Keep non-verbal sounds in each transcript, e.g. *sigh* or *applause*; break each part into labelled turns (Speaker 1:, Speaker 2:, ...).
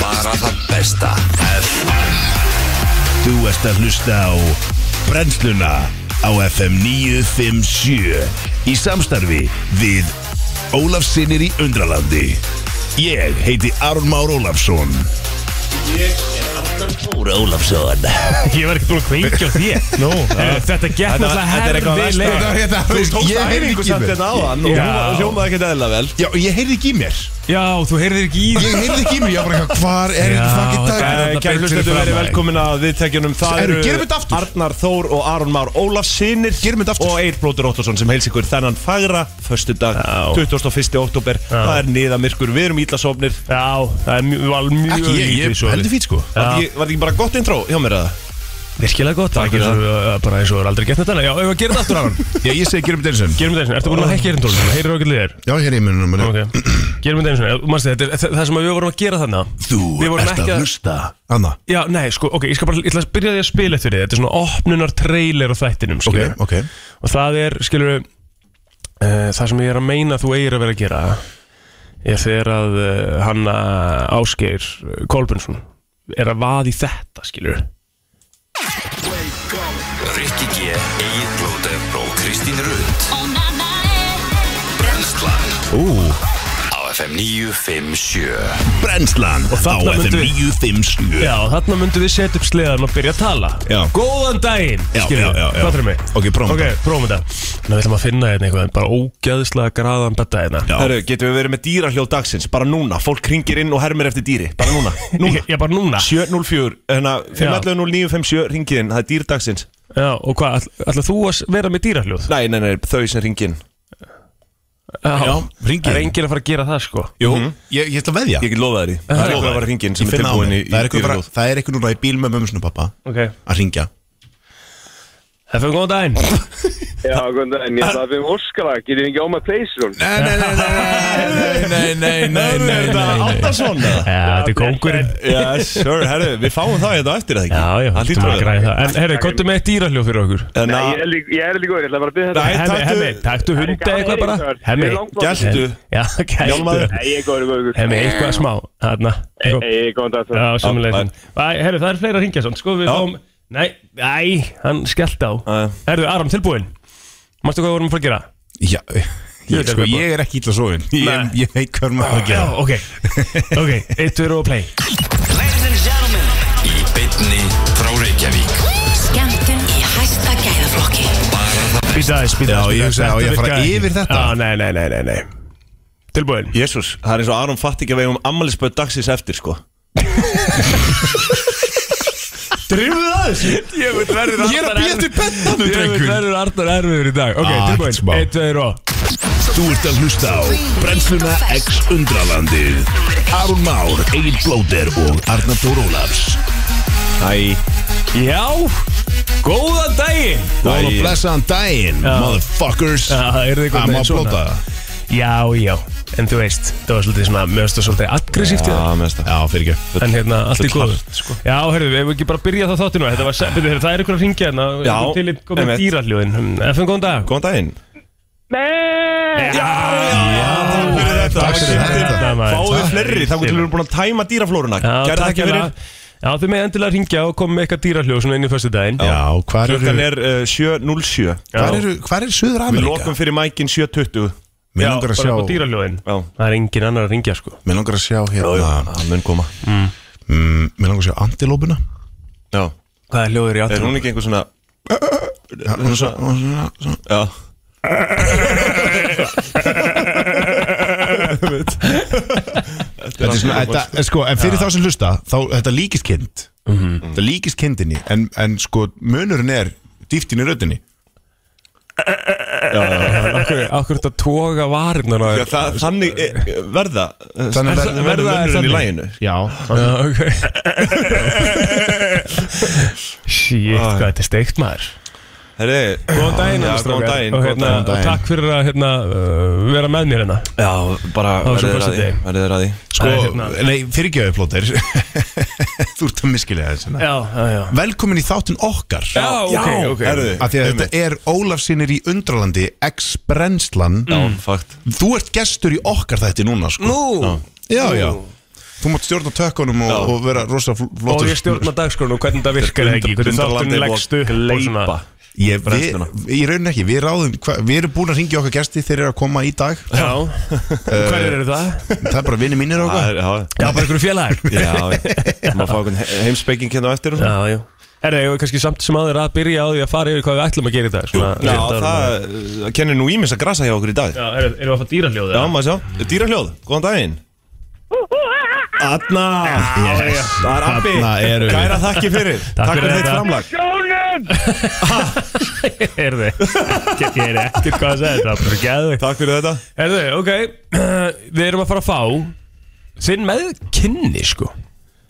Speaker 1: bara það besta
Speaker 2: Þú ert að hlusta á Brennsluna á FM 957 í samstarfi við Ólafsinir í Undralandi. Ég heiti Aron Már Ólafsson.
Speaker 1: Úr Ólafsson
Speaker 3: Ég var ekki búin að kveikja á því Nú, Þetta gekk náttúrulega herfilega
Speaker 2: hérna, þú veist, ég heyrði
Speaker 4: æfingu
Speaker 2: ekki í
Speaker 4: samt
Speaker 2: mér.
Speaker 4: þetta á hann og
Speaker 3: Já.
Speaker 4: hún var- hljómaði ekkert eðla vel
Speaker 2: *laughs* Já, ég heyrði ekki í mér.
Speaker 3: Já, þú heyrðir ekki í
Speaker 2: Ég heyrði ekki í mér, ég var bara eitthvað, hvar er
Speaker 3: Já,
Speaker 2: þetta fucking
Speaker 3: þetta
Speaker 2: dag?
Speaker 3: er-
Speaker 4: Eh,
Speaker 3: þarna beint
Speaker 4: Kæri
Speaker 3: fyrir
Speaker 4: hlustendur, verið
Speaker 3: framan þig.
Speaker 4: velkomin að viðtækjunum Það
Speaker 2: Herru,
Speaker 4: eru
Speaker 2: gerum þetta aftur.
Speaker 4: Arnar Þór og Aron Már Ólaf sinir
Speaker 2: Gerum þetta aftur.
Speaker 4: Og Eir Blótur Óttarsson sem heils ykkur þennan fagra Föstu dag, 21. oktober Það er niðamyrkur, við erum íllasofnir
Speaker 3: Já, það er mjög, var mjög
Speaker 2: Ekki ég,
Speaker 3: lítið
Speaker 2: ég
Speaker 3: sofið.
Speaker 2: heldur fýt sko.
Speaker 4: Var ekki- var ekki bara gott intro hjá mér að
Speaker 3: Virkilega gott, það er uh, bara eins og er aldrei gett þetta Já, ef við gerum þetta aftur á hann
Speaker 2: Já, ég segi gerum þetta eins og enn.
Speaker 3: Gerum þetta eins og, ertu búin að hekka erindólum? Heyrir okkur liðir
Speaker 2: Já, hér er ég munum.
Speaker 3: Ok, gerum þetta eins og, mannstu, þetta er þa- það sem við vorum að gera þarna
Speaker 2: Þú
Speaker 3: Við vorum
Speaker 2: ert
Speaker 3: ekki
Speaker 2: að
Speaker 3: að-
Speaker 2: hlusta. Anna,
Speaker 3: Já, nei, sko, ok, ég skal bara, ég ætla að byrja því að spila eftir því Þetta er svona opnunar trailer á þættinum,
Speaker 2: ok,
Speaker 3: skilur
Speaker 2: ok.
Speaker 3: Og það er, skilur uh, Það sem ég er að meina að þú eigir að vera að gera Ég þegar að uh, hanna Ásgeir Kolbjörnsson er að vaði þetta, skilur
Speaker 1: Rikki G, Egil Blóter og Kristín Rund
Speaker 5: e.
Speaker 1: Brennslan
Speaker 2: Ú,
Speaker 1: á FM 957
Speaker 2: Brennslan á
Speaker 3: þarna
Speaker 2: FM
Speaker 3: myndum við-
Speaker 2: 957.
Speaker 3: Já, þarna myndum við setja upp sleðan og byrja að tala
Speaker 2: Já.
Speaker 3: Góðan daginn,
Speaker 2: Já,
Speaker 3: skilur
Speaker 2: já, já, já.
Speaker 3: Fattar mig?
Speaker 2: Ok, prófum
Speaker 3: Ok, prófum þetta Ná, við ætlum að finna hérna eitthvað Bara ógæðislega graðan betta hérna
Speaker 2: Já.
Speaker 4: Herru, getum við verið með dýrahljóð dagsins Bara núna, fólk ringir inn og hermir eftir dýri Bara núna, núna
Speaker 2: *laughs*
Speaker 3: Ég, ég bara núna
Speaker 4: 704, hérna 511-0957 ringið inn, það er dýr dagsins
Speaker 3: Já, og hvað, ætl- ætla þú að s- vera með dýrahljóð?
Speaker 4: Nei, nei, nei, þau sem ringið inn
Speaker 2: Já, hringið.
Speaker 3: Það er enginn að fara að gera það, sko
Speaker 2: Jú, ég, Mhm. ég ætla að veðja
Speaker 4: Ég get lofa þér í Það
Speaker 3: Það
Speaker 4: er
Speaker 3: er
Speaker 4: eitthvað að vera hringin sem
Speaker 2: Ég
Speaker 4: er
Speaker 2: finn á
Speaker 4: tilbúin í
Speaker 2: henni. Það er eitthvað bara-
Speaker 4: *laughs* yfirlóð
Speaker 2: það er eitthvað núna í bíl með mömmusinu og pappa
Speaker 3: Ok,
Speaker 2: að ringja
Speaker 3: hefum góðan
Speaker 2: *laughs*
Speaker 3: daginn
Speaker 6: Já, góðan daginn, ég ætla að við um Óskara, getur ekki á maður pleysir
Speaker 2: Nei, nei, nei, nei, nei, nei,
Speaker 4: Hörðu, er þetta Aldarsson? eða?
Speaker 3: Já, þetta er kóngurinn
Speaker 4: Yes, sir, herru, við fáum það hérna á eftir eða ekki
Speaker 3: Já, já,
Speaker 4: það
Speaker 3: við
Speaker 4: lítur
Speaker 3: ætlum
Speaker 4: að
Speaker 3: að græða það En herri, komdu með eitt dýrahljóð fyrir okkur
Speaker 4: En uh,
Speaker 6: Nei, ég
Speaker 4: að,
Speaker 6: er líka, ég er líka góður, ég ætla bara að byrja
Speaker 4: Nei,
Speaker 6: þetta
Speaker 3: Hemmi,
Speaker 4: taktu-
Speaker 3: hemmi, taktu hundi eitthvað bara Hemmi,
Speaker 6: Gæstu
Speaker 4: gæltu
Speaker 3: já,
Speaker 4: Hjálmaður.
Speaker 3: gæstu
Speaker 6: Nei, ég er góður, góður
Speaker 3: Hemmi, eitthvað smá Þarna
Speaker 6: Nei, ég er góðan dag
Speaker 3: Já,
Speaker 6: það
Speaker 3: samanlega Herri, það er fleira að ringja svona Sko við
Speaker 4: Já.
Speaker 3: fáum Nei, æ, hann skellt á
Speaker 4: já.
Speaker 3: Herðu, Aron, tilbúin Mástu hvað við vorum að fara að gera?
Speaker 2: Já,
Speaker 3: Ég
Speaker 2: ég,
Speaker 3: veit
Speaker 2: sko,
Speaker 3: eitthvað.
Speaker 2: ég er ekki illa sofin
Speaker 3: Nei.
Speaker 2: Ég, ég veit hvað maður að
Speaker 3: Já,
Speaker 2: gera
Speaker 3: ok Ok, eitt, tveir og play
Speaker 1: Ladies and gentlemen Í bytni frá Reykjavík
Speaker 7: Skemmtun í hæsta gæðaflokki
Speaker 1: Bara það
Speaker 3: Býta aðeins, býta
Speaker 2: Já, ég
Speaker 3: aðeins, býta
Speaker 2: hugsaði, á
Speaker 3: aðeins.
Speaker 2: ég að fara
Speaker 3: virkaði
Speaker 2: yfir
Speaker 3: ekki.
Speaker 2: þetta?
Speaker 3: Já, nei, nei, nei, nei, nei Tilbúin
Speaker 4: Jésús, það er eins og Aron fatt ekki að vegum ammælisböð dagsins eftir sko Drifðu það þessu
Speaker 3: *laughs* Ég veit verður
Speaker 2: Ég er að býja til bettanum,
Speaker 3: Ég veit
Speaker 2: drengur
Speaker 3: verður Arnar erfiður í dag Ok,
Speaker 2: Ah, ekkert smá.
Speaker 3: tilbúin, eitt, tveir og
Speaker 2: Þú ert að hlusta á Brennsluna X Undralandi Arun Már, Egil Blóter og Arnar Dór Ólafs
Speaker 4: Æ,
Speaker 3: Já, góðan daginn
Speaker 2: Góðan og
Speaker 4: Daginn.
Speaker 2: blessaðan daginn, motherfuckers
Speaker 3: Já, það er eitthvað
Speaker 2: Það Ah, má
Speaker 3: með svona.
Speaker 2: blóta
Speaker 3: Já, já, en þú veist, það var svolítið svona Mjög stóð svolítið aggressíft í það
Speaker 4: að mesta
Speaker 2: Já, fyrir ekki
Speaker 3: En hérna, allt í
Speaker 4: full
Speaker 3: góðu
Speaker 4: hart, sko.
Speaker 3: Já, heyrðu, ef við ekki bara byrja það þáttinu Þetta var, byrju, heyrðu, það er ykkur að ringja hérna
Speaker 4: Já,
Speaker 3: Til í komið
Speaker 4: einmitt.
Speaker 3: dýralljóðin FM, góðan dag
Speaker 4: Góðan daginn
Speaker 2: Takk fyrir þetta.
Speaker 4: Fáðu fleiri, þá getur við búin að tæma dýraflóruna Gerðu það ekki
Speaker 2: hérna.
Speaker 4: fyrir
Speaker 3: hérna. Já, þið með endilega ringja og komið með eitthvað dýralljóð Svona inn í föstu daginn
Speaker 2: Já, hvar
Speaker 4: Klukkan
Speaker 2: eru,
Speaker 4: er uh, 7.07
Speaker 2: hvar eru, hvar er Suður
Speaker 4: Við
Speaker 2: Amerika?
Speaker 4: lokum fyrir mækin 7.20
Speaker 2: Mér langar að
Speaker 3: bara upp á
Speaker 2: sjá,
Speaker 3: dýraljóðin
Speaker 4: Já.
Speaker 3: Það er engin annar að ringja sko
Speaker 2: mér langar að sjá hérna
Speaker 4: Það mun koma
Speaker 2: Mm, Mér langar að sjá antilópuna
Speaker 4: Já
Speaker 3: Hvað er ljóður í
Speaker 4: Er hún ekki einhver svona
Speaker 2: Já, hún er svo- hún er svona- svona-
Speaker 4: Já
Speaker 2: Þetta er svona- þetta- en sko, En fyrir þá sem hlusta þá, Þetta líkist kind
Speaker 3: Mhm.
Speaker 2: Þetta líkist kindinni En, en sko munurinn er dýftin í röddinni
Speaker 3: Akkur, akkur þetta toga varirnar
Speaker 4: Já, það, þannig eh, verða
Speaker 2: Þannig
Speaker 4: verða
Speaker 2: verða-
Speaker 4: verða
Speaker 3: verða-
Speaker 4: munurinn í
Speaker 3: þannig.
Speaker 4: læginu
Speaker 2: Já
Speaker 3: ok Shit, hvað þetta er steikt maður
Speaker 4: Herri, góðan daginn Já,
Speaker 3: strákar.
Speaker 4: góðan daginn
Speaker 3: Og,
Speaker 4: góðan
Speaker 3: hérna,
Speaker 4: daginn.
Speaker 3: og takk fyrir að hérna, uh, vera með mér hérna
Speaker 4: Já, bara
Speaker 3: Á
Speaker 4: verðið
Speaker 3: þessum
Speaker 4: þér að því
Speaker 3: föstudegi.
Speaker 4: Verðið þér að því
Speaker 2: Sko,
Speaker 3: Það er hérna.
Speaker 2: nei, fyrirgjöðu plóter *laughs* Þú ert að miskilega þess
Speaker 3: Já, já, já
Speaker 2: Velkomin í þáttin okkar
Speaker 3: Já, ok, ok
Speaker 4: herðu
Speaker 2: Af því að þetta er Ólafsinir í Undralandi Ex-Brenslan
Speaker 4: Já, fakt
Speaker 2: Þú ert gestur í okkar þætti núna sko.
Speaker 3: Nú,
Speaker 2: Já, já þú mátt stjórna tökkunum og, og vera rosa fl-
Speaker 3: Og
Speaker 2: flottur
Speaker 3: ég stjórna dagskorun og hvernig það virkar eða ekki Hvernig
Speaker 4: Undralandi
Speaker 3: þáttunum leggst upp og svona.
Speaker 4: gleypa.
Speaker 2: Ég, við,
Speaker 4: brennsluna.
Speaker 2: í rauninni ekki, við ráðum hva, Við erum búin að ringja okkar gesti þeir eru að koma í dag
Speaker 3: *laughs* Já, hverjir eru það?
Speaker 2: Það er bara vinni mínir
Speaker 4: Það
Speaker 2: okkar
Speaker 4: er- Já,
Speaker 3: Já, bara einhverju félagar
Speaker 4: já, já Má fá einhvern he- heimspeking hérna á eftir og svona.
Speaker 3: *laughs* Já, já Er það kannski samt sem aðeir að byrja á því að fara yfir hvað við ætlum að gera í dag svona,
Speaker 4: Já,
Speaker 3: rétt áður en að-
Speaker 4: það uh, kennir nú ímis að grasa hjá okkur í dag
Speaker 3: Já, eru erum við að fá dýraljóð?
Speaker 4: Já, maður sjá, dýrahljóð, góðan daginn Adna yes. Það er Abbi,
Speaker 8: Þarna erum við.
Speaker 4: kæra þakki fyrir Takk, fyrir þitt framlag
Speaker 3: *laughs* Heyrðu, ég er ekkert hvað að segja þetta, bara geðveikt
Speaker 4: Takk fyrir þetta
Speaker 3: Heyrðu, ok, *clears throat* við erum að fara að fá þinn með kynni, sko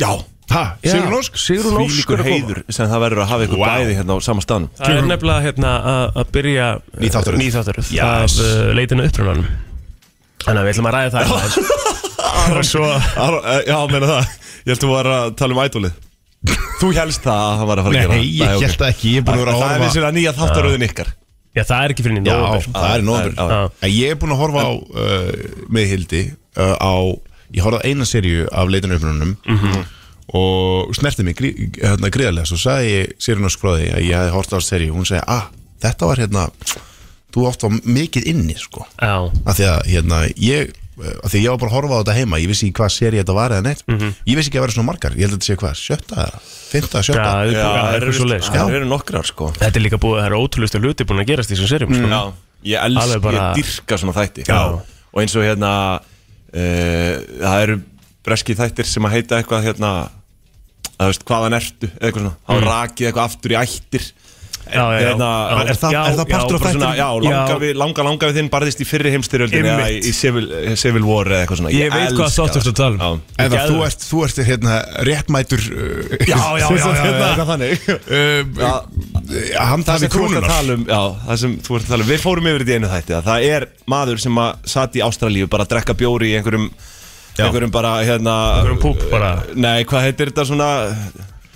Speaker 4: Já,
Speaker 2: Ha, Sigrun Ósk?
Speaker 3: Sigrun Ósk er
Speaker 4: Þvílíkur
Speaker 3: að koma.
Speaker 4: heiður sem það verður að hafa ykkur bæði hérna á sama staðnum
Speaker 3: Það er nefnilega hérna að- að byrja
Speaker 2: Nýþáttaröð.
Speaker 3: Nýþáttaröð af uh, leitinu upprunanum Þannig að við ætlum að ræða
Speaker 4: *laughs*
Speaker 3: það aðeins. Og svo
Speaker 4: Ar, eh, Já, meina það, ég held að þú var að tala um ædolið Þú helst það að hann var að fara að gera
Speaker 2: Nei, ég held það ekki, ég er búin að vera að
Speaker 4: Það er
Speaker 2: horfa
Speaker 4: þessi að nýja þáttaröðin ykkar
Speaker 3: Já, það er ekki fyrir nýjum
Speaker 2: Já, það er nóður
Speaker 4: Já, já.
Speaker 2: En Ég er búin að horfa á uh, með Hildi uh, á, ég horfði á eina serju af leitunauðbrunum mm og snerti mig grí, hérna, gríðarlega svo sagði ég Sirun Ósk frá því að ég hefði horfði á serju og hún sagði, ah, þetta var hérna þú átt á mikið inni, sko
Speaker 3: Já,
Speaker 2: að því að hérna ég að því að ég var bara að horfa á þetta heima ég vissi ekki hvað seri þetta var eða neitt
Speaker 4: Mhm.
Speaker 2: ég vissi ekki að vera svona margar, ég held að þetta sé hvað sjötta, fymta,
Speaker 3: Já,
Speaker 2: sjötta
Speaker 3: það er- það er svo leið, sko
Speaker 4: Það eru nokkrar sko
Speaker 3: Þetta er líka búið, það er ótrúlustu hluti búin að gerast í þessum serjum, sko
Speaker 4: Já, ég elsk,
Speaker 3: Alveg bara-
Speaker 4: ég dyrka svona þætti
Speaker 3: Já.
Speaker 4: Og eins og hérna uh, Það eru breski þættir sem að heita eitthvað hérna Það veist, hvaðan ertu eða eitthvað svona Það mm. rakið eitthvað aftur í ættir
Speaker 3: Já, já, já.
Speaker 4: Hérna,
Speaker 3: Já.
Speaker 4: er, það,
Speaker 3: Já,
Speaker 4: er það partur
Speaker 3: já,
Speaker 4: af
Speaker 3: bara
Speaker 4: þættir?
Speaker 3: svona-
Speaker 4: Já, langa,
Speaker 3: Já.
Speaker 4: Við, langa, langa við þinn barðist í fyrri heimstyrjöldin eða
Speaker 3: Einmitt.
Speaker 4: í civil, eh, civil War eða eitthvað svona
Speaker 3: Ég veit hvað
Speaker 4: elska
Speaker 3: þáttur
Speaker 4: það,
Speaker 3: þú talar um.
Speaker 4: sko. Já.
Speaker 2: eða þú
Speaker 3: geðveikt.
Speaker 2: ert, þú ert hérna réttmætur uh,
Speaker 4: Já, já, já, já, já,
Speaker 2: hérna, Eh,
Speaker 4: eitthvað þannig
Speaker 2: uh,
Speaker 4: það
Speaker 2: handhafi
Speaker 4: sem þú ert að
Speaker 2: krúnunar
Speaker 4: tala um já, það sem þú ert að tala um við fórum yfir þetta í einu þætti að það er maður sem að satt í Ástralíu bara að drekka bjóri í einhverjum einhverjum bara hérna
Speaker 3: Einhverjum púpp bara.
Speaker 4: nei hvað heitir þetta svona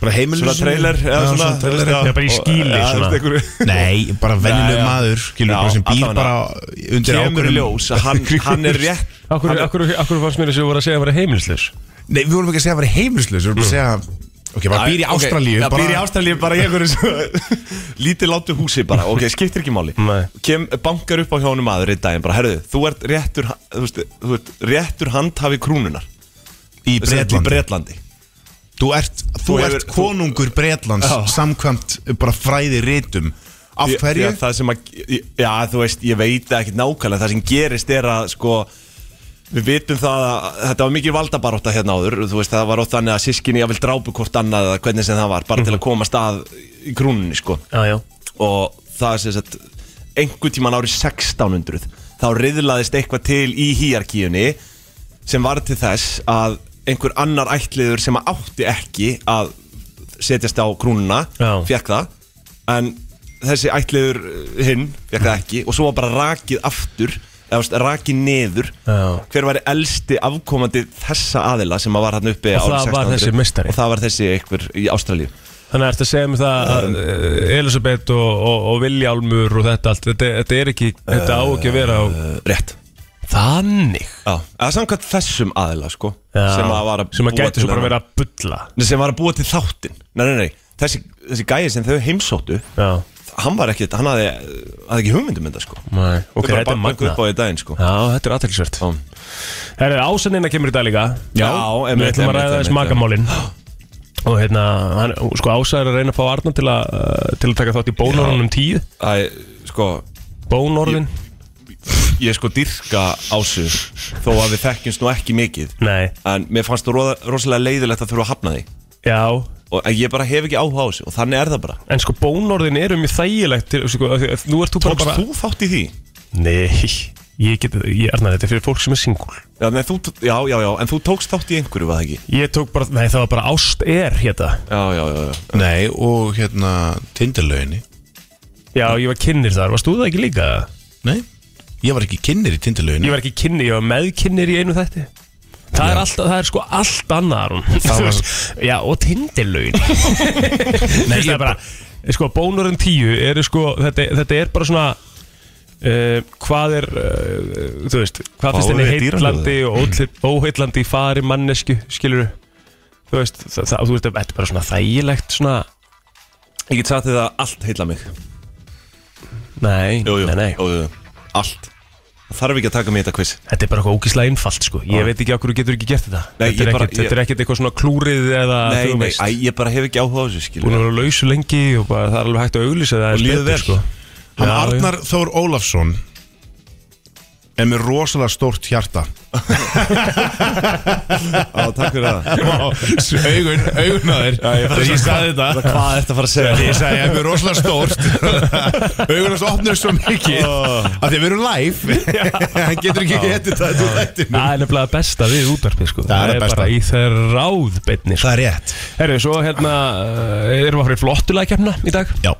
Speaker 2: bara heimilinu
Speaker 4: svona trailer eða
Speaker 2: Já,
Speaker 4: svona,
Speaker 2: svona
Speaker 4: *laughs*
Speaker 2: trailer,
Speaker 4: veist,
Speaker 3: já, bara í
Speaker 4: og-
Speaker 3: skýli,
Speaker 4: ja,
Speaker 3: svona.
Speaker 4: veist, einhverju-
Speaker 2: nei, bara vennileg
Speaker 4: Já, já.
Speaker 2: maður skilur
Speaker 4: Já,
Speaker 2: bara sem býr
Speaker 4: allavega.
Speaker 2: bara undir
Speaker 4: kemur í
Speaker 2: ákveðnum-
Speaker 4: ljós að hann,
Speaker 2: *laughs*
Speaker 4: hann er rétt
Speaker 3: Akkur, akkur, akkur fannst mér þess að við vorum að segja að vera heimilislaus
Speaker 2: nei, við vorum ekki að segja að vera heimilislaus við vorum að segja ok, bara býr í
Speaker 4: Ok,
Speaker 2: Ástralíu
Speaker 4: já,
Speaker 2: bara-
Speaker 4: býr í Ástralíu bara í einhverju svo- *laughs* lítið láttu húsi bara, ok, skiptir ekki máli
Speaker 3: Nei.
Speaker 4: Kem, bankar upp á hjónu maður í daginn bara, herðu, þú ert réttur ha- þú veist, þú ert réttur handhafi krúnunar
Speaker 2: í
Speaker 4: sem sagt, í
Speaker 2: Bretlandi
Speaker 4: Bretlandi
Speaker 2: Þú ert, þú
Speaker 4: Þú hefur-
Speaker 2: ert konungur Bretlands
Speaker 4: Já.
Speaker 2: samkvæmt eh, bara fræði rítum Af
Speaker 4: Ég-
Speaker 2: hverju?
Speaker 4: Já, það sem að, já, þú veist, ég veit ekki nákvæmlega Það sem gerist er að, sko Við vitum það að þetta var mikil valdabaróta hérna áður Þú veist, það var ótt þannig að sískinni Ég vil drápu hvort annað eða hvernig sem það var Bara
Speaker 2: Mhm.
Speaker 4: til að koma stað í grúninni, sko
Speaker 3: Já, já
Speaker 4: Og það sem sagt Engu tíman árið 1600 Þá riðlaðist eitthvað til í hýjarkíunni Sem var til þess að Einhver annar ætliður sem að átti ekki Að setjast á grúnuna
Speaker 3: Já.
Speaker 4: fekk það en þessi ætliður uh, hinn fekk það ekki og svo var bara rakið aftur eða veist, rakið neður
Speaker 3: Já.
Speaker 4: hver var elsti afkomandi þessa aðila sem að var hann uppi
Speaker 3: Og
Speaker 4: árið
Speaker 3: það var
Speaker 4: 1600?
Speaker 3: þessi meistari.
Speaker 4: og það var þessi einhver í Ástralíu
Speaker 3: Þannig ertu að segja mér það að uh, Elisabeth og, og, og Viljálmur og þetta allt Þetta, þetta er ekki, þetta á ekki að vera á
Speaker 4: uh, rétt
Speaker 3: Þannig
Speaker 4: Já, eða samkvæmt þessum aðila sko
Speaker 3: Já,
Speaker 4: sem að var að
Speaker 3: Sem
Speaker 4: búa
Speaker 3: gæti
Speaker 4: til
Speaker 3: svo bara
Speaker 4: þennan-
Speaker 3: verið að bulla
Speaker 4: Nei, sem var að búa til þáttinn nei, nei, nei, þessi, þessi gæði sem þau heimsóttu
Speaker 3: Já,
Speaker 4: hann var ekki, hann hafði, hafði ekki hugmyndum þetta sko
Speaker 3: Nei, ok,
Speaker 4: þau bara
Speaker 3: þetta er
Speaker 4: banka
Speaker 3: magna
Speaker 4: upp á því daginn sko
Speaker 3: Já, þetta er aðtækisvert
Speaker 4: Já.
Speaker 3: Herri, ásennina kemur í dag líka
Speaker 4: Já,
Speaker 3: Við
Speaker 4: einmitt,
Speaker 3: ætlum að
Speaker 4: einmitt,
Speaker 3: ræða
Speaker 4: einmitt,
Speaker 3: þess magamálin Og hérna, hann, sko Ása er að reyna að fá Arna til að, uh, til að taka þátt í bónorðunum tíð
Speaker 4: Æ, sko,
Speaker 3: Bónorðin?
Speaker 4: ég sko dyrka ásu þó að við þekkjumst nú ekki mikið
Speaker 3: Nei,
Speaker 4: en mér fannst þú rosalega leiðilegt að þurfa að hafna því
Speaker 3: já,
Speaker 4: og en ég bara hef ekki áhuga á þessu og þannig er það bara
Speaker 3: En sko bónorðin eru mjög þægilegt til, sko, af því að Nú ert þú bara
Speaker 4: Tókst
Speaker 3: bara
Speaker 4: þú þátt í því?
Speaker 3: Nei, ég get ég, Arnar, þetta er fyrir fólk sem er singul
Speaker 4: Já, nei, þú, já, já, já, en þú tókst þátt í einhverju, var það ekki?
Speaker 3: Ég tók bara, nei það var bara ást er hérna
Speaker 4: Já, já, já, já
Speaker 2: Nei, og hérna Tinderlauginni
Speaker 3: Já, ég var kynir þar, varst þú það ekki líka?
Speaker 2: Nei, ég var ekki kynner í
Speaker 3: Ég
Speaker 2: Tinderlauginni
Speaker 3: var ekki kynir, ég var meðkynir í einu þætti Það er alltaf, það er sko allt annað Aron.
Speaker 2: Það
Speaker 3: *laughs*
Speaker 2: var-
Speaker 3: Já, og
Speaker 4: *laughs*
Speaker 3: tindilaun Nei, ég bara Sko, bónorinn tíu eru sko, þetta, þetta er bara svona uh, hvað er uh, þú veist, hvað finnst
Speaker 4: Fáum
Speaker 3: henni
Speaker 4: við
Speaker 3: heitlandi og óheil- óheillandi í fari mannesku skilur þú veist, það, það, þú veist, þetta er bara svona þægilegt svona,
Speaker 4: Ég get sagt þið að allt heilla mig
Speaker 3: nei,
Speaker 4: Jú, jú,
Speaker 3: nei, nei
Speaker 4: Jú, jú. Allt Það þarf ekki að taka mig í þetta quiz
Speaker 3: þetta er bara eitthvað ógíslega einfalt sko ég veit ekki okkur þú getur ekki gert þetta
Speaker 4: Nei,
Speaker 3: þetta,
Speaker 4: ég
Speaker 3: er
Speaker 4: bara-
Speaker 3: ekkit,
Speaker 4: ég-
Speaker 3: þetta er ekkert eitthvað svona klúrið eða
Speaker 4: Nei,
Speaker 3: þú
Speaker 4: nei,
Speaker 3: veist,
Speaker 4: æ, ég bara hef ekki áhuga á þessu skilur
Speaker 3: búin að vera lausu lengi og bara, það er alveg hægt að auglýsa það
Speaker 4: Og
Speaker 3: aðeins
Speaker 4: líður
Speaker 3: betur, sko.
Speaker 4: vel.
Speaker 2: Hann
Speaker 3: Já, já.
Speaker 2: Arnar Þór Ólafsson er með rosalega stórt hjarta
Speaker 4: Já, takk fyrir það
Speaker 2: Vá, s- augun, augun að þér Þegar ég sagði þetta
Speaker 4: Hvað er þetta að fara að segja?
Speaker 2: Þegar ég sagði *laughs* ég er með rosalega stórt Augun hans opnur svo mikið Af því að við erum *laughs* live Hann getur ekki getið þetta úr þættinu
Speaker 3: Það er nefnilega besta við útvarpið sko
Speaker 2: Það er það besta.
Speaker 3: bara í þeir ráðbeinni sko.
Speaker 2: er rétt
Speaker 3: Herru, svo hérna uh, erum við að fara í flottulega kemna í dag
Speaker 2: Já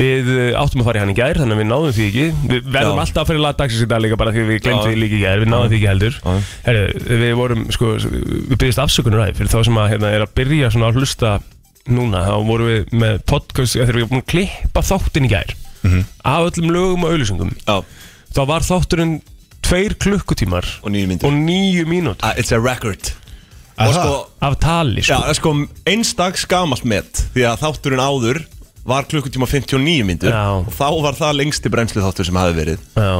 Speaker 3: Við uh, áttum að fara í hann í gær þannig að við náðum því ekki Við verðum
Speaker 4: Já.
Speaker 3: alltaf að fara í lagdagsins í dag líka bara því að við glemtum
Speaker 4: Já.
Speaker 3: því líka í gær Við náðum því ekki heldur
Speaker 4: Já.
Speaker 3: Herru, við vorum sko, við byrjast afsökunar aðeins fyrir þá sem að hérna er að byrja svona að hlusta núna Þá vorum við með podcast, þegar við vorum að klippa þáttin í gær
Speaker 4: Mhm.
Speaker 3: Af öllum lögum og auðlýsingum
Speaker 4: Já,
Speaker 3: Þá var þátturinn tveir klukkutímar
Speaker 4: og nýju
Speaker 3: og
Speaker 4: myndir
Speaker 3: níu mínútur
Speaker 4: Ah, It's a record Og
Speaker 2: Aha.
Speaker 4: sko,
Speaker 3: af tali
Speaker 4: já,
Speaker 3: sko.
Speaker 4: það er sko einstags gamalt met Því að þátturinn áður var klukkutíma 59 myndur
Speaker 3: Já.
Speaker 4: Og þá var það lengsti brennslu þáttur sem hafi verið
Speaker 3: Já,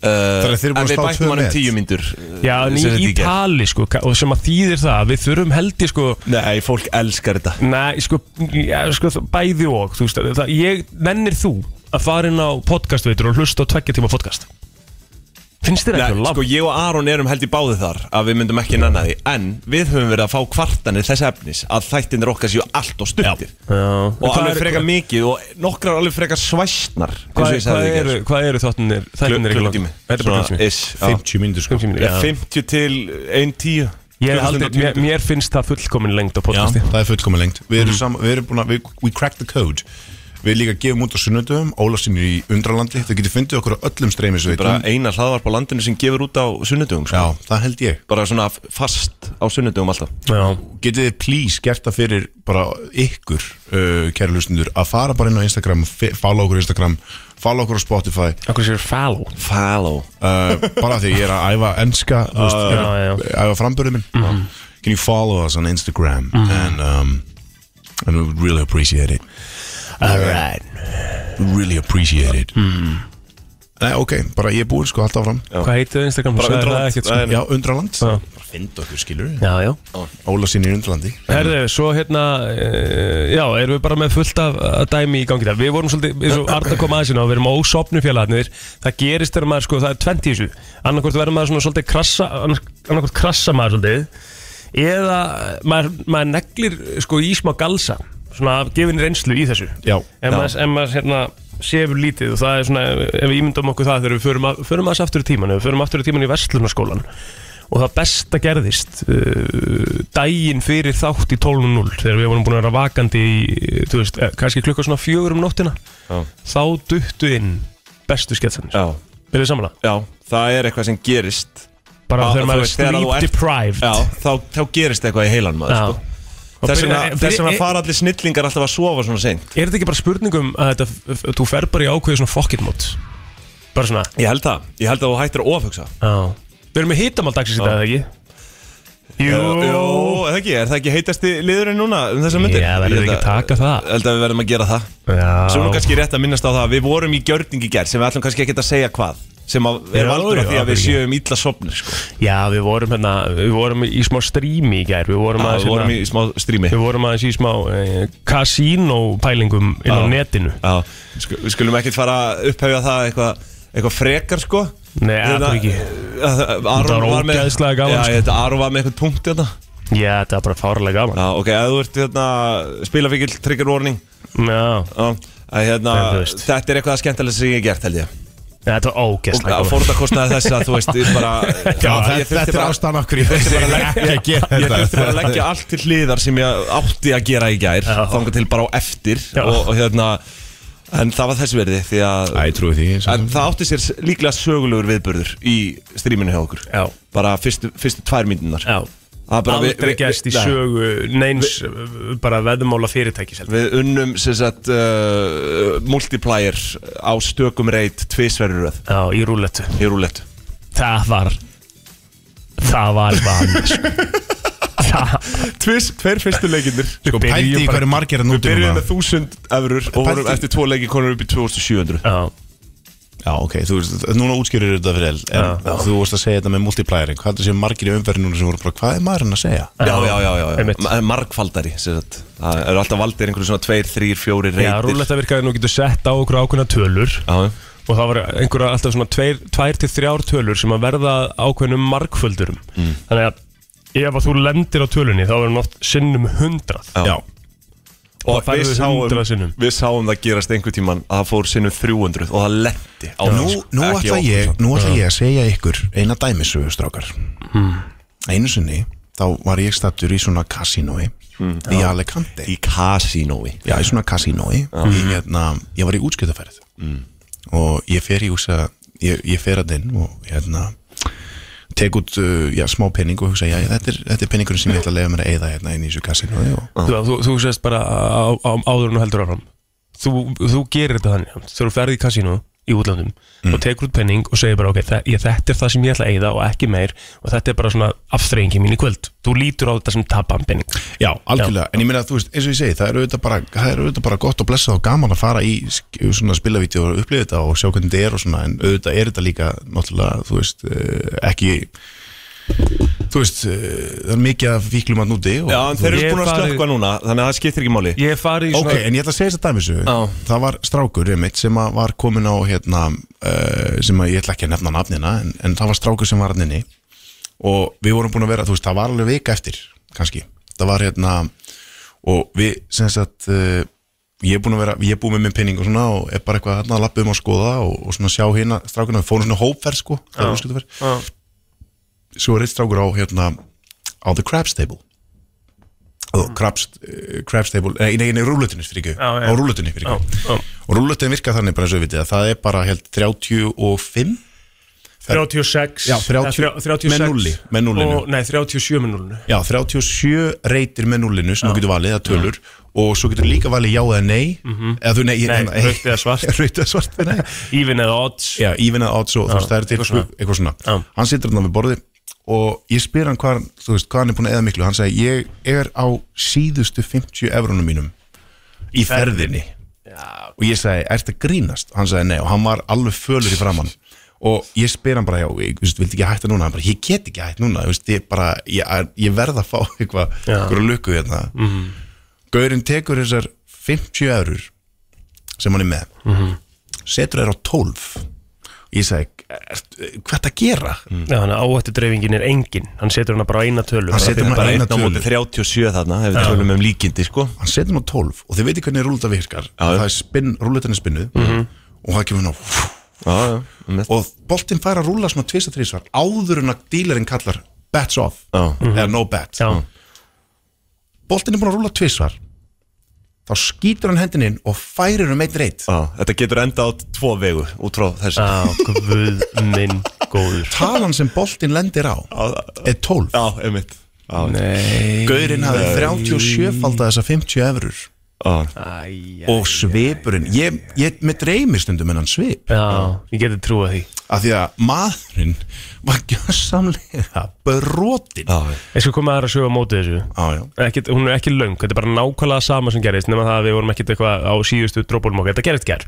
Speaker 4: Þannig
Speaker 2: að þeir eru búin að slá tvö met.
Speaker 4: 10 myndur
Speaker 3: já en í, í tali sko, ka- og sem að þýðir það að við þurfum held ég sko
Speaker 4: Nei, fólk elskar þetta
Speaker 3: Nei, sko, ja, sko það- bæði og þú veist, það, ég, mennir þú að fara inn á podcastveitur og hlusta á tveggja tíma podcast Finnst þér
Speaker 4: Nei,
Speaker 3: eitthvað
Speaker 4: sko
Speaker 3: langt?
Speaker 4: ég og Aron erum held í báði þar að við myndum ekki nanna því en við höfum verið að fá kvartanir þess efnis að þættinir okkar séu allt og stuttir
Speaker 3: Já.
Speaker 4: og
Speaker 3: Hvað
Speaker 4: alveg
Speaker 3: er-
Speaker 4: frekar mikið og nokkrar alveg frekar svæstnar
Speaker 3: Hvað, hvað, eru, hvað eru þáttunir? Þættunir ekki langt? Þetta er bara klukkutími.
Speaker 4: klukkutími
Speaker 2: 50 myndir sko
Speaker 3: 50 mínútur, já.
Speaker 4: 50 til 1 tíu
Speaker 3: Ég hef haldið- mér- Mér finnst það fullkomin lengt á podcasti
Speaker 2: Það er fullkomun lengt Við erum, sam, við erum búin að, við, we crack the code Við líka gefum út á sunnudum Ólafsson í undralandi Þau getur fundið okkur á öllum
Speaker 4: bara
Speaker 2: streymisveitum
Speaker 4: eina hlaðvarp á landinu sem gefur út á sunnudugum
Speaker 2: Já,
Speaker 4: sko.
Speaker 2: það held ég
Speaker 4: bara svona fast á sunnudugum alltaf
Speaker 3: Já,
Speaker 2: Getið þið please gert það fyrir bara ykkur uh, kæra hlustundur að fara bara inn á Instagram fe- follow okkur á Instagram follow okkur á Spotify
Speaker 3: okkur sér follow
Speaker 4: follow
Speaker 2: uh, bara því ég er að æfa enska þú veist,
Speaker 3: já, já.
Speaker 2: uh, æfa framburðið minn
Speaker 4: Mhm.
Speaker 2: Can you follow us on Instagram and, um, and we would really appreciate it
Speaker 3: Alright
Speaker 2: really appreciate it
Speaker 4: Hmm.
Speaker 2: Nei, ok, bara ég er búinn sko alltaf fram
Speaker 3: Hvað heitir það Instagram?
Speaker 4: Bara
Speaker 3: Sagði það
Speaker 4: Undraland.
Speaker 3: ekkert, sko.
Speaker 4: Nei, nei.
Speaker 2: Já, undraland
Speaker 3: Já.
Speaker 2: bara finn okkur skilur
Speaker 3: Já, já
Speaker 2: Óla sinni í undralandi
Speaker 3: Herðu, svo hérna uh, Já, erum við bara með fullt af af dæmi í gangi það Við vorum svolítið, eins og Arna kom aðeins inn á Við erum ósopnu félagarnir Það gerist þegar maður, sko, það er 20 í þessu Annarkvort verður maður svona svolítið krassa Annarkvort krassa maður svolítið Eða maður, maður neglir Sko í smá galsa Svona af gefin reynslu í þessu
Speaker 2: Já,
Speaker 3: En maður, en maður hérna sefur lítið og það er svona, ef við ímyndum okkur það þegar við förum, að, förum aðeins aftur í tíman við förum aftur í tíman í Vestlunarskólan og það besta gerðist uh, daginn fyrir þátt í 12.0 þegar við vorum búin að vera vakandi í, eh, þú veist, eh, kannski klukka svona fjögur um nóttina
Speaker 4: Já.
Speaker 3: þá duttu inn bestu sketsanir,
Speaker 4: já.
Speaker 3: við erum samanlega
Speaker 4: já, það er eitthvað sem gerist
Speaker 3: bara þegar
Speaker 4: Já, þú
Speaker 3: maður er
Speaker 4: veist, þegar þú
Speaker 3: sleep
Speaker 4: ert-
Speaker 3: deprived
Speaker 4: já, þá, þá gerist eitthvað í heilan maður sko.
Speaker 3: Og
Speaker 4: Þess vegna,
Speaker 3: byrja-
Speaker 4: þess vegna
Speaker 3: byrja-
Speaker 4: fara allir snillingar alltaf að sofa svona seint
Speaker 3: er þetta ekki bara spurningum að þetta, f- f- þú fer bara í ákveðið svona fuck it mode bara svona,
Speaker 4: Ég held það, ég held að þú hættir að ofhugsa
Speaker 3: Já Við erum með hitamál dagsins í dag, eða ekki? Jú
Speaker 4: Jó, eða ekki, er það ekki heitasti liðurinn núna um þessar myndir?
Speaker 3: Já, verður
Speaker 4: Ég held
Speaker 3: ekki að taka það.
Speaker 4: Ég held að við verðum að gera það
Speaker 3: Já
Speaker 4: Svo erum kannski rétt að minnast á það að Við vorum í gjörningi gerð sem við ætlum kannski ekki að segja hvað sem að er
Speaker 3: Já,
Speaker 4: valdur
Speaker 3: já,
Speaker 4: af því að við
Speaker 3: ekki.
Speaker 4: sjöum illa sopnir sko.
Speaker 3: Já, við vorum hérna Við vorum í smá strími í gær Við vorum
Speaker 4: að
Speaker 3: aðeins
Speaker 4: Við vorum
Speaker 3: hérna
Speaker 4: í smá strími
Speaker 3: Við vorum aðeins í smá eh, Casino-pælingum inn á
Speaker 4: Já.
Speaker 3: netinu
Speaker 4: Já, sk- við skulum ekkert fara að upphefja það eitthvað eitthvað frekar sko
Speaker 3: Nei,
Speaker 4: Hérna,
Speaker 3: allir ekki.
Speaker 4: að- að- Aron
Speaker 3: var
Speaker 4: var með
Speaker 3: ógeðslega gaman,
Speaker 4: Já,
Speaker 3: sko.
Speaker 4: ég held að Aron var með eitthvað hérna. punkt þetta
Speaker 3: Já, þetta var bara fárlega gaman
Speaker 4: Já, ok, að þú ert hérna, spilafikill, trigger warning
Speaker 3: Já,
Speaker 4: Já, að hérna,
Speaker 3: En þú veist.
Speaker 4: þetta er eitthvað að skemmtilegst sem ég hef gert held ég
Speaker 3: þetta var
Speaker 4: og
Speaker 3: ógeðslega
Speaker 4: að
Speaker 3: gaman
Speaker 4: fórtakostnaði þess að þú veist ég bara,
Speaker 2: Já,
Speaker 4: ég
Speaker 2: þetta,
Speaker 4: þurfti
Speaker 2: þetta er
Speaker 4: bara-
Speaker 2: ástæðan okkur Ég þurfti
Speaker 4: bara að leggja-
Speaker 2: ekki að
Speaker 4: ég
Speaker 2: gera
Speaker 4: þurfti bara að
Speaker 2: þetta
Speaker 4: leggja allt til hliðar sem ég átti að gera í gær
Speaker 3: Já.
Speaker 4: þanga til bara á eftir
Speaker 3: Já.
Speaker 4: og, og hérna, en það var þess verði því að
Speaker 2: Æ, ég trúi því eins og-
Speaker 4: En það átti sér s- líklega sögulegur viðburður í stríminu hjá okkur
Speaker 3: *laughs* Já.
Speaker 4: Bara fyrstu, fyrstu tvær myndunar
Speaker 3: Já
Speaker 4: Það er bara við-
Speaker 3: Aldrei
Speaker 4: við-
Speaker 3: gæst í
Speaker 4: nei.
Speaker 3: sögu neins uh, bara veðmála fyrirtækis heldur.
Speaker 4: Við unnum sem sagt uh, multiplier á stökum reit tvisverjuröð
Speaker 3: Já, í rúletu
Speaker 4: í rúlett
Speaker 3: Það var Það var
Speaker 4: *laughs*
Speaker 3: van sko. Það
Speaker 4: Tvis, tveir fyrstu leikindir
Speaker 2: Sko,
Speaker 3: byrjum
Speaker 2: pældi í
Speaker 3: bara-
Speaker 2: hverju margir er núti núna
Speaker 4: Byrjuðum með 1000 efurur og vorum
Speaker 2: Pældi-
Speaker 4: eftir tvo leikin konur upp í 2700
Speaker 3: Já,
Speaker 2: Já, ok, þú veist, núna útskýrir þetta fyrir el En þú vorst að segja þetta með multiplierin Hvað er sem margir í umferðin núna sem voru bara Hvað er maðurinn að segja?
Speaker 4: Já, já, já, já, já.
Speaker 3: Einmitt.
Speaker 4: Ma- eh, Margfaldari sem sagt. Það eru alltaf valdir einhverjum svona tveir, þrír, fjórir reitir
Speaker 3: já rúleta virkaði nú getur sett á okkur ákveðna tölur
Speaker 4: Já,
Speaker 3: og það var einhverja alltaf svona tveir, tvær til þrjár tölur sem að verða ákveðnum markföldurum
Speaker 2: Mm.
Speaker 3: þannig að ef að þú lendir á tölunni þá verður hún oft sinnum hundrað
Speaker 4: Já. og
Speaker 3: færðu
Speaker 4: við
Speaker 3: 100
Speaker 4: sáum,
Speaker 3: sinnum.
Speaker 4: við sáum það gerast einhver tíman að það fór sinnum 300 og það lendi á
Speaker 2: Nú,
Speaker 4: því, sko.
Speaker 2: nú
Speaker 4: Ekki
Speaker 2: ætla
Speaker 4: á
Speaker 2: ég,
Speaker 4: okkur, sko.
Speaker 2: nú ætla ég að segja ykkur eina dæmisögu strákar Einu sinni, þá var ég stattur í svona kasinói Í Alicante
Speaker 4: Hmm. Í kasinói
Speaker 2: Já, í svona kasinói Ég, hérna, ég var í útskjötaferð
Speaker 4: Hmm.
Speaker 2: Og ég fer í úsa Ég, ég fer að inn og hérna Tek út, uh, já, smá penning Og hugsa, já, þetta er, þetta er penningurinn sem ég ætla að leiða mér að eyða Hérna inn í þessu kasinói og,
Speaker 3: þú, þú, þú sést bara á, á, áður en þú heldur áfram þú, þú gerir þetta þannig þegar þú ferði í kasínu í útlandum
Speaker 2: Mm.
Speaker 3: og tekur út penning og segir bara ok, þa- ég, þetta er það sem ég ætla að eyða og ekki meir og þetta er bara svona afþreyingi mín í kvöld þú lítur á þetta sem tapan penning
Speaker 2: Já, algjörlega, en ég meina að þú veist, eins og ég segi Það er auðvitað bara, það er auðvitað bara gott og blessað og gaman að fara í sk- svona spilavíti og upplifa þetta og sjá hvernig þetta er og svona en auðvitað er þetta líka, náttúrulega, þú veist eh, ekki þú veist, eh, það er mikið af fíklum að núti og,
Speaker 4: Já, en þeir eru
Speaker 3: Ég
Speaker 4: búin að
Speaker 3: farið-
Speaker 4: slökka núna þannig að það skiptir ekki máli
Speaker 3: ég fari í
Speaker 2: Ok,
Speaker 3: svona
Speaker 2: en ég ætla að segja þess að dæmisu
Speaker 4: Já.
Speaker 2: Það var strákur einmitt sem að var komin á hérna, uh, sem að ég ætla ekki að nefna nafnina en, en það var strákur sem var hann inni og við vorum búin að vera, þú veist, það var alveg vika eftir kannski, það var hérna og við, sem sagt uh, ég er búin að vera, ég er búin með minn pinning og svona og er bara eitthvað hérna að lappa um að skoða og, og svona sjá hérna strákurna, við fórum svona hópferð sko, það var úrskildaferð svo er eitt strákur á hérna á the crabs table og crabs, uh, crabs table nei, nei, nei rúlutinni fyrir ekki
Speaker 3: Já, já.
Speaker 2: á rúlutinni fyrir
Speaker 3: Já,
Speaker 2: ekki
Speaker 3: já.
Speaker 2: og rúlutin virka þannig bara eins og við vitið að það er bara held 35
Speaker 3: 36
Speaker 2: Já, 30
Speaker 3: eða þrjá- 36
Speaker 2: með núlli, með núllinu.
Speaker 3: og, Nei, 37 með núlinu
Speaker 2: já, 37 reytir með nullinu sem þú getur valið að tölur og svo getur líka valið já eða nei eða þú nei,
Speaker 3: Mhm. Nei, rautt eða svart.
Speaker 2: *laughs* rautt eða svart nei.
Speaker 3: Even eða odds
Speaker 2: já, even eða odds og þú veist það er til
Speaker 3: eitthvað svona.
Speaker 2: eitthvað svona
Speaker 3: Já.
Speaker 2: hann situr hann við borði og ég spyr hann hvað, þú veist, hvað hann er búin að eða miklu hann segi ég er á síðustu 50 eurunum mínum í ferðinni já. og ég segi, ert að grínast? hann segi nei og hann var alveg fölur í framann og ég spyr hann bara, já, ég veist, vildi ekki hætta núna hann bara, ég get ekki hætt núna, þú veist, ég bara ég, er- ég verð að fá eitthvað eitthvað lukku hérna Gaurinn tekur þessar 50 eurur sem hann er með setur þær á 12 og ég segi, "Ert- hvað er að gera?
Speaker 3: Já, þannig að áhættu dreifingin er engin Hann setur hana bara á eina tölu
Speaker 2: Mm. Hann setur hana-
Speaker 3: bara
Speaker 4: Mm.
Speaker 2: eina
Speaker 4: bara einn á móti
Speaker 2: tölu.
Speaker 4: 37 þarna ef við tölum um líkindi sko
Speaker 2: hann setur hann á 12 og þið veitir hvernig rúlita virkar það er spinn, rúlitan er spinnuð
Speaker 4: Mhm.
Speaker 2: og það kemur hann á
Speaker 4: Já, um já,
Speaker 2: og boltinn fær að rúla svona tvist að þrísvar áður en að dílarinn kallar bets off
Speaker 4: Já. Mhm.
Speaker 2: eða no bet
Speaker 3: Já,
Speaker 2: boltinn er búin að rúla tvisvar þá skýtur hann hendin inn og færir um eitt reyt
Speaker 4: já, þetta getur enda á tvo vegu út frá þessu
Speaker 3: á, guð minn góður
Speaker 2: talan sem boltinn lendir á er 12
Speaker 4: Já, einmitt
Speaker 3: Nei
Speaker 2: Gaurinn hafi 37 falda þessa 50 efurur
Speaker 4: Já,
Speaker 3: Æja
Speaker 2: og svipurinn, ég, ég með dreymir stundum en hann svip,
Speaker 3: Já, ég geti trúið því
Speaker 2: af því að maðurinn var gjössamlega brotinn
Speaker 4: já,
Speaker 3: Ég skal koma aðra að sögja á móti þessu
Speaker 2: Já, já.
Speaker 3: Ekkit, Hún er ekki löng, þetta er bara nákvæmlega sama sem gerist nema það að við vorum ekkit eitthvað á síðustu drópunum okkar Þetta gerist ger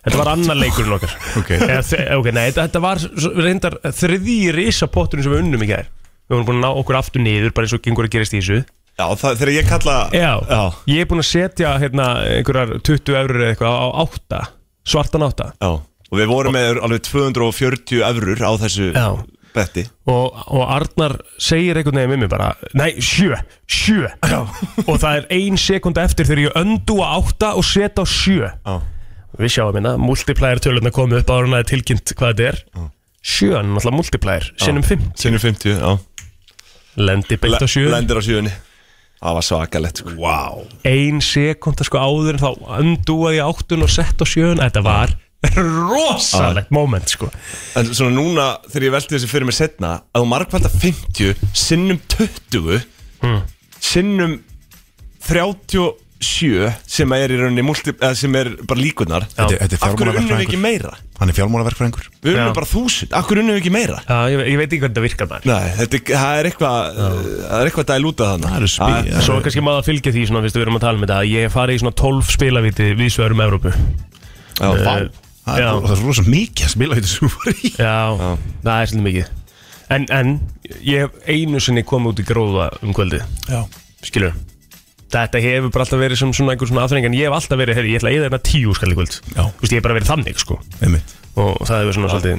Speaker 3: Þetta var annar leikurinn okkar
Speaker 2: Ok.
Speaker 3: Eða þe- ok, nei, þetta, þetta var s- reyndar þriði risapotturinn sem við unnum í gær Við vorum búin að ná okkur aftur niður bara eins og gengur að gerist í þessu
Speaker 4: já það, þegar ég kalla
Speaker 3: Já,
Speaker 4: já,
Speaker 3: ég er búin að setja hérna einhverjar 20 eurur eða eitthvað á átta svartan átta
Speaker 4: já. Og við vorum með alveg 240 efrur á þessu
Speaker 3: Já.
Speaker 4: betti
Speaker 3: og, og Arnar segir einhvern veginn við mig bara, nei, sjö, sjö Já. og það er ein sekund eftir þegar ég öndu á átta og set á sjö
Speaker 4: Já.
Speaker 3: við sjáum hérna, multiplier tölurna komið upp ára hann að tilkynnt hvað þetta er sjön, náttúrulega multiplier, sinnum fimm
Speaker 4: Sinni 50, já
Speaker 3: lendi beitt á sjö,
Speaker 4: Lendir á sjöunni Það var svakalett sko.
Speaker 2: Wow.
Speaker 3: ein sekund sko áður en þá öndu að ég áttun og sett á sjön, þetta var rosalegt moment sko
Speaker 4: En svona núna þegar ég velti þessi fyrir mig setna að þú margfælda 50 sinnum 20
Speaker 3: Hmm.
Speaker 4: sinnum 37 sem er í rauninni multi, eða, sem er bara líkunar
Speaker 3: Já.
Speaker 2: Þetta, þetta er
Speaker 4: Af hverju unnum við ekki
Speaker 2: fjármálaverkfræðingur
Speaker 4: meira?
Speaker 2: Hann er fjármálaverkfræðingur
Speaker 4: Við
Speaker 3: Já.
Speaker 4: unnum bara 1000, af hverju unnum við ekki meira?
Speaker 3: Já, ég, ég veit ekki hvernig það virkar maður
Speaker 4: Nei, þetta er- það er eitthvað eh, það er eitthvað að lúta þannig
Speaker 2: Það eru spi-
Speaker 4: Að-
Speaker 3: Svo kannski maður að fylgja því svona, fyrst við erum að tala um þetta að ég hef farið í svona 12 spilavíti viðsverum Evrópu
Speaker 4: Já, vá.
Speaker 3: Eh,
Speaker 2: Það er,
Speaker 3: Já.
Speaker 2: og það er svo rosa mikið að spila þetta sem þú var í
Speaker 3: Já, það er svolítið mikið en, en ég hef einu sinni komið út í gróða um kvöldi
Speaker 2: Já.
Speaker 3: Skilur Þetta hefur bara alltaf verið sem svona einhver svona aðþrenging En ég hef alltaf verið, heyrðu, ég ætla að eða þetta tíu skall í kvöld
Speaker 2: Já.
Speaker 3: Þú veist, ég hef bara verið þannig, sko
Speaker 2: Einmitt.
Speaker 3: Og það hefur svona svolítið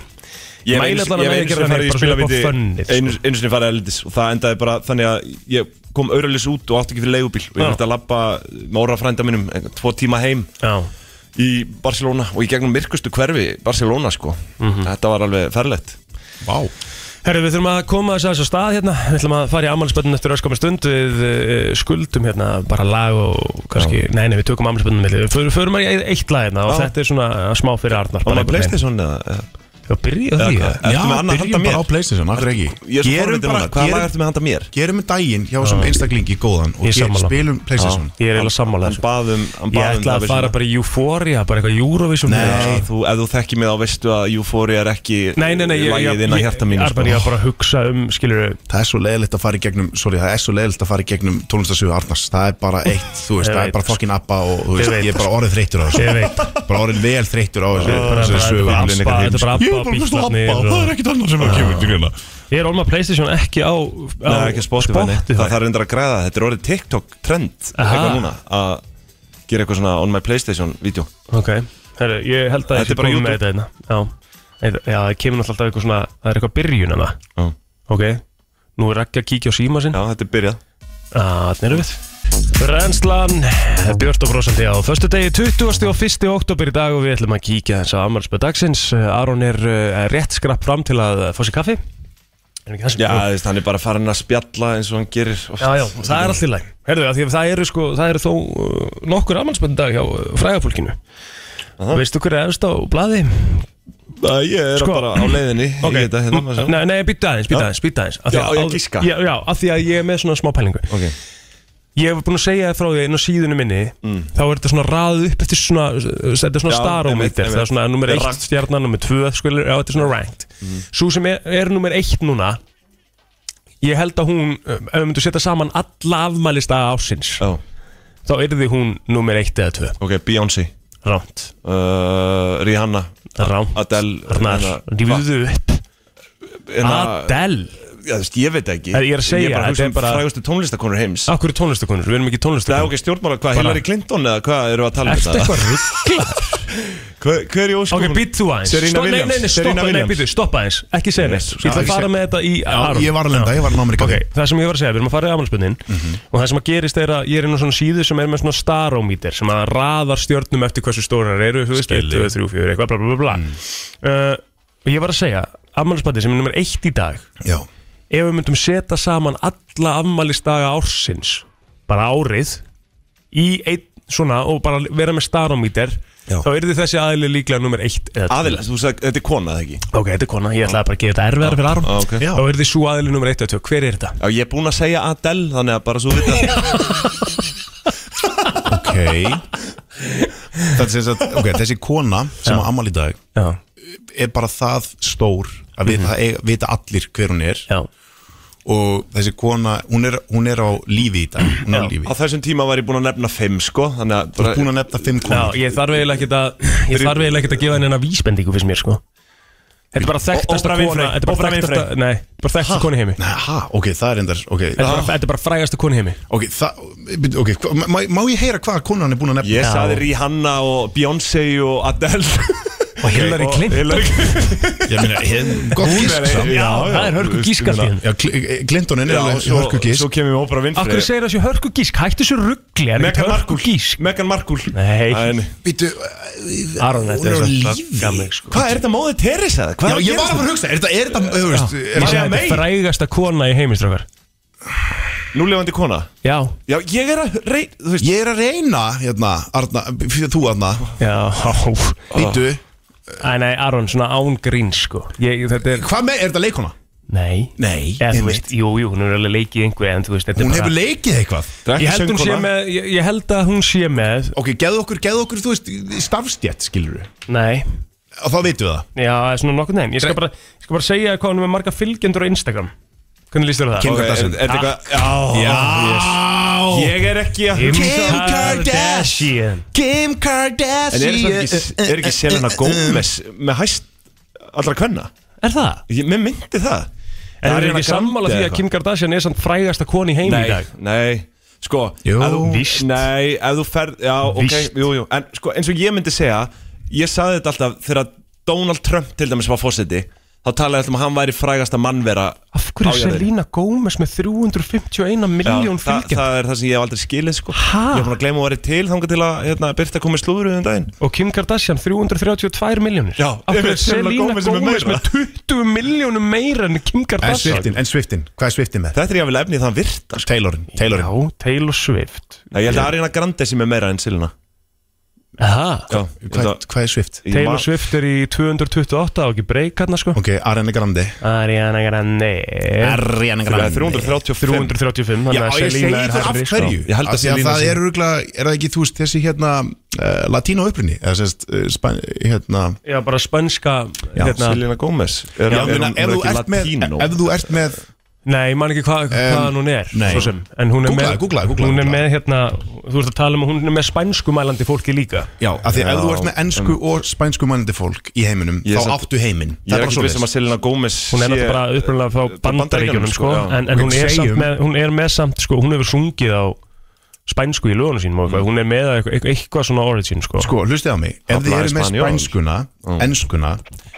Speaker 4: Ég hef
Speaker 3: Mæli
Speaker 4: einu-
Speaker 3: allan að
Speaker 4: ég hef
Speaker 3: mega
Speaker 4: einu
Speaker 3: gera
Speaker 4: sinni
Speaker 3: þannig,
Speaker 4: farið
Speaker 3: bara
Speaker 4: í
Speaker 3: svona upp á
Speaker 4: spilavíti
Speaker 3: fönnið, sko.
Speaker 4: einu, einu sinni farið að eldis og það endaði bara þannig að ég kom auralis út og átti ekki fyrir leigubíl og ég
Speaker 3: Já.
Speaker 4: þurfti að labba móra frænda mínum eh, tvo tíma heim
Speaker 3: Já,
Speaker 4: í Barcelona og í gegnum myrkustu hverfi Barcelona sko þetta var alveg ferlegt
Speaker 2: Vá
Speaker 3: Herru, við þurfum að koma þess að þess að stað hérna Við ætlum að fara í ammálspöndun eftir öskum stund Við uh, skuldum hérna bara lag og kannski, nei, nei, við tökum ammálspöndun Við förum- förum að í eitt lag hérna og
Speaker 4: Já.
Speaker 3: þetta er svona smá fyrir Arnar
Speaker 4: var
Speaker 3: bara
Speaker 4: maður
Speaker 3: einhvern veginn.
Speaker 4: Playstation eða eða-
Speaker 3: Já, byrja á því
Speaker 4: Eða
Speaker 3: ja.
Speaker 4: hvað? Ertu með annað að handa
Speaker 2: byrjum
Speaker 4: mér?
Speaker 2: bara á Playstation, af hverju ekki
Speaker 4: ég er svo
Speaker 2: Gerum
Speaker 4: forvitinn
Speaker 2: bara,
Speaker 4: núna, hvaða lag
Speaker 2: gerum,
Speaker 4: ertu með handa mér?
Speaker 2: gerum daginn hjá þessum einstaklingi góðan
Speaker 3: Ég
Speaker 2: Og
Speaker 3: er
Speaker 2: ger,
Speaker 3: sammála.
Speaker 2: spilum Playstation
Speaker 3: Ég er eiginlega sammála
Speaker 4: hann
Speaker 3: þessu
Speaker 4: baðum hann um
Speaker 3: Ég
Speaker 4: baðum
Speaker 3: ætla að fara bara í Euphoria, bara eitthvað Eurovision
Speaker 2: Nei.
Speaker 4: þú, ef þú þekkir mig þá veistu að Euphoria er ekki
Speaker 3: Nei, nei, nei, ég, ég,
Speaker 4: lagið
Speaker 3: ég,
Speaker 4: inn að hjarta mínu sko.
Speaker 3: Arnar, ég var bara að hugsa um, skilur
Speaker 2: Það er svo leiðilegt að fara í gegnum Sorry, það er svo leiðilegt að fara í gegnum tónlistarsögu Arnars Það er bara
Speaker 3: *laughs*
Speaker 2: eitt, þú veist,
Speaker 3: Ég
Speaker 2: það
Speaker 3: veit.
Speaker 2: er bara fokkin appa Og þú
Speaker 3: Ég
Speaker 2: veist,
Speaker 3: veit.
Speaker 2: ég er bara orðið þreyttur á
Speaker 3: Ég
Speaker 2: þessu
Speaker 3: veit.
Speaker 2: Bara orðið vel þreyttur á þessu
Speaker 3: bara-
Speaker 2: þessari sögu.
Speaker 3: bara- bara
Speaker 2: Ég er
Speaker 3: Abba- þetta er bara Abba,
Speaker 2: bara að hlusta á
Speaker 3: Bíslarnir
Speaker 2: appa
Speaker 3: og- Ah.
Speaker 2: Það er ekkit annar sem er að kemur til greina
Speaker 3: Ég er olma Playstation ekki á, á
Speaker 4: Nei, ekki á Spotify, Spotify. Það þarf reyndar að græða, þetta er orðið TikTok trend
Speaker 3: Aha.
Speaker 4: eitthvað núna að gera eitthvað svona on my Playstation vídeo
Speaker 3: Ok, herru, ég held að ég
Speaker 4: Þetta
Speaker 3: sé
Speaker 4: er bara
Speaker 3: kominn með þetta
Speaker 4: YouTube.
Speaker 3: hérna Já, Eða- já það kemur náttúrulega alltaf eitthvað svona Það er eitthvað byrjun hana
Speaker 4: Já.
Speaker 3: Ok, nú er ekki að kíkja á síma sinn
Speaker 4: Já, þetta er byrjað
Speaker 3: Þannig erum við Renslan, Björn og Brósandi á Föstu degi 20. og 1. oktober í dag og við ætlum að kíkja þess að ammálspöð dagsins Aron er eh, rétt skrapp fram til að fá sér kaffi Erum ekki það sem-
Speaker 4: Já, þú veist, hann er bara farin að spjalla eins og hann gerir oft.
Speaker 3: Já, já, það er allt í læg Herðu, af því að það eru sko, það eru þó uh, nokkur afmælsbönn dag hjá uh, frægafólkinu Veistu hver er efst á blaði?
Speaker 4: Æ, Ég er
Speaker 3: Sko.
Speaker 4: bara á leiðinni í
Speaker 3: Ok,
Speaker 4: þetta hérna maður sjá.
Speaker 3: Nei, nei, býta aðeins, býta
Speaker 4: Já.
Speaker 3: aðeins, býta aðeins Af því
Speaker 4: Já,
Speaker 3: að
Speaker 4: á ég
Speaker 3: áður-
Speaker 4: giska?
Speaker 3: Já, já, af því að ég er með svona smá pælingu
Speaker 4: Ok.
Speaker 3: Ég hef búin að segja þér frá því inn á síðunum minni Þá er þetta svona raðið upp eftir svona Þetta er svona
Speaker 4: Mm. Já, einmitt,
Speaker 3: starómeter
Speaker 4: einmitt.
Speaker 3: Það er svona nummer
Speaker 4: Þetta er Mm.
Speaker 3: 1
Speaker 4: rangt.
Speaker 3: stjarnan, nummer 2 skilur, Já, þetta er svona ranked Sú sem er, er nummer 1 núna Ég held að hún, um, ef við myndum setja saman alla afmælista ásins
Speaker 4: Já,
Speaker 3: Þá yrði hún nummer 1 eða 2
Speaker 4: ok, Beyoncé
Speaker 3: Ránt,
Speaker 4: uh, Rihanna
Speaker 3: ránt
Speaker 4: Adele
Speaker 3: Arnar,
Speaker 4: hérna,
Speaker 3: rífðu upp
Speaker 4: hérna,
Speaker 3: Adele
Speaker 4: já, þú veist, Ég veit ekki
Speaker 3: Ég er að segja,
Speaker 4: Ég er
Speaker 3: þetta er
Speaker 4: bara hugsa um
Speaker 3: bara-
Speaker 4: frægustu tónlistakonur heims
Speaker 3: Akkur er tónlistakonur, við erum ekki
Speaker 4: Það er
Speaker 3: tónlistakonur
Speaker 4: ok, stjórnmála, hvað, Hillary Clinton eða hvað eru að tala um
Speaker 3: Ertu
Speaker 4: þetta?
Speaker 3: eitthvað ruggla?
Speaker 4: Hver, hver í
Speaker 3: Ok,
Speaker 4: óskum?
Speaker 3: býtt þú aðeins
Speaker 4: Serena
Speaker 3: Stopp- Nei,
Speaker 4: Williams.
Speaker 3: nei, nei,
Speaker 4: Serena
Speaker 3: stoppa, nei,
Speaker 4: Williams.
Speaker 3: býttu, stoppa aðeins Ekki segja neitt Ég ætla að
Speaker 2: ég
Speaker 3: fara
Speaker 2: seg-
Speaker 3: með þetta í
Speaker 2: Já,
Speaker 3: Aron
Speaker 2: Ég var að lenda, ég var að ná mér í
Speaker 3: Ok,
Speaker 2: kaffi
Speaker 3: það sem ég var að segja, við erum að fara í afmælspunnin og það sem að gerist er að ég er inn á svona síðu sem er með svona starómítir sem að raðar stjörnum eftir hversu stórar eru, þú veist, 1, 2, 3, 4, eitthvað, bla, bla, bla, bla. Uh, og ég var að segja, afmælispatti sem er nummer 1 í dag,
Speaker 2: Já,
Speaker 3: ef við myndum setja saman alla afmælistaga ársins, bara árið, í einn svona og bara vera með starómítir,
Speaker 2: Já.
Speaker 3: þá yrði þessi aðili líklega nummer 1 eða 2.
Speaker 4: Aðil, þú sagði, þetta er kona, eða ekki?
Speaker 3: Ok, þetta er kona, ég ætlaði bara að gera þetta erfiðar fyrir Aron
Speaker 4: Ah, ok.
Speaker 3: Þá er þið svo aðili nummer 1 og 2, hver er þetta?
Speaker 4: Já, ég er búinn að segja Adele, þannig að bara svo við
Speaker 2: ok
Speaker 3: *laughs*
Speaker 4: þetta
Speaker 2: *laughs* Þetta sem sagt, ok, þessi kona sem á ammali í dag
Speaker 3: Já,
Speaker 2: er bara það stór að vita, mm vita allir hver hún er
Speaker 3: Mhm. já,
Speaker 2: og þessi kona, hún er, hún er á lífi í dag hún er á lífi
Speaker 4: Á þessum tíma var ég búinn að nefna fimm, sko Þannig að
Speaker 2: Þú
Speaker 4: bara,
Speaker 2: er búin að nefna fimm
Speaker 3: já
Speaker 2: konur
Speaker 3: ég þarf eiginlega ekkert að ég þarf eiginlega ekkert að gefa henni hennar vísbendingu fyrst mér sko Þetta er bara þekktasta
Speaker 4: Oprah
Speaker 3: kona
Speaker 4: Winfrey,
Speaker 3: Þetta er bara
Speaker 4: Oprah
Speaker 3: þekktasta, nei, bara þekktasta koni heimi
Speaker 2: Nei, ha, ok, það er endar ok,
Speaker 3: Þetta er bara- þetta er bara frægasta koni heimi
Speaker 2: okay, það, byrju, ok hva, má, má ég heyra hvað konan er búin að nefna?
Speaker 4: Ég
Speaker 3: Já.
Speaker 4: sagði Rihanna og Beyoncé og Adele
Speaker 3: Og
Speaker 4: *laughs*
Speaker 3: Hillary Clinton
Speaker 4: Hillary Clinton
Speaker 2: Ég meina, hef- góð gísk samt.
Speaker 3: Já, það er hörku gísk allt í henni
Speaker 2: Já, Cl- Clinton er alveg hörku
Speaker 4: Svo
Speaker 2: gísk
Speaker 4: kemur við ópera
Speaker 3: Af
Speaker 4: Winfrey
Speaker 3: hverju segir það sér hörku gísk? Hættu sér ruggli, er ekki
Speaker 4: Meghan
Speaker 3: hörku
Speaker 4: Markle
Speaker 3: gísk
Speaker 4: Meghan Markle
Speaker 3: Nei.
Speaker 4: En-
Speaker 2: Býtu,
Speaker 3: Aron, þetta
Speaker 2: Hún er á
Speaker 3: er
Speaker 2: lífi.
Speaker 3: sko
Speaker 4: Hvað er þetta móðið Teresa?
Speaker 2: já,
Speaker 4: Hvað er að
Speaker 2: ég
Speaker 4: gera
Speaker 2: var að fara að hugsa, er þetta, er þetta, þú veist er
Speaker 3: Ég
Speaker 2: þetta-
Speaker 3: segi að þetta er frægasta kona í heimistrákar
Speaker 4: þetta? Núlefandi kona
Speaker 3: Já,
Speaker 4: Já, ég er að rey... Þú veist
Speaker 2: Ég er að reyna, hérna, Arna, fyrir þú Arna
Speaker 3: já, ó.
Speaker 2: Býtu,
Speaker 3: Æ, nei, Aron, svona án grín, sko ég, Þetta er,
Speaker 2: Hvað með, er þetta leikona?
Speaker 3: nei
Speaker 2: Nei,
Speaker 3: Eða, þú veist, jú, jú, hún er alveg leikið einhver En þú veist, þetta er
Speaker 2: Hún
Speaker 3: bara
Speaker 2: hefur leikið eitthvað
Speaker 3: Ég held, hún sé með, ég, ég held að hún sé með
Speaker 2: Ok, geðu okkur, geðu okkur, þú veist, starfstjætt skilur við
Speaker 3: Nei,
Speaker 2: Og þá vitum við það
Speaker 3: já, það er svona nokkuð neginn Ég skal bara, ég skal bara segja hvað hún er með marga fylgjendur á Instagram Hvernig líst þér á það?
Speaker 2: Kim
Speaker 4: Er er
Speaker 2: Kardashian
Speaker 4: þetta eitthvað Já, Ég er ekki að
Speaker 3: Kim
Speaker 2: Kardashian. Kim
Speaker 4: En
Speaker 2: Kardashian Eh,
Speaker 4: er, það ekki, er ekki Selena Gomez með hæst allra kvenna?
Speaker 3: Er það?
Speaker 4: Ég, mér myndi það
Speaker 3: En
Speaker 4: Það hérna
Speaker 3: það er
Speaker 4: Ariana
Speaker 3: ekki sammála
Speaker 4: Grande
Speaker 3: því
Speaker 4: eða
Speaker 3: að Kim Kardashian er samt frægasta koni í heimi í dag
Speaker 4: Nei, nei Sko
Speaker 2: Jú.
Speaker 4: ef þú-
Speaker 3: Víst.
Speaker 4: Nei, ef þú ferð Já,
Speaker 3: Víst.
Speaker 4: ok, jú, jú En sko, eins og ég myndi segja Ég sagði þetta alltaf þegar Donald Trump til dæmis var fósiti Þá talaði alltaf um að hann væri frægasta mannvera
Speaker 3: Af hverju
Speaker 4: á
Speaker 3: er
Speaker 4: jörðinni.
Speaker 3: Selena Gomez með 351
Speaker 4: Já,
Speaker 3: miljón
Speaker 4: það,
Speaker 3: fylgjendur?
Speaker 4: það er það sem ég hef aldrei skilið sko.
Speaker 3: Ha?
Speaker 4: Ég hef búin að gleyma að vera til þangað til að hérna, Birta komið slúðuruð um daginn
Speaker 3: Og Kim Kardashian 332 miljónir
Speaker 4: Já,
Speaker 3: Af hverju
Speaker 4: einmitt,
Speaker 3: er *laughs* Selena Gomez
Speaker 4: sem er
Speaker 3: með,
Speaker 4: meira.
Speaker 3: 20 miljónum meira en Kim
Speaker 2: En
Speaker 3: Kardashian?
Speaker 2: Sviftin, en Sviftin, hvað er Sviftin með?
Speaker 4: Þetta er ég að vilja efni þann virta sko.
Speaker 2: Taylorin, Taylorin
Speaker 3: Já, Taylor Swift
Speaker 4: Nei, Ég held að Ariana Grande sem er meira en Silina
Speaker 3: Aha.
Speaker 4: Já, ég held
Speaker 2: Hvað,
Speaker 4: að-
Speaker 2: hvað er Swift?
Speaker 4: ég
Speaker 3: Taylor
Speaker 4: man-
Speaker 3: Swift er í 228 og ekki breyk hérna sko
Speaker 2: Ok, Ariana Grande
Speaker 3: Ariana Grande
Speaker 2: Eh? Ariana
Speaker 4: Það er 335
Speaker 3: 335
Speaker 2: Já,
Speaker 3: þannig að
Speaker 2: ég segi
Speaker 3: Selena er
Speaker 2: það af
Speaker 3: herri sko
Speaker 2: hverju
Speaker 4: Ég held að
Speaker 2: Af því
Speaker 4: Selena
Speaker 2: það
Speaker 4: sé-
Speaker 2: er örgla, er það ekki, þú veist, þessi hérna uh, Latino upprinni Eða sérst, uh, span, hérna
Speaker 3: Já, bara spænska
Speaker 2: Já,
Speaker 3: hérna.
Speaker 4: Selena Gomez er,
Speaker 2: Já, meina, ef þú ert með Ef þú ert með
Speaker 3: Nei, ég man ekki hva, hvaðan hún er
Speaker 2: nei.
Speaker 3: svo sem, En hún er
Speaker 2: Googlaðu,
Speaker 3: með,
Speaker 2: googlaðu, googlaðu,
Speaker 3: hún er
Speaker 2: googlaðu.
Speaker 3: með hérna, Þú ert að tala um að hún er með spænskumælandi fólki líka
Speaker 2: Já, af því ef þú
Speaker 4: Já,
Speaker 2: ert með ennsku og spænsku mannandi fólk í heiminum
Speaker 4: Ég er
Speaker 2: Þá
Speaker 4: samt-
Speaker 2: áttu heiminn
Speaker 4: Ég
Speaker 2: Það
Speaker 4: er
Speaker 2: bara
Speaker 4: ekki
Speaker 2: svoleiðis.
Speaker 4: vissum að Selena Gomez
Speaker 3: Hún er
Speaker 4: sé-
Speaker 3: náttúrulega bara upprunlega frá bandaríkjunum sko,
Speaker 4: já.
Speaker 3: En, en
Speaker 2: Og
Speaker 3: hún,
Speaker 2: við
Speaker 3: er samt
Speaker 2: segjum-
Speaker 3: með, hún er með samt sko, Hún hefur sungið á spænsku í lögunum sínum og eitthvað. Hún er með eitthvað, eitthvað svona origin sko.
Speaker 2: Sko, hlustið á mig, ef þið
Speaker 4: Habla
Speaker 2: eru með
Speaker 4: español.
Speaker 2: spænskuna, ennskuna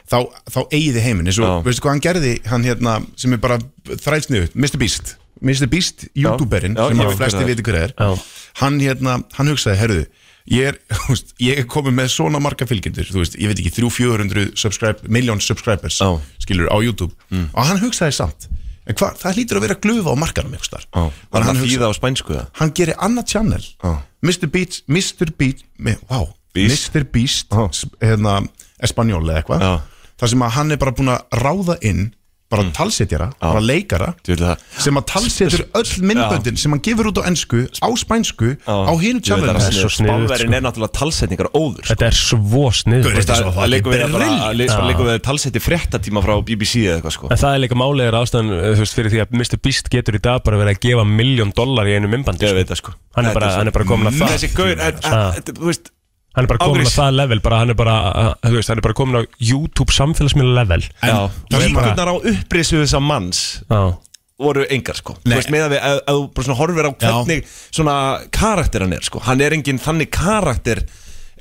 Speaker 2: þá, þá eigið þið heiminn, eins og,
Speaker 4: Mm. Já.
Speaker 2: veistu hvað hann gerði hann hérna, sem er bara þrælsniðu, Mr. Beast Mr. Beast, youtuberinn,
Speaker 4: Já,
Speaker 2: sem
Speaker 4: já,
Speaker 2: að
Speaker 4: hver
Speaker 2: flesti
Speaker 4: það er.
Speaker 2: viti hver er
Speaker 3: Já.
Speaker 2: hann hérna, hann hugsaði, herðu ég er, *laughs* þú veist, ég er komið með svona marga fylgjendur, þú veist, ég veit ekki 300-400 subscribe, million subscribers
Speaker 4: Já. Mm.
Speaker 2: skilur, á YouTube, og hann hugsaði samt, en hvað, það hlýtur að vera glufa á markanum, ykkur starf,
Speaker 4: Já, Var hann að þýða á spænsku það?
Speaker 2: hann gerir annað channel
Speaker 4: Já.
Speaker 2: Mr. Beast Mr. Beast, me- wow,
Speaker 4: Beast.
Speaker 2: Mr. Beast
Speaker 4: Já.
Speaker 2: s- hérna, Espanjól eða eitthvað
Speaker 4: Já. Mm.
Speaker 2: þar sem að hann er bara búin að ráða inn bara talsetjara, bara leikara
Speaker 4: Þú veit það
Speaker 2: sem að talsetur öll myndböndin sem hann gefur út á ensku, á spænsku á hinu channelinu
Speaker 3: það er svo sniðugt,
Speaker 4: Spánverðin
Speaker 3: sko.
Speaker 4: er náttúrulega talsetningar óður sko.
Speaker 3: Þetta er svo snið
Speaker 2: Gaur, þetta er svo
Speaker 4: Það
Speaker 2: fucking
Speaker 4: leikum við bara
Speaker 2: brilliant.
Speaker 4: að leikum- leikum við talsetti fréttatíma frá BBC eða eitthvað sko
Speaker 3: En það er líka málegar ástæðan eh, þú veist, fyrir því að Mr. Beast getur í dag bara verið að gefa miljón dollar í einu mymbandi
Speaker 4: Ég veit það sko
Speaker 3: Hann er bara- hann er bara kominn að það.
Speaker 4: Þessi gaur, en- en-
Speaker 3: Ah.
Speaker 4: þetta- þú veist
Speaker 3: Hann er bara komin á
Speaker 4: Ágrís.
Speaker 3: það level bara, hann, er bara, eh, þú veist, hann er bara komin á YouTube samfélagsmiðla level
Speaker 4: Já,
Speaker 2: það er bara-
Speaker 4: líkurnar á upprisu þessa manns
Speaker 3: Já,
Speaker 4: voru engar sko Þú veist, með að við, ef ef þú bara svona horfir á hvernig svona karakter hann er sko Hann er engin þannig karakter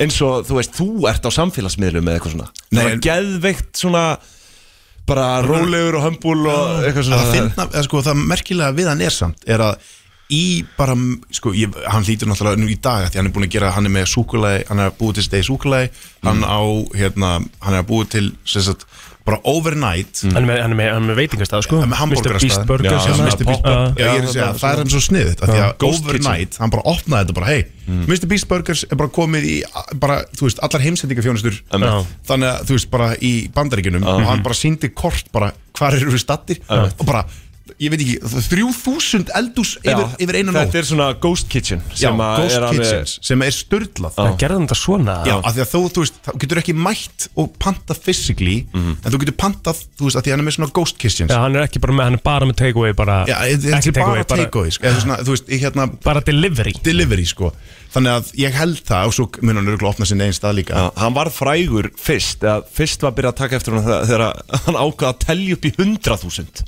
Speaker 4: eins og, þú veist, þú ert á samfélagsmiðlum eða eitthvað svona
Speaker 2: Nei,
Speaker 4: Svona
Speaker 2: en-
Speaker 4: geðveikt svona bara rólegur og hömbúl og eitthvað svona
Speaker 2: að finna, eða sko það merkilega við hann er samt er að í bara sko, ég, hann lítur náttúrulega nú í dag af því hann er búin að gera, hann er með súkulegi hann er að búið til stegi súkulegi hann á, hérna, hann er að búið til sem sagt, bara overnight
Speaker 3: hann er með, hann er með, hann er með veitingastað sko
Speaker 2: með
Speaker 3: Mr.
Speaker 2: hamborgarastað.
Speaker 3: Beast Burger
Speaker 2: Já,
Speaker 3: sem
Speaker 2: Mr.
Speaker 3: að-
Speaker 2: Beast Burger.
Speaker 3: Ah,
Speaker 2: Já, ég er að segja, það er hann svo sniðið Því að overnight, hann bara opnaði þetta bara Hei,
Speaker 3: Mm.
Speaker 2: Mr. Beast Burgers er bara komið í bara, þú veist, allar heimsendingafjónustur
Speaker 3: Einmitt.
Speaker 2: Þannig að, þú veist, bara í bandaríkjunum og
Speaker 4: Mhm.
Speaker 2: hann bara síndi kort bara hvar eru við stattir og bara, ég veit ekki 3000 eldús yfir, yfir einu nótt
Speaker 4: Þetta er svona Ghost Kitchen
Speaker 2: Já,
Speaker 4: sem að
Speaker 2: Ghost
Speaker 4: er alveg-
Speaker 2: Kitchens, sem er sturdlað
Speaker 3: Það gerði hann þetta svona
Speaker 2: Já, af því að þú, þú veist, þá getur ekki mætt og pantað physically,
Speaker 4: Mhm.
Speaker 2: en þú getur pantað, þú veist, af því að hann er með svona ghost kitchens
Speaker 3: Já, hann er ekki bara með, hann er bara með takeaway bara,
Speaker 2: Já, þetta er
Speaker 3: ekki
Speaker 2: bara
Speaker 3: takeaway, bara,
Speaker 2: takeaway sko. Eða svona, Þú veist, í hérna
Speaker 3: bara delivery
Speaker 2: delivery sko Þannig að ég held það og svo mun hann örgulega opna sinni einn stað líka
Speaker 4: Já, hann var frægur fyrst eða fyrst var að byrja að taka eftir hann þegar þegar *laughs* hann ákvaða að telja upp í 100.000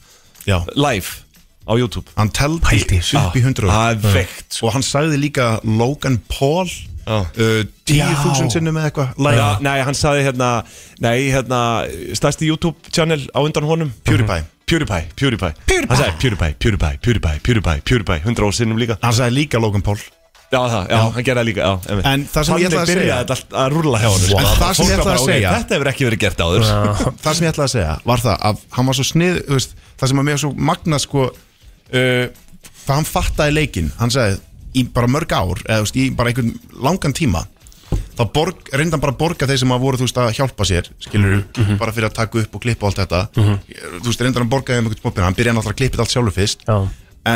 Speaker 2: Já,
Speaker 4: live á YouTube
Speaker 2: hann teldi
Speaker 3: Pældi í þessu.
Speaker 2: upp í 100
Speaker 4: Það er veikt sko.
Speaker 2: Og hann sagði líka Logan Paul
Speaker 4: Já.
Speaker 2: uh, 10.000 sinnum eða eitthvað
Speaker 4: Já,
Speaker 2: live.
Speaker 4: Nei, hann saði hérna Nei, hérna, stærsti YouTube channel á undan honum
Speaker 2: PewDiePie
Speaker 4: PewDiePie, PewDiePie Hann sagði PewDiePie, PewDiePie, PewDiePie, PewDiePie, PewDiePie 100 ár sinnum líka
Speaker 2: Hann sagði líka Logan Paul
Speaker 4: Já, það, já, hann gerði það líka já, einmitt.
Speaker 2: En það sem ég
Speaker 4: Þannig
Speaker 2: ætlaði að segja-
Speaker 4: byrjaði þetta allt að rúlla hjá sko. hann
Speaker 2: En það sem ég ætlaði að segja-
Speaker 4: Þetta hefur ekki verið gert áður
Speaker 2: það sem ég ætlaði að segja var það að hann var svo snið þú veist, það sem að mér svo magna sko uh, það hann fattaði leikinn hann sagði í bara mörg ár eða þú veist, í bara einhvern langan tíma þá borg, reynda hann bara að borga þeir sem að voru þú veist að hjálpa sér skilur
Speaker 3: Mhm,
Speaker 2: bara fyrir að taka upp og klippa og allt þetta þú veist reynda hann að borga þeim einhvern popina hann byrjaði náttúrulega að klippa þetta allt sjálfur fyrst
Speaker 3: Já.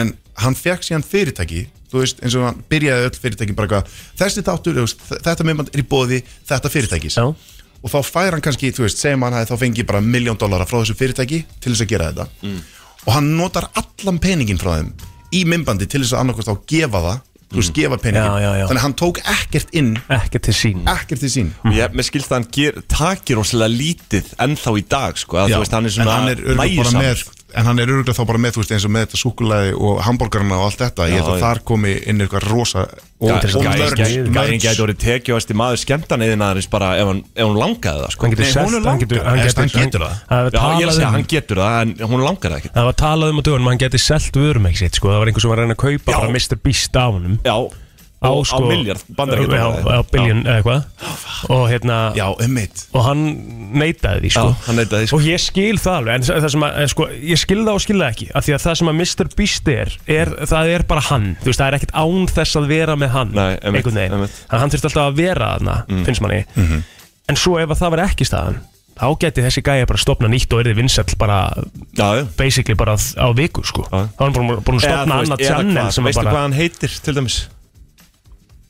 Speaker 2: en hann fekk síðan fyrirtæki þú veist eins og hann byrjaði öll fyrirtæki bara eitthvað þessi þáttur, þú veist, þetta myndband er í bóði þetta fyrirtækis
Speaker 3: Já.
Speaker 2: og þá fær hann kannski, þú veist, segjum hann hefði þá fengið bara miljón dollara frá þessu fyrirtæki til þess að gera þetta
Speaker 4: Mm.
Speaker 2: og hann notar allan peningin frá þeim í mymbandi til þess að annarkvæmst þá gefa það þú
Speaker 4: Mm.
Speaker 2: veist, gefa peningin,
Speaker 3: Já, já, já.
Speaker 2: þannig að hann tók ekkert inn,
Speaker 3: ekki til sín
Speaker 2: ekkert til sín
Speaker 4: *laughs* Ég, mér skilst að hann ger, takir rosalega lítið ennþá í dag sko, að,
Speaker 2: Já,
Speaker 4: þú veist, hann er
Speaker 2: en
Speaker 4: svona
Speaker 2: hann er örugglega bara
Speaker 4: nægjusam.
Speaker 2: með en hann er öruglega þá bara með, þú veist, eins og með þetta súkulæði og hambúrgarna og allt þetta ég
Speaker 4: Já,
Speaker 2: held að
Speaker 4: já.
Speaker 2: þar komi inn eitthvað rosa
Speaker 4: Gæ-
Speaker 2: og, og
Speaker 4: gæ-
Speaker 2: merch,
Speaker 4: gæ- Gæðin
Speaker 2: merch.
Speaker 4: gæti orðið tekjuast í maður skemmtaneiðinaðarins bara ef hann, ef hann langaði það sko.
Speaker 3: hann getur
Speaker 2: Nei,
Speaker 3: sest
Speaker 2: honum
Speaker 3: hann getur,
Speaker 2: langar-
Speaker 3: hann
Speaker 2: Nei,
Speaker 3: getur,
Speaker 2: hann getur það.
Speaker 3: það var
Speaker 4: Já, ég er að
Speaker 3: talað
Speaker 4: segja,
Speaker 3: um
Speaker 4: hann getur það en hún langar það ekki
Speaker 3: það var talað um á dögunum að hann geti selt vörum ekki sitt sko, það var einhver sem var að reyna að kaupa
Speaker 4: Já.
Speaker 3: bara Mr. Beast á honum
Speaker 4: Já,
Speaker 3: á,
Speaker 4: á,
Speaker 3: sko,
Speaker 4: á miljard, bandar
Speaker 3: já, á billion eða eitthvað og hérna
Speaker 2: já, ummitt
Speaker 3: og hann neitaði því sko.
Speaker 4: Já, hann neitaði því, sko.
Speaker 3: og ég skil það alveg en það sem að, eh, sko, ég skil það og skil það ekki af því að það sem að Mr. Beast er, er það er bara hann, þú veist, það er ekkert án þess að vera með hann,
Speaker 4: Nei, einmitt,
Speaker 3: einhvern veginn
Speaker 4: einmitt. Mm. Mhm.
Speaker 3: þannig að hann þurfti alltaf að vera þarna, finnst manni en svo ef að það var ekki staðan þá geti þessi gæja bara stopna nýtt og erði vinsall bara
Speaker 4: Já, já
Speaker 3: basically bara á- á viku sko
Speaker 4: Já.
Speaker 3: þá er hann bara búin að stopna annað channel sem er
Speaker 4: Veistu hvað
Speaker 3: bara,
Speaker 4: hann heitir til dæmis?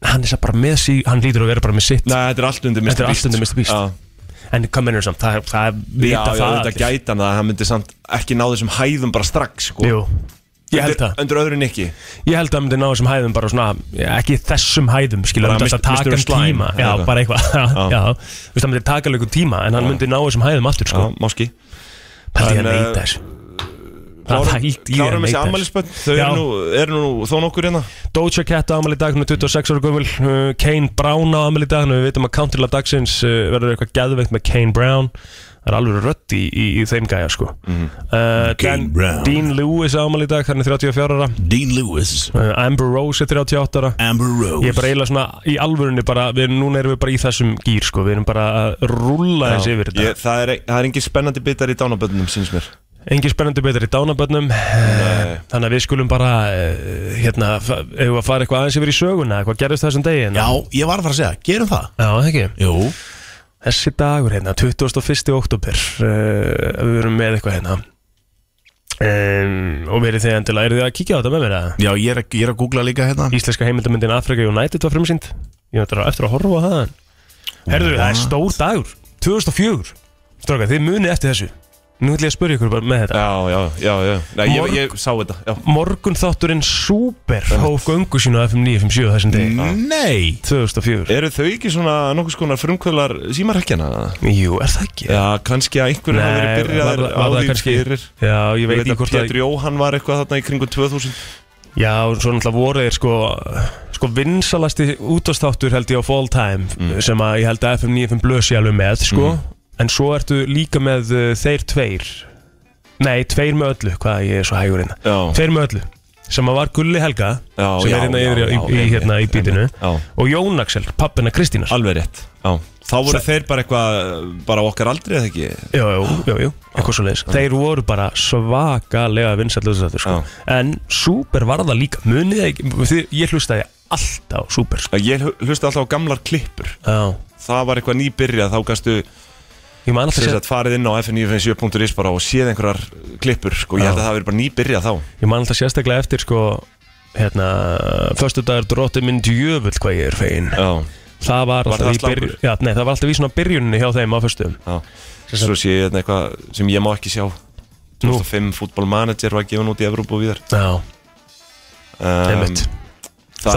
Speaker 3: hann er samt bara með sí, hann lítur að vera bara með sitt
Speaker 4: Nei, þetta er allt undir Mr. Beast
Speaker 3: Þetta er allt undir Mr. Beast.
Speaker 4: Já,
Speaker 3: en hvað mennur samt, það, það
Speaker 4: já,
Speaker 3: vita
Speaker 4: já
Speaker 3: það
Speaker 4: þetta
Speaker 3: allir.
Speaker 4: gæti hann að hann myndi samt ekki ná þessum hæðum bara strax sko.
Speaker 3: Jú, ég held
Speaker 4: Undir-
Speaker 3: það
Speaker 4: Undir öðru en ekki
Speaker 3: ég held að hann myndi ná þessum hæðum bara svona já, ekki þessum hæðum, skilur
Speaker 4: Bara
Speaker 3: hann myndi alltaf
Speaker 4: Mr.
Speaker 3: taka hann
Speaker 4: Slime,
Speaker 3: tíma já,
Speaker 4: eitthvað.
Speaker 3: bara eitthvað, *laughs* já, já Þú veist, hann myndi taka leikur tíma en hann myndi ná þessum hæðum aftur
Speaker 4: Já,
Speaker 3: sko,
Speaker 4: máski
Speaker 3: held ég
Speaker 4: En,
Speaker 3: að
Speaker 4: eh,
Speaker 3: neita þessu Það held ég að
Speaker 4: Klárum þessi
Speaker 3: neita þessu.
Speaker 4: ammælisbönn Þau
Speaker 3: Já.
Speaker 4: eru nú, eru nú þó nokkur hérna
Speaker 3: Doja Cat á amal í dag, hún er 26 ára gömul uh, Kane Brown á amal í dag, þannig að við veitum að countryla dagsins uh, verður eitthvað gæðveikt með Kane Brown Það er alveg rödd í, í, í þeim gæja sko
Speaker 4: Mhm.
Speaker 3: uh, Dan,
Speaker 8: Brown.
Speaker 3: Dean Lewis á amal í dag, hann er 34 ára
Speaker 8: Dean Lewis
Speaker 3: uh, Amber Rose er 38 ára
Speaker 8: Amber Rose
Speaker 3: Ég er bara eiginlega svona í alvörunni bara, við, núna erum við bara í þessum gýr sko, við erum bara að rúlla þessi yfir þetta
Speaker 4: Ég- Það er- það er engin spennandi bitar í dánaböndunum, síns mér
Speaker 3: Engin spennandi betur í dánabönnum Þannig að við skulum bara uh, hérna, fa- eigum við að fara eitthvað aðeins yfir í söguna hvað gerðist þessum degi hérna?
Speaker 8: Já, ég var að fara að segja, gerum það
Speaker 3: Já, það ekki
Speaker 8: Jú
Speaker 3: Þessi dagur hérna, 21. oktober uh, Við erum með eitthvað hérna um, Og verið þið endilega Eru þið að kíkja á þetta með mér að
Speaker 8: Já, ég er, að- ég er að googla líka hérna
Speaker 3: Íslenska heimildamyndin Afrika United var frumsýnd Ég ætla eftir að horfa á það Herðu, það er stór dagur 2004 Stráka, þið munið eftir þessu Nú ætla ég að spyrja ykkur bara með þetta
Speaker 4: Já, já, já, já Nei,
Speaker 3: Morg-
Speaker 4: ég, ég sá þetta já.
Speaker 3: Morgun þátturinn Super Hóf göngu sína á FM 957 þessum degi
Speaker 4: Mm.
Speaker 2: Ah.
Speaker 8: Nei
Speaker 3: 2004
Speaker 4: Eru þau ekki svona nokkuð skonar frumkvölar símarhekkjana?
Speaker 3: Jú, er það ekki?
Speaker 4: Já, kannski að einhverju hafa
Speaker 3: Nei,
Speaker 4: verið
Speaker 3: var,
Speaker 4: byrjaðir
Speaker 3: var, var
Speaker 4: á
Speaker 3: það
Speaker 4: því
Speaker 3: kannski
Speaker 4: fyrir
Speaker 3: Já, ég
Speaker 4: Ég
Speaker 3: veit
Speaker 4: veit
Speaker 3: ekki
Speaker 4: að
Speaker 3: hvort að
Speaker 4: Pétur Jóhann var eitthvað þarna í kringum 2000
Speaker 3: Já, svo náttúrulega voru þeir sko, sko vinsalasti útastáttur held ég á full time
Speaker 4: Mm.
Speaker 3: sem að ég held að FM 95 blösi alveg með sko, en svo ertu líka með uh, þeir tveir nei, tveir með öllu, hvað ég er svo hægur hérna
Speaker 4: Já.
Speaker 3: tveir með öllu, sem að var Gulli Helga
Speaker 4: Já,
Speaker 3: sem
Speaker 4: já,
Speaker 3: er hérna
Speaker 4: já,
Speaker 3: yfir í, í,
Speaker 4: já, einmitt,
Speaker 3: hérna, í bítinu
Speaker 4: já. Ah.
Speaker 3: og Jón Axel, pappina Kristínar
Speaker 4: Alveg rétt já. Þá voru þeir bara eitthvað, bara á okkar aldrei eða ekki
Speaker 3: Jú, jú, jú, jú, eitthvað svo leiðis
Speaker 4: Ah.
Speaker 3: Þeir voru bara svakalega vinsætlu þáttur sko.
Speaker 4: Ah.
Speaker 3: En Súper var það líka Munið þið ekki, þið- ég hlustaði alltaf á Súper sko.
Speaker 4: Ég hl- hlusta alltaf á gamlar klippur
Speaker 3: Já
Speaker 4: Það var eitthvað nýbyrjað, þá kannstu
Speaker 3: Ég man alltaf
Speaker 4: sem
Speaker 3: sér,
Speaker 4: sagt farið inn á fn957.is bara og séð einhverjar klippur sko, ég held að það hafi verið bara nýbyrjað þá
Speaker 3: ég man alltaf sérstaklega eftir sko hérna, förstu dagur drótti minn djöfull hvað ég er fegin
Speaker 4: Já,
Speaker 3: það var alltaf í
Speaker 4: það slangur?
Speaker 3: byrjun já, nei, það var alltaf í svona byrjuninni hjá þeim á förstum
Speaker 4: já Svo sé ég hérna eitthvað sem ég má ekki sjá
Speaker 3: Nú.
Speaker 4: 2005 fútbolmanager var gefin út í Evróp og viðar
Speaker 3: já,
Speaker 4: um,
Speaker 3: einmitt
Speaker 4: Það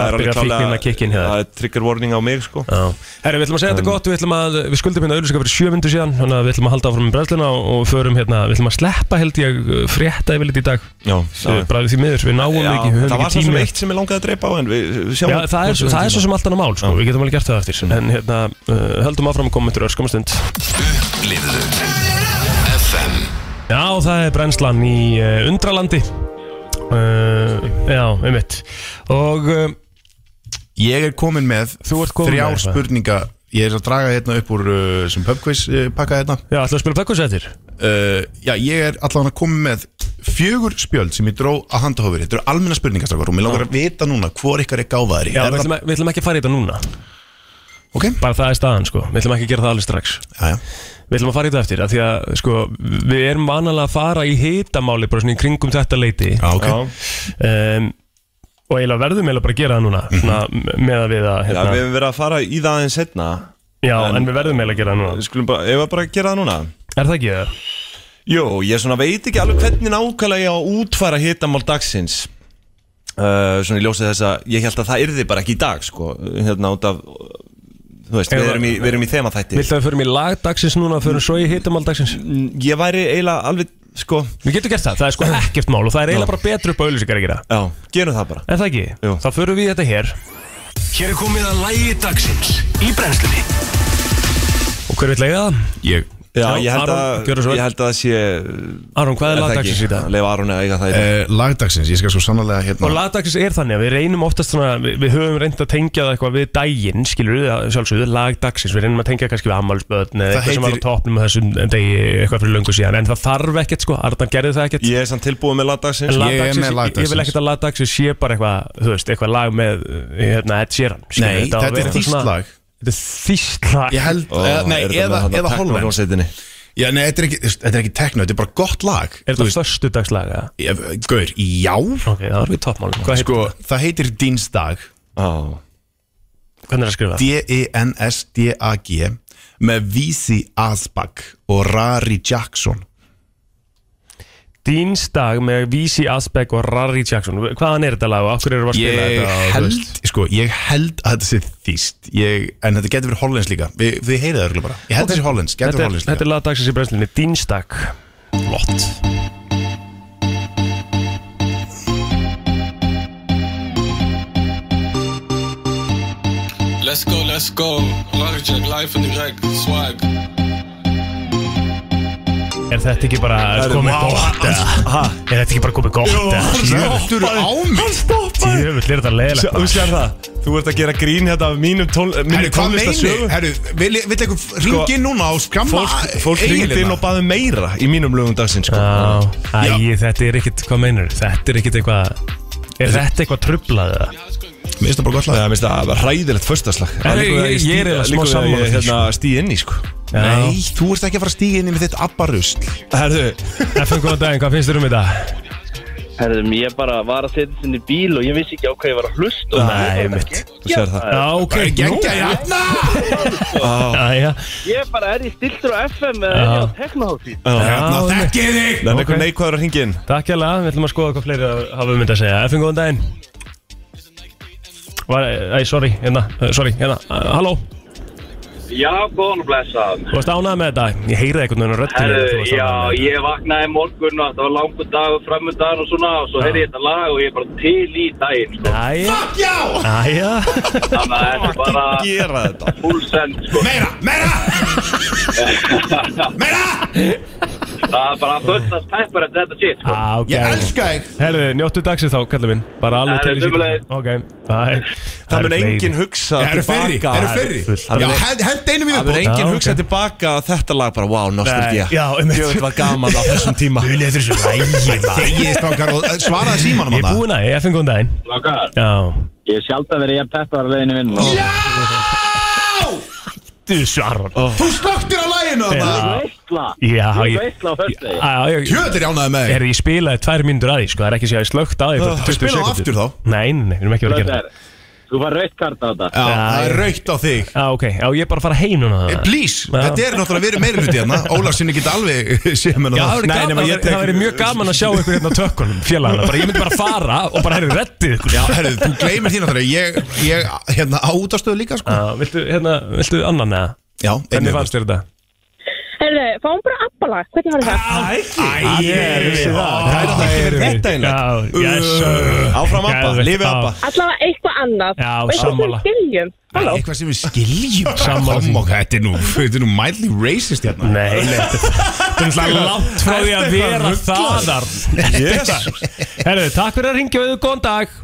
Speaker 3: Þar
Speaker 4: er alveg
Speaker 3: byrjar fíknin að kikka inn hjá þér.
Speaker 4: Það er trigger warning á mig sko
Speaker 3: Já. Um, Herri, við ætlum að segja þetta gott, við ætlum að við skuldum hérna auðvitað fyrir sjö myndu síðan þannig að við ætlum að halda áfram með brennsluna og, og förum hérna, við ætlum að sleppa held ég frétta yfirleitt í dag,
Speaker 4: Já,
Speaker 3: Við- bara við því miður við náum
Speaker 4: Já,
Speaker 3: ekki, við
Speaker 4: það
Speaker 3: höfum
Speaker 4: var
Speaker 3: ekki
Speaker 4: svo sem
Speaker 3: tími
Speaker 4: eitt sem ég langaði að dreipa á en við, við sjáum
Speaker 3: Já, það er, það er svo sem alltaf annað mál, sko. við getum alveg gert það eftir en hérna, uh, höldum áfram að koma eftir örskamastund
Speaker 9: Lifðu FM
Speaker 3: Já, það er brennslan í uh, Undralandi uh, Já, einmitt Og uh,
Speaker 2: ég er komin með
Speaker 3: Þú ert komin
Speaker 2: þrjár
Speaker 3: með eitthvað.
Speaker 2: spurningar ég er að draga hérna upp úr uh, sem pubquiz uh, pakka hérna
Speaker 3: já, ætlum við að spila pökkusettir
Speaker 2: uh, já, ég er allan að koma með fjögur spjöld sem ég dró að handahofur þetta eru almenna spurningar strákar og mér langar að vita núna hvor ykkar er gáfaðri
Speaker 3: Já,
Speaker 2: Er
Speaker 3: við
Speaker 2: það-
Speaker 3: ætlum, við ætlum ekki að fara í þetta núna
Speaker 2: Ok,
Speaker 3: bara það er staðan sko, við ætlum ekki að gera það alveg strax
Speaker 2: já, já
Speaker 3: við ætlum að fara í þetta eftir af því að sko, við erum vanalega að fara í hitamáli bara svona í kringum þetta leiti
Speaker 2: Já, ok.
Speaker 3: um, og eiginlega verðum eiginlega bara að gera það núna svona, með að Mhm. við að
Speaker 4: Já,
Speaker 3: hérna,
Speaker 4: við hefum verið að fara í það aðeins setna
Speaker 3: já, en, við verðum eiginlega að gera það núna
Speaker 4: Við skulum bara, ef við bara að gera það núna
Speaker 3: er það ekki það?
Speaker 4: Jó, ég svona veit ekki alveg hvernig nákvæmlega ég á að útfæra hitamál dagsins uh, Svona ég ljósið þess að ég held að það yrði bara ekki í dag, sko Hérna út af, þú veist, við
Speaker 3: Eða-
Speaker 4: erum í, við erum í þema þætti
Speaker 3: Viltu að við förum í lagdagsins núna og förum svo í hitamáldagsins?
Speaker 4: Mm, Ég væri eiginlega alveg, sko,
Speaker 3: Við getum gert það, það er sko ekkert mál og það er eiginlega bara betur upp á auðlýsingar að gera
Speaker 4: já, gerum það bara
Speaker 3: Er það ekki?
Speaker 4: Jú.
Speaker 3: Þá förum við í þetta hér
Speaker 9: Hér er komið að lægi dagsins í brennslunni
Speaker 3: Og hver vil leiða það?
Speaker 2: Ég
Speaker 4: Já,
Speaker 3: Já,
Speaker 4: ég held,
Speaker 3: Aron, gjörðu
Speaker 4: að,
Speaker 3: svo vel.
Speaker 4: ég held að það sé
Speaker 3: Aron, hvað er lagdagsins í dag?
Speaker 4: Leif Aron að eiga það í dag
Speaker 2: eh, Lagdagsins, ég skal svo sannlega
Speaker 3: Og
Speaker 2: hérna
Speaker 3: lagdagsins er þannig að við reynum oftast svona, við, við höfum reynd að tengja það eitthvað við daginn, skilur við, sjálfsögðu, lagdagsins, við reynum að tengja kannski við ammálsböðn eða
Speaker 2: Það
Speaker 3: eitthvað sem var
Speaker 2: heitir-
Speaker 3: á topnum á þessum degi eitthvað fyrir löngu síðan, en það þarf ekkert sko, Arðan gerði það ekkert.
Speaker 4: Ég er samt tilbúið með
Speaker 3: En
Speaker 4: lagdagsins
Speaker 2: ég er
Speaker 3: lagdagsins,
Speaker 2: með
Speaker 3: ég, ég vil
Speaker 2: lagdagsins.
Speaker 3: ekkert að lagdagsins sé bara eitthvað, þú veist, eitthvað lag með, uh, hérna, Ed Sheeran. skilur
Speaker 2: Nei,
Speaker 3: við, á að
Speaker 2: þetta
Speaker 3: vera
Speaker 2: er
Speaker 3: eitthvað svona-
Speaker 2: þýst lag
Speaker 3: Þetta er þýst lag.
Speaker 2: Ég held,
Speaker 4: Ó,
Speaker 2: eða, nei,
Speaker 4: er þetta
Speaker 2: eða,
Speaker 4: með þarna
Speaker 2: eða holven
Speaker 4: technohljómsveitinni?
Speaker 2: Já, nei, þetta er ekki, þetta er ekki tekno, þetta er bara gott lag
Speaker 3: Er þetta föstudagslag, eða?
Speaker 2: Ég- Gaur, já
Speaker 3: Ok, það er við toppmálum. Hvað heitir,
Speaker 2: Sko, það heitir Dínsdag E
Speaker 4: Já
Speaker 3: hvernig er að skrifa það?
Speaker 2: D-E-N-S-D-A-G með Vísi Asbak og Rari Jackson
Speaker 3: Dínsdag með Vísi Asbeck og Rari Jackson. Hvaðan er þetta lag og af hverju eru að spila
Speaker 2: Ég
Speaker 3: þetta? og, þú
Speaker 2: held,
Speaker 3: veist?
Speaker 2: sko, ég held að þetta sé þýst ég, En þetta getur verið hollens líka Vi, Við heyrið það örugglega bara Ég held
Speaker 3: Ok.
Speaker 2: þetta sé hollens, getur
Speaker 3: Þetta
Speaker 2: verið
Speaker 3: er,
Speaker 2: hollens
Speaker 3: þetta
Speaker 2: líka
Speaker 3: er lagdagsins í brennslinni Dínsdag Lott
Speaker 10: Let's go, let's go. Larjack, live in direct, swag.
Speaker 3: Er þetta ekki bara komið gott? eða? Er þetta ekki bara komið gott?
Speaker 2: Þetta er á mig
Speaker 3: Jöfull, er þetta leiðilegt
Speaker 4: Þú
Speaker 3: maður.
Speaker 4: sér það, þú ert að gera grín hérna af mínum, tól,
Speaker 2: Herru,
Speaker 4: mínum
Speaker 2: hvað meinið?
Speaker 4: tónlistarsögu
Speaker 2: Herru, vil, vil eitthvað ringi núna og skamma hérna?
Speaker 4: Fólk, fólk ringdi inn og baði meira í mínum lögum dagsins sko.
Speaker 3: Já, Æ,
Speaker 2: Já.
Speaker 3: þetta er ekkit, hvað meinar Þetta er ekkit eitthvað Er þetta eitthvað trublað eða?
Speaker 2: Mér finnst það bara gott lag
Speaker 4: Það minnst það var hræðilegt förstaslag
Speaker 3: Herru, ég- ég er eiginlega smá sammála því,
Speaker 4: hérna, stí inn í sko
Speaker 3: Já.
Speaker 2: Nei, þú ert ekki að fara að stíga inn í með þitt abbarusl
Speaker 4: Herðu,
Speaker 3: FM, góðan daginn, hvað finnst þér um þetta?
Speaker 11: Herðum, ég bara var að setja sinni í bíl og ég vissi ekki á hvað ég var að hlusta
Speaker 3: Nei, mitt
Speaker 4: þú sér það
Speaker 3: Já, ok,
Speaker 2: Gengja, jæna
Speaker 3: Æja,
Speaker 11: Ég bara er í stiltur á FM eða er ég á teknoháttíð
Speaker 2: Jæna, þekkið þig
Speaker 4: Það er
Speaker 3: Ok.
Speaker 4: einhver neikvæður að ringi inn
Speaker 3: takk hjá Við ætlum að skoða hvað fleiri hafa um þetta að segja FM, góðan daginn Var, æ, sorry, hérna, eh, sorry, hérna, eh, halló
Speaker 11: Já, góðan og blessaðan
Speaker 3: Þú varst ánægð með þetta, ég heyrði einhvern veginn á röddinni að þú
Speaker 11: Herðu,
Speaker 3: varst
Speaker 11: já,
Speaker 3: ánægð með þetta.
Speaker 11: ég vaknaði í morgun og það var langur dag og framöndan og svona og svo heyrði ég þetta lag og ég er bara til í daginn sko.
Speaker 3: Æja,
Speaker 2: Fuck já
Speaker 11: *laughs*
Speaker 3: æja
Speaker 11: Þannig að þetta er bara
Speaker 4: Gera þetta
Speaker 11: full send
Speaker 3: *laughs*
Speaker 11: sko.
Speaker 2: Meira, meira Meira
Speaker 11: Það er bara fullast peppar eftir þetta shit sko.
Speaker 3: Á,
Speaker 2: Ég
Speaker 3: gæðum.
Speaker 2: elska þig
Speaker 3: Ah, Herðu, njóttu dagsins þá, kallum minn Bara alveg
Speaker 11: Herðu,
Speaker 3: til í síðan.
Speaker 11: sömuleiðis.
Speaker 3: Ok, bye
Speaker 4: Það mun enginn hugsa
Speaker 2: Það eru fleiri,
Speaker 4: tilbaka
Speaker 2: það eru fleiri
Speaker 3: Það
Speaker 2: Já,
Speaker 3: eru-
Speaker 2: hend- hend einu mínu
Speaker 4: Það mun
Speaker 2: bótt
Speaker 3: Já,
Speaker 4: enginn
Speaker 3: ok.
Speaker 4: hugsa tilbaka að þetta lag bara, wow, nostalgia
Speaker 3: Nei, já, einmitt.
Speaker 4: Jöfull var gaman á þessum tíma
Speaker 3: Vilja þetta svo *laughs* lægi maður.
Speaker 2: Þegið strákar og eh, svaraði símanum
Speaker 3: Ég er
Speaker 2: hann
Speaker 3: búinn að, ég finn góðan daginn
Speaker 11: Strákar,
Speaker 3: Já
Speaker 11: Ég hef sjálf að vera ég peppar að leiðinu vinn Já,
Speaker 3: Oh. Þú svarar
Speaker 2: Þú slöktir á læginu hann
Speaker 11: veistla
Speaker 3: Já,
Speaker 11: Ég
Speaker 3: ég-
Speaker 11: veistla á föstudegi
Speaker 3: Já, ég
Speaker 2: Hjöður ég ánæði með
Speaker 3: Er
Speaker 2: þig
Speaker 3: ég spilaði tvær mínútur að því, sko Það er ekki sér að ég slögt að því fyrir 20
Speaker 2: spilaðu
Speaker 3: sekúndur.
Speaker 2: aftur þá.
Speaker 3: Nei, nei, nei, við erum ekki að vera að gera það
Speaker 11: Blessaður. Þú fær rautt kart á þetta
Speaker 2: Já, það er raukt á þig
Speaker 3: Já, Ah, ok, já, ég er bara að fara heim núna
Speaker 2: Eh, Please,
Speaker 3: Já.
Speaker 2: þetta er náttúrulega verið meira hluti hérna Ólaf sinni geta alveg eh, séð með
Speaker 3: Já, það
Speaker 2: það
Speaker 3: væri gaman-
Speaker 2: nema ég
Speaker 3: það
Speaker 2: tek-
Speaker 3: væri mjög gaman að sjá ykkur hérna á tökkunum félagana, bara ég myndi bara fara og bara herri reddið ykkur
Speaker 2: Já, herru, þú gleymir því náttúrulega Ég, ég, hérna, á útastöðu líka, sko
Speaker 3: Já, viltu, hérna, viltu annan eða?
Speaker 2: Já,
Speaker 3: Hvernig fannst þér þetta?
Speaker 12: Herðu, fáum bara abbalag, hvernig var það?
Speaker 2: Æ, ég vissi það
Speaker 3: Þetta er
Speaker 4: Þetta er
Speaker 3: Já, yes
Speaker 4: Áfram Abba,
Speaker 3: Geðveikt,
Speaker 4: lifi
Speaker 3: já.
Speaker 4: Abba
Speaker 12: Allavega eitthvað annað
Speaker 3: Já,
Speaker 12: og eitthvað
Speaker 3: sammála.
Speaker 12: sem skiljum Halló,
Speaker 2: Eitthvað sem við skiljum
Speaker 3: *laughs* Sammála því.
Speaker 2: Kom okkar, þetta er nú, þetta er nú mildly racist hérna
Speaker 3: Nei, nei, þetta þetta er náttúrulega langt frá því að vera þaðar
Speaker 4: Yes.
Speaker 3: Herðu, takk fyrir að ringja við, góðan dag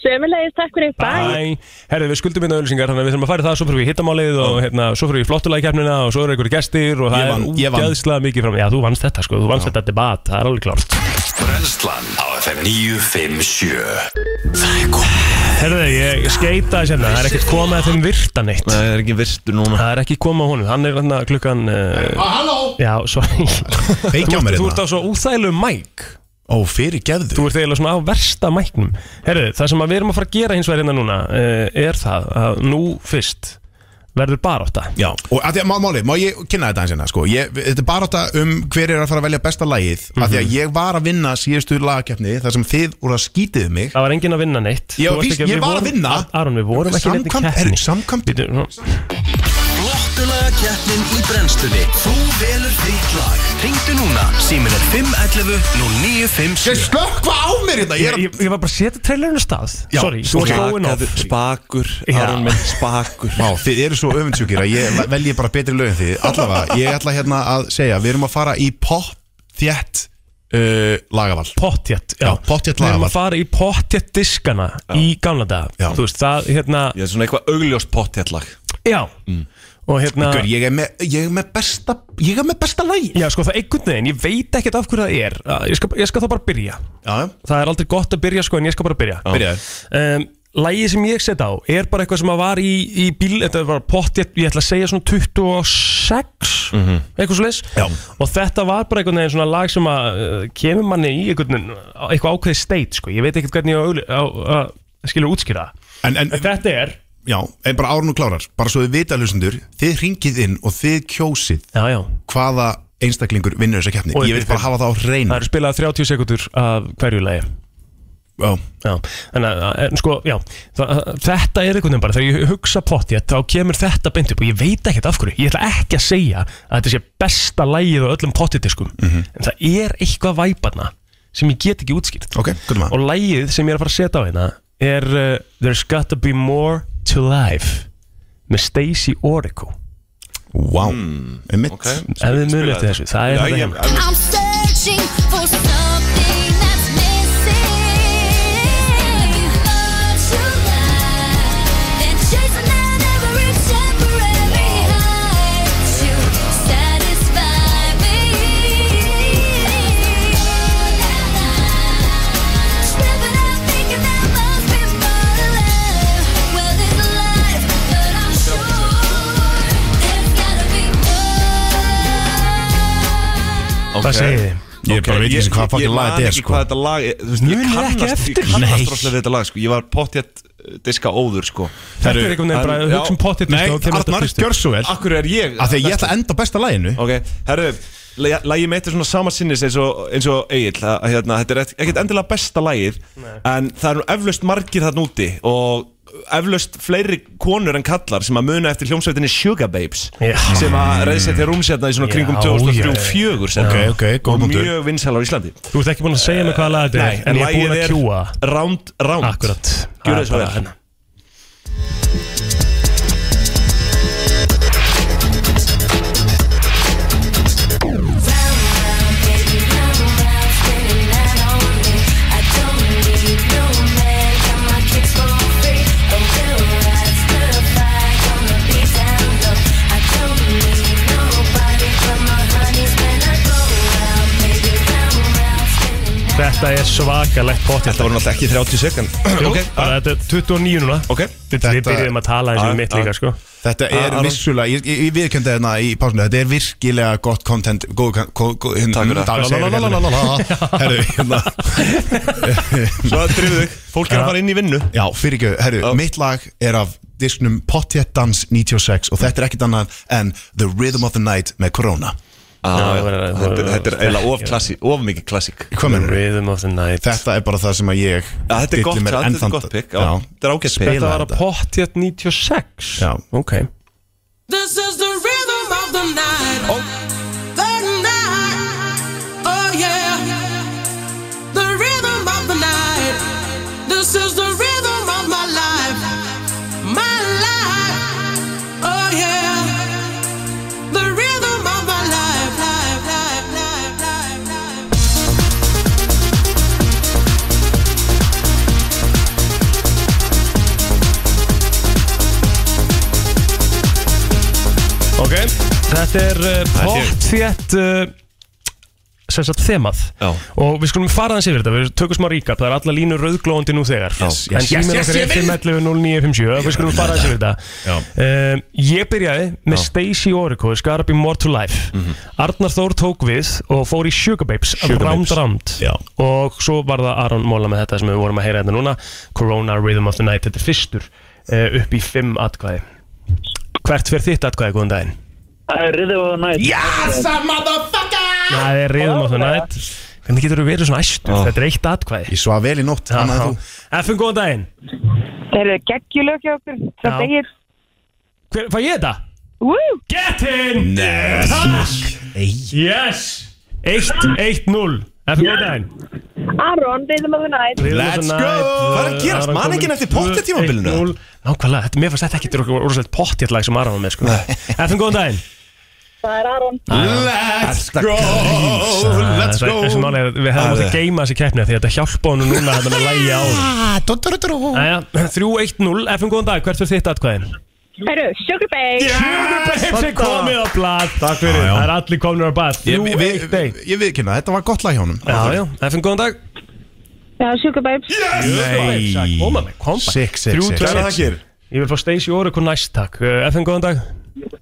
Speaker 12: sömulegis, takk fyrir, bæ
Speaker 3: Bye Herðu, við skuldum hérna auðlýsingar Þannig að við þurfum að fara í það Svo fyrir við í hittamálið Og hérna, svo fyrir við í flottulægkjarnina Og svo eru einhverju gestir Og
Speaker 2: Ég
Speaker 3: það
Speaker 2: vann, ég
Speaker 3: er
Speaker 2: vann.
Speaker 3: útgæðslega mikið fram Já, þú vannst þetta sko Þú vannst þetta debat Það er alveg klárt
Speaker 9: Brennslan á FM 957 Það er komið
Speaker 3: Herðu, ég skeita þess hérna, það er ekkert komað að þeim virta neitt Það er ekki virtu núna Það er ekki komað honum, hann er hérna klukkan uh,
Speaker 2: Halló
Speaker 3: Já, sorry
Speaker 2: Kveikja á mér
Speaker 3: Þú-
Speaker 2: hérna.
Speaker 3: Þú ert á svo úþægilegum mæk
Speaker 2: Ó, fyrir geðu
Speaker 3: Þú ert eiginlega svona á versta mæknum Herðu, það sem að við erum að fara að gera hins vegar hérna núna uh, er það að nú fyrst verður barátta
Speaker 2: Já, og að því að má- máli, má ég kynna þetta hans hérna sko. ég, Þetta er bara þetta um hver er að fara að velja besta lagið mm Því að ég var að vinna síðustu lagakeppni þar sem þið voru að skítið um mig
Speaker 3: Það var enginn að vinna neitt
Speaker 2: Já,
Speaker 3: Þú varst
Speaker 2: víst,
Speaker 3: ekki-
Speaker 2: ég
Speaker 3: við
Speaker 2: var að
Speaker 3: vorum-
Speaker 2: vinna.
Speaker 3: Aron, við vorum ekki neitt
Speaker 2: Samkvæmt-
Speaker 3: keppni
Speaker 2: herru, Samkvæmt
Speaker 3: Bíddu, nú-
Speaker 9: Flottulaga keppnin í brennstunni Þú velur þitt lag Ringdu núna, símin er 511
Speaker 2: Ég
Speaker 9: 0957
Speaker 2: slökkva á mér hérna Ég
Speaker 3: Ég
Speaker 2: er að
Speaker 3: ég- ég var bara að setja trailerinu stað
Speaker 2: Já,
Speaker 3: Sorry, þú varst
Speaker 2: ok.
Speaker 3: góin of
Speaker 4: Spakur, Aron minn, spakur
Speaker 2: Má, þið eru svo öfundsjúkir að ég velji bara betri lög en þið Allavega, ég ætla hérna að segja Við erum að fara í pop þjætt uh, lagaval
Speaker 3: Pottjett,
Speaker 2: Já,
Speaker 3: já,
Speaker 2: pottþétt
Speaker 3: Við erum
Speaker 2: lagavall.
Speaker 3: að fara í pottjett diskana í gamla
Speaker 2: Já.
Speaker 3: daga Þú veist, það, hérna,
Speaker 4: Ég er svona eitthvað augljóst pott hér lag
Speaker 3: já
Speaker 2: Mm.
Speaker 3: Og hérna,
Speaker 2: Gaur, ég, er með, ég er með besta Ég er með besta lagi
Speaker 3: já, sko, það einhvern veginn, ég veit ekkert af hverju það er Að- Ég skal, ég skal þá bara byrja
Speaker 2: Já,
Speaker 3: Það er aldrei gott að byrja, sko, en ég skal bara byrja
Speaker 2: byrjaði
Speaker 3: um, Lægið sem ég set á er bara eitthvað sem að var í, í bíl Þetta var pottjett, ég ætla að segja svona 26 Eitthvað svo
Speaker 2: Já.
Speaker 3: Og þetta var bara einhvern veginn svona lag sem að uh, Kemur manni í einhvern veginn á- Eitthvað ákveðið state, sko Ég veit ekkert hvernig ég á, augli- á, á, á skilur útskýra það
Speaker 2: En, en
Speaker 3: Þetta er
Speaker 2: Já, en bara árun og klárar, bara svo þið vita hlustendur, þið ringið inn og þið kjósið
Speaker 3: Já, já
Speaker 2: hvaða einstaklingur vinnur þessa keppni.
Speaker 3: Og
Speaker 2: Ég vil bara hafa það á
Speaker 3: Það
Speaker 2: hreinu.
Speaker 3: eru spilað 30 sekundur af hverju lagi
Speaker 2: Já,
Speaker 3: Já, þannig að, en sko, já það, Þetta er einhvern veginn bara, þegar ég hugsa pottjett þá kemur þetta beint upp og ég veit ekkert af hverju Ég ætla ekki að segja að þetta sé besta lagið á öllum pottjettiskum En það er eitthvað væparna sem ég get ekki útskýrt
Speaker 2: ok, gott maður.
Speaker 3: Og lagið sem ég er að fara að setja á hérna er uh, There's Gotta Be More To Life með Stacey Orico
Speaker 2: Vá,
Speaker 4: Hmm,
Speaker 2: einmitt.
Speaker 3: Ef þið munið eftir þessu, það er þetta hérna
Speaker 7: I'm searching for something that's missing More to life than chasing an every temporary high to satisfy me. More than life. Stepping out thinking there must be more to life. Well, there's a life, but I'm sure there's gotta be more.
Speaker 3: Hvað segið þið?
Speaker 2: Ég bara veit ekki sem hvað fucking lag þetta er,
Speaker 4: Ég man ekki
Speaker 2: sko.
Speaker 4: hvað þetta lag er, þú veist, ég
Speaker 3: Munið ekki
Speaker 4: kannast, ég
Speaker 3: eftir?
Speaker 4: kannast
Speaker 3: Nei.
Speaker 4: rosslega við þetta lag, sko Ég var pott hér diska óður, sko
Speaker 3: Þetta er einhvern veginn bara,
Speaker 4: Já.
Speaker 3: hugsa um pottjett
Speaker 2: Nei, Arnar, gjör svo vel.
Speaker 4: Akkur er ég
Speaker 2: Af því að ég ætla að enda á besta læginu.
Speaker 4: Ok, herru, la- lagið mitt er svona sama sinnis eins og, eins og Egil að, hérna, Þetta er ekk- ekkert endilega besta lagið En það er nú eflaust margir þarna úti Og eflaust fleiri konur en kallar Sem að muna eftir hljómsveitinni Sugar Babes
Speaker 3: Já.
Speaker 4: Sem að reyðsetja rúmsjætna í svona kringum
Speaker 3: Já,
Speaker 4: 2003-2004 sem
Speaker 2: Ok,
Speaker 4: var.
Speaker 2: ok, góð
Speaker 4: Og
Speaker 2: punktur.
Speaker 4: mjög vinsælar á Íslandi
Speaker 3: Þú ert ekki búin að segja mig hvaða lag þetta
Speaker 4: Nei,
Speaker 3: er En ég er búin að kjúa
Speaker 4: Round, round
Speaker 3: Akkurat
Speaker 4: Gjörðu þið svo
Speaker 3: Það er
Speaker 4: vel.
Speaker 3: bara- hérna. Þetta er svakalegt pottjett
Speaker 4: Þetta var náttúrulega ekki 30 sekund Ok,
Speaker 3: Bara þetta er 29 núna
Speaker 4: ok
Speaker 3: Þetta, Við
Speaker 2: Þetta-
Speaker 3: byrjum að tala eins
Speaker 4: Ah,
Speaker 3: og mitt líka sko
Speaker 2: Þetta er
Speaker 4: Aron.
Speaker 2: vissulega, ég, ég, ég viðkjönda hérna í pásinu, þetta er virkilega gott content, góð, kan- góð, góð, hérna,
Speaker 4: Takk fyrir það.
Speaker 2: Hvað segirðu, hérna? Herru, hérna,
Speaker 4: *laughs* Svo drifðu þig Fólk er að fara inn í vinnu
Speaker 2: já, fyrir ekki, herru, mitt lag er af disknum Potjet Dance 96 og þetta er ekkit annað en The Rhythm of the Night með Corona.
Speaker 4: Ah,
Speaker 3: Já,
Speaker 4: Þetta
Speaker 3: bara-
Speaker 4: er- þetta er eiginlega of klassík, of mikið klassík
Speaker 2: Hvað mennur
Speaker 3: Rhythm of the night
Speaker 2: Þetta er bara það sem að ég
Speaker 4: Já, þetta er gott,
Speaker 2: dillir mér
Speaker 4: þetta
Speaker 2: enn
Speaker 4: er
Speaker 2: þann-
Speaker 4: gott pikk já,
Speaker 2: Já,
Speaker 4: Þetta er ágætt pikk
Speaker 3: Þetta
Speaker 2: Spila
Speaker 3: var að
Speaker 2: þetta.
Speaker 3: pottjett 96
Speaker 2: Já.
Speaker 3: Ok
Speaker 5: This is the rhythm of the night. Oh. The night. Oh yeah. The rhythm of the night. This is the rhythm of my life. My life. Oh yeah. The rhythm of my life. life, life, life, life, life.
Speaker 3: eh, Ok Þetta er uh, pottjett uh, sem sagt þemað Já. og við skulum fara þessi yfir þetta, við tökum smá ríkap það er alla línur rauðglóðandi nú þegar
Speaker 8: Yes, yes,
Speaker 3: en
Speaker 8: yes,
Speaker 3: síminn
Speaker 8: yes,
Speaker 3: okkar
Speaker 8: ég
Speaker 3: er
Speaker 8: vil.
Speaker 3: 511-0957 við skulum fara þessi yfir þetta um, ég byrjaði með Stacey Orico Scarab Be More to Life
Speaker 8: Mhm.
Speaker 3: Arnar Þór tók við og fór í Sugar Babes af
Speaker 8: Sugar
Speaker 3: Round
Speaker 8: Babes.
Speaker 3: Round og svo var það Aron Móla með þetta sem við vorum að heyra þetta núna Corona Rhythm of the Night, þetta er fyrstur uh, upp í fimm atkvæði hvert fyrir þitt atkvæði, góðan daginn
Speaker 13: Það er riðið og nætt
Speaker 7: Yes,
Speaker 13: a motherfucker
Speaker 3: Það er reyðum á það nætt Hvernig getur þú verið svona æstur? Þetta er eitt atkvæði Ég
Speaker 2: svaf vel í nótt
Speaker 3: annað þú FN, góðan daginn
Speaker 12: Þeir eru geggjulög hjá okkur
Speaker 3: Já.
Speaker 12: Það segir
Speaker 3: Hver, Fæ ég þetta?
Speaker 12: Woo!
Speaker 3: Get in! Yes Yes 1-1-0 FN, góðan daginn
Speaker 12: Aron, reyðum að það nætt
Speaker 3: Hvað
Speaker 4: er að gerast? Man ekki eftir pottatímabilinu?
Speaker 3: Nákvæmlega, þetta, mér fannst þetta ekki Þetta er orðslega pottjallag sem Aron var með sko. FN, góðan daginn
Speaker 12: Það er Aron
Speaker 3: Let's go
Speaker 7: let's go.
Speaker 3: Þessi máli er að við hefum átt að geima þessi keppni af Því að þetta hjálpa honum núna þetta með lægi á
Speaker 4: *laughs*
Speaker 3: Æja, 3-1-0 FM, góðan dag, hvert er þitt atkvæðin?
Speaker 12: Herru, Sugar Babes Sugar
Speaker 3: Pepsi komið á blad Takk fyrir Það er allir komin á blad
Speaker 2: Ég, við, við, ég viðkynna, þetta var gott lag hjá honum
Speaker 3: Já, já, FM, góðan dag
Speaker 12: Já, Sugar Babes Yes
Speaker 3: Nei Koma með, koma
Speaker 2: Six, six, six. Kærar þakkir.
Speaker 3: Ég vil fá Stacey Orico næst takk Eh, FM, góðan dag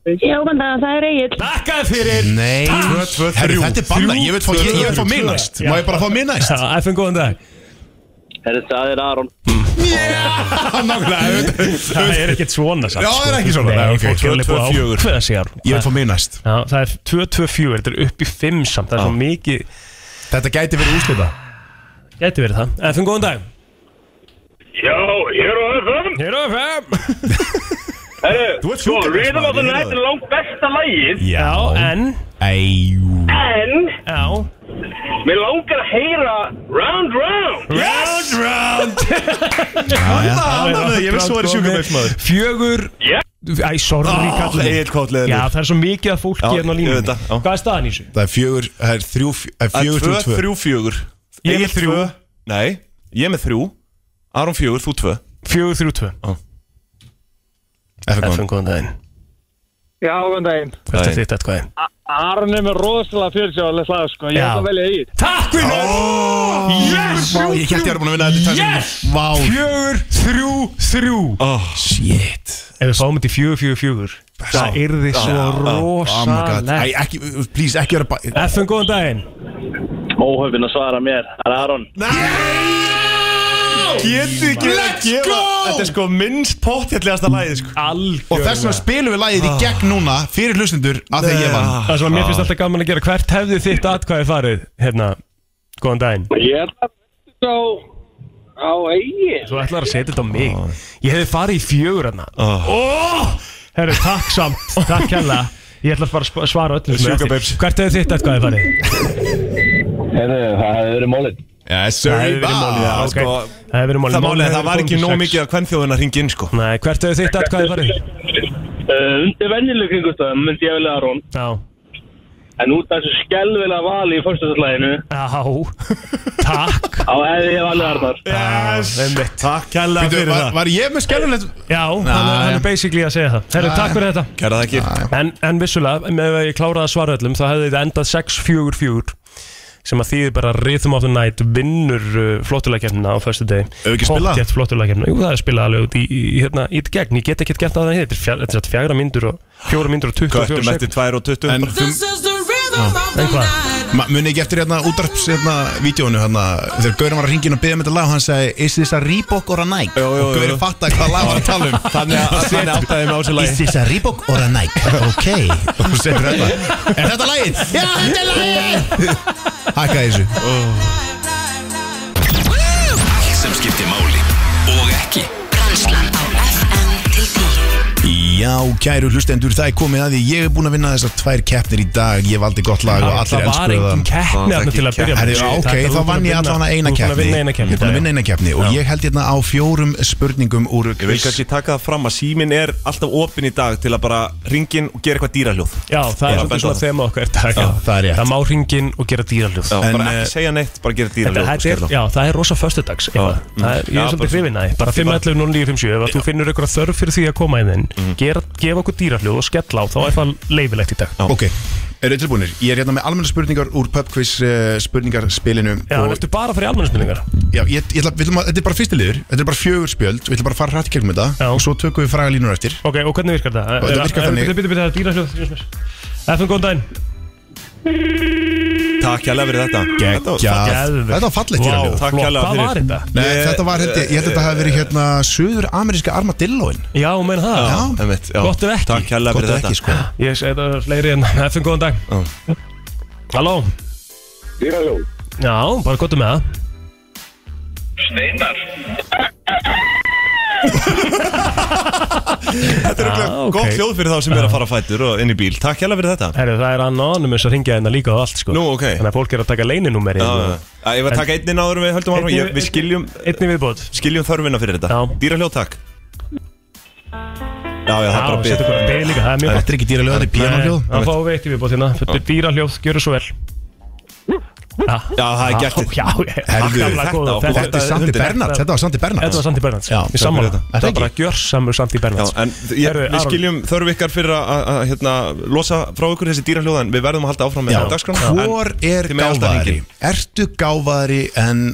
Speaker 12: Já, góðan dag, það er Egil
Speaker 3: Takka fyrir
Speaker 2: Nei, tvö, tvö, Herru, þetta er banna, ég vil fá- ég- ég vil fá mig næst. Má ég bara fá mig næst?
Speaker 3: FM, góðan dag
Speaker 11: Herri, það er Aron
Speaker 2: *laughs* Nákvæmlega
Speaker 3: Það er ekkert svona samt
Speaker 2: Já,
Speaker 3: sko.
Speaker 2: það er ekki svona.
Speaker 3: Nei,
Speaker 2: Nei, ok,
Speaker 3: fólk er alveg búið
Speaker 2: 2-2-4.
Speaker 3: að ákveða sig Aron.
Speaker 2: Ég vil fá mig næst
Speaker 3: Já, það er 2-2-4, þetta er upp í 5 samt Það er svo mikið
Speaker 2: Þetta gæti verið úrslita
Speaker 3: Gæti verið það FM, góðan dag
Speaker 7: Já, hér á FM
Speaker 3: Hér á FM
Speaker 7: Herru, sko,
Speaker 3: sjúkrabeismaður,
Speaker 7: Rhythm of the
Speaker 3: ég
Speaker 7: Night
Speaker 3: heyrði
Speaker 7: er langt besta lagið
Speaker 3: en
Speaker 2: Æjú
Speaker 7: En
Speaker 3: Já
Speaker 7: Mér langar að heyra Round Round
Speaker 3: Round Round
Speaker 7: Hanna,
Speaker 3: Fjögur Æ, sorry
Speaker 2: Ah,
Speaker 3: kallinn.
Speaker 2: Egill Kotleður.
Speaker 3: Já, það er svo mikið af fólki
Speaker 2: Já,
Speaker 3: hérna á
Speaker 2: ég veit
Speaker 3: línunni
Speaker 2: það, já.
Speaker 3: Hvað er staðan í þessu?
Speaker 2: Það er fjögur, það er þrjú, það er
Speaker 4: Það er
Speaker 2: fjögur,
Speaker 4: tvö,
Speaker 2: þrjú, tvö
Speaker 4: þrjú, fjögur
Speaker 3: Ég með
Speaker 4: Egill
Speaker 3: þrjú.
Speaker 4: tvö. Nei, ég með þrjú Aron fjögur, þú tvö
Speaker 3: Fjögur, þrjú, tvö
Speaker 4: FN,
Speaker 3: góðan daginn
Speaker 11: Já, góðan daginn
Speaker 3: Hvert er þitt atkvæði?
Speaker 11: Aron er með rosalega fyrirsjáðlega slag, sko
Speaker 3: Ég ætla að
Speaker 11: velja Egil
Speaker 3: Takk fyrir oh, Yes
Speaker 2: Vá, ég hélt ég var búin að vinna þetta í tvær
Speaker 3: Yes
Speaker 2: sekúndur. Vá.
Speaker 3: Fjögur, þrjú, þrjú
Speaker 4: oh,
Speaker 2: Shit
Speaker 3: Ef við fáum þetta í fjögur, fjögur, fjögur Það yrði svo
Speaker 2: Ah,
Speaker 3: rosalegt
Speaker 2: ekki, please, ekki vera bara
Speaker 3: FN, góðan daginn
Speaker 11: Óhöfin að svara mér, það er Aron
Speaker 4: Getur ekki verið að gefa Þetta er sko minnst pottjallegasta lagið sko.
Speaker 3: Algjörlega
Speaker 2: Og þess vegna spilum við lagið í gegn núna Fyrir hlustendur að þegar ég vann
Speaker 3: Það sem að mér finnst alltaf gaman að gera Hvert hefði þitt atkvæði farið? Hérna, góðan daginn
Speaker 11: Ég er það á, á Egil
Speaker 3: Þú ætlar að setja þetta á mig Ég hefði farið í fjögur hérna oh. Herru, takk samt, takk hérna Ég ætla að fara að sp- svara öllum sem er
Speaker 4: Sjúka
Speaker 3: eftir.
Speaker 4: babes.
Speaker 3: Hvert hefði þitt atkvæði farið?
Speaker 11: Herru, það hefur verið mólið
Speaker 2: Yes,
Speaker 3: Það hefði verið málið, já, Ah, ok. Það hefði verið málið.
Speaker 4: Það málið,
Speaker 3: Málið
Speaker 4: er,
Speaker 3: hefði
Speaker 4: það var
Speaker 3: komið
Speaker 4: ekki
Speaker 3: til
Speaker 4: nóg
Speaker 3: sex.
Speaker 4: mikið að hvern þjóðin að ringa inn sko
Speaker 3: Nei, hvert hefur þitt atkvæði farið?
Speaker 11: Uh, undir venjuleg kringustöðum myndi ég velja Aron
Speaker 3: Já
Speaker 11: En út af þessu skelvilega vali í fyrstöldslæginu
Speaker 3: Já, takk
Speaker 11: Á hefði ég valið Arnar
Speaker 3: Yes
Speaker 4: Takk hella
Speaker 2: Býtu, var, var ég með skerfulegt
Speaker 3: Já, hann, er- hann er basically að segja það Herru,
Speaker 2: Já,
Speaker 3: takk fyrir þetta
Speaker 4: Kæra það ekki
Speaker 3: En, en vissulega, ef ég kláraði að svara öllum þá hefði þetta endað 6-4-4 sem að þýðir bara Rhythm of the Night vinnur uh, flottulækjarnina á fyrstu deg
Speaker 2: Hefur ekki spilað?
Speaker 3: Pottþétt flottulækjarnina, jú það er spilað alveg út í, í, hérna, í gegn, ég get ekkert gert að það heitir þetta er satt fjagra myndur og fjóra myndur og 24
Speaker 4: Köttum eftir 2 og 20
Speaker 2: En þú,
Speaker 5: This is the rhythm of the
Speaker 3: Eitthvað.
Speaker 5: night
Speaker 2: ma- munið ekki eftir hérna útdarps hérna vídjónu hérna Þegar Gaurin var að ringin og beða með þetta lag og Hann sagði, is this a Reebok or a Nike?
Speaker 4: Jó, jó,
Speaker 2: Og
Speaker 4: jó.
Speaker 2: Gaurin fattaði hvað lag var að tala um
Speaker 4: *laughs* Þannig að þannig áttaði með
Speaker 2: *laughs*
Speaker 4: á þessu lagi
Speaker 2: this a Reebok or a Nike?
Speaker 4: *laughs*
Speaker 2: Ok Og þú setur þetta Er þetta lagið? Já, þetta er lagið Hakka í þessu
Speaker 9: Allt sem skiptir máli og ekki
Speaker 14: Brænslan á FM til 10
Speaker 2: Já, kæru hlustendur, það er komið að því Ég er búinn að vinna þessar tvær keppnir í dag Ég valdi gott lag og allir
Speaker 3: Það var
Speaker 2: elskuðu
Speaker 3: engin keppni
Speaker 2: Það var
Speaker 3: þarna til að
Speaker 2: ekki
Speaker 3: byrja
Speaker 2: keppni.
Speaker 3: með.
Speaker 2: Herri,
Speaker 3: Þetta er
Speaker 2: Ok, þá
Speaker 3: þú búin
Speaker 2: vann ég
Speaker 3: að vinna-
Speaker 2: allan
Speaker 3: þú
Speaker 2: eina
Speaker 3: búin að
Speaker 2: keppni
Speaker 3: vinna eina
Speaker 2: Ég er
Speaker 3: keppni
Speaker 2: búinn
Speaker 3: í dag,
Speaker 2: að vinna eina keppni Og ég held hérna á fjórum spurningum úr
Speaker 4: Ég vil kannski taka það fram að síminn er alltaf opinn í dag til að bara ringin og gera eitthvað dýraljóð
Speaker 3: Já, það
Speaker 4: Já,
Speaker 3: er svolítið
Speaker 4: benda
Speaker 3: svona
Speaker 4: á það.
Speaker 3: þema okkar dag
Speaker 2: Já, það er rétt.
Speaker 3: má ringin og gera dýraljóð
Speaker 4: Já,
Speaker 2: En,
Speaker 4: bara
Speaker 2: eh,
Speaker 4: ekki segja neitt, bara gera
Speaker 3: Þetta,
Speaker 4: dýraljóð og
Speaker 3: þetta er,
Speaker 4: skella á.
Speaker 3: já, það er rosa föstudags eitthvað. Það er, Ég
Speaker 4: Já,
Speaker 3: er svolítið
Speaker 4: bara-
Speaker 3: hrifin að því Bara 511-0957 Ef að þú finnur ykkur þörf fyrir því að koma í þinn gera- Gefa okkur dýrafljóð og skella á Þá er það leifilegt í dag
Speaker 2: Ok, Eru tilbúinir? Ég er hérna með almenna spurningar úr pubquiz uh, spurningarspilinu
Speaker 3: Já, en ertu bara að fara í almennismyndingar?
Speaker 2: Já, ég, ég ætla, við ætlum að, þetta er bara fyrsti liður Þetta er bara fjögur spjöld, við ætlum bara að fara hrætt í gegnum þetta Já. Og svo tökum við fræga línur eftir
Speaker 3: Ok, og hvernig virkar þetta? Eh,
Speaker 2: Og þetta virkar þannig
Speaker 3: Bitti, bitti, bitti, það er dýrahljóð Jóns mér. FM, góðan daginn
Speaker 4: Takk hérlega fyrir þetta Þetta var-
Speaker 2: Geggjað.
Speaker 4: Geðveikt.
Speaker 2: Þetta var fallegt
Speaker 4: Vá,
Speaker 2: dýraljóð.
Speaker 4: Takk
Speaker 3: flott.
Speaker 4: hérlega
Speaker 3: Hvað
Speaker 4: fyrir
Speaker 3: var þetta?
Speaker 2: Nei, þetta var, held ég, ég held að þetta hafi verið hérna Suður ameríska armadilloin
Speaker 3: Já, menn það
Speaker 2: Já,
Speaker 4: einmitt, já.
Speaker 3: Gott ef ekki
Speaker 4: Takk hérlega
Speaker 2: Gott
Speaker 4: fyrir
Speaker 2: ef
Speaker 4: þetta
Speaker 2: ekki, sko
Speaker 3: Ég segi þetta er fleiri en *laughs* FM, góðan dag Halló
Speaker 6: Dýraljó
Speaker 3: Já, bara gott með það
Speaker 6: Steinar
Speaker 4: Þetta er
Speaker 3: Ah,
Speaker 4: ah,
Speaker 3: ok.
Speaker 4: gott hljóð fyrir þá sem er að fara á fætur og inn í bíl Takk hérlega fyrir þetta
Speaker 3: Herru, það er anonymous að ringja hérna líka og allt sko
Speaker 4: Nú, ok
Speaker 3: Þannig að fólk er að taka leininúmeri
Speaker 4: Já, já, já. Æ, Ég var að taka einni náður við höldum ára
Speaker 3: Einni-
Speaker 4: Við skiljum,
Speaker 3: Einni viðbót
Speaker 4: skiljum þörfina fyrir þetta Dýra hljóð, takk Já, já, það er
Speaker 3: Já,
Speaker 4: bara bið
Speaker 3: setja bara bið líka, það er mjög gott
Speaker 2: Þetta er ekki dýraljóð, þetta er
Speaker 3: Nei, Það
Speaker 2: píanaljóð
Speaker 3: fáum við eitt í viðbót hérna Þetta er dýrahljóð, gjöru svo vel Já,
Speaker 4: Já, það er gert
Speaker 3: Já, já,
Speaker 2: Herðu,
Speaker 3: afskaplega
Speaker 4: þetta
Speaker 3: góða.
Speaker 4: og þú
Speaker 2: Þetta er Sandi Bernhardt, þetta var Sandi
Speaker 3: Þetta var
Speaker 2: Bernhardt
Speaker 3: Sandi Bernhards
Speaker 2: Já,
Speaker 3: Ég
Speaker 2: takk
Speaker 3: sammála
Speaker 2: fyrir þetta.
Speaker 3: Þetta var bara gjörsamur Sandi
Speaker 4: Já,
Speaker 3: Bernhards
Speaker 4: en ég,
Speaker 3: Herru,
Speaker 4: við
Speaker 3: Aron.
Speaker 4: skiljum þörf ykkar fyrir að- að að, hérna, losa frá ykkur þessi dýra hljóð En við verðum að halda áfram með
Speaker 2: Já,
Speaker 4: dagskrána
Speaker 2: hvor er
Speaker 4: þið megið alltaf
Speaker 2: gáfaðari?
Speaker 4: hringja.
Speaker 2: Ertu gáfaðari en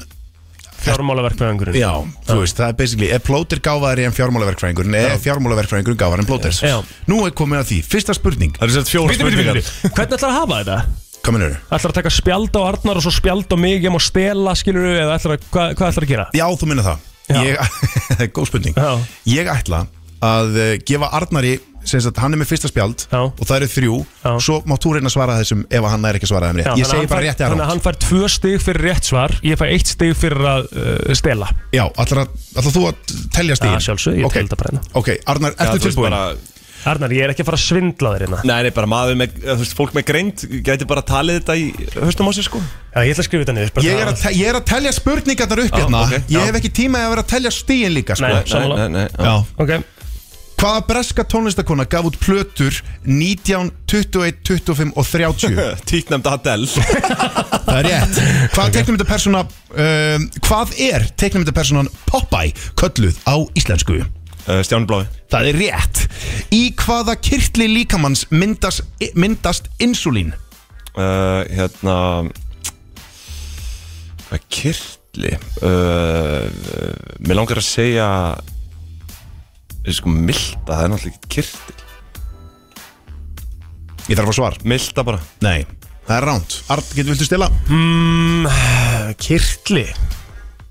Speaker 3: Fjármálaverkfræðingurinn
Speaker 2: Já, þú veist, það er basically Er plóter gáfaðari en fjármálaverkfræðingurinn Er fjármálaverkfræðingurinn gáfaðari en plóter
Speaker 3: Já.
Speaker 2: Nú er komið að því, fyrsta spurning
Speaker 4: Það er sett fjóra
Speaker 3: Bíddu, bíddu, bíddu,
Speaker 4: spurningar
Speaker 3: bíddu. Hvernig ætlar að hafa þetta?
Speaker 2: Hvað mennur
Speaker 3: Ætlar að taka spjald á Arnar og svo spjald á mig Ég má stela, skilur við Eða ætlar að, hvað, hvað ætlar að gera?
Speaker 2: Já, þú minna það
Speaker 3: Já.
Speaker 2: Ég, *laughs* Góð spurning
Speaker 3: Já.
Speaker 2: Ég ætla að eh, gefa Arnari sem sagt, hann er með fyrsta spjald
Speaker 3: Já.
Speaker 2: og það eru þrjú
Speaker 3: Já.
Speaker 2: svo mátt þú reyna að svara þessum ef hann er ekki að svara þeim
Speaker 3: Já,
Speaker 2: rétt ég
Speaker 3: þannig að hann
Speaker 2: segi bara
Speaker 3: fær-
Speaker 2: rétt eða
Speaker 3: Þannig að
Speaker 2: rátt
Speaker 3: hann fær tvö stig fyrir rétt svar Ég fær eitt stig fyrir að uh, stela
Speaker 2: já, ætlar, að, ætlar þú að telja
Speaker 3: Já,
Speaker 2: stíðin
Speaker 3: sjálfsög,
Speaker 2: ok,
Speaker 3: ég okay. telda bara hérna
Speaker 2: ok, Arnar,
Speaker 4: Já,
Speaker 2: ertu
Speaker 4: þú veist,
Speaker 2: tilbúin?
Speaker 4: bara-
Speaker 3: Arnar, ég er ekki að fara að svindla þér hérna
Speaker 4: Nei, nei, bara maður með, þú veist, fólk með greind gæti bara talið þetta í höstum á sér, sko
Speaker 3: Já, ég ætla að skrifa þetta niður bara
Speaker 2: Ég er, að, te- ég er að telja spurningarnar upp
Speaker 4: Já,
Speaker 2: hérna
Speaker 4: ok,
Speaker 2: Ég
Speaker 4: já.
Speaker 2: hef ekki tíma í að vera að telja stíðin líka sko.
Speaker 3: Nei, sammála.
Speaker 4: nei,
Speaker 2: Já.
Speaker 3: Ok,
Speaker 2: Hvaða breska tónlistakona gaf út plötur 19, 21, 25 og
Speaker 4: *laughs*
Speaker 2: 30
Speaker 4: Tíknæmt Adele
Speaker 2: Það er rétt Hvað okay. teiknumyndapersona um, Hvað er teiknumyndapersonan Popeye kölluð á íslensku?
Speaker 4: Uh, Stjáni Blái
Speaker 2: Það er rétt Í hvaða kirtli líkamanns myndast, myndast insulín?
Speaker 4: uh, Hérna Hvað kyrli uh, uh, Mér langar að segja eh, Sko milta Það er náttúrulega ekki kyrli
Speaker 2: Ég þarf að fá svar
Speaker 4: Milta bara
Speaker 2: Nei, það er ránt Art, getur viltu stila?
Speaker 3: uh, kirtli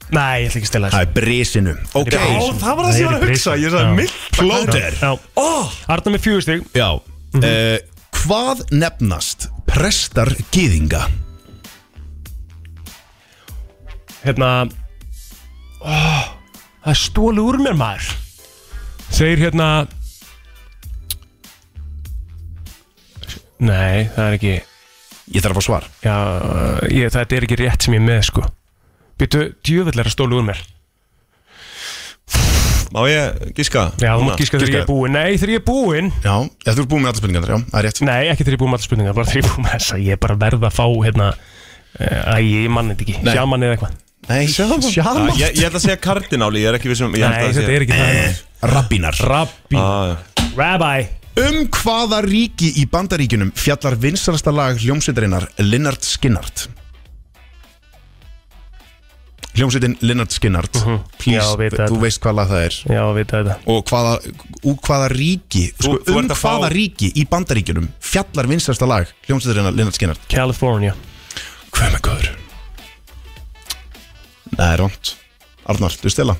Speaker 3: Nei, ég ætla ekki að stela
Speaker 2: Það
Speaker 3: þessu
Speaker 2: er brisinu Ok
Speaker 3: Já, það var það sem ég var að hugsa. Ég sagði milta.
Speaker 2: Plóter
Speaker 3: Já, oh! Arnar með fjögur stig
Speaker 2: Já uh, Hvað nefnast prestar gýðinga?
Speaker 3: Hérna oh, Það er stólu úr mér maður Segir hérna Nei, það er ekki
Speaker 2: Ég þarf að fá svar
Speaker 3: Já, ég, þetta er ekki rétt sem ég er með sko Býtu, djöfell er að stólu úr mér
Speaker 4: Má ég gíska?
Speaker 3: Já, þú
Speaker 4: Núna?
Speaker 3: mátt gíska þegar ég er búinn Nei, þegar ég er búinn
Speaker 2: Já, ég þú er búin með allar spurningarnar, já, það er rétt
Speaker 3: Nei, ekki þegar ég er búinn með allar spurningar Bara þegar ég er búinn með *laughs* þessa Ég er bara verð að fá hérna eh, Æ, ég mann þetta ekki
Speaker 2: Nei.
Speaker 3: Sjaman eða eitthvað
Speaker 2: Nei, sjáum
Speaker 4: Já, ég, ég ætla að segja kardináli Ég er ekki vissum
Speaker 3: Nei, þetta er ekki
Speaker 2: Eh,
Speaker 3: það
Speaker 4: Eh.
Speaker 2: Rabbinar
Speaker 3: Rabbi
Speaker 4: ekki
Speaker 3: Rabbi
Speaker 2: Um hvaða ríki í bandaríkjunum fjallar vinsarasta lag hljómsveitarinnar Linnard Skinnart? Hljómsveitin Linnard Skinnart Please,
Speaker 3: Mhm. Já, veit
Speaker 2: þú
Speaker 3: þetta.
Speaker 2: veist hvað lag það er
Speaker 3: Já, við þetta
Speaker 2: Og hvaða, úr hvaða ríki sko,
Speaker 4: þú
Speaker 2: Um
Speaker 4: ert að fá-
Speaker 2: hvaða ríki í bandaríkjunum fjallar vinsarasta lag hljómsveitarinnar Linnard Skinnart?
Speaker 3: California
Speaker 2: Hvað með góður? Nei, rámt Arnar, þú stela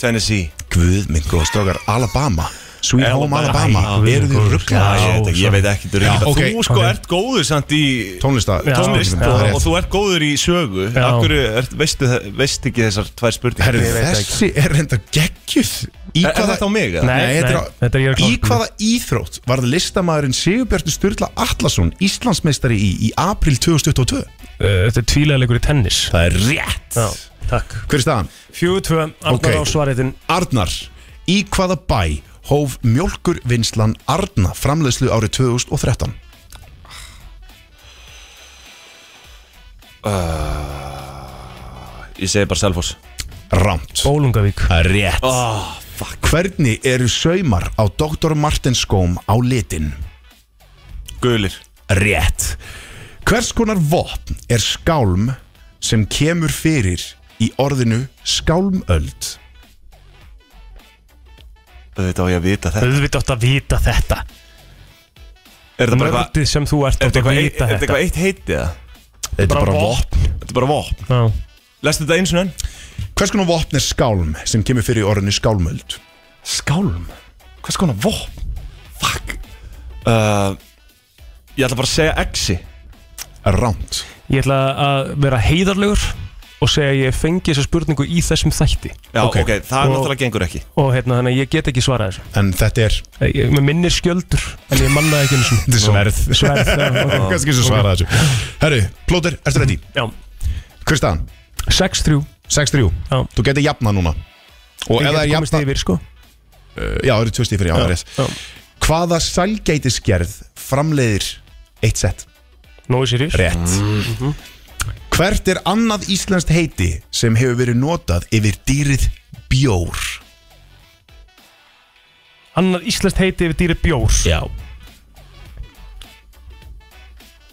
Speaker 4: Tennessee
Speaker 2: Guð minn góð, strókar Alabama Sweet Home
Speaker 4: Alabama.
Speaker 2: Alabama Eru
Speaker 3: Æ, guð minn
Speaker 2: þið
Speaker 3: góður.
Speaker 2: rugglaðar?
Speaker 3: Já,
Speaker 4: Ég, ég veit ekki, þú, er
Speaker 2: Já,
Speaker 4: ekki
Speaker 2: ok.
Speaker 4: þú sko
Speaker 3: Ok.
Speaker 4: ert góður samt í
Speaker 2: Tónlista
Speaker 3: Já.
Speaker 4: tónlist
Speaker 2: tónlistin, það
Speaker 4: og,
Speaker 2: er
Speaker 4: og
Speaker 2: rétt.
Speaker 4: þú ert góður í sögu
Speaker 3: Já.
Speaker 4: Akkur er, veistu, það- veist ekki þessar tvær spurningar
Speaker 2: Herru, þessi er reynda geggjuð Í
Speaker 4: Er, er þetta á
Speaker 2: hvaða
Speaker 4: mig? eða?
Speaker 3: Nei,
Speaker 2: þetta er
Speaker 3: nei,
Speaker 2: á-
Speaker 3: þetta er ég að
Speaker 2: Í
Speaker 3: klára.
Speaker 2: hvaða íþrótt varð listamaðurinn Sigurbjörn Sturla Atlason Íslandsmeistari í í april 2022
Speaker 3: Uh, Þetta er tvílega leikur í tennis
Speaker 2: Það er rétt
Speaker 3: Já, takk
Speaker 2: Hver er staðan?
Speaker 3: Fjögur tvö, Arnar
Speaker 2: Ok.
Speaker 3: á svariðin
Speaker 2: Arnar Í hvaða bæ hóf mjölkurvinnslan Arna framleiðslu árið 2013
Speaker 4: Ég segi bara Selfoss
Speaker 2: Rámt
Speaker 3: Bólungavík
Speaker 2: Það er rétt Hvernig eru saumar á Dr. Martens skóm á litin?
Speaker 4: Gulir
Speaker 8: rétt
Speaker 2: Hvers konar vopn er skálm sem kemur fyrir í orðinu skálmöld?
Speaker 4: Auðvitað á ég að vita þetta
Speaker 3: Auðvitað átt að vita þetta
Speaker 4: Er þetta bara eitthvað-
Speaker 3: Nördið sem þú ert
Speaker 4: Er
Speaker 3: átt
Speaker 4: þetta
Speaker 3: að
Speaker 4: eitthvað eitt-
Speaker 3: vita
Speaker 4: er þetta
Speaker 3: þetta
Speaker 4: eitthvað eitt heiti eða?
Speaker 2: Þetta er bara vopn
Speaker 4: Þetta er bara vopn
Speaker 3: Já
Speaker 4: Lestu þetta eins og enn?
Speaker 2: Hvers konar vopn er skálm sem kemur fyrir í orðinu skálmöld?
Speaker 4: Skálm? Hvers konar vopn? Fuck uh, Ég ætla bara að segja exi
Speaker 2: Ránt
Speaker 3: Ég ætla að vera heiðarlegur og segja að ég fengi þessa spurningu í þessum þætti
Speaker 4: Já, ok, það
Speaker 3: Og-
Speaker 4: náttúrulega gengur ekki
Speaker 3: Og hérna, þannig að ég get ekki svarað þessu
Speaker 2: En þetta er
Speaker 3: Ég, ég- mér minnir skjöldur, en ég manna ekki einu sinni
Speaker 2: Þetta er sverð
Speaker 3: Sverð, já, ok.
Speaker 2: Kannski svo svara þessu Herru, plóter, ertu ready?
Speaker 3: Já
Speaker 2: Hver er staðan?
Speaker 3: 6-3
Speaker 2: 6-3
Speaker 3: Já
Speaker 2: Þú getur jafna núna Og ef
Speaker 3: Ég get
Speaker 2: það er
Speaker 3: komist
Speaker 2: jafna
Speaker 3: yfir, sko.
Speaker 2: uh, Já, það eru tvö stíð fyrir, já, það er rétt Hvaða sælgætisgerð framleiðir eitt sett?
Speaker 3: Nói sirís
Speaker 2: Rétt Mhm. Hvert er annað íslenskt heiti sem hefur verið notað yfir dýrið bjór?
Speaker 3: Annar íslenskt heiti yfir dýri bjór
Speaker 2: Já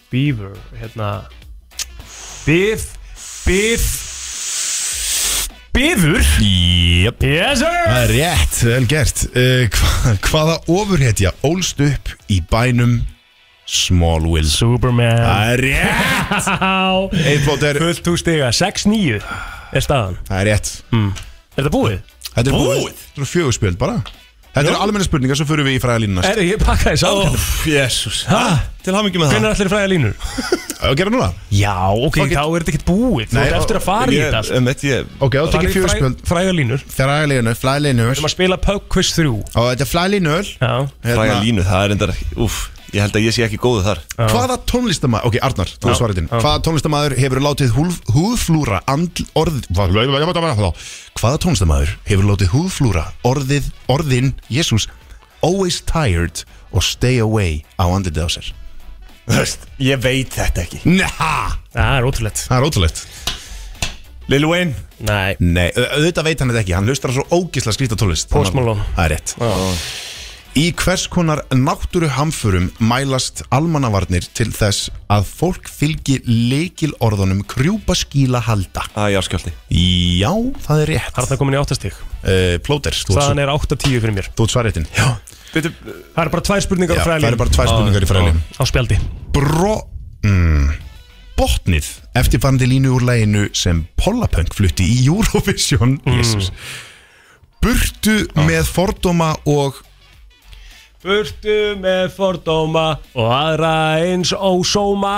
Speaker 3: Beaver, hérna Bif Bif Bifur
Speaker 2: Jep
Speaker 3: Yes sir
Speaker 2: Það er rétt, vel gert uh, hva, Hvaða ofurhetja ólst upp í bænum Smallville
Speaker 3: Superman
Speaker 2: Það er rétt Eitt blótt er
Speaker 3: Fullt þú stiga 6-9 er staðan
Speaker 2: Það er rétt
Speaker 3: Er þetta búið?
Speaker 2: Þetta er búið Þetta eru fjögur spjöld bara Þetta eru almenna spurningar Svo fyrir við í fræðalínuna
Speaker 3: Er ég pakkaði saman? Oh.
Speaker 4: Jésús Til hafa ekki með það
Speaker 3: Hvernig er allir fræða línur?
Speaker 2: Að gera núna
Speaker 3: Já, ok, þá er þetta ekkert búið Þú
Speaker 2: Nei,
Speaker 3: ert eftir að fara í
Speaker 4: Ég-
Speaker 3: þetta sko. allt.
Speaker 4: um eitt, ég-
Speaker 2: Ok, þá tekir fjögur spjöld
Speaker 3: fræða línur Við
Speaker 2: Fræðalínu, flæðalínur
Speaker 3: erum að spila Pug Quiz 3
Speaker 2: Og þetta er flæðalínur
Speaker 3: Já,
Speaker 2: Hérna,
Speaker 4: Fræga línu, það er endar Úf, ég held að ég sé ekki góðu þar
Speaker 2: Hvaða tónlistamæður Ok, Arnar, þú er svaritinn
Speaker 3: já.
Speaker 2: Hvaða tónlistamæður hefur látið húf, húðflúra andl, orð, Hvaða tónlistamæður hefur látið húðflúra orðið, orðin, jésús Always tired og stay away á andlitið á sér
Speaker 4: Þú veist, Ég veit þetta ekki
Speaker 2: Næha
Speaker 3: það er ótrúlegt
Speaker 2: Það er ótrúlegt
Speaker 4: Lil Wayne
Speaker 3: Nei
Speaker 2: Nei, au- auðvitað veit hann þetta ekki, hann hlustar á svo ógisla skrýta tólist
Speaker 3: Post Malone.
Speaker 2: Það er rétt Í hvers konar náttúru hamförum mælast almannavarnir til þess að fólk fylgi leikil orðunum krjúpa skíla halda
Speaker 4: Æ, já, skjöldi
Speaker 2: Já, það er rétt
Speaker 3: Það er það komin í áttastík
Speaker 2: uh, Plóter, þú ert
Speaker 3: Staðan er 8-10 fyrir mér
Speaker 2: svo- þú ert svarréttin Já,
Speaker 4: Býtu,
Speaker 3: Það eru bara tvær spurningar á
Speaker 2: það
Speaker 3: fræða
Speaker 2: eru bara tvær spurningar í fræðalínu
Speaker 3: Á spjaldi
Speaker 2: Bró... Mm, botnið Eftirfarandi línu úr læginu sem Pollapunk flutti í Eurovision
Speaker 3: Mm.
Speaker 2: Jesus Burtu með fordóma og
Speaker 3: Burtu með fordóma og aðra eins ósóma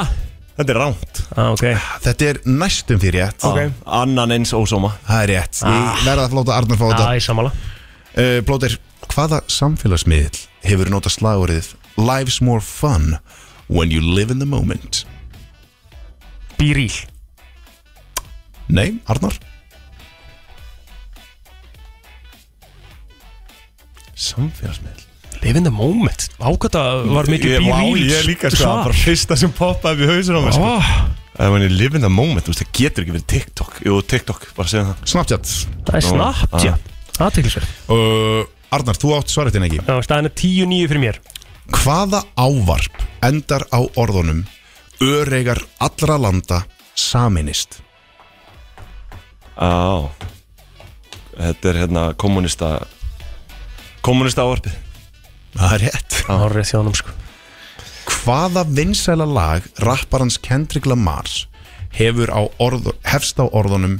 Speaker 4: þetta er rámt
Speaker 3: ah, Ok,
Speaker 2: Þetta er næstum því rétt
Speaker 3: Ok.
Speaker 4: Annan eins ósóma
Speaker 2: Það er rétt Ég verða að flóta Arnar fá
Speaker 3: það
Speaker 2: þetta
Speaker 3: er sammála
Speaker 2: uh, Blóter, hvaða samfélagsmiðl hefur nota slagurðið Life's more fun when you live in the moment
Speaker 3: Býríl
Speaker 2: Nei, Arnar
Speaker 4: Samfélagsmiðl
Speaker 3: Live in the moment Ákvæmt að var mikið
Speaker 4: Ég- vá,
Speaker 3: býríl
Speaker 4: Ég líka sko, það var bara fyrsta sem poppaði við hausinn á mig sko.
Speaker 3: Ah,
Speaker 4: I mean, live in the moment, þú veist, það getur ekki verið TikTok Jú, TikTok, bara segja það
Speaker 2: Snapchat
Speaker 3: Það er snabbt, já Aðteklisverð
Speaker 2: uh, Arnar, þú átt svaretinn ekki
Speaker 3: Já, staðan er 10-9 fyrir mér
Speaker 2: Hvaða ávarp endar á orðunum Öreigar allra landa saminist
Speaker 4: Á Þetta er hérna kommunista Kommunista ávarpið
Speaker 2: Það er rétt
Speaker 3: Hárið þjónum sko
Speaker 2: Hvaða vinsæla lag rapparans Kendrick Lamar hefur á orð, hefst á orðunum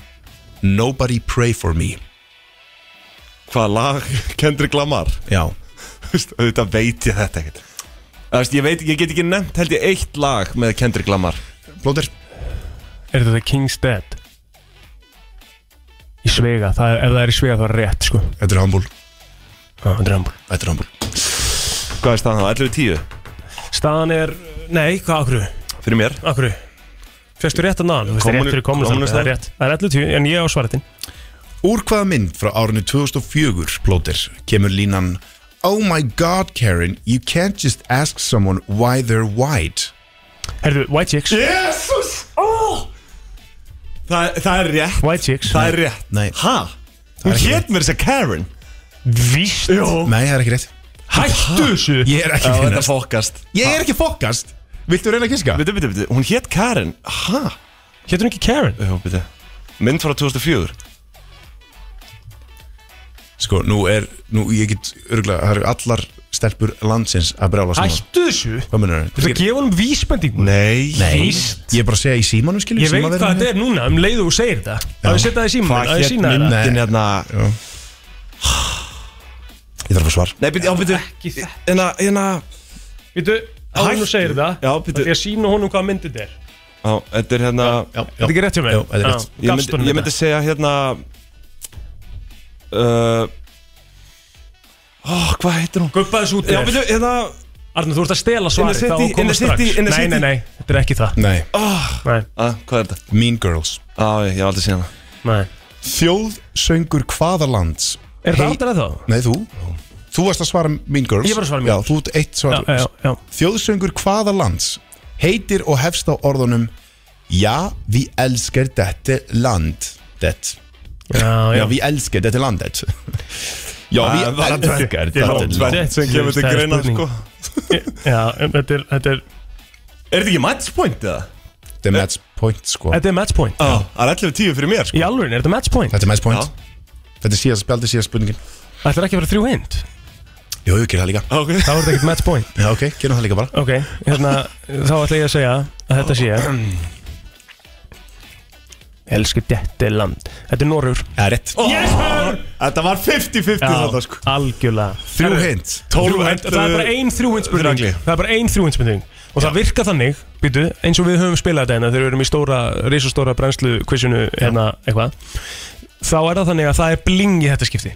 Speaker 2: Nobody pray for me
Speaker 4: Hvaða lag Kendrick Lamar *laughs*
Speaker 2: Já,
Speaker 4: Þú veist, Auðvitað veit ég þetta ekkert Þú veist, ég veit, ég get ekki nefnt held ég eitt lag með Kendrick Lamar
Speaker 2: blóðir
Speaker 3: Er þetta King's Dead? Í svega, það, er- ef það er í svega þá er rétt sko
Speaker 2: Þetta er handból,
Speaker 3: Það er rambul
Speaker 2: þetta er handból
Speaker 4: Hvað er staðan þá? 11.10
Speaker 3: Staðan er, nei, hvað akkur
Speaker 4: fyrir mér
Speaker 3: Akkur Fyrstu rétt að náðan Það er
Speaker 4: Kommuni-
Speaker 3: rétt fyrir komunist
Speaker 4: kommúnistar.
Speaker 3: Það er rétt Það er 11-10 en ég á svaretinn
Speaker 2: Úr hvaða mynd frá árinu 2004 blóðir kemur línan Oh my god Karen, you can't just ask someone why they're white
Speaker 3: Herðu, White Chicks
Speaker 4: Jesus! Oh! Það, það er rétt
Speaker 3: White Chicks
Speaker 4: Það er rétt
Speaker 2: Nei.
Speaker 4: Hæ? Hún
Speaker 2: er ekki
Speaker 4: hétt mér þess að Karen
Speaker 3: Víst
Speaker 4: Jó
Speaker 2: Nei, það er ekki rétt
Speaker 3: Hættu þessu
Speaker 2: Ég er ekki
Speaker 15: hérna.
Speaker 4: Þetta
Speaker 2: finnast
Speaker 4: fokast
Speaker 2: Ég er ekki fokast
Speaker 4: Viltu reyna að kíska? Bitu, bitu, bitu, hún hétt Karen Hæ? Héttur hún ekki Karen? Já, bitu Mynd frá 2004
Speaker 2: Sko, nú er, nú ég get örgulega, það eru allar stelpur landsins að brjála saman
Speaker 3: Hættu þessu
Speaker 2: Hvað munur það?
Speaker 3: Þú ert að gefa honum vísbendingu
Speaker 2: Nei
Speaker 3: Nei.
Speaker 2: Ég er bara að segja í símanum skilur
Speaker 3: Ég veit hvað þetta er núna um leiðu og segir þetta Það er setja það í síma
Speaker 2: Hvað
Speaker 3: Það er
Speaker 2: hét
Speaker 3: sína
Speaker 2: myndin
Speaker 4: hérna
Speaker 2: Ég þarf að fá svar
Speaker 4: Nei, bitu, já, bitu
Speaker 3: Ekki þetta
Speaker 4: Hérna, hérna
Speaker 3: Vitu, áður nú segir það
Speaker 4: Já,
Speaker 3: Það
Speaker 4: bitu
Speaker 3: er að sína honum hvað myndið er
Speaker 4: Já, þetta er hérna Þetta
Speaker 3: er ekki rétt hjá mér?
Speaker 4: Já, þetta er
Speaker 3: Já,
Speaker 4: rétt
Speaker 3: gafst
Speaker 4: Ég myndi,
Speaker 3: honum
Speaker 4: ég myndi segja hérna uh, Ó, hvað heitir hún?
Speaker 3: Guppaðis út
Speaker 4: Já, bitu, hérna
Speaker 3: Arnur, þú ert að stela
Speaker 4: In
Speaker 3: svarið
Speaker 4: the City,
Speaker 3: þá
Speaker 4: In the
Speaker 3: koma strax
Speaker 4: City, In the
Speaker 3: Nei,
Speaker 4: City.
Speaker 3: nei, nei, þetta er ekki það
Speaker 2: Nei
Speaker 4: oh,
Speaker 3: Nei
Speaker 4: ah, Hvað er þetta?
Speaker 2: Mean Girls
Speaker 4: Já, ég hef aldrei séð hana
Speaker 3: Nei
Speaker 2: Þjóðsöngur hvaða lands
Speaker 3: Er þetta aldrei þá?
Speaker 2: Nei, þú Þú varst að svara Mean Girls
Speaker 3: Ég var að svara Mean
Speaker 2: Já, þú ert eitt svar
Speaker 3: Já, já, já.
Speaker 2: Þjóðsöngur hvaða lands heitir og hefst á orðunum Já, við elskar þetta land Þetta
Speaker 3: Já, já. Ah,
Speaker 2: Já, við elskar þetta land *laughs* þetta Já, við
Speaker 4: Það
Speaker 3: *laughs*
Speaker 4: var
Speaker 2: elskar
Speaker 4: tvennt-
Speaker 2: þetta
Speaker 4: tvennt sem kemur til
Speaker 3: Það er
Speaker 4: greina,
Speaker 3: spurning.
Speaker 4: sko.
Speaker 3: Já, en þetta er Þetta er
Speaker 4: Er þetta ekki matchpoint eða?
Speaker 2: Þetta er match point sko
Speaker 3: Þetta er match point
Speaker 4: Já, það er 11-10 fyrir mér sko
Speaker 3: Í alvörin, er þetta match point?
Speaker 2: Þetta er match point Þetta er síðast spjaldi síðast spurningin
Speaker 3: Þetta er ekki að vera þrjú hind
Speaker 2: Jó, ég gerði það líka
Speaker 4: okay.
Speaker 3: Þá er þetta ekkert match point
Speaker 2: Já, ok, gerum það líka bara
Speaker 3: Ok, hérna, þá ætla ég að segja að þetta sé Elsku dætti land Þetta er Norur
Speaker 2: Það er rétt
Speaker 3: Yes, sir!
Speaker 4: Þetta var 50-50 þarna, sko.
Speaker 3: algjörlega
Speaker 4: Þrjú
Speaker 3: Herru,
Speaker 4: hint.
Speaker 3: Þrjú
Speaker 4: Tólf
Speaker 3: hint
Speaker 4: hint,
Speaker 3: Það er bara
Speaker 4: uh,
Speaker 3: ein þrjúhind spurning
Speaker 4: þrangli.
Speaker 3: Það er bara ein þrjúhind spurning Og það virka þannig, býtu, eins og við höfum spilað þetta hérna Þegar við erum í stóra, risastóra brennslu kvissinu hérna eitthvað Þá er það þannig að það er bling í þetta skipti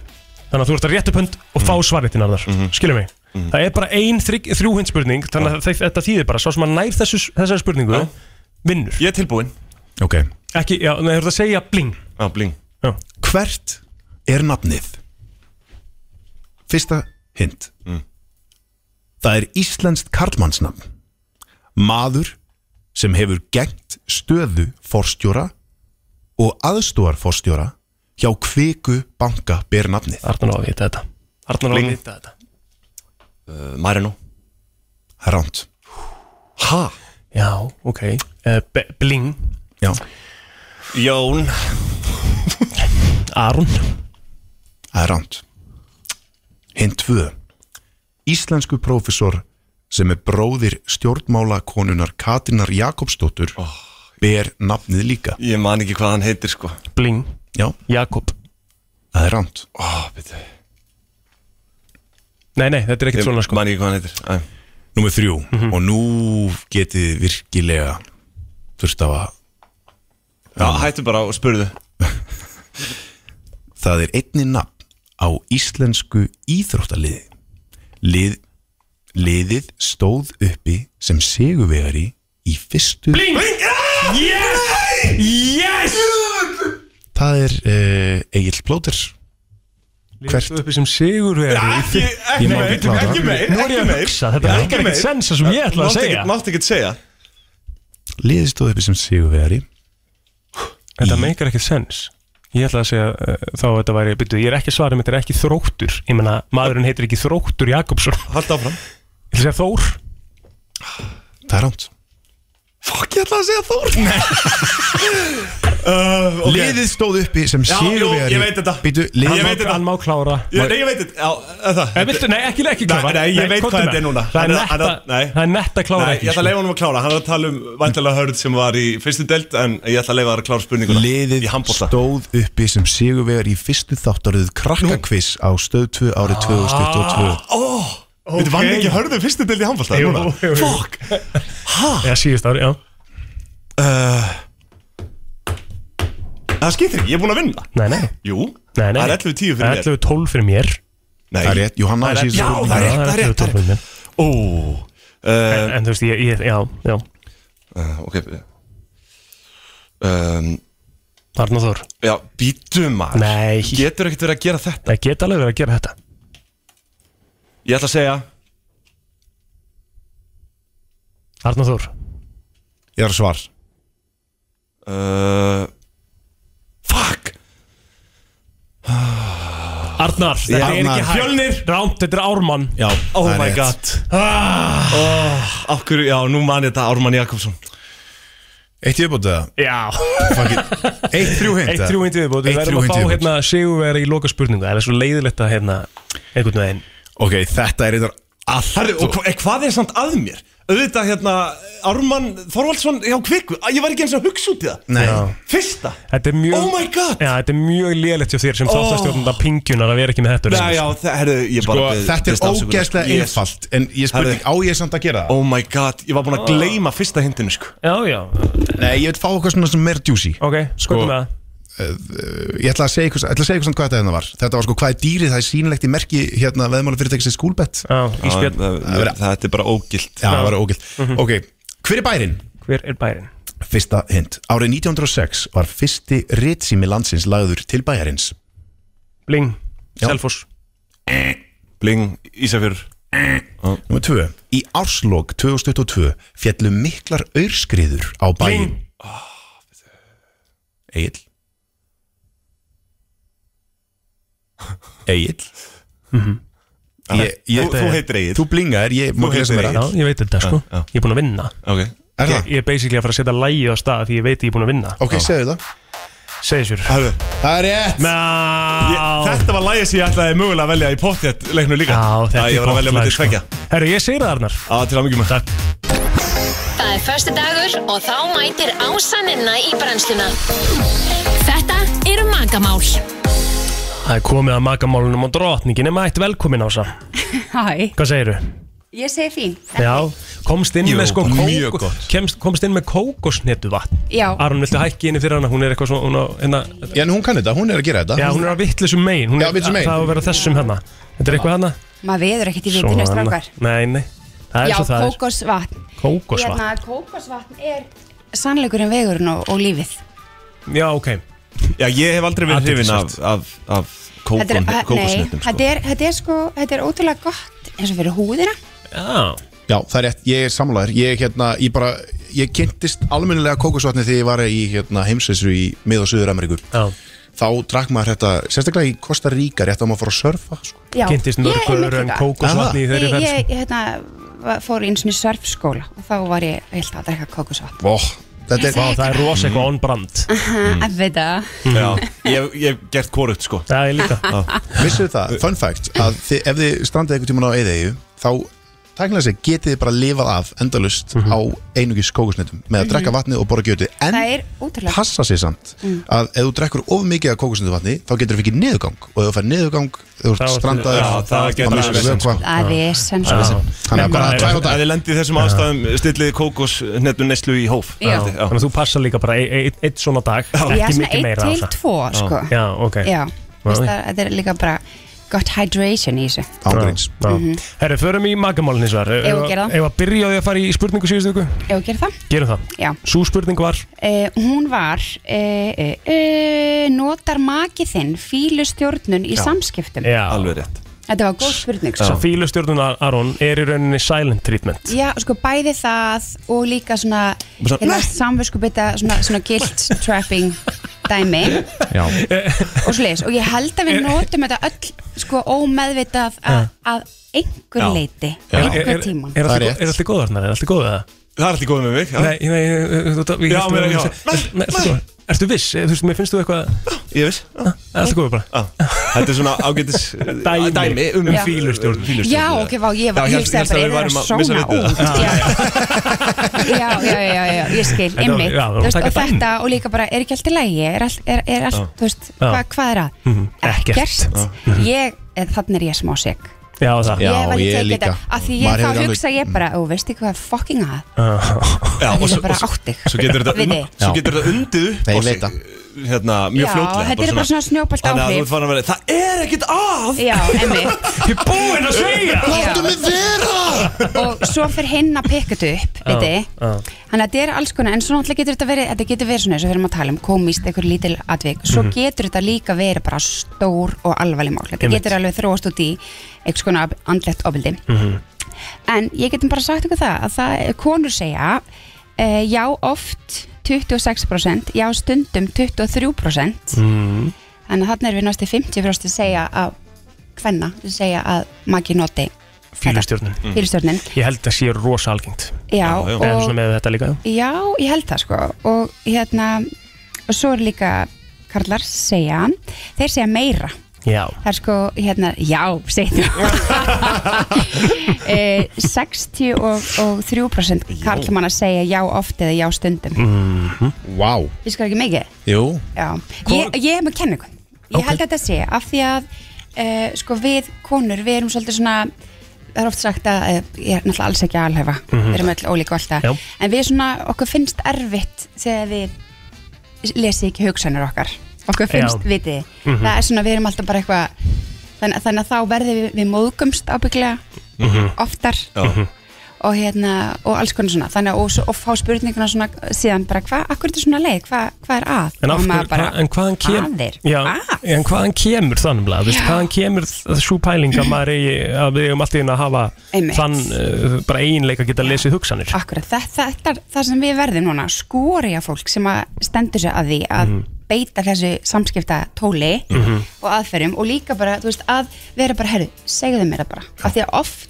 Speaker 3: Þannig að þú ert að rétt upp hönd og fá svarið þinn arðar mm mig Það er bara ein þrjúhind spurning Þannig að þe- þetta þýðir bara Sá sem að nær þessu, þessari spurningu vinnur
Speaker 4: Ég er tilbúinn
Speaker 2: Ok
Speaker 3: Ekki, já, nei, þú ert að segja bling
Speaker 4: Já, bling
Speaker 3: Já.
Speaker 2: Hvert er nafnið? Fyrsta hint
Speaker 4: Mm.
Speaker 2: Það er íslenskt karlmannsnafn Maður sem hefur gengt stöðu forstjóra og aðstúar forstjóra hjá kviku banka ber nafnið
Speaker 3: Arnar á að vita þetta Arnar á að
Speaker 2: Bling.
Speaker 3: vita þetta
Speaker 4: uh, Marino
Speaker 2: Ránt
Speaker 4: Ha?
Speaker 3: Já, ok uh, be- Bling
Speaker 2: Já
Speaker 4: Jón
Speaker 3: Arun
Speaker 2: Það er ránt Hinn tvö Íslensku prófessor sem er bróðir stjórnmála konunar Katinar Jakobsdóttur ber nafnið líka
Speaker 4: Ég man ekki hvað hann heitir sko
Speaker 3: Bling
Speaker 2: Já
Speaker 3: Jakob
Speaker 2: Það er ránt
Speaker 4: Ó, bitu
Speaker 3: Nei, nei, þetta er ekkert svona sko
Speaker 4: Man ekki hvað hann heitir Æ.
Speaker 2: Númer þrjú
Speaker 3: Mhm.
Speaker 2: Og nú getið þið virkilega þurft af að
Speaker 4: Já, hættu bara og spurðu
Speaker 2: Það er einni nafn á íslensku íþróttaliði Lið, Liðið stóð uppi sem sigurvegari í fyrstu
Speaker 3: Bling Ah! Yes Yes
Speaker 2: Það er uh, Egil Plóter
Speaker 3: Hvert uppi sem sigur við Ekki,
Speaker 2: Ég má ekki klára.
Speaker 4: Ekki meir
Speaker 3: Nú er ég að hugsa Þetta er ekkert ekkert sensa sem ég ætla að segja
Speaker 4: Máttu ekki segja
Speaker 2: Liðið stóð uppi sem sigurvegari
Speaker 3: Þetta meikar ekkert sens Ég ætla að segja uh, þá að þetta væri byrju, Ég er ekki svarið, þetta er ekki þróttur Ég meina, maðurinn heitir ekki þróttur Jakobsson
Speaker 4: Halda áfram
Speaker 3: Ég ætla að segja Þór
Speaker 2: Það er rámt
Speaker 4: Fuck, ég ætla að segja Þór *laughs* uh, ok.
Speaker 2: Liðið stóð uppi sem
Speaker 4: Já, jú,
Speaker 2: sigurvegari
Speaker 4: ég veit þetta.
Speaker 2: Býtu,
Speaker 4: Ég
Speaker 2: liðið
Speaker 4: veit þetta.
Speaker 3: Hann má klára
Speaker 4: Ég- Nei, ég veit þetta Já, það
Speaker 3: Nei, viltu, nei, ekki, ekki klára
Speaker 4: Nei, nei, ég veit
Speaker 3: komdu
Speaker 4: hvað
Speaker 3: með.
Speaker 4: þetta er núna
Speaker 3: Það er
Speaker 4: Hann- hann-
Speaker 3: netta,
Speaker 4: nei.
Speaker 3: það er netta klára
Speaker 4: Nei,
Speaker 3: ekki
Speaker 4: ég ætla að
Speaker 3: sko.
Speaker 4: leifa honum að klára Hann er að tala um vantilega hörð sem var í fyrstu delt En ég ætla að leifa hann að klára spurninguna
Speaker 2: Liðið
Speaker 4: Í handbólta
Speaker 2: stóð uppi sem sigurvegari í fyrstu þáttaröðu krakkakviss á stöð 2
Speaker 4: Ah,
Speaker 2: árið 2022
Speaker 4: Ó, þetta vann ekki hörðu fyrstu delt í handbólta
Speaker 3: Jú,
Speaker 4: núna
Speaker 3: jú, jú.
Speaker 4: Fuck
Speaker 3: Já, síðust ári, já
Speaker 4: Uh, Það skiptir ekki, ég er búinn að vinna
Speaker 3: Nei, nei,
Speaker 4: Jú,
Speaker 3: nei, nei.
Speaker 4: það er 11-10 fyrir mér
Speaker 3: 11-12 fyrir mér
Speaker 4: Nei.
Speaker 2: Það er rétt, Johanna er
Speaker 4: Já,
Speaker 2: síðan
Speaker 4: það er rétt, það er rétt,
Speaker 3: 11-12
Speaker 4: það er rétt
Speaker 3: fyrir mér
Speaker 4: Ó
Speaker 3: En
Speaker 4: uh,
Speaker 3: en þú veist, ég, ég já, já
Speaker 4: uh, Ok um,
Speaker 3: Arnar Þór
Speaker 4: Já, býtum maður
Speaker 3: Nei.
Speaker 4: Getur ekkert verið að gera þetta
Speaker 3: Það geta alveg verið að gera þetta
Speaker 4: Ég ætla að segja
Speaker 3: Arnar Þór
Speaker 2: Ég er að svar
Speaker 4: eh, uh, Fuck
Speaker 3: Arnar, þetta er
Speaker 4: Arnar.
Speaker 3: ekki hægt Fjölnir, rámt, þetta er Ármann
Speaker 4: Já, oh
Speaker 3: það er
Speaker 4: my
Speaker 3: rétt.
Speaker 4: god oh, Af hverju, já, nú man ég þetta Ármann Jakobsson
Speaker 2: Eitt viðbótið
Speaker 3: Já
Speaker 2: Eitt þrjú hint,
Speaker 3: Eitt
Speaker 2: eða?
Speaker 3: þrjú hindi viðbútt
Speaker 2: Eitt
Speaker 3: Við
Speaker 2: þrjú
Speaker 3: verðum að
Speaker 2: hint
Speaker 3: fá
Speaker 2: viðbót.
Speaker 3: hérna sigurveri í loka spurningu Það er svo leiðilegt að hérna einhvern veginn
Speaker 2: Ok, þetta er einhver
Speaker 4: Herru, og hva, eh, hvað er samt að mér? Auðvitað hérna, Ármann Þorvaldsson Já, kvikku, Æ, ég var ekki eins og að hugsa út í það
Speaker 3: Nei.
Speaker 4: Fyrsta
Speaker 3: Þetta er mjög
Speaker 4: Oh my god
Speaker 3: Já, þetta er mjög lélætt hjá þér sem
Speaker 4: Oh.
Speaker 3: oh. þáttastjórnanda pingjunar að vera ekki með þetta
Speaker 4: Nei, já, það, herru, ég
Speaker 2: Sko,
Speaker 4: bara bið-
Speaker 2: þetta
Speaker 4: biðst
Speaker 2: er
Speaker 4: afsökunar.
Speaker 2: ógeðslega
Speaker 4: Yes.
Speaker 2: einfalt En ég spurning, á ég samt að gera það?
Speaker 4: Oh my god, ég var búin að gleyma fyrsta hindinu sko
Speaker 3: Já, já
Speaker 2: Nei, ég vil fá eitthvað svona sem er meira juicy
Speaker 3: Ok,
Speaker 2: sko,
Speaker 3: hvað er
Speaker 2: eh, Ég ætla að segja eitthvað, ætla að segja eitthvað samt hvað þetta hérna var Þetta var sko, hvað er dýrið, það er sýnilegt í merki hérna, veðmála fyrirtækisins skúlbett
Speaker 3: Já,
Speaker 4: Já, það-
Speaker 2: Það verið-
Speaker 4: Þetta er bara ógilt
Speaker 2: Já, það var ógilt Ok, hver er bærin?
Speaker 3: Hver er bærin?
Speaker 2: Fyrsta hint Árið 1906 var fyrsti ritsými landsins lagður til bæjarins
Speaker 3: Bling, Selfoss
Speaker 4: Bling, Ísafjörður
Speaker 2: Númer 2 Í árslok 2022 fjallu miklar aurskriður á bæin Egil Egil
Speaker 4: Þú- þú heitir Egill.
Speaker 2: Þú blingar, ég
Speaker 3: Þú
Speaker 2: má ekki lesa
Speaker 3: heitir
Speaker 2: meira
Speaker 3: Egill. Já, ég veit þetta, sko. Ég er búin að vinna
Speaker 4: Ok
Speaker 2: Er
Speaker 3: ég,
Speaker 2: það?
Speaker 3: ég er basically að fara að setja lægið á stað því ég veit ég er búin að vinna
Speaker 2: Ok, segðu það
Speaker 3: Segðu sér
Speaker 4: Herru,
Speaker 2: Það er rétt
Speaker 3: Ná
Speaker 4: Þetta var lægið sem ég ætlaði mögulega að velja í pottet leiknum líka
Speaker 3: Já, þetta
Speaker 4: Æ,
Speaker 3: er
Speaker 4: Ég var að
Speaker 3: gott
Speaker 4: velja
Speaker 3: lag,
Speaker 4: með til
Speaker 3: sko.
Speaker 4: tvekja
Speaker 3: Herru, ég segir það Arnar
Speaker 4: Já, til að mikið með
Speaker 3: Takk
Speaker 14: Það er förstu dagur og þá mætir ásaninna í brennsluna. Þetta eru magamál.
Speaker 3: Það er komið að magamálunum og drotningin er mætt velkomin ása
Speaker 16: *laughs* Hæ,
Speaker 3: Hvað segiru?
Speaker 16: ég segi fín
Speaker 3: Já, komst inn
Speaker 4: Jú,
Speaker 3: með sko
Speaker 4: mjög
Speaker 3: kók-
Speaker 4: gott.
Speaker 3: kemst, komst inn með kókosnetu vatn
Speaker 16: Já.
Speaker 3: Aron, viltu hækki inni fyrir hana? Hún er eitthvað svona hún á, hérna,
Speaker 2: Já, en hún kann þetta, hún er að gera þetta
Speaker 3: Já, hún er að vittlisum megin hún
Speaker 2: Já, vitlausum megin.
Speaker 3: Það á að vera þessum hérna Þetta er eitthvað hérna
Speaker 16: Maður veður ekkert í
Speaker 3: Svona.
Speaker 16: vitinu strákar
Speaker 3: Nei, nei Það er
Speaker 16: Já,
Speaker 3: svo það er
Speaker 16: kókosvatn
Speaker 3: Kókosvatn
Speaker 16: Hérna, kókosvatn er sannleikurinn vegurinn og, og lífið Hérna-
Speaker 3: Já, ok
Speaker 4: Já, ég hef aldrei verið hrifin af, af, af
Speaker 16: Þetta
Speaker 4: kókon,
Speaker 16: er, að- nei,
Speaker 4: kókosnetum sko.
Speaker 16: þetta er, þetta er sko, þetta er ótrúlega gott eins og fyrir húðina
Speaker 3: Já
Speaker 2: Já, það er rétt, ég er samlæður Ég, hérna, ég bara, ég kynntist almennilega kókosvatni þegar ég var í hérna, heimsveisu í mið- og suður-Ameríku
Speaker 3: Já.
Speaker 2: Þá drakk maður þetta, sérstaklega í Costa Rica rétt að maður fór að surfa sko.
Speaker 16: Já.
Speaker 3: Kynntist
Speaker 16: Ég
Speaker 3: mörgu
Speaker 16: einmitt
Speaker 3: öðru en
Speaker 16: líka.
Speaker 3: kókosvatni í þeirri
Speaker 16: Ég-
Speaker 3: ferð, sko.
Speaker 16: Ég, ég hérna, va- fór eins og surfskóla og þá var ég vilt að drekka kókosvatn
Speaker 2: Ó, þetta er
Speaker 3: Vá, það er rosa eitthvað on brand
Speaker 16: *laughs*
Speaker 3: Mm.
Speaker 16: Að veit það
Speaker 4: Já, ég, ég hef gert korugt sko
Speaker 3: Það er líka
Speaker 2: Vissuð það, fun fact að þið, ef þið strandið einhvern tímann á eðeigu þá tæknilega sér getið þið bara lifað af endalust
Speaker 4: Mhm.
Speaker 2: á einugis kókosnetum með að drekka vatni og borra gjötu en
Speaker 16: Mhm. Það er Mm. ótrúlega
Speaker 2: passa sér samt að ef þú drekkur of mikið af kókosnetu vatni þá getur þú fikið niðurgang og ef þú fær niðurgang þú ert
Speaker 3: ertu-
Speaker 2: strandaður
Speaker 4: Já, það getur
Speaker 2: þá
Speaker 4: verið
Speaker 2: missir
Speaker 4: vesen,
Speaker 2: vökva.
Speaker 16: Það er vesen
Speaker 3: Já.
Speaker 16: sko.
Speaker 2: Þannig að bara tvær á
Speaker 4: Ef
Speaker 2: dag
Speaker 4: þið lendið þessum ástæðum stillið kókosnetum neslu í hóf
Speaker 16: Já.
Speaker 4: Þetta-
Speaker 3: Þannig að þú passa líka bara e- e- einn svona dag
Speaker 16: Ég er
Speaker 3: Ekki
Speaker 16: svona
Speaker 3: mikið
Speaker 16: 1
Speaker 3: meira
Speaker 16: til
Speaker 3: Ása. Ah.
Speaker 16: 2 sko
Speaker 3: Já, ok
Speaker 16: Já, veist
Speaker 3: Já.
Speaker 16: það, þetta er líka bara gott hydration í þessu
Speaker 2: ángríns
Speaker 3: Já. Herru, förum í magamálinn eins og þar
Speaker 16: Mhm. Eigum við að gera það?
Speaker 3: Ef að byrja á því að fara í spurningu síðustu viku
Speaker 16: Ef við gerum það,
Speaker 3: Gerum það
Speaker 16: já
Speaker 3: Sú spurning var
Speaker 16: uh, Hún var uh, uh, Notar maki þinn fílu stjórnun í samskiptum
Speaker 3: Já Eh.
Speaker 4: Alveg rétt
Speaker 16: Þetta var góð spurning
Speaker 3: Svo
Speaker 16: sko.
Speaker 3: fílustjórnun Aron er í rauninni silent treatment
Speaker 16: Já, sko, bæði það og líka svona, hérna, samviskubita svona, svona guilt trapping dæmi
Speaker 2: Já.
Speaker 16: og sliðis og ég held að við notum þetta öll sko ómeðvitað að, að einhver
Speaker 4: Já.
Speaker 16: leiti
Speaker 3: Er, er, er,
Speaker 16: einhver tíman
Speaker 2: Það
Speaker 3: er,
Speaker 2: er
Speaker 3: allt í-
Speaker 2: rétt.
Speaker 3: er allt í góð Arnar? Er allt í góð það?
Speaker 4: Það er alltaf góð með mig já.
Speaker 3: Nei, nei, eh, þú- þú- ég
Speaker 4: Já,
Speaker 3: hélt
Speaker 4: mér-
Speaker 3: að-
Speaker 4: já.
Speaker 3: Nei, nei, ertu góð? Ertu viss? Eh, Þú veist, mér finnst þú eitthvað
Speaker 4: Ég veist
Speaker 3: Ah, Er allt í góð bara?
Speaker 4: Já. Þetta er svona ágætis
Speaker 3: Dæmi.
Speaker 4: dæmi um
Speaker 3: Um fílustjórn.
Speaker 16: Já, ok, vá, ég var,
Speaker 4: Já, ég
Speaker 16: ég
Speaker 4: held-
Speaker 16: hugsaði
Speaker 4: ég
Speaker 16: bara,
Speaker 4: held að
Speaker 16: er
Speaker 4: við værum
Speaker 16: það
Speaker 4: að missa
Speaker 16: svona
Speaker 4: vitið.
Speaker 16: út? Já, já, já, já, já, ég skil,
Speaker 3: Þetta var-
Speaker 16: einmitt,
Speaker 3: já, það var
Speaker 16: þú
Speaker 3: að
Speaker 16: veist, og
Speaker 3: taka dæmi.
Speaker 16: þetta, og líka bara, er ekki allt í lægi, er allt, er, er allt, þú veist, hva, hvað er að?
Speaker 4: Mhm,
Speaker 3: Ekkert.
Speaker 16: Ég, eh, þannig er ég smá seg.
Speaker 3: Já, það
Speaker 2: Já,
Speaker 16: Ég var
Speaker 2: ég
Speaker 16: ekki að
Speaker 2: líka.
Speaker 16: geta, af því
Speaker 2: Maður
Speaker 16: ég
Speaker 2: hefur
Speaker 16: þá
Speaker 2: alveg-
Speaker 16: hugsa ég bara, og veistu hvað, fucking að,
Speaker 4: Já,
Speaker 16: það
Speaker 4: og
Speaker 16: er
Speaker 4: svo-
Speaker 16: bara
Speaker 4: og svo-
Speaker 16: áttig.
Speaker 4: Svo getur þetta
Speaker 16: Viti.
Speaker 4: und- svo getur þetta undið upp
Speaker 2: Nei, ég
Speaker 4: á sig,
Speaker 2: veit það.
Speaker 4: Hérna, mjög
Speaker 16: Já,
Speaker 4: fljótlega
Speaker 16: þetta er bara svona snjóbalt
Speaker 4: Þannig að þú ert
Speaker 16: áhrif.
Speaker 4: farin að vera Það er ekkert að
Speaker 16: Já, einmitt.
Speaker 3: *laughs* Ég er búinn að segja
Speaker 16: Láttu mig vera Og svo fyrir hinn að pikka þetta upp viti. Þannig að þetta er alls konar En svo náttúrulega getur þetta verið Þetta getur verið svona eins og við erum að tala um Komist, einhver lítil atvik Svo getur þetta líka verið bara stór og alvarleg mál Þetta
Speaker 3: Einmitt.
Speaker 16: getur alveg þróast út í Einhvers konar ab- andlegt ofildi En ég getum bara sagt ykkur það Að það konur segja uh, Já oft 26%
Speaker 3: Mhm. Mm,
Speaker 16: Já stundum 23% Þannig að þarna erum við næstu 50% að segja að hvenna sem segja að maki noti
Speaker 3: Fýlustjórnin
Speaker 16: Mm. Fýlustjórnin.
Speaker 3: Ég held að sé rosa algengt
Speaker 16: Já,
Speaker 3: En
Speaker 16: og-
Speaker 3: svona með þetta líka
Speaker 16: Já, ég held það sko og hérna, og svo er líka karlar segja, þeir segja meira
Speaker 3: Já
Speaker 16: það er sko, hérna, já, segðu e, 63% og, og 3% karlmanna segja já oft eða já stundum
Speaker 2: Vá
Speaker 16: Ég skar ekki mikið
Speaker 2: Jú
Speaker 16: Já, ég, ég hef með kenningu Ég held að þetta sé af því að uh, sko við konur, við erum svolítið svona það er oft sagt að eh, ég er náttúrulega alls ekki alhefa
Speaker 12: Mhm.
Speaker 16: við erum öll ólík og allt
Speaker 12: Já.
Speaker 16: það en við svona, okkur finnst erfitt þegar við lesi ekki hugsanir okkar okkur finnst,
Speaker 12: Já.
Speaker 16: vitið mm
Speaker 12: Mhm.
Speaker 16: það er svona, við erum alltaf bara eitthvað þannig, þannig að þá verðum við, við móðgumst ábygglega
Speaker 3: Mhm.
Speaker 16: oftar og hérna, og alls konar svona þannig að, og, svo- og fá spurninguna svona síðan bara, hvað, akkur er þetta svona leið, hvað, hvað er að
Speaker 3: En, af
Speaker 16: Og maður
Speaker 3: hverju, bara, en hvaðan kemur
Speaker 16: Aðir.
Speaker 3: já, En hvaðan kemur þannig að
Speaker 16: Já.
Speaker 3: Hvaðan kemur svo pæling að, maður eigi, að við eigum alltaf inn að hafa
Speaker 16: Einmitt.
Speaker 3: þann uh, bara eiginleika að geta lesið hugsanir
Speaker 16: Akkurat, það, það, það, það sem við verðum núna skori að fólk sem að stendur sér að því að
Speaker 3: Mhm.
Speaker 16: beita þessu samskipta tóli
Speaker 3: Mhm.
Speaker 16: og aðferðum og líka bara, þú veist, að vera bara herru, segðu mér það bara, af því að oft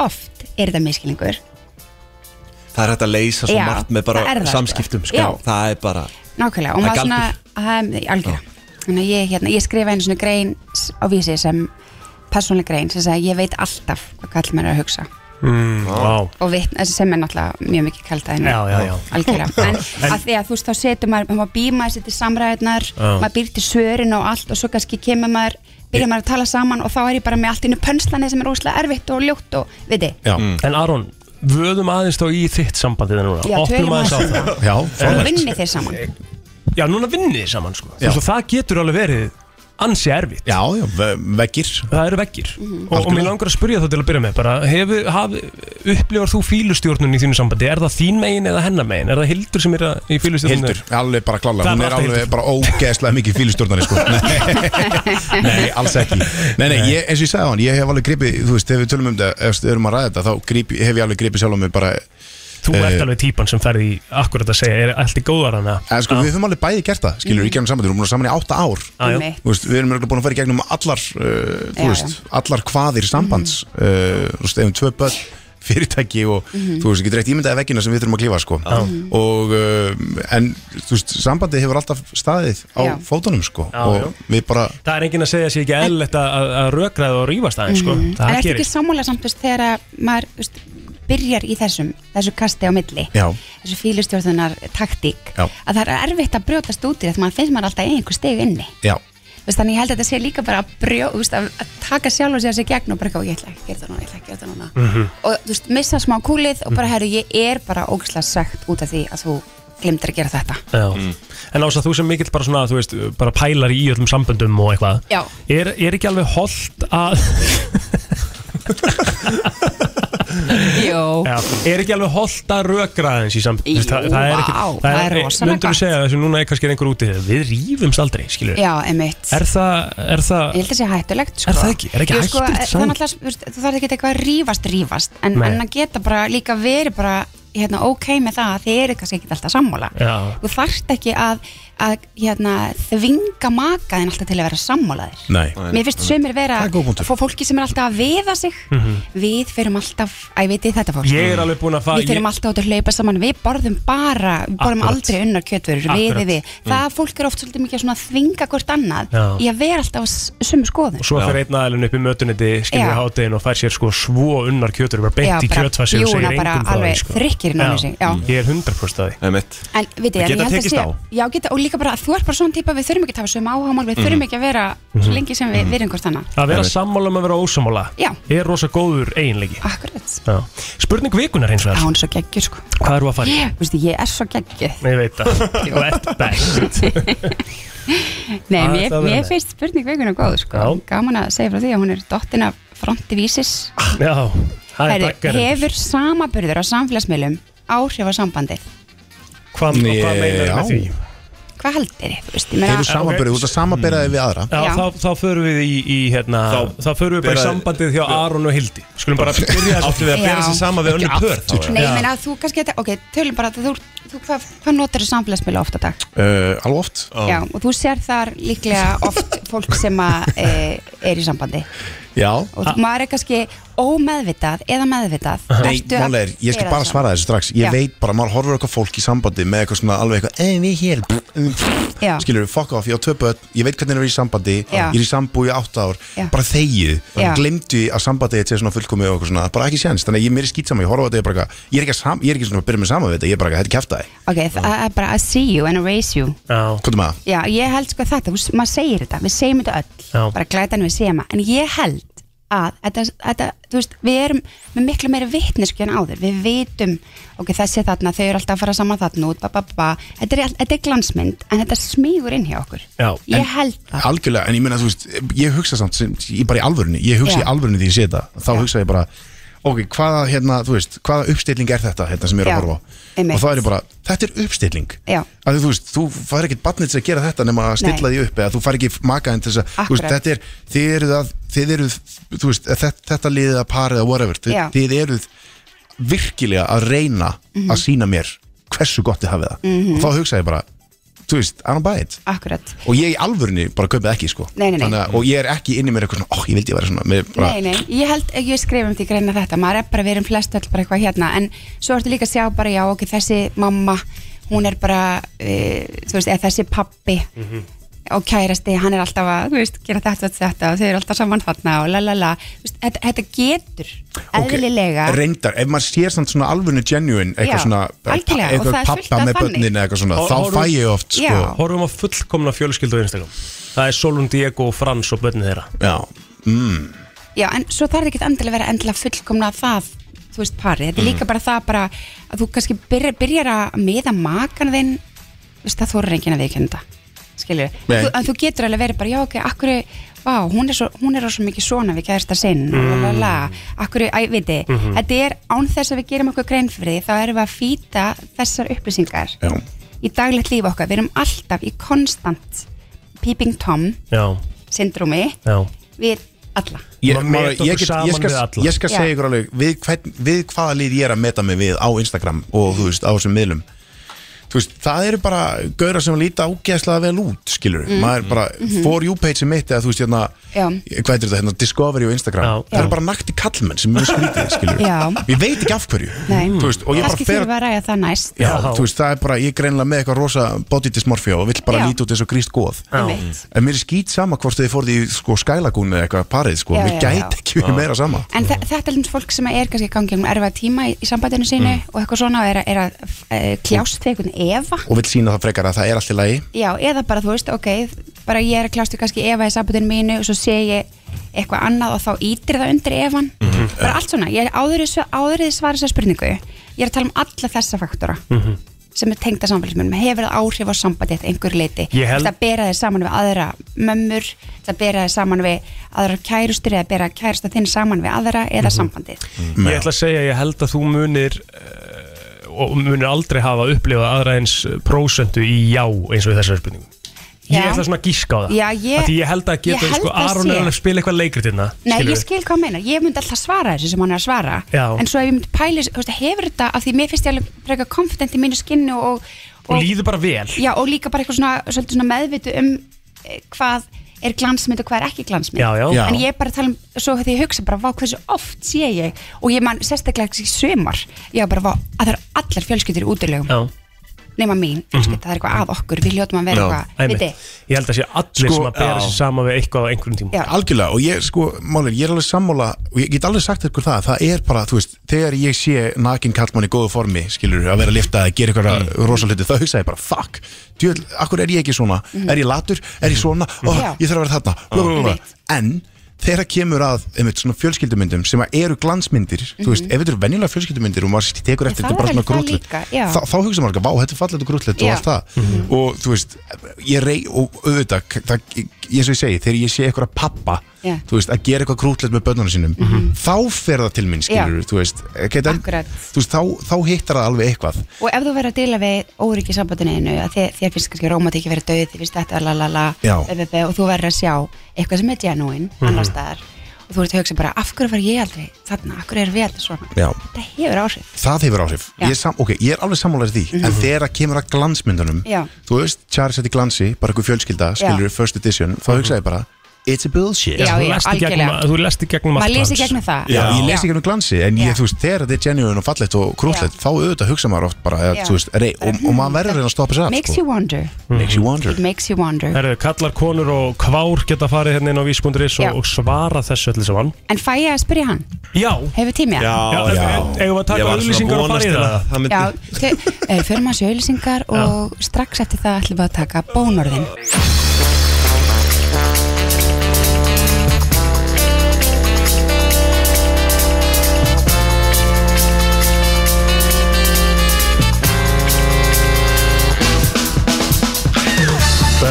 Speaker 16: oft er þetta miskilningur
Speaker 4: Það er hægt að leysa svo
Speaker 16: Já,
Speaker 4: margt með
Speaker 16: það er
Speaker 4: bara
Speaker 16: það, sko.
Speaker 4: samskiptum sko.
Speaker 16: Já.
Speaker 4: Það er bara
Speaker 16: nákvæmlega
Speaker 4: Það
Speaker 16: og
Speaker 4: er
Speaker 16: maður svona, að, algjörlega þannig að ég, hérna, ég skrifa einu svona grein s- á vísi sem persónleg grein sem sagði ég veit alltaf hvað kall mér er að hugsa
Speaker 3: mm, wow.
Speaker 16: og vitn, þessi sem er náttúrulega mjög mikið kalda henni
Speaker 3: Já, já, já.
Speaker 16: algjörlega en,
Speaker 3: En-
Speaker 16: að því að þú veist þá setur maður maður býr maður sér til samræðunar
Speaker 3: Já.
Speaker 16: maður býr til svörin og allt og svo kannski kemur maður byrjar maður að tala saman og þá er ég bara með allt innu pönslani sem er óslega erfitt og ljótt og við þið
Speaker 3: Mm. En Aron, vöðum aðeins þá í þitt sambandi þegar núna
Speaker 16: Já,
Speaker 3: Opnum
Speaker 16: tölum
Speaker 3: aðeins á
Speaker 16: aðeins um
Speaker 3: það
Speaker 16: það. og vinni þeir saman
Speaker 3: Já, núna vinnið þið saman sko. Svo það getur alveg verið ansi erfitt
Speaker 2: Já, já, ve- veggir
Speaker 3: Það eru veggir
Speaker 16: Mhm.
Speaker 3: og, og mér langar að spyrja það til að byrja með bara, hefur, haf, upplifar þú fílustjórnun í þínu sambandi, er það þín megin eða hennar megin er það Hildur sem er að- í fílustjórnun
Speaker 2: Hildur, alveg bara klála
Speaker 3: Það er
Speaker 2: Hún er
Speaker 3: alltaf
Speaker 2: alveg
Speaker 3: Hildur.
Speaker 2: bara ógeðslega mikið fílustjórnari
Speaker 16: *laughs*
Speaker 2: sko. Nei, Nei, alls ekki Nei, nei, ég, eins og ég sagði á hann, ég hef alveg gripið Þú veist, ef við tölum um þetta, ef við erum að ræða þetta Þá grip, hef ég alveg gripið sjálf á mig bara
Speaker 3: þú
Speaker 2: eh,
Speaker 3: ert alveg típan sem ferði í akkurat að segja, er allt í góðar hana
Speaker 2: En sko, við höfum alveg bæði gert það, skilur, í gegnum sambandi, við erum búin að saman í átta ár
Speaker 3: Já, já.
Speaker 2: Þú veist, Við erum örugglega búin að fara í gegnum allar, uh,
Speaker 3: Já,
Speaker 2: þú veist, allar hvaðir sambands
Speaker 16: Mhm.
Speaker 2: uh, Þú veist, ef við tvö börn, *laughs* fyrirtæki og
Speaker 8: Mhm.
Speaker 2: þú veist, getur eitt ímyndaði veggina sem við þurfum að klífa, sko
Speaker 16: Mhm.
Speaker 8: Já.
Speaker 2: Og, uh, en, þú veist, sambandi hefur alltaf staðið á
Speaker 3: Já.
Speaker 2: fótunum, sko
Speaker 3: Já,
Speaker 2: Og
Speaker 3: já.
Speaker 2: við bara,
Speaker 3: það er enginn að segja sér ekki eðlilegt að- að að rökraða og rýfast aðeins sko.
Speaker 16: Mhm. en
Speaker 3: það
Speaker 16: ertu
Speaker 3: gerir
Speaker 16: ekki sammála samt þú veist, þegar að maður þú veist, byrjar í þessum þessu kasti á milli
Speaker 2: já
Speaker 16: þessu fílustjórnunar taktík
Speaker 2: Já.
Speaker 16: að það er erfitt að brjótast út í þetta maður finnst maður alltaf í einhver steg inni
Speaker 2: Já,
Speaker 16: Þú veist, þannig ég held að þetta sé líka bara að, brjó, þú veist, að, að taka sjálf og sér sér gegn og bara eitthvað, ég ætla ekki að gera það núna, ég ætla ekki að gera það núna
Speaker 3: Mhm.
Speaker 16: og þú veist, missa smá kúlið og bara, herru, ég er bara ógislega sagt út af því að þú glimtir að gera þetta
Speaker 3: Mm. En Ása, þú sem mikill bara svona, þú veist, bara pælar í öllum samböndum og eitthvað
Speaker 16: Já.
Speaker 3: er, er ekki alveg holdt að
Speaker 16: Jó
Speaker 3: Já, er ekki alveg holdt að rökra aðeins í samböndum
Speaker 16: Jú,
Speaker 3: það, það er ekki,
Speaker 16: vá, það er rosalega
Speaker 3: Möndur
Speaker 16: gott.
Speaker 3: þú segja þessu, núna er kannski einhver úti Við rýfumst aldrei, skilur
Speaker 16: Já, emitt,
Speaker 3: Er það, er það
Speaker 16: ég held að það sé hættulegt sko.
Speaker 3: Er það ekki? Er ekki
Speaker 16: Jú, sko,
Speaker 3: hættulegt
Speaker 16: Það er
Speaker 3: samt?
Speaker 16: náttúrulega, þú veist, þú þarf ekki eitthvað að rífast, rífast en,
Speaker 3: Nei.
Speaker 16: en að geta bara líka verið bara hérna, ok með það að þið eru kannski ekki alltaf sammála
Speaker 3: Já,
Speaker 16: þú þarft ekki að, að hérna, þvinga makaðin alltaf til að vera sammálaðir
Speaker 2: Nei.
Speaker 16: mér finnst sömur vera fó- fólki sem er alltaf að viða sig
Speaker 3: Mhm.
Speaker 16: við fyrum alltaf, að ég veit ég þetta fólk
Speaker 3: Ég er alveg búin að fara
Speaker 16: við fyrum alltaf út að hlaupa saman, við borðum bara við borðum
Speaker 3: Akkurat.
Speaker 16: aldrei unnar kjötvörur, við
Speaker 3: Akkurat. Mm.
Speaker 16: við við það fólk er oft svolítið mikið svona að þvinga hvort annað
Speaker 3: Já.
Speaker 16: í að vera alltaf á s- sömu skoðun
Speaker 3: Svo fer einn aðalinn upp í mötuniti, skilur
Speaker 16: Já.
Speaker 3: hátegin og fær sér sko svo unnar kjötur bara beint
Speaker 16: Já,
Speaker 3: í
Speaker 16: bara
Speaker 3: kjötfæsir og
Speaker 16: bjúguna
Speaker 3: segir
Speaker 16: bara
Speaker 3: engum frá sko.
Speaker 16: alveg þrykkir inn á
Speaker 3: Já. Mm.
Speaker 16: þessi, já.
Speaker 3: Ég er 100% að því
Speaker 4: Einmitt.
Speaker 16: En við þið,
Speaker 3: Að
Speaker 16: en ég
Speaker 3: geta
Speaker 16: held að
Speaker 3: tekist
Speaker 16: sé
Speaker 3: á.
Speaker 16: Já, geta, og líka bara að þú ert bara svona típa Við þurfum ekki að hafa sömu áhámál, við þurfum
Speaker 3: Mhm.
Speaker 16: ekki að vera Svo
Speaker 3: Mhm.
Speaker 16: lengi sem við
Speaker 3: Mhm.
Speaker 16: verum hvort annað
Speaker 3: Að vera
Speaker 16: um
Speaker 3: sammála með að vera ósammála
Speaker 16: Já.
Speaker 3: Er rosa góður eiginleiki
Speaker 16: Akkurat
Speaker 3: Já. Spurning vikunar eins og
Speaker 16: Já, hún er svo geggjur sko
Speaker 3: Hvað eru að fara í?
Speaker 16: Ég, veistu, ég er svo geggjuð
Speaker 3: Ég veit það,
Speaker 16: *laughs*
Speaker 3: þú ert best
Speaker 16: Nei,
Speaker 3: Það er
Speaker 16: mér,
Speaker 3: það að vera
Speaker 16: mér
Speaker 3: með.
Speaker 16: finnst spurning vikuna góð sko.
Speaker 3: Já.
Speaker 16: Gaman að segja frá því að hún er dottin af fronti vísis
Speaker 3: Já, það er
Speaker 16: Herðu,
Speaker 3: daggarinn
Speaker 16: Hefur samaburður á samfélagsmiðlum áhrif á sambandið?
Speaker 3: Hvað, og hvað meinar
Speaker 2: Já.
Speaker 3: með því?
Speaker 16: Hvað haldir þið? Veist, ég meina-
Speaker 2: hefur samanbyrðið, þú ert að samanbyrðið við aðra
Speaker 3: Já,
Speaker 16: Já.
Speaker 3: Þá, þá förum við í, í hérna, þá,
Speaker 2: Þá
Speaker 3: förum við bara í
Speaker 2: byrjaði-
Speaker 3: sambandið hjá Aron og Hildi Skulum bara byrja
Speaker 4: Áttu við að bera sig saman við önnur pör þá,
Speaker 16: Nei, ég
Speaker 4: eða?
Speaker 16: meina að þú kannski þetta, ok, tölum bara að þú, þú hvað, hvað notar þú samfélagsmiðla oft á dag?
Speaker 2: uh, Alveg oft
Speaker 16: Já, og þú sér þar líklega oft fólk sem að, e, er í sambandi
Speaker 2: Já
Speaker 16: og þú maður er kannski ómeðvitað eða meðvitað
Speaker 2: Nei,
Speaker 16: ertu að
Speaker 2: málega er, ég skal
Speaker 16: gera
Speaker 2: bara
Speaker 16: það
Speaker 2: svara þessu strax Ég
Speaker 16: Já.
Speaker 2: veit bara, maður horfur eitthvað fólk í sambandi með eitthvað svona alveg eitthvað "Eh, við hér, pff, um, pff."
Speaker 16: Já.
Speaker 2: skilur við, fuck off, ég á tvö börn ég veit hvernig það er í sambandi,
Speaker 16: Já.
Speaker 2: ég er í sambúi í átta ár,
Speaker 16: Já.
Speaker 2: bara þegið
Speaker 16: Já.
Speaker 2: glemdu að sambandi þetta er svona fullkomið og eitthvað svona, bara ekki séns, þannig að ég mér er skýt saman ég horfa á þetta, ég er bara, eitthvað- ég er ekki, að sam, ég er ekki svona að byrja með saman við þetta, ég er bara, þetta kæfta þig
Speaker 16: Ok, það er bara I see you and I raise you
Speaker 2: hvað er maður?
Speaker 16: Já, ég held sko þetta, þú s- maður segir þetta, við segjum þetta öll
Speaker 2: Já.
Speaker 16: bara glætan við segjum það, en ég held að, þetta, þetta, þú veist, við erum með miklu meiri vitnesku en áður, við vitum ok, þessi þarna, þau eru alltaf að fara saman þarna út, ba, ba, ba, þetta er, all- þetta er glansmynd en þetta smýgur inn hjá okkur
Speaker 2: Já,
Speaker 16: Ég held það.
Speaker 2: Algjörlega, en ég meina, þú veist, ég hugsa samt sem, ég bara í alvörunni, ég hugsa
Speaker 16: Já.
Speaker 2: í alvörunni því ég sé þetta, þá hugsa ég bara ok, hvaða, hérna, þú veist, hvaða uppstilling er þetta hérna sem ég er
Speaker 16: Já,
Speaker 2: að horfa á
Speaker 16: einmitt.
Speaker 2: og þá er ég bara, þetta er uppstilling
Speaker 16: Já,
Speaker 2: að þú veist, þú fær ekkert barnið til að gera þetta nema að stilla
Speaker 16: Nei.
Speaker 2: því upp eða þú fær ekki makaðin til þess að, þú veist,
Speaker 16: Akkurat.
Speaker 2: þetta er þið eruð að, þið eruð þú veist, þetta, þetta liðið að parið að whatever þið,
Speaker 16: Já.
Speaker 2: þið eruð virkilega að reyna
Speaker 16: Mhm.
Speaker 2: að sína mér hversu gott þið hafið það
Speaker 16: Mhm.
Speaker 2: og þá hugsa ég bara, þú veist, I don't buy it
Speaker 16: akkurat
Speaker 2: og ég í alvörunni bara kaupið ekki, sko
Speaker 16: Nei, nei, nei.
Speaker 2: Þannig, að- og ég er ekki inni mér eitthvað svona, ó, ég vildi ég vera svona mér bara,
Speaker 16: Nei, nei, ég held ekki við skrifum því greina þetta maður er bara, við erum flest öll bara eitthvað hérna en svo ertu líka að sjá bara, já, ok, þessi mamma hún er bara e, þú veist, eða þessi pappi og kærasti, hann er alltaf að, þú veist, gera þetta, þetta, þetta og þau eru alltaf saman þarna og la la la Þú veist, þetta, þetta getur eðlilega
Speaker 2: reyndar, ef maður sér samt svona alvörunni genuine, eitthvað
Speaker 16: Já,
Speaker 2: svona eh,
Speaker 16: algjörlega, og það
Speaker 2: eitthvað
Speaker 16: er fullt af
Speaker 2: pappa með
Speaker 16: þannig.
Speaker 2: börnin eða eitthvað svona, þá fæ ég oft sko,
Speaker 3: Horfum á fullkomna fjölskyldu á Instagram Það er Solon Diego og Frans og börnin þeirra
Speaker 2: Já, mm.
Speaker 16: Já, en svo þarf ekki endilega að vera endilega fullkomna það, þú veist, parið. Þetta er
Speaker 2: Mhm.
Speaker 16: líka bara það bara að þú kannski byrjar, byrjar að miða makan þinn, þú veist, það þorir enginn að viðkjönda, skilur við.
Speaker 12: Nei.
Speaker 16: Þú, en þú getur alveg verið bara, já, ok, akkur, vá, hún er svo, hún er á svo mikið svona við kæðasta sinn, mm.
Speaker 12: Mm.
Speaker 16: la, la, la, akkur, æ, viti,
Speaker 12: Mhm.
Speaker 16: þetta er án þess að við gerum okkur grein fyrir því, þá erum við að fýta þessar upplýsingar
Speaker 2: já.
Speaker 16: í daglegt líf okkar. Við erum alltaf í konstant peeping tom
Speaker 3: Já,
Speaker 16: syndrúmi
Speaker 3: já
Speaker 16: við alla.
Speaker 2: ég,
Speaker 3: Maður
Speaker 2: maður,
Speaker 3: meta
Speaker 2: ég,
Speaker 3: okkur
Speaker 2: get,
Speaker 3: saman
Speaker 2: ég skal,
Speaker 3: við alla.
Speaker 2: ég skal
Speaker 16: Já.
Speaker 2: segja ykkur alveg við, hvern, við hvaða lið ég er að meta mig við á Instagram og þú veist á þessum miðlum þú veist, það eru bara gauðra sem líta ágeðslega vel út skilur,
Speaker 16: Mm.
Speaker 2: maður bara
Speaker 16: Mhm.
Speaker 2: for you page sem mitt eða þú veist hérna
Speaker 16: Já.
Speaker 2: hvað er þetta hérna, Discovery og Instagram það eru bara nakti kallmenn sem mjög skrítið skilur,
Speaker 16: Já.
Speaker 2: ég veit ekki af hverju
Speaker 16: Nei,
Speaker 2: Þú veist, og ég bara
Speaker 16: kannski
Speaker 2: fer
Speaker 16: þurfa að ræða það næst
Speaker 2: Já, þú veist, það er bara, ég er greinlega með eitthvað rosa body dysmorphia og vill bara
Speaker 16: Já.
Speaker 2: líta út eins og gríst góð
Speaker 16: Já. Einmitt.
Speaker 2: En mér er skýt sama hvort þið fórði í sko skælagún eða eitthvað parið sko,
Speaker 16: Já,
Speaker 2: mér
Speaker 16: já,
Speaker 2: gæti
Speaker 16: já.
Speaker 2: ekki verið meira sama
Speaker 16: En þe þetta er um fólk sem er kannski gangið um erfa tíma í, í sambandinu sínu
Speaker 2: Mm.
Speaker 16: og eitthvað svona og er, að- er að uh, kljást við einhvern efa
Speaker 2: Og vill sína það frekar að það er allt í lagi
Speaker 16: Já, eða bara þú veist, ok, bara ég er að kljást við kannski efa í sambandinu mínu og svo sé ég eitthvað annað og þá ítir það undir efan
Speaker 2: Mhm.
Speaker 16: Bara allt svona, ég er áður, í sve- áður í svara þessar spurningu Ég er að tala um alla þessa faktora
Speaker 3: Mhm.
Speaker 16: sem er tengda samfélagsmyndum hefur það áhrif á sambandi eftir einhver leiti
Speaker 3: Ég held-
Speaker 16: það bera þið saman við aðra mömmur það bera þið saman við aðra kærustur eða bera kærusta þinn saman við aðra eða
Speaker 3: Mhm.
Speaker 16: sambandið
Speaker 3: Ég ætla að segja, ég held að þú munir eh, og munir aldrei hafa upplifað aðra eins prósentu í já eins og í þessari spurningu Ég
Speaker 16: Já.
Speaker 3: ætla svona að gíska á það
Speaker 16: Já, ég-
Speaker 3: Af Því ég held að
Speaker 16: ég
Speaker 3: geta,
Speaker 16: held
Speaker 3: sko,
Speaker 16: að
Speaker 3: Aron
Speaker 16: sé.
Speaker 3: er alveg að spila eitthvað hérna, leikritina
Speaker 16: Nei, ég skil hvað hann meinar, ég myndi alltaf svara þessu sem hann er að svara
Speaker 3: Já.
Speaker 16: en svo ef ég myndi pæli, þú veist, hefur þetta af því mér finnst ég alveg frekar konfident í mínu skinnu og,
Speaker 3: Og líður bara vel
Speaker 16: já, og líka bara eitthvað svona, svolítið svona meðvitu um eh, hvað er glansmynd og hvað er ekki glansmynd
Speaker 3: Já, já. Já.
Speaker 16: en ég er bara að tala um, svo því ég hugsa bara vá hversu oft sé ég og ég man sérstaklega ekki sömar, ég var bara vá að það eru allar fjölskyldur í útilegum
Speaker 3: Já. Mhm.
Speaker 16: nema mín, fjölskylda, það er eitthvað að okkur við hljótum að vera eitthvað,
Speaker 3: Einmitt.
Speaker 16: viti
Speaker 3: Ég held að sé allir
Speaker 2: Sko,
Speaker 3: sem að bera
Speaker 2: já.
Speaker 3: sér sama við eitthvað á einhverjum tíma
Speaker 16: Já.
Speaker 2: Algjörlega, og ég sko, málið, ég er alveg sammála og ég get alveg sagt ykkur það, það er bara, þú veist þegar ég sé nakin kallmann í góðu formi skilur, að vera að lifta, að gera eitthvað mm. rosaliti þá hugsa ég bara, fuck, djöl, akkur er ég ekki svona
Speaker 16: Mhm.
Speaker 2: er ég latur, er ég svona ó,
Speaker 8: Já.
Speaker 2: ég þarf að vera þarna, bla, bla, bla, bla. en þegar kemur að, einmitt, svona fjölskyldumyndum sem að eru glansmyndir, þú veist
Speaker 16: Mhm.
Speaker 2: ef þetta eru venjulega fjölskyldumyndir og maður tekur eftir
Speaker 16: það
Speaker 2: þetta er bara
Speaker 16: er
Speaker 2: svona
Speaker 16: alveg það
Speaker 2: grútlut,
Speaker 16: líka, já.
Speaker 2: þá, þá hugsa maður, vá, þetta er fallet og grútlut og
Speaker 16: Já.
Speaker 2: allt það og þú veist, ég rey og auðvitað, það, eins og ég segi þegar ég sé eitthvað pappa
Speaker 16: Já.
Speaker 2: þú veist, að gera eitthvað grútlegt með börnunum sínum þá fer það til mín, skilur þú veist, okay, en,
Speaker 16: Akkurat.
Speaker 2: þú veist þá, þá hittar það alveg eitthvað
Speaker 16: og ef þú verður að díla við óryggi sambandinu að þér, þér finnst kannski rómat ekki verið döð þér finnst þetta la la la
Speaker 2: Já.
Speaker 16: be, be, be, og þú verður að sjá eitthvað sem er genúin
Speaker 2: Mhm.
Speaker 16: annars staðar og þú ert að hugsa bara af hverju var ég aldrei þarna, af hverju er við aldrei svona
Speaker 2: Já.
Speaker 16: þetta hefur áhrif
Speaker 2: Það hefur áhrif,
Speaker 16: Já. Mhm.
Speaker 2: ég er, sam, okay, ég er alveg sammálaður því En þegar að kemur að glansmyndunum
Speaker 16: Já.
Speaker 2: Þú veist, Charles hætti glansi, bara eitthvað fjölskylda
Speaker 16: Já.
Speaker 2: Skilur first edition, þá hugsaði ég bara It's a bullshit
Speaker 16: Já, Já, þú já, lest í gegnum- algjörlega.
Speaker 3: Þú lest í gegnum
Speaker 16: Maður allt les í hans. gegnum það.
Speaker 2: Já,
Speaker 16: Já.
Speaker 2: ég les í
Speaker 16: Já.
Speaker 2: gegnum glansi En ég, þú veist, þegar þetta er genuine og fallegt og krúllegt Þá auðvitað hugsa maður oft bara eða,
Speaker 16: Já.
Speaker 2: þú veist, rey, og, og maður verður að reyna að stoppa sér af
Speaker 16: makes
Speaker 2: sko.
Speaker 16: you wonder,
Speaker 2: Makes you wonder
Speaker 16: it makes you wonder
Speaker 3: Herðu, kallar konur og kvár geta farið hérna inn á vísbúnduris
Speaker 16: Já.
Speaker 3: og, og svara þessu öllu saman
Speaker 16: en fæ ég að spyrja hann,
Speaker 3: Já
Speaker 16: hefur tími
Speaker 3: Já, já.
Speaker 16: hann?
Speaker 3: Eigum við að
Speaker 15: Ég var
Speaker 3: taka
Speaker 15: svona
Speaker 3: auðlýsingar og
Speaker 15: vonast
Speaker 3: fara í
Speaker 15: til að
Speaker 3: það?
Speaker 15: það
Speaker 16: Já, te- eh, förum að sjö auðlýsingar og strax eftir það ætlum við að taka bónorðin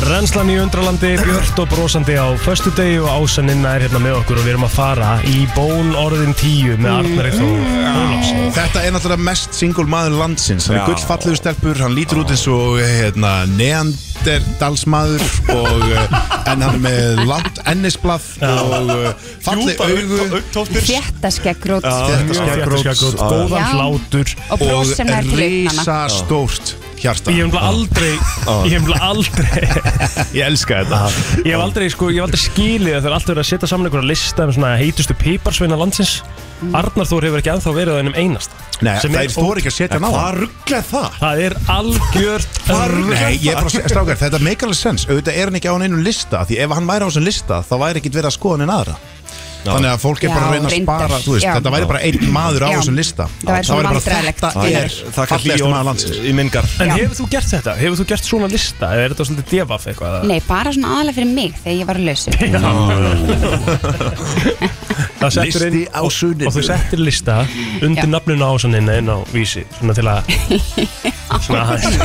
Speaker 3: Renslan í undralandi, björt og brosandi á föstu degi og ásaninna er hérna með okkur og við erum að fara í ból orðin tíu með Arnari Þó
Speaker 16: Mm.
Speaker 3: Ólafsson
Speaker 2: Þetta er náttúrulega mest single maður landsins Hann
Speaker 3: Já.
Speaker 2: er gullfallegur stelpur, hann lítur út eins og hérna, neanderdalsmaður og, eh, en hann er með langt ennisblað og eh, falleg augu
Speaker 16: þetta skeggrót
Speaker 3: Þéttaskegrót, góðan
Speaker 16: Já.
Speaker 3: hlátur
Speaker 16: Og bros sem nær til augnanna.
Speaker 2: risastórt hjarta
Speaker 3: Ég hef nefnilega aldrei, ég hef nefnilega aldrei
Speaker 2: Ég elska þetta
Speaker 3: Ég hef aldrei, sko, ég hef aldrei skilið að það er alltaf verið að setja saman einhverja lista um svona heitustu piparsveina landsins Arnar Þór hefur ekki ennþá verið á einum einasta
Speaker 2: Nei, þær þora ekki að setja hann á hann.
Speaker 3: ruggla það? Það er
Speaker 2: *laughs*
Speaker 3: algjört rugl.
Speaker 2: Nei, ég er bara, strákar, þetta make alveg sense auðvitað er hann ekki á hann einum lista því ef hann væri á þessum lista þá væri ekkit verið að skoða hann en aðra þannig að fólk er bara að
Speaker 15: Já,
Speaker 2: reyna að
Speaker 15: reyndar.
Speaker 2: spara þú veist,
Speaker 15: Já.
Speaker 2: þetta væri bara einn maður á
Speaker 15: Já.
Speaker 2: þessum lista
Speaker 15: Það væri svona
Speaker 2: bara
Speaker 15: vandræðalegt.
Speaker 2: þetta
Speaker 15: Það
Speaker 2: er
Speaker 15: er- það er kannski
Speaker 2: fallegasti
Speaker 15: orð
Speaker 2: maður landsins
Speaker 15: í mingar
Speaker 3: En hefur þú gert þetta? Hefur þú gert svona lista? Eða er þetta svolítið devaf eitthvað? eða?
Speaker 16: Nei, bara svona aðalega fyrir mig þegar ég var að lausu
Speaker 3: Það settur inn-
Speaker 2: Listi á sunninu.
Speaker 3: Og þú settir lista undir
Speaker 16: Já.
Speaker 3: nafninu ásaninn inn á vísi Svona til
Speaker 2: *laughs*
Speaker 3: að Svona aðeins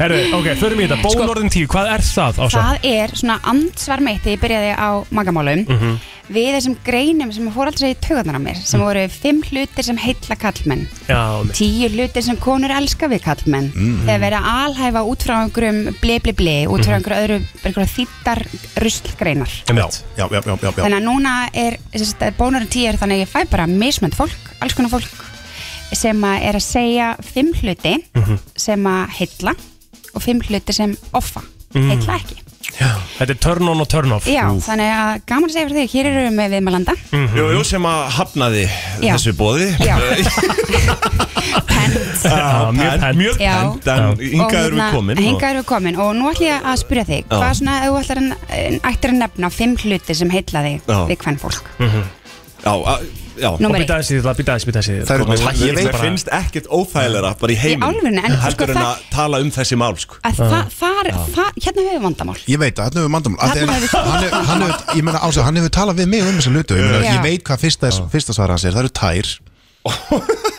Speaker 3: Herru, ok, förum í
Speaker 2: Sko-
Speaker 3: þetta Bónorðin tíu, hvað er það ásann?
Speaker 16: Það er svona andsvar mitt þegar ég byrjaði á magamálum
Speaker 3: Mhm.
Speaker 16: við þessum greinum sem fór aldrei í taugarnar á mér sem voru fimm hlutir sem heilla kallmenn
Speaker 3: Já, mitt.
Speaker 16: tíu hlutir sem konur elska við kallmenn
Speaker 3: Mhm.
Speaker 16: þegar verið að alhæfa út frá einhverjum bli bli bli út frá einhverju öðru einhverju þýttar ruslgreinar
Speaker 2: já, já, já, já, já,
Speaker 16: þannig að núna er bónurinn tíu er þannig að ég fæ bara mismönd fólk, alls konar fólk sem að er að segja fimm hluti
Speaker 3: Mhm.
Speaker 16: sem að heilla og fimm hluti sem offa
Speaker 3: Mm.
Speaker 16: heilla ekki
Speaker 3: Þetta er turn on og turn off
Speaker 16: Já, þannig að gaman að segja fyrir þig, hér eru við með viðmælanda
Speaker 15: Jú, jú, sem að hafnaði
Speaker 16: Já.
Speaker 15: þessu bóði *laughs*
Speaker 16: Já.
Speaker 15: Já, Mjög pent Mjög
Speaker 16: Já.
Speaker 15: pent, en hingað erum við komin
Speaker 16: hérna, Hingað erum við komin og nú ætlum ég að spyrja þig
Speaker 15: Já.
Speaker 16: Hvað svona, ef þú ætlar að, ættir að nefna fimm hluti sem heilla þig
Speaker 15: Já.
Speaker 16: við hvern fólk
Speaker 15: Já, a- já
Speaker 16: Númer
Speaker 3: eitt. Býtaði sér, býtaði sér, býtaði sér
Speaker 15: Það er mér finnst ekkert óþægilega bara í heiminum
Speaker 16: alvörunni, en sko
Speaker 15: Heldur en
Speaker 16: það-
Speaker 15: að tala um þessi mál sko
Speaker 16: Að það, þar, það, hérna höfum við vandamál
Speaker 2: Ég veit að hann hefur mandamál Af því
Speaker 16: Þarna
Speaker 2: að
Speaker 16: hefur þú-
Speaker 2: Hann hefur, hann hefur, ég meina ásæð, hann hefur talað við mig um þessa hlutu Ég, meina,
Speaker 16: Já.
Speaker 2: ég veit hvað fyrsta, fyrsta svara hans er, það eru tær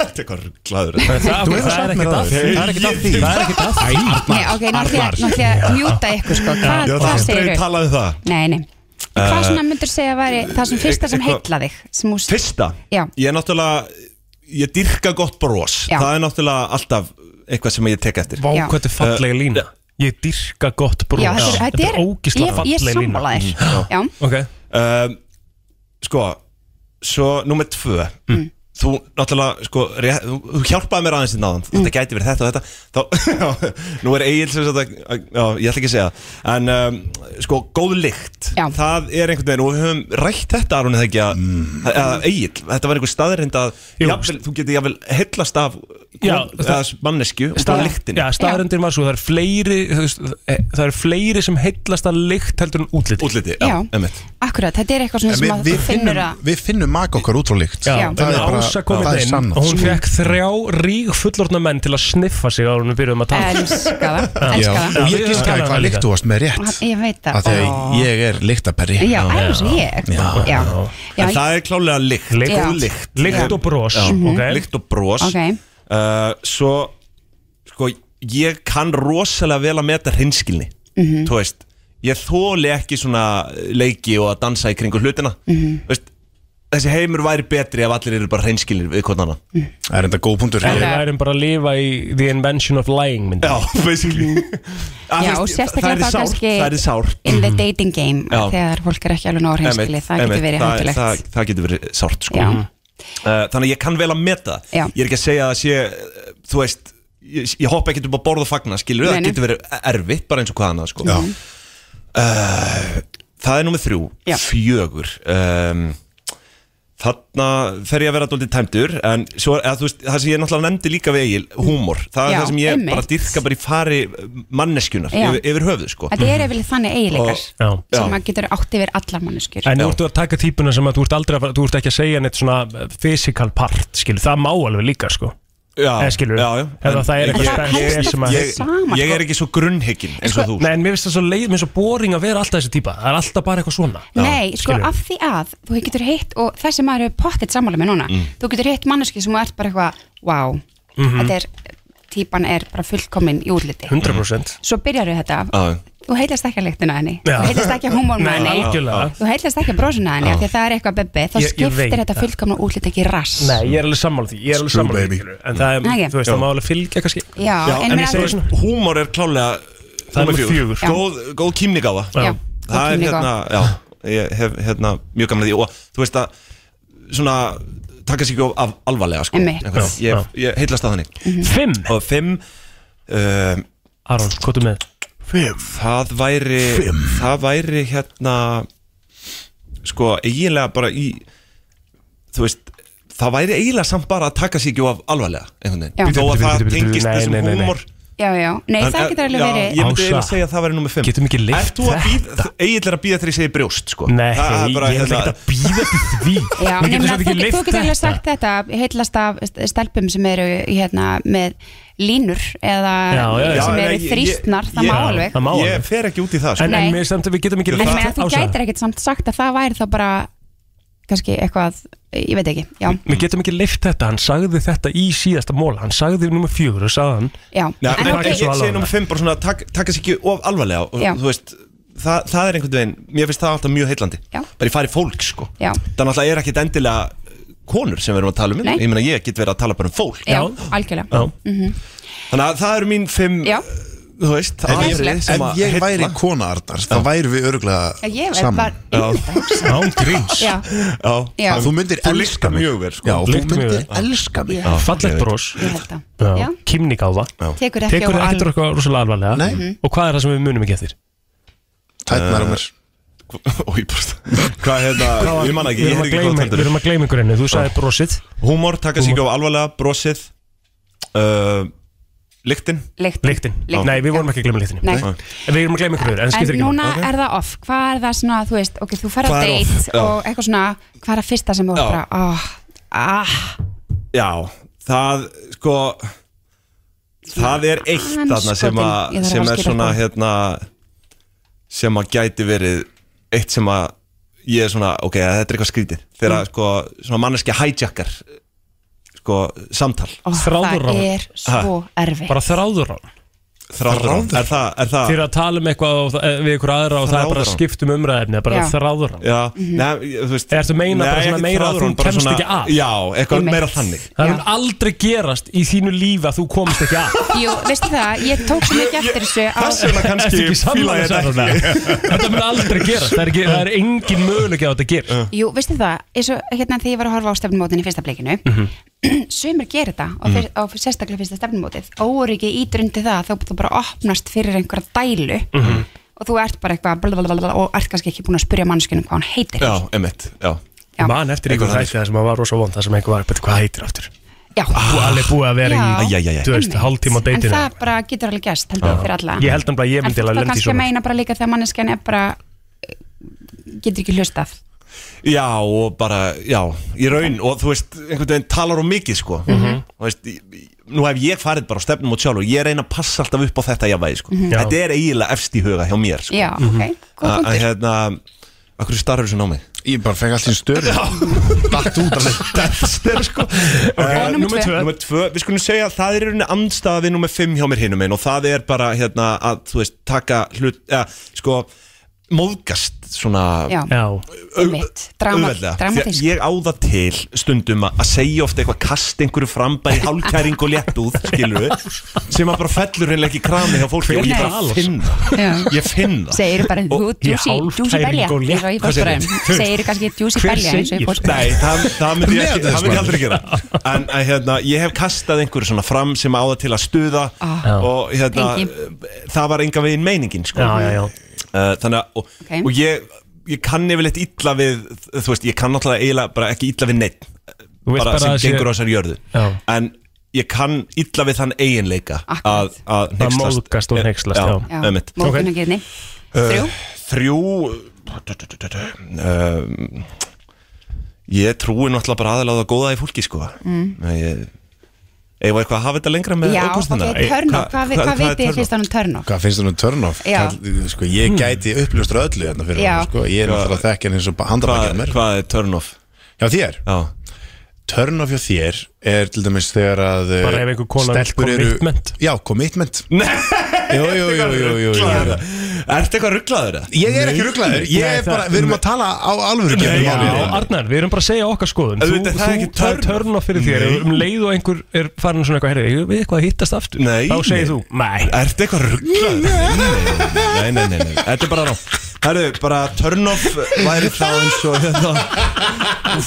Speaker 15: Þetta er hvað rugglaður
Speaker 2: Þú hefur sagt mér það Það er ekkert að því
Speaker 15: Það er ekkert að því
Speaker 16: Nei, ok, nú ætlum ég að- nú ætlum ég að mjúta ykkur sko Hvað,
Speaker 15: Já,
Speaker 16: hvað
Speaker 15: það er
Speaker 16: segir
Speaker 15: aldrei talað um það
Speaker 16: Nei, nei Hvað
Speaker 15: Eh,
Speaker 16: svona myndur segja að væri það sem fyrsta sem
Speaker 15: eitthvað-
Speaker 16: heilla þig? Sem úst,
Speaker 15: Fyrsta,
Speaker 16: Já.
Speaker 15: ég er náttúrulega Ég dyrka gott bros
Speaker 16: Já.
Speaker 15: Það er náttúrulega alltaf eitthvað sem ég tek eftir
Speaker 3: Vá, hvað þetta er
Speaker 2: Uh,
Speaker 3: fallega lína Ég dyrka gott brós
Speaker 16: Já, þetta er- þetta er- ég-
Speaker 3: ógislega
Speaker 16: ég
Speaker 3: fallega lína Mm.
Speaker 16: sammála þér.
Speaker 15: Mm.
Speaker 16: Já.
Speaker 3: Ok
Speaker 15: um, Sko, svo nummer tvö Þú náttúrulega, sko, rétt, þú- þú hjálpaði mér aðeins í náðan Þetta gæti verið þetta og þetta Þá, *laughs* já, Nú er Egil sem þetta Já, ég ætla ekki að segja það. En um, sko, góð lykt já. Það er einhvern veginn, og við höfum rætt þetta Arun, eða ekki að,
Speaker 3: Mm.
Speaker 15: að, að Egil Þetta var einhver staðrind að jafnvel, Þú getið jafnvel hellast af
Speaker 3: Já,
Speaker 15: það, mannesku og
Speaker 3: Stað-
Speaker 15: bara lyktin
Speaker 3: Já, staðarendin var svo, það er fleiri þú veist, eh, það er fleiri sem heillast að lykt heldur en útliti
Speaker 15: Útliti,
Speaker 16: já, Já.
Speaker 15: emmitt
Speaker 16: Akkurat, þetta er eitthvað svona sem að
Speaker 2: við,
Speaker 16: þú
Speaker 2: við,
Speaker 16: finnur
Speaker 2: finnum,
Speaker 16: að
Speaker 2: við finnum maka okkar útráleikt
Speaker 3: Já,
Speaker 2: Það er bara,
Speaker 3: Ása kom
Speaker 2: það
Speaker 3: hérna
Speaker 2: er
Speaker 3: inn
Speaker 2: sann
Speaker 3: og hún fekk þrjá rík fullorna menn til að sniffa sig áður en við byrjuðum að tala
Speaker 16: Elska það,
Speaker 2: Já,
Speaker 16: elska það
Speaker 2: og ég giskaði hvað líkt þú varst með rétt
Speaker 16: Ah, Ég veit
Speaker 2: Af
Speaker 16: það
Speaker 2: því
Speaker 16: Ó.
Speaker 2: að ég er líktaperri
Speaker 16: Já, alveg sem ég. Já. Já. Já.
Speaker 15: En það er klálega lykt
Speaker 16: Lykt.
Speaker 15: Góð
Speaker 16: Já.
Speaker 15: lykt
Speaker 3: Lykt og bros,
Speaker 15: Já,
Speaker 3: Mhm. ok.
Speaker 15: Lykt og bros
Speaker 16: Ok.
Speaker 4: Eh,
Speaker 15: uh, Svo Sko Ég kann rosalega vel að meta hinskilni
Speaker 16: Mhm.
Speaker 15: Þú veist Ég þóli ekki svona leiki og að dansa í kringu hlutina
Speaker 16: Mhm.
Speaker 15: Þú veist
Speaker 4: þessi heimur væri betri ef allir eru bara hreinskilir við hvort annan
Speaker 2: Það er enda góð punktur
Speaker 3: Við værum bara að lifa í The Invention of Lying myndi
Speaker 4: Já, basically
Speaker 16: Já, og sérstaklega þá kannski
Speaker 4: sárt
Speaker 16: in the dating game
Speaker 4: Já.
Speaker 16: þegar fólk er ekki alveg nóg reynskili,
Speaker 4: Einmitt,
Speaker 16: það getur
Speaker 4: einmitt,
Speaker 16: verið
Speaker 4: það- það,
Speaker 16: hættulegt
Speaker 4: það getur verið sárt sko.
Speaker 16: Já.
Speaker 4: uh, Þannig að ég kann vel að meta það.
Speaker 16: Já.
Speaker 4: Ég er ekki að segja að það sé uh, Þú veist, ég, ég hoppa ekki upp á borð og fagna Skilur
Speaker 16: Nei,
Speaker 4: það
Speaker 16: nei.
Speaker 4: getur verið erfitt Bara eins og hvað annað sko.
Speaker 16: Já.
Speaker 4: uh, Það er númer þrjú
Speaker 16: Já.
Speaker 4: Fjögur um, Þarna fer ég að vera dólítið tæmdur En svo, eða, þú veist, það sem ég náttúrulega nefndi líka við Egil Húmor, það er
Speaker 16: Já,
Speaker 4: það sem ég
Speaker 16: einmitt.
Speaker 4: bara dyrka bara í fari manneskjunar
Speaker 16: Já.
Speaker 4: yfir, yfir höfuð sko.
Speaker 16: Þetta er yfirleitt þannig eiginleikar
Speaker 3: Já.
Speaker 16: sem að getur átt yfir allar manneskjur
Speaker 3: En nú ertu að taka típuna sem að þú ert aldrei að fara, þú ert ekki að segja neitt svona eh, physical part, skilur, það má alveg líka, sko.
Speaker 4: Já,
Speaker 3: Eða skilur,
Speaker 4: já, já.
Speaker 3: ef það er eitthvað
Speaker 4: Ég- ég-
Speaker 3: spennið sem að...
Speaker 4: ég-
Speaker 16: sko.
Speaker 4: Ég er ekki svo grunnhygginn eins og þú
Speaker 3: Nei, en mér finnst það svo leið, mér finnst svo boring að vera alltaf þessi típa, það er alltaf bara eitthvað svona.
Speaker 16: Nei, sko
Speaker 3: skilurðu.
Speaker 16: af því að þú getur hitt og þessi maður hefur pottitt sammála með núna
Speaker 3: Mm.
Speaker 16: þú getur hitt manneskju sem þú ert bara eitthvað wow,
Speaker 3: Mhm.
Speaker 16: þetta er típan er bara fullkomin í útliti
Speaker 3: 100%.
Speaker 16: Svo byrjarðu þetta
Speaker 4: Já.
Speaker 16: þú heilast ekki að lyktina henni
Speaker 3: Já.
Speaker 16: þú heilast ekki að húmónum
Speaker 3: Nei,
Speaker 16: henni
Speaker 3: algjörlega.
Speaker 16: þú heilast ekki að brósuna henni
Speaker 3: Já.
Speaker 16: af því að það er eitthvað bebbi þá
Speaker 3: Ég- ég veit
Speaker 16: skiptir þetta
Speaker 3: það.
Speaker 16: fullkomna útlit ekki rass
Speaker 3: Nei, ég er alveg sammála því, ég er alveg
Speaker 4: Screw
Speaker 3: sammála
Speaker 4: baby.
Speaker 3: því, skilur. En það er,
Speaker 16: Nei, ekki.
Speaker 3: þú veist,
Speaker 16: Já.
Speaker 3: það má alveg fylgja kannski.
Speaker 16: Já, en
Speaker 4: en
Speaker 16: mér
Speaker 4: ég
Speaker 16: er
Speaker 4: segi
Speaker 16: alveg-
Speaker 4: svona Húmor er klálega
Speaker 3: Það er
Speaker 4: númer
Speaker 3: númer fjögur. sko. Já.
Speaker 4: Góð, góð kýmnigáfa
Speaker 3: Já, Já,
Speaker 16: góð
Speaker 4: Það er
Speaker 16: kímnigáfa.
Speaker 4: hérna, já Ég hef hérna mjög gamla því Og þú veist að Svona Takka sér ekki of- af alvarlega sko
Speaker 16: Einmitt.
Speaker 4: Einhvern-
Speaker 3: Já, já.
Speaker 4: Ég, ég heillast að þannig
Speaker 16: mhm.
Speaker 3: Fimm
Speaker 4: Og fimm um,
Speaker 3: Aron, hvað er með?
Speaker 4: Fimm Það væri Fimm Það væri hérna Sko, eiginlega bara í Þú veist Það væri eiginlega samt bara að taka sér ekki of alvarlega Einhvern
Speaker 16: Já.
Speaker 4: veginn Þó að það
Speaker 3: Bíddu, bíddu, bíddu, nei,
Speaker 4: tengist
Speaker 3: nei,
Speaker 4: þessum
Speaker 3: nei, nei.
Speaker 4: húmor
Speaker 16: já, já, nei
Speaker 4: En,
Speaker 16: það
Speaker 4: eh,
Speaker 16: getur alveg
Speaker 4: já,
Speaker 16: verið
Speaker 4: Ég
Speaker 3: Ása,
Speaker 4: myndi eiginlega segja að það væri nummer 5
Speaker 3: getum ekki lyft
Speaker 4: Ert þú að býða, eiginlega er að býða þegar ég segi brjóst sko
Speaker 3: Nei,
Speaker 4: Það er
Speaker 3: ég-
Speaker 4: bara
Speaker 3: ég ætla
Speaker 4: hérna-
Speaker 3: ekkert að býða til því.
Speaker 16: Já,
Speaker 3: Við
Speaker 16: en ég
Speaker 3: getum
Speaker 16: meina,
Speaker 3: samt ekki
Speaker 16: þú, þú
Speaker 3: lyft
Speaker 16: getur alveg
Speaker 3: þetta.
Speaker 16: sagt þetta heillast af st- stelpum sem eru hérna með línur eða
Speaker 3: Já, já, já.
Speaker 16: sem
Speaker 3: Já,
Speaker 16: eru
Speaker 3: ég-
Speaker 16: þrýstnar, það
Speaker 3: ég-
Speaker 16: má
Speaker 3: Já,
Speaker 16: alveg
Speaker 3: það má alveg.
Speaker 4: Ég fer ekki út í það sko
Speaker 3: En,
Speaker 16: Nei.
Speaker 3: en mér samt að við getum ekki
Speaker 16: En ég meina, þú gætir ekkert samt sagt að það væri þá bara kannski eitthvað, ég veit ekki já,
Speaker 3: Við getum ekki leift þetta, hann sagði þetta í síðasta móla Hann sagði nummer fjögur og sagði hann
Speaker 16: já
Speaker 4: Nei,
Speaker 16: en
Speaker 4: en
Speaker 16: ok,
Speaker 4: Ég ég segi nummer 5 bara svona tak, Takast ekki of alvarlega og,
Speaker 16: Já.
Speaker 4: Þú veist, það, það er einhvern veginn Mér finnst það alltaf mjög heillandi
Speaker 16: Já.
Speaker 4: Bara ég fari fólk sko
Speaker 16: Já.
Speaker 4: Það náttúrulega er ekkit endilega konur sem við erum að tala um hérna.
Speaker 16: Nei.
Speaker 4: Ég meina ég get verið að tala bara um fólk
Speaker 16: já, algjörlega Mhm.
Speaker 4: Þannig að það eru mín 5
Speaker 16: Já.
Speaker 4: Þú veist,
Speaker 2: En ég,
Speaker 4: atriði sem
Speaker 2: en
Speaker 4: að
Speaker 2: ég
Speaker 4: heilla.
Speaker 2: væri kona Arnar, þá væri við örgulega
Speaker 16: Ég var
Speaker 2: saman
Speaker 16: bara-
Speaker 2: Já, án gríns
Speaker 16: Já. Já.
Speaker 2: Þú myndir elska mig mjög verð Já, þú
Speaker 3: Lyftir mig
Speaker 2: myndir
Speaker 3: við.
Speaker 2: elska mig
Speaker 16: Já.
Speaker 3: Fallegt bros
Speaker 16: Ég held það. Já.
Speaker 3: Kímnigáfa
Speaker 16: Tekur ekki á
Speaker 3: á
Speaker 16: al-
Speaker 3: alveg rosalega alvarlega
Speaker 16: Nei.
Speaker 3: Mhm. Og hvað er það sem við munum ekki eftir?
Speaker 2: Tætnar á mér
Speaker 4: Ói, bara Hvað hérna,
Speaker 3: Hvað var-
Speaker 4: ég manna ekki,
Speaker 3: Við
Speaker 4: ég
Speaker 3: erum
Speaker 4: hef
Speaker 3: að
Speaker 4: ekki góð
Speaker 3: gleyma-
Speaker 4: tendur
Speaker 3: við erum að gleyma ykkur einu, þú sagði brosið
Speaker 4: Húmor, taka sig ekki á alvarlega, brosið uh, Lyktin
Speaker 16: Lyktin.
Speaker 3: Lyktin, nei við vorum ekki að gleyma lyktin
Speaker 16: Nei.
Speaker 3: En við erum að gleyma ykkur einu, en skiptir
Speaker 16: en
Speaker 3: ekki
Speaker 16: núna
Speaker 3: máli.
Speaker 16: er það off, hvað er það svona þú veist, ok, þú fer að
Speaker 3: Hvað er off?
Speaker 16: date
Speaker 4: Já.
Speaker 16: og eitthvað svona, hvað er að fyrsta sem þú
Speaker 4: Já.
Speaker 16: bara, ah, ah
Speaker 4: Já, það sko Það er eitt þarna sem, a,
Speaker 16: Andskotin, ég þarf að
Speaker 4: sem er
Speaker 16: skilja
Speaker 4: svona
Speaker 16: það.
Speaker 4: hérna sem að gæti verið eitt sem að ég er svona, ok, þetta er eitthvað skrítið þegar
Speaker 16: Mm.
Speaker 4: að sko, svona manneskja hijackar sko, samtal
Speaker 16: oh, það er svo erfitt
Speaker 3: Bara þráðurán
Speaker 4: Þráðurán, er það, er það
Speaker 3: Fyrir að tala um eitthvað og, það- við ykkur aðra og það er bara
Speaker 4: Þráðurán.
Speaker 3: skiptum umræðefni Bara
Speaker 4: Já.
Speaker 3: þráðurán
Speaker 4: Já,
Speaker 16: Mhm.
Speaker 4: neð, þú veist
Speaker 3: Ertu meina bara
Speaker 4: Nei,
Speaker 3: svona
Speaker 4: ekkert
Speaker 3: meira að þú
Speaker 4: þráðurán, bara
Speaker 3: kemst
Speaker 4: svona-
Speaker 3: ekki að?
Speaker 4: Já, eitthvað meira þannig
Speaker 3: Það um mun aldrei gerast í þínu lífi að þú komist ekki
Speaker 16: *laughs*
Speaker 3: að
Speaker 16: Jú, veistu það, ég tók sem ekki eftir þessu á...
Speaker 3: Þess vegna kannski Ertu ekki sammála fílaði þessu, þetta ekki? *laughs* Þetta mun aldrei gerast, það er, ekki, það er engin möguleik að þetta gerist
Speaker 16: Jú, veistu það, eins og hérna þegar ég var að horfa á stefnumótin í fyrsta bleikinu
Speaker 3: Mhm.
Speaker 16: *clears throat* Sumir gerir þetta á, fyr, á sérstaklega fyrsta stefnumótið Óryggi ítur undir það, þá þú bara opnast fyrir einhverja dælu
Speaker 3: Mhm.
Speaker 16: og þú ert bara eitthvað blablabla og ert kannski ekki búin að spyrja mannskinu hvað hann heitir
Speaker 4: Já, emitt, já
Speaker 16: Já.
Speaker 3: Man eftir ykkur þætti það sem að var rosa vond Það sem einhver var, betur hvað heitir aftur
Speaker 16: Já,
Speaker 3: Þú er alveg búið að vera í,
Speaker 16: Já.
Speaker 3: þú veist, hálftíma á
Speaker 16: en
Speaker 3: deytinu
Speaker 16: það bara getur alveg gæst, heldur ég,
Speaker 3: Já.
Speaker 16: fyrir alla
Speaker 3: Ég held nefnilega að ég myndi alveg
Speaker 16: En þú
Speaker 3: lenda í
Speaker 16: kannski
Speaker 3: svona.
Speaker 16: meina bara líka þegar manneskjan er bara eh, getur ekki hlustað
Speaker 4: Já og bara, já, í raun og þú veist, einhvern veginn talar um mikið sko þú veist, í- í- nú hef ég farið bara á stefnum og sjálf og ég reyna að passa alltaf upp á þetta jafnvægi sko,
Speaker 16: Mhm. Já.
Speaker 4: þetta er eiginlega efst í huga hjá mér sko
Speaker 16: Já,
Speaker 3: Mhm.
Speaker 16: ok, góð
Speaker 4: Að- að
Speaker 16: punktur
Speaker 4: hérna, að hverju starfur þessu námi?
Speaker 2: Uh, Ég bara fengi allir störu *laughs* Datt út af
Speaker 4: Dexter sko
Speaker 2: Og númer
Speaker 4: Númer
Speaker 2: tvö.
Speaker 4: tvö. Númer tvö, við skulum segja að það er í rauninni andstaða við númer 5 hjá mér hinum einn og það er bara hérna að þú veist taka hlut, eða sko
Speaker 15: móðgast svona
Speaker 16: Já. Já. Einmitt. Dramat-
Speaker 15: auðveldlega. Því
Speaker 16: dramatísk.
Speaker 15: að ég á það til stundum að að segja ofta eitthvað kast einhverju fram bara í hálkæring og léttúð skilur sem að bara fellur einlega ekki krami hjá fólki og ég bara
Speaker 16: Nei.
Speaker 15: finn
Speaker 16: Já.
Speaker 15: það ég finn það
Speaker 16: Segir bara, þú, djúsi, djúsi belja eins og í
Speaker 15: Hvað segirðu?
Speaker 16: fórsbræðum Segir kannski djúsi belja eins og í
Speaker 15: Nei,
Speaker 16: fórsbræðum
Speaker 15: það, það myndi ég,
Speaker 16: Með
Speaker 15: ekki, það myndi ég
Speaker 16: þessu,
Speaker 15: aldrei gera En að, hérna, ég hef kastað einhverju svona fram sem áða til að stuða
Speaker 16: Ah.
Speaker 15: Og hérna, það var enga veginn meiningin sko.
Speaker 16: Já, já, já.
Speaker 15: Uh, Þannig að, og,
Speaker 16: Ok.
Speaker 15: og ég, ég kann yfirleitt illa við Þú veist, ég kann náttúrulega eiginlega bara ekki illa við neitt
Speaker 3: Þú vilt
Speaker 15: Bara
Speaker 3: bara
Speaker 15: sem
Speaker 3: að sé-
Speaker 15: gengur á þessar jörðu
Speaker 3: Já.
Speaker 15: En ég kann illa við þann eiginleika Að, að
Speaker 3: Að móðgast og hneykslast, já. Já,
Speaker 15: einmitt.
Speaker 16: Móðgunargirni Þrjú
Speaker 15: Þrjú um, Ég trúi náttúrulega bara aðalega á það góða í fólki sko
Speaker 16: Mm.
Speaker 15: Nei, ég- Eigum við eitthvað að hafa þetta lengra með
Speaker 16: Já,
Speaker 15: ókostina?
Speaker 16: ok, törnoff, hvað vi- hvað
Speaker 15: er
Speaker 16: vitið þið
Speaker 15: turn-off?
Speaker 16: fyrst hann um törnoff?
Speaker 2: Hvað finnst þér um turn-off?
Speaker 16: Já.
Speaker 2: Kall- Sko, ég gæti uppljóstra öllu hérna fyrir
Speaker 16: Já.
Speaker 2: hann sko. Ég er náttúrulega að þekkja hann eins og handabækjað mér
Speaker 15: Hvað er turn-off?
Speaker 2: Hjá þér?
Speaker 15: Já
Speaker 2: Turn-off hjá þér er til dæmis þegar að eh,
Speaker 3: Bara ef einhver kona vill
Speaker 2: stelpur eru- Já, commitment Jú, jú, jú, jú, jú, jú.
Speaker 15: Ertu eitthvað rugglaður?
Speaker 2: Ég er ekki rugglaður Ég er bara, við erum að tala á alvöru
Speaker 3: Já,
Speaker 2: gerum málið.
Speaker 3: Arnar, við erum bara að segja okkar skoðun Þú,
Speaker 2: Auðvitað,
Speaker 3: þú,
Speaker 2: það er ekki
Speaker 3: það er törn á fyrir þér
Speaker 2: Nei.
Speaker 3: Ef um leið og einhver er farin svona eitthvað herri, við eitthvað að hittast aftur
Speaker 15: Nei,
Speaker 3: Þá segir
Speaker 15: nei.
Speaker 3: þú, nei
Speaker 15: Ertu eitthvað rugglaður? Nei, nei, nei, nei, þetta er bara rá Herru, bara turn-off væri þá eins og hérna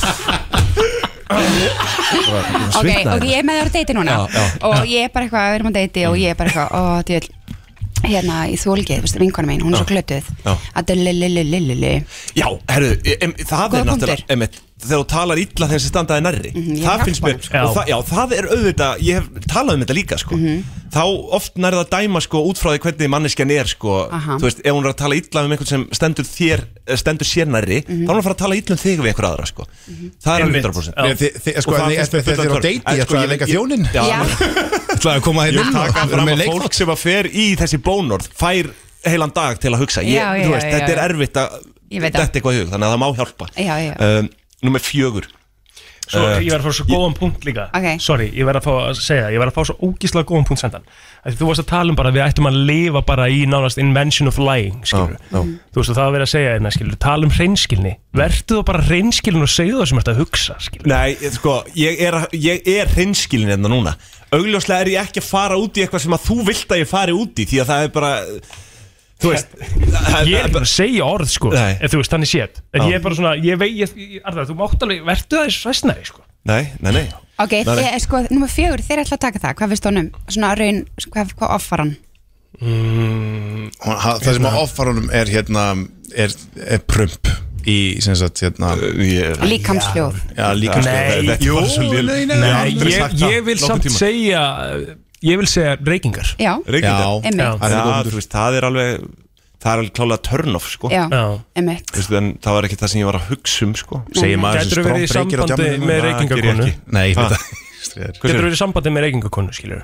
Speaker 16: Ok, ok, ég er með þér að deiti núna
Speaker 15: Já, já.
Speaker 16: og ég er bara eitthvað, við erum að deiti og ég er bara eitthvað, ó, djöl hérna í þólgið, þú veist, vinkona mín, hún er svo glötuð
Speaker 15: Já.
Speaker 16: að dölulululululu
Speaker 15: Já, herru, e, em, það
Speaker 16: Góða
Speaker 15: er náttúrulega einmitt, þegar þú talar illa þeim sem standaði nærri
Speaker 16: Mhm, ég
Speaker 15: það
Speaker 16: hjálpa
Speaker 15: finnst mér,
Speaker 16: honum.
Speaker 15: og það, já, það er auðvitað ég hef talað um þetta líka sko.
Speaker 16: Mhm.
Speaker 15: þá oft nærða að dæma sko, út frá því hvernig manneskjan er sko,
Speaker 16: Aha.
Speaker 15: þú veist, ef hún er að tala illa um einhvern sem stendur þér, eh, stendur sér nærri
Speaker 16: Mhm.
Speaker 15: þá er hún að fara að tala illa um þig við einhver aðra sko. það er alveg
Speaker 2: Einmitt.
Speaker 15: 100%
Speaker 2: Já. Þi- þi- sko,
Speaker 15: Og það
Speaker 2: en
Speaker 15: finnst
Speaker 2: eftir
Speaker 15: mér
Speaker 2: þegar þið eru á
Speaker 15: fulla
Speaker 2: deiti,
Speaker 15: törn. En,
Speaker 2: ég
Speaker 15: sko,
Speaker 2: ætlaði að leika þjóninn.
Speaker 15: Já,
Speaker 2: Já.
Speaker 15: ætlaði að koma
Speaker 2: hérna inn og-
Speaker 15: Ég taka
Speaker 2: við erum
Speaker 15: fram
Speaker 2: með
Speaker 15: að
Speaker 2: leikþátt.
Speaker 15: fólk sem að fer í þessi bónorð fær heilan dag til að hugsa ég,
Speaker 16: Já, já,
Speaker 15: þú veist,
Speaker 16: já,
Speaker 15: þetta
Speaker 16: já.
Speaker 15: er erfitt að
Speaker 16: Ég veit það.
Speaker 15: þetta eitthvað í hug, þannig að það má hjálpa
Speaker 16: Já, já.
Speaker 15: um, Númer fjögur
Speaker 3: Svo, ég verð að fá svo góðan punkt líka
Speaker 16: Ok.
Speaker 3: Sorry, ég verð að fá að segja það Ég verð að fá svo ógíslega góðan punkt sendan Þegar þú varst að tala um bara að við ættum að lifa bara í nánast invention of lying skilur.
Speaker 15: Já, já.
Speaker 3: Þú veist og það að vera að segja hérna skilur Tala um hreinskilni Vertu þú bara hreinskilin og segðu það sem ert að hugsa skilur.
Speaker 15: Nei, ég- sko, ég er, ég er hreinskilin hérna núna Augljóslega er ég ekki að fara út í eitthvað sem að þú vilt að ég fari út í Því að það er bara, þú veist
Speaker 3: Ég er ekki að segja orð sko
Speaker 15: Nei.
Speaker 3: Ef þú veist þannig séð En
Speaker 15: Já.
Speaker 3: ég er bara svona Ég vei, ég, ég, Arnar, þú mátt alveg Vertu það þess vestnari sko
Speaker 15: Nei, nei, nei
Speaker 3: Nei,
Speaker 16: Ok,
Speaker 3: nei.
Speaker 16: þið, sko, nummer fjögur, þeir ætla að taka það hvað finnst honum, svona raun, hvað, hvað offar hann
Speaker 2: Mm, Hún- ha- Það sem að offar honum er hérna er, er prump í sem sagt hérna
Speaker 16: Líkamshljóð.
Speaker 2: Já, líkamsljóð
Speaker 3: Nei,
Speaker 2: Þetta var svo léleg- Ég hef aldrei
Speaker 3: ég,
Speaker 2: sagt það
Speaker 3: ég vil
Speaker 2: nokkurn
Speaker 3: samt
Speaker 2: tímann.
Speaker 3: segja Ég vil segja reykingar
Speaker 16: Já,
Speaker 15: Reykingar.
Speaker 16: Einmitt. Já.
Speaker 15: Já, þú veist, það er alveg Það er alveg klálega turn off, sko
Speaker 16: Já, einmitt
Speaker 15: Þú veist, en það var ekki það sem ég var að hugsa um, sko
Speaker 2: Segir maður sem Gætirðu verið í strombreytir á sambandi djamminu? með
Speaker 15: Það
Speaker 2: reykingakonu?
Speaker 15: geri ég ekki.
Speaker 2: Nei, ég veit
Speaker 15: Ha?
Speaker 2: það. Stríðar.
Speaker 3: Getur verið í sambandi með reykingakonu, skilur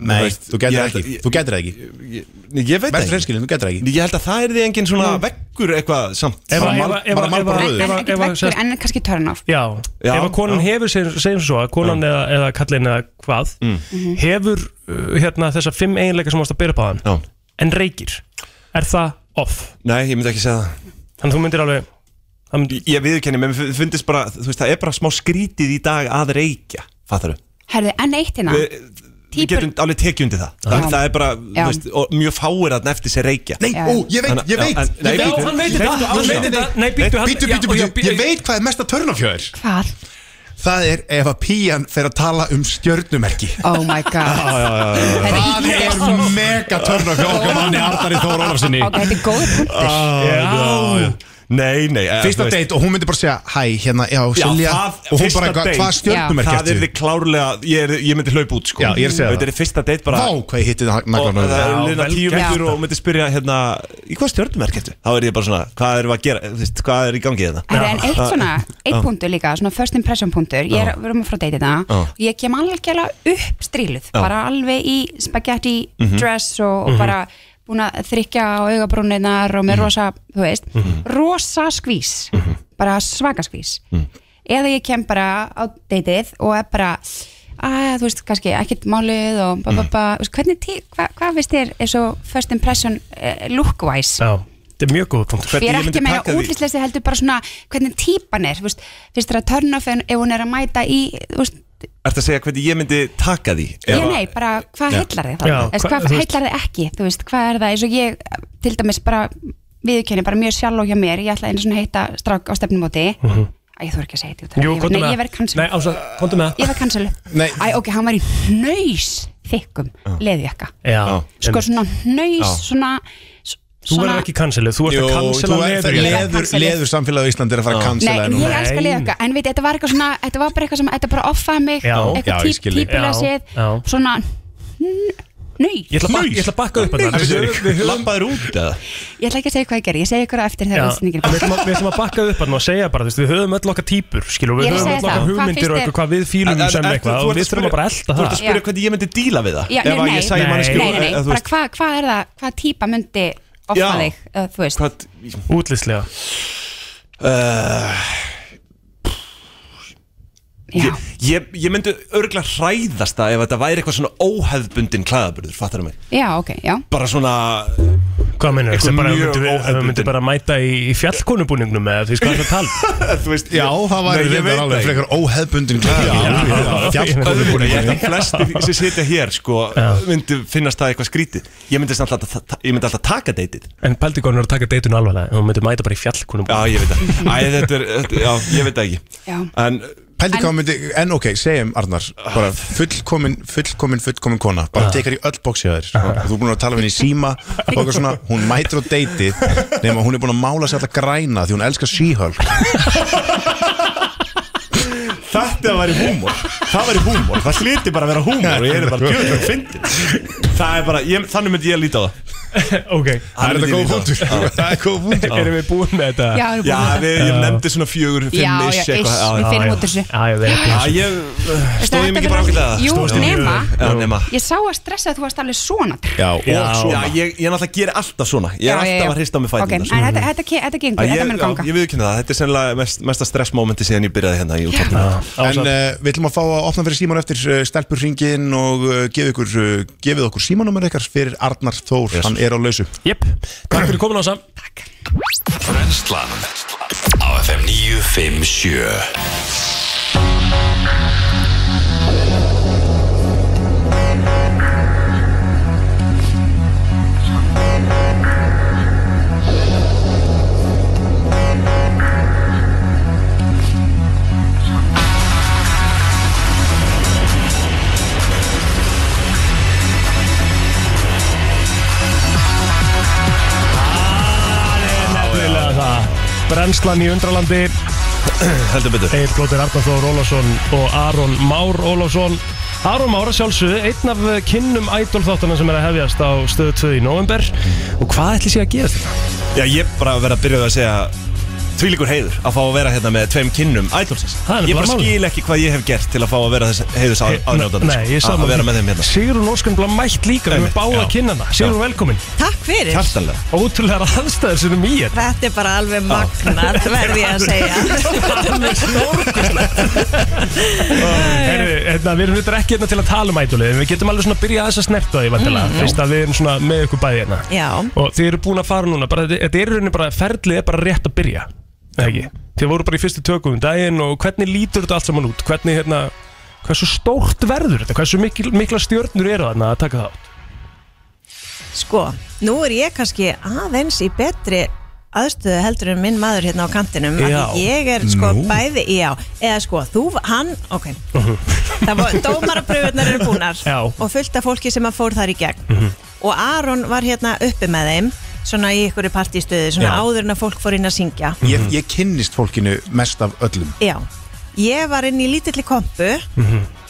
Speaker 2: Nei, þú getur ekki Þú getur ekki
Speaker 15: Ég, ég veit
Speaker 2: Verður
Speaker 15: ekki.
Speaker 2: hreinskilinn, þú getur ekki
Speaker 15: Ég held að það er því engin svona veggur eitthvað samt
Speaker 3: Ef að- ef að- ef að- ef að-
Speaker 16: En
Speaker 3: ef
Speaker 16: ekkert
Speaker 3: að-
Speaker 16: vekkur, en kannski törnoff
Speaker 3: Já,
Speaker 15: Já,
Speaker 3: ef að konan hefur, segjum segjum svo að konan eða, eða kallin eða hvað
Speaker 2: Mm.
Speaker 16: Mhm.
Speaker 3: hefur uh, hérna, þessa fimm eiginleika sem ást að byrja på hann
Speaker 15: Já.
Speaker 3: en reykir, er það off?
Speaker 15: Nei, ég myndi ekki segja það
Speaker 3: Þannig að þú myndir alveg myndi...
Speaker 15: Ég viðurkenni, menn mér fundist bara Þú veist, það er bara smá skrítið í dag að reykja Fattar við?
Speaker 16: Herðu, en eitt hérna
Speaker 15: Við
Speaker 16: Típur-
Speaker 15: getum alveg tekið undir það Það, það er bara, þú
Speaker 16: Já.
Speaker 15: veist, og mjög fáir að nefti sér reykja
Speaker 2: Nei, Já. ó, ég veit,
Speaker 15: Þannig-
Speaker 2: ég veit,
Speaker 15: Já, en-
Speaker 2: ég
Speaker 15: nei,
Speaker 2: veit.
Speaker 15: bíddu,
Speaker 2: Hann veit
Speaker 15: leiktu á
Speaker 2: þetta, hann
Speaker 15: það.
Speaker 2: veit þetta. Nei, bíddu, hann- Bíddu, bíddu, já, bíddu, já, ég já. veit hvað er mesta turn off hjá þér.
Speaker 16: Hvað?
Speaker 2: Það er ef að píjan fer að tala um stjörnumerki
Speaker 15: *laughs*
Speaker 16: Oh my god
Speaker 2: Já, já, já, já. Það er mega törn off hjá okkar manni Arnari Þór Ólafsinni
Speaker 16: Ok, þetta er góð punktur
Speaker 2: Já, já.
Speaker 15: Nei, nei eh,
Speaker 2: Fyrsta
Speaker 15: þú veist-
Speaker 2: date og hún myndi bara segja Hæ, hérna, já,
Speaker 15: Já,
Speaker 2: Silja
Speaker 15: það-
Speaker 2: Og hún
Speaker 15: fyrsta
Speaker 2: bara, eitthvað,
Speaker 15: date.
Speaker 2: hvað stjörnumerki
Speaker 15: Það er
Speaker 2: ertu?
Speaker 15: þið klárlega, ég, er, ég myndi hlaupa út sko
Speaker 2: Já, ég er að segja það.
Speaker 15: Þetta er fyrsta date bara
Speaker 2: Vá, hvað ég hitti það
Speaker 15: Og
Speaker 2: naglanum.
Speaker 15: það er
Speaker 2: Já,
Speaker 15: liðna
Speaker 2: vel
Speaker 15: tíu
Speaker 2: gert. sko.
Speaker 15: vekur og myndi spyrja hérna Í hvað stjörnumerk ertu? Þá er ég bara svona, hvað erum við að gera, þú veist, hvað er í gangi hérna? þetta?
Speaker 16: Herðu, en eitt svona, eitt
Speaker 15: Já.
Speaker 16: punktur líka svona first impression punktur, ég
Speaker 15: Já.
Speaker 16: er, við erum að frá deiti þetta
Speaker 15: Já.
Speaker 16: hérna, og ég kem algjörlega upp stríluð,
Speaker 15: Já.
Speaker 16: bara alveg í spaghetti
Speaker 15: Mhm.
Speaker 16: dress og, og
Speaker 15: Mhm.
Speaker 16: bara búin að þrykja á augabrúninar og með rosa, þú veist
Speaker 15: Mhm.
Speaker 16: rosa skvís, bara svaka skvís eða ég kem bara á deitið og er bara að þú veist, kannski ekkert málið og ba, ba,
Speaker 15: Mhm.
Speaker 16: ba, þú veist, hvernig til, hva, hvað veist þér er svo first impression uh, look-wise?
Speaker 3: Já, þetta er mjög góð punktur
Speaker 16: Ég er ekki að meina útlýstleysi heldur bara svona hvernig típan er, þú veist, finnst þér að turn off en- ef hún er að mæta í, þú veist,
Speaker 15: Ertu að segja hvernig ég myndi taka því?
Speaker 16: ég nei, bara hvað
Speaker 15: Já.
Speaker 16: heillar þig
Speaker 15: Já,
Speaker 16: þá? Eða
Speaker 15: hva-
Speaker 16: hvað
Speaker 15: þú veist-
Speaker 16: heillar þig ekki? Þú veist, hvað er það eins og ég til dæmis bara viðurkenni bara mjög sjálf og hjá mér, ég ætla einu svona heita strák á stefnumóti,
Speaker 3: Mhm.
Speaker 16: að ég þú ekki að segja þetta
Speaker 3: Jú,
Speaker 16: Ég-
Speaker 3: komdu
Speaker 16: Nei,
Speaker 3: með
Speaker 16: ég verð cancel.
Speaker 3: Nei, Ása, komdu með
Speaker 16: Ég var kansölu Æ, ok, hann var í hnaus þykkum leðjaka
Speaker 3: Já,
Speaker 16: Sko svona hnaus,
Speaker 3: Já.
Speaker 16: svona s-
Speaker 3: Þú
Speaker 16: svona-
Speaker 3: verður ekki canceluð, þú ert
Speaker 2: Jú,
Speaker 3: að
Speaker 2: þú
Speaker 3: cancela
Speaker 2: ert að-
Speaker 3: leður
Speaker 2: leður, leður samfélag á Íslandi er að fara að
Speaker 16: Nei,
Speaker 2: cancela þig núna.
Speaker 16: ég elska leðjaka En veit, þetta var eitthvað svona Þetta var bara eitthvað sem Þetta bara offaði mig
Speaker 2: Já, já,
Speaker 16: Eitthvað
Speaker 2: ég skil þig.
Speaker 16: típilega
Speaker 2: Já,
Speaker 16: séð
Speaker 2: já.
Speaker 16: Svona Nöys
Speaker 3: Ég ætla að bak- ég ætla að bakka upp að það
Speaker 15: Lappaður út eða?
Speaker 16: Ég ætla ekki að segja hvað ég gerði Ég segi ykkur á eftir
Speaker 3: Já,
Speaker 16: þegar
Speaker 3: en
Speaker 16: útsendingin
Speaker 3: við ætlum að- við ætlum að bakka upp hann og segja bara, þú veist, við höfum öll okkar típur skilur,
Speaker 16: Ég
Speaker 3: við
Speaker 16: er að
Speaker 3: höfum
Speaker 16: segja
Speaker 3: öll okkar
Speaker 16: það. Hvað
Speaker 3: hugmyndir
Speaker 16: finnst
Speaker 3: og
Speaker 16: þér-
Speaker 3: eitthvað hvað við fílum um sem eitthvað og við þurfum að bara elda
Speaker 15: Þú
Speaker 3: það
Speaker 15: ert að spyrja
Speaker 16: Já.
Speaker 15: hvernig ég myndi díla við það
Speaker 16: Já, nei,
Speaker 15: Ef að
Speaker 16: nei,
Speaker 15: ég segi manneskju-
Speaker 16: nei, nei,
Speaker 15: eða
Speaker 16: nei
Speaker 15: þú
Speaker 16: Bara
Speaker 15: veist-
Speaker 16: hvað hvað er það Hvað típa myndi offa
Speaker 15: Já.
Speaker 16: þig eða Þú veist
Speaker 3: Útlýslega
Speaker 15: uh, ég, ég, ég myndi örgulega hræðast það ef þetta væri eitthvað svona óhefbundin klæðaburður, fattar mig
Speaker 16: Já, ok, já
Speaker 15: Bara svona uh,
Speaker 3: Hvað mennur
Speaker 15: Eitthvað
Speaker 3: þetta? Bara,
Speaker 15: mjög
Speaker 3: myndi, við, við myndi bara mæta í, í fjallkonubúningnum eða því sko að það tala
Speaker 15: Þú veist,
Speaker 2: Já, það var reyndar alveg frekar óheðbundin klæðaburður. Fjallkonubúningur.
Speaker 15: Ég held að flestir sem sitja hér sko, myndi finnast það eitthvað skrítið Ég myndi, samt alltaf, ta- ég myndi alltaf taka deytið
Speaker 3: En Peldikonur er að taka deitun alvarlega Hún myndi mæta bara í fjallkonubúningnum
Speaker 15: Já, ég veit það Æ, þetta er, þetta- já, ég veit það ekki
Speaker 16: Já.
Speaker 15: En
Speaker 2: Pældi hvað myndi, en ok, segjum Arnar bara fullkomin, fullkomin, fullkomin kona bara
Speaker 15: Ah.
Speaker 2: tekar í öll bóksi að þér og þú er búin að tala við henni í síma og eitthvað svona, hún mætir á deiti nema hún er búin að mála sér alltaf græna því hún elskar síhöld
Speaker 15: Þetta væri húmor Það væri húmor, það sliti bara að vera húmor og ég er bara djöðlega fyndin Það er bara, ég, þannig myndi ég að líta á það
Speaker 3: *laughs* Ok
Speaker 15: Það er þetta góð punktur *laughs*
Speaker 2: Það er góð punktur
Speaker 3: Erum við búin með þetta?
Speaker 15: Já,
Speaker 3: erum
Speaker 15: við búin með þetta. ég nefndi svona fjögur, fimm
Speaker 16: Já,
Speaker 15: ish,
Speaker 16: já,
Speaker 15: eitthvað,
Speaker 16: ish,
Speaker 15: já,
Speaker 16: við
Speaker 15: já, já.
Speaker 16: finnum út úr þessu.
Speaker 3: Já, ég veit
Speaker 15: Já,
Speaker 3: ekki.
Speaker 15: ég uh,
Speaker 16: Þetta
Speaker 15: stóð ég
Speaker 16: verður
Speaker 15: mikið bara ákveðlega
Speaker 16: alveg- Jú, nema.
Speaker 15: Já, nema
Speaker 16: Ég sá að stressa að þú varst alveg svona
Speaker 15: Já, og
Speaker 16: Já.
Speaker 15: svona Já, ég, ég náttúrulega gerir alltaf svona Ég
Speaker 16: Já,
Speaker 15: er
Speaker 16: já,
Speaker 15: alltaf
Speaker 16: já.
Speaker 15: að hrista á mig
Speaker 16: Ok,
Speaker 15: fætina
Speaker 16: en þetta- þetta ke- þetta gengur, þetta mun ganga
Speaker 15: Ég, ég viðkynna það, þetta er sennilega mest, mesta stressmomenti síðan ég byrjaði hérna í útvarpinu.
Speaker 2: En uh, við ætlum að fá að opna fyrir síman eftir uh, stelpur hringin og uh, gefið, ykkur, uh, gefið okkur símanúmer ykkar fyrir Arnar Þór, hann er á lausu
Speaker 3: Jep, takk fyrir komin á sam
Speaker 17: Brennslan á FM 957
Speaker 3: Nefnilega það Brennslan í undralandi
Speaker 15: Heldur betur
Speaker 3: Egil Blóter Arnarþór Ólafsson og Aron Már Ólafsson Aron Már að sjálfsögðu, einn af eh, kynnum ædolþáttana sem er að hefjast á stöðu 2 í november og hvað ætli sé að gera þetta?
Speaker 15: Já, ég bara verið að byrja að segja Tvílíkur heiður að fá að vera hérna með tveim kinnum ædolsins
Speaker 3: er
Speaker 15: Ég bara
Speaker 3: bara málið.
Speaker 15: skil ekki hvað ég hef gert til að fá að vera þess heiðus
Speaker 3: Hey,
Speaker 15: aðnjóðan
Speaker 3: Nei, ég er
Speaker 15: Að
Speaker 3: saman
Speaker 15: vera með þeim hérna
Speaker 3: Sigrun Óskan blá mætt líka, við erum
Speaker 15: Einmitt,
Speaker 3: báða
Speaker 15: já.
Speaker 3: kynnana Sigrun, velkomin
Speaker 1: Takk fyrir
Speaker 15: Hjartanlega.
Speaker 3: Ótrúlega aðstæður sem er mýr
Speaker 1: Þetta er bara alveg magnað, verði ég að segja
Speaker 3: Herri, hérna, Við erum þetta ekki hérna til að tala um ædolið en Við getum alveg svona að byrja aðeins að snerta því vantilega
Speaker 1: Mm.
Speaker 3: Fyrst að við erum svona með ykkur bæði hérna
Speaker 1: Já,
Speaker 3: Og þið eru búin að fara núna bara, þetta- Þetta er í rauninni bara, ferlið er bara rétt að byrja eða ekki? Þið voru bara í fyrstu tökum um daginn Og hvernig lítur þetta allt saman út? Hvernig, hérna, hversu stórt verður þetta? Hversu mikil, mikla stjörnur eru þarna að taka þátt?
Speaker 1: sko, nú er ég kannski aðeins í betri aðstöðu heldur en minn maður hérna á kantinum af því
Speaker 3: Já.
Speaker 1: Ég er sko
Speaker 3: Nú.
Speaker 1: bæði, já, eða sko, þú, hann, ok Það var, dómarapröfunar eru búnar
Speaker 3: Já. Mhm.
Speaker 1: Og fullt af fólki sem að fór þar í gegn Og Aron var hérna uppi með þeim Svona í ykkur partístöðu, svona
Speaker 2: Já.
Speaker 1: áður en að fólk fór inn að syngja
Speaker 3: Mhm.
Speaker 2: ég, ég kynnist fólkinu mest af öllum
Speaker 1: Já, ég var inn í lítilli kompu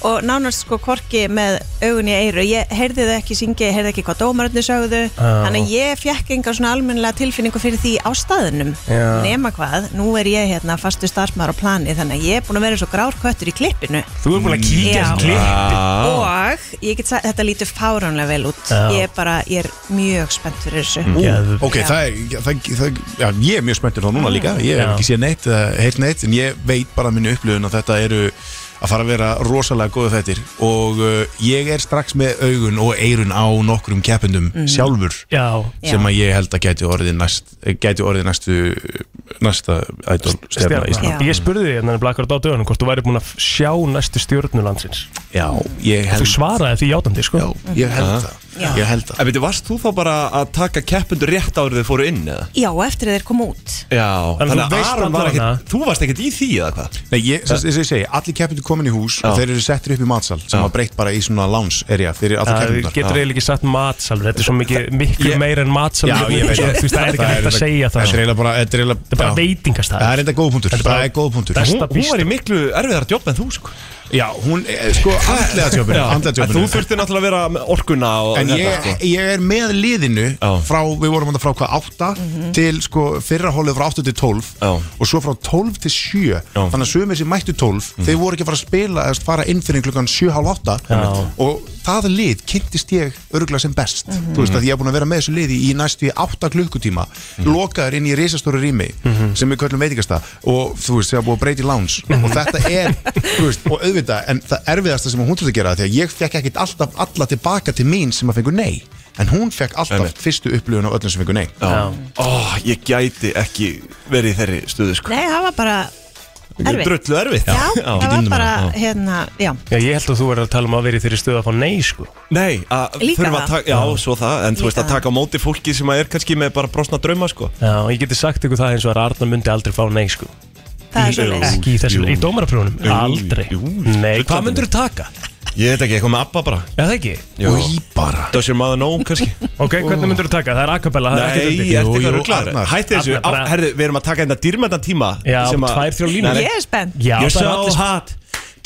Speaker 1: og nánast sko korki með augun í eiru ég heyrði þau ekki syngja, ég heyrði ekki hvað dómaröfni sögðu
Speaker 3: Já.
Speaker 1: þannig að ég fekk enga svona almennilega tilfinningu fyrir því á staðunum
Speaker 3: Já.
Speaker 1: nema hvað, nú er ég hérna fastu starfsmaður á plani þannig að ég er búin að vera svo grár köttur í klippinu
Speaker 3: Þú er búin að kíkja
Speaker 1: Já.
Speaker 3: þessi klippi
Speaker 1: og ég get sagt, þetta lítur fáránlega vel út
Speaker 2: Já. Mhm.
Speaker 1: ég er bara, ég er mjög spennt fyrir þessu
Speaker 2: Ú, Ok,
Speaker 1: Já.
Speaker 2: það er, það, það, já, ég er mjög spenntur þá núna líka Ég hef
Speaker 3: Já.
Speaker 2: ekki séð neitt, eh, heyrt neitt En ég veit bara af minni upplifun að þetta eru að fara að vera rosalega góðu þettir og uh, ég er strax með augun og eirun á nokkrum keppendum
Speaker 15: Mhm.
Speaker 2: sjálfur
Speaker 15: Já.
Speaker 2: sem að ég held að gæti orðið, næst, gæti orðið næstu næsta idol
Speaker 3: Stjarna,
Speaker 2: stjarna Íslands.
Speaker 3: Ég spurði þig hérna blakkar á dögunum hvort þú væri búin að sjá næstu stjórnu landsins
Speaker 2: Já, ég
Speaker 3: held Þú svaraði því játandi sko Já,
Speaker 2: ég held
Speaker 1: Já.
Speaker 2: Ég held
Speaker 4: það En veitir, varst þú þá bara að taka keppundur rétt árið þau fóru inn eða?
Speaker 1: Já, eftir að þeir koma út
Speaker 4: Já,
Speaker 2: En þú
Speaker 4: þannig að
Speaker 2: veist
Speaker 4: Aron var
Speaker 2: allavega.
Speaker 4: ekkert Þú varst ekkert í því eða hvað?
Speaker 2: Nei, ég, sem, sem ég segi, allir keppindu komin í hús og þeir eru settir upp í matsal sem var breytt bara í svona lounge area þeir eru allir
Speaker 3: Það
Speaker 2: keppindu
Speaker 3: getur eiginlega ekki sagt matsalur Þetta er svo mikið, miklu meira en matsalur
Speaker 2: Já, ég veit
Speaker 3: Þú veist, það er ekki hægt að segja það
Speaker 2: Þetta er eiginlega bara Þetta er eiginlega
Speaker 3: bara
Speaker 2: já.
Speaker 3: veitingastæður.
Speaker 2: Það er eitthvað góð punktur
Speaker 3: Þetta er bara
Speaker 2: Það er góð punktur
Speaker 3: besta Hún- hún bistro. var í
Speaker 4: miklu erfiðar jobb en þú sko
Speaker 2: Já, hún, eh, sko, andlega jobbinu
Speaker 4: Já,
Speaker 2: Andlega
Speaker 4: en
Speaker 2: jobbinu
Speaker 4: Þú þurfti náttúrulega að vera með orkuna og
Speaker 2: En ég,
Speaker 4: þetta, sko.
Speaker 2: ég er með liðinu frá, við vorum þetta frá hvað, 8 til sko, fyrra hólið frá 8 til 12 og svo frá 12 til 7 þannig að sömur sem mættu 12
Speaker 4: Mhm.
Speaker 2: þeir voru ekki að fara að spila eða fara inn fyrir klukkan 7.30
Speaker 3: Já.
Speaker 2: og það lið kynntist ég örgulega sem best þú veist að ég er búin að vera með þessu liði í næstu í 8 klukkutíma lokaður inn í risastóru rými sem við köllum veitingasta og þú veist, þegar búið að breyti lounge og þetta er, þú veist, og auðvitað en það erfiðasta sem hún þurfti að gera því að ég fekk ekkit alltaf alla tilbaka til mín sem að fengu nei en hún fekk alltaf
Speaker 4: Einmitt.
Speaker 2: fyrstu upplifun á öllum sem fengu nei
Speaker 4: Já. Ó, ég gæti ekki verið í þeirri stuðu sko
Speaker 1: Nei, það var bara erfitt
Speaker 4: Drullu erfitt
Speaker 1: Já, það var bara, hérna, já
Speaker 3: Já, ég held að þú verður að tala um að vera í þeirri stöðu að fá nei sko
Speaker 4: Nei, að
Speaker 1: Líka
Speaker 4: þurfa að
Speaker 1: það.
Speaker 4: taka, já, svo það, en þú veist að taka á móti fólki sem að er kannski með bara brosna drauma, sko.
Speaker 3: Já, og ég geti sagt ykkur það eins og að Arna myndi aldrei fá nei sko
Speaker 1: Það er
Speaker 3: Í-
Speaker 1: svoleiðis.
Speaker 3: Ekki í þessu,
Speaker 4: Jú.
Speaker 3: í dómaraprófunum,
Speaker 4: Jú,
Speaker 3: aldrei Nei, hvað myndur þú taka?
Speaker 4: Ég veit ekki, eitthvað með ABBA bara.
Speaker 3: Já, það ekki?
Speaker 4: Í
Speaker 2: bara.
Speaker 4: Does your mother know,
Speaker 3: *laughs*
Speaker 4: kannski?
Speaker 3: Ok, hvernig myndur þú taka? Það er acapella, það er
Speaker 4: Nei,
Speaker 3: ekki
Speaker 4: ég er eitthvað rugglar. Hætti þessu,
Speaker 3: Arnar, bara-
Speaker 4: á- herðu, við erum að taka þetta dýrmæntan tíma.
Speaker 3: Já,
Speaker 4: sem að-
Speaker 3: tvær, þrjár línur.
Speaker 4: Nei, nei.
Speaker 3: Ég er spennt. Já, það
Speaker 4: You're
Speaker 3: er
Speaker 4: so
Speaker 3: allir-
Speaker 4: hot,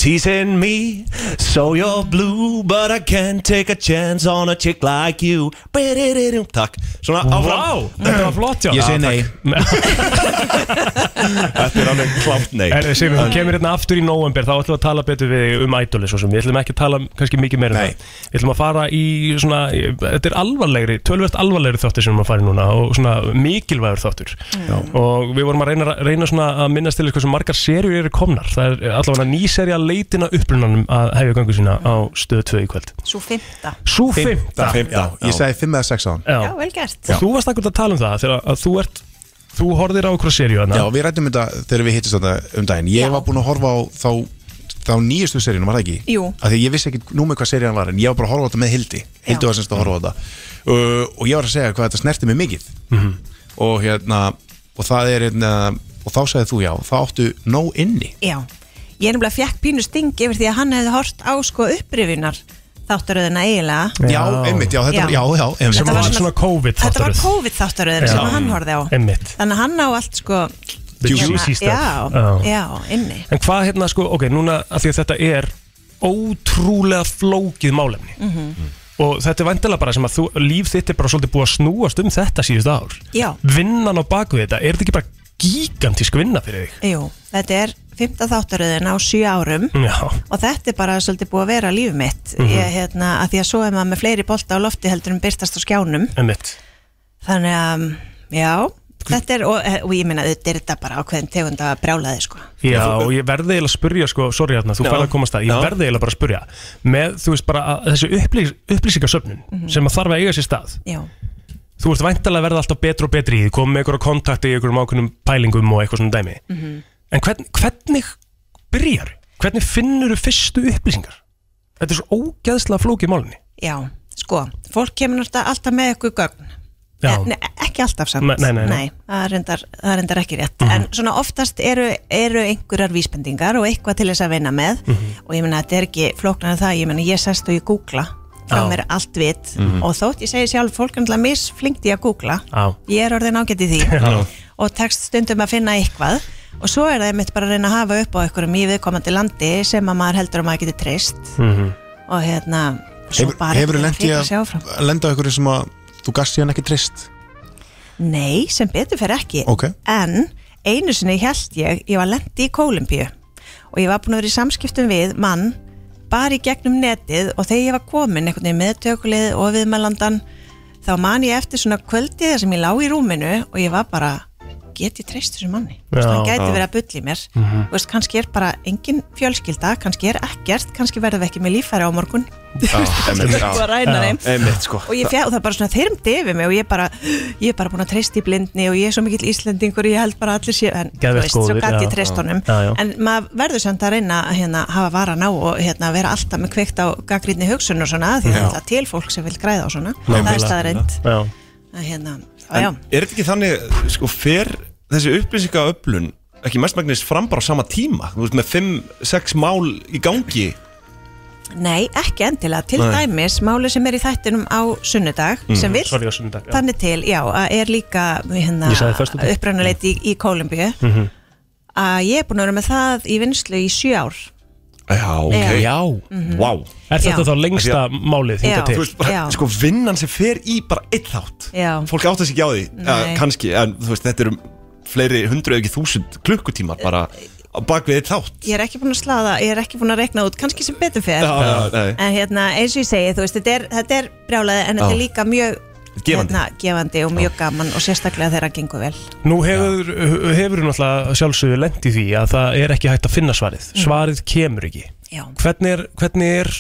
Speaker 4: teasing me, so you're blue, but I can't take a chance on a chick like you. Bididididu. Takk. Svona áfram. Ah,
Speaker 3: Vá, þetta var flott hjá
Speaker 4: Ég
Speaker 3: Já,
Speaker 4: segi nei. Þetta er alveg klátt nei.
Speaker 3: Er það sem þú kemur hérna aftur í november þá ætlum við að tala betur við þig um ædoli svo sem við ætlum ekki að tala kannski mikið meira um það við ætlum að fara í svona þetta er alvarlegri, tölvert alvarlegri þáttur sem við erum að fara í núna og svona mikilvægur þáttur og við vorum að reyna, reyna svona að minnast til hversu margar serjur eru komnar það er allavega ný serja leitina upprunanum að hefja gangu sína á stöð 2 í kvöld
Speaker 1: Svo fymta
Speaker 3: Sú fimmta
Speaker 2: Já, ég sagði 5 eða 6 á hann
Speaker 3: Já.
Speaker 1: Já, vel gert
Speaker 3: og þú varst akkur að tala um það þegar að þú ert þú horfðir á okkur serju
Speaker 2: Já, við rættum þetta þegar við hittist þetta um daginn Ég var búinn að horfa á þá, þá nýjustu seríunum, var það ekki?
Speaker 1: Jú.
Speaker 2: Af því að ég vissi ekki nú með hvað serían var en ég var bara að horfa á þetta með Hildi Hildi var semst að horfa á þetta uh, og ég var að segja hvað þetta snerti mig mikið
Speaker 3: Mhm.
Speaker 2: og hérna og það er hérna og þá sagði þú já, þá áttu nóg inni
Speaker 1: Já, ég er nefnilega fjekk pínu sting yfir því að hann hefði hort á sko upprifinar þáttaröðina eiginlega
Speaker 2: Já, einmitt, já, þetta var- já, já, einmitt.
Speaker 3: sem
Speaker 2: Þetta var
Speaker 3: var
Speaker 2: svona-
Speaker 3: svona COVID
Speaker 1: Þetta var COVID-þáttaröðin sem
Speaker 3: Já.
Speaker 1: hann horfði á
Speaker 3: Einmitt.
Speaker 1: Þannig að hann á allt sko
Speaker 3: The
Speaker 1: hérna,
Speaker 3: juicy stuff.
Speaker 1: Já,
Speaker 3: Já.
Speaker 1: já, inni
Speaker 3: En hvað hérna sko, ok, núna að því að þetta er ótrúlega flókið málefni og þetta er vandilega bara sem að þú, líf þitt er bara svolítið búið að snúast um þetta síðust ár
Speaker 1: Já,
Speaker 3: Vinnan á baku þetta, er þetta ekki bara gigantísk vinna fyrir þig?
Speaker 1: jú, þetta er fymta þáttaröðin á sjö árum
Speaker 3: Já,
Speaker 1: og þetta er bara svolítið búið að vera líf mitt
Speaker 3: Mhm.
Speaker 1: ég, hérna, að því að svo er maður með fleiri bolta á lofti heldur en byrtast á skjánum
Speaker 3: emmitt
Speaker 1: þannig að, um, já þetta er, og, og ég minna, þetta er þetta bara ákveðin tegund að brjálaði sko
Speaker 3: Já, og ég verði eiginlega að spurja sko, sorry hérna, þú
Speaker 1: Já.
Speaker 3: færði að komast að, ég
Speaker 1: Já.
Speaker 3: verði eiginlega bara að spurja með, þú veist bara, að, þessi upplýs, upplýsingasöfnun
Speaker 1: Mhm.
Speaker 3: sem að þarf að eiga sér stað
Speaker 1: Já.
Speaker 3: þú ert væntalega að verða alltaf betur og betri í því komið með ykkur á kontakti í ykkur ákveðnum pælingum og eitthvað svona dæmi
Speaker 1: Mhm.
Speaker 3: En hvern, hvernig byrjar? Hvernig finnur þú fyrstu upplýsingar? Þetta er svo ógæðslega flókið í málinni.
Speaker 1: Já, sko, fólk kemur náttúrulega alltaf með eitthvað gögn
Speaker 3: Já.
Speaker 1: Nei, ekki alltaf samt
Speaker 3: Nei, nei, nei, Mhm. nei.
Speaker 1: það, er reyndar, það er reyndar ekki rétt en svona oftast eru, eru einhverjar vísbendingar og eitthvað til þess að vinna með
Speaker 3: Mhm.
Speaker 1: og ég meina þetta er ekki flóknar en það ég meina ég sest og ég googla
Speaker 3: Já.
Speaker 1: það mér allt vit
Speaker 3: Mhm.
Speaker 1: og þótt ég segi sjálf fólk er náttúrulega misflinkt í að googla
Speaker 3: Já.
Speaker 1: ég er orðin ágætt í því og tekst stundum að finna eitthvað og svo er það einmitt bara að reyna að hafa upp á einhverjum í viðkomandi landi sem að maður heldur að maður getur treyst og hérna svo
Speaker 2: Mhm. Hefur,
Speaker 1: bara
Speaker 2: Hefur
Speaker 1: að
Speaker 2: lendi
Speaker 1: fikra sig
Speaker 2: að
Speaker 1: áfram.
Speaker 2: lenda á ykkur sem að þú gast síðan ekki trist
Speaker 1: Nei, sem betur fyrir ekki
Speaker 2: Ok.
Speaker 1: En einu sinni held ég Ég var lendi í Kólumbíu Og ég var búin að vera í samskiptum við mann Bara í gegnum netið Og þegar ég var komin einhvern veginn með tökulið Og viðmælandan Þá man ég eftir svona kvöldi Þar sem ég lá í rúminu Og ég var bara get ég treyst þessum manni Þú veist, hann
Speaker 5: Já.
Speaker 1: gæti
Speaker 5: Já.
Speaker 1: verið að bulli mér
Speaker 5: Mhm.
Speaker 1: Þú veist, kannski er bara engin fjölskylda kannski er ekkert, kannski verðum við ekki með líffæri á morgun
Speaker 4: einmitt, já.
Speaker 1: *laughs* Þú að ræna
Speaker 4: Já.
Speaker 1: þeim
Speaker 4: Einmitt, sko.
Speaker 1: og ég fjá, það er bara svona þeirrum difi mig og ég er bara, ég er bara búin að treysta í blindni og ég er svo mikill Íslendingur og ég held bara að allir sé en þú
Speaker 5: Geðveikt
Speaker 1: svo
Speaker 5: góðir,
Speaker 1: gæti
Speaker 5: já.
Speaker 1: ég treyst honum
Speaker 5: Já, já.
Speaker 1: en maður verður samt að reyna að hérna, hafa varan á og hérna, vera alltaf með kveikt á gaggrinni hugsun og svona því það er
Speaker 4: Já.
Speaker 1: alltaf til fólk sem vil græða á svona það er staðreind að hérna, já, já.
Speaker 4: En er þetta ekki þannig, sko, fer þessi upplýsingaöflun ekki mestmægnist fram bara á sama tíma? Þú veist, með 5-6 mál í gangi
Speaker 1: Nei, ekki endilega, til
Speaker 4: Nei.
Speaker 1: dæmis máli sem er í þættinum á sunnudag
Speaker 5: Mm.
Speaker 1: sem vill
Speaker 3: Sorry, á sunnudag, já.
Speaker 1: þannig til, já, að er líka hérna,
Speaker 3: Ég sagði föstudag.
Speaker 1: upprannuleiti í, í Kólumbíu
Speaker 3: Mhm.
Speaker 1: að ég er búin að vera með það í vinslu í sjö ár
Speaker 4: Já, ok.
Speaker 1: Já.
Speaker 4: Vá.
Speaker 3: Er þetta
Speaker 1: Mm. Já.
Speaker 3: þá lengsta málið hingað til?
Speaker 4: Þú veist, bara,
Speaker 1: Já.
Speaker 4: *laughs* sko, vinnan sem fer í bara einn þátt.
Speaker 1: Já,
Speaker 4: Fólk átt að sig ekki á því, ja,
Speaker 1: Nei.
Speaker 4: kannski, en þú veist, þetta eru fleiri hundru ef ekki þúsund klukkutímar bara á bakvið einn þátt.
Speaker 1: ég er ekki búin að slaða, ég er ekki búin að rekna út kannski sem betur fer
Speaker 4: Já, já, nei.
Speaker 1: en hérna, eins og ég segi, þú veist, þetta er, þetta er brjálaði en þetta
Speaker 3: Já.
Speaker 1: er líka mjög hérna,
Speaker 3: Gefandi.
Speaker 1: gefandi og mjög gaman og sérstaklega þegar það gengur vel
Speaker 3: Nú hefur, hefur náttúrulega sjálfsögur lent í því að það er ekki hægt að finna svarið.
Speaker 1: Mm.
Speaker 3: Svarið kemur ekki.
Speaker 1: Já.
Speaker 3: Hvernig er, hvernig er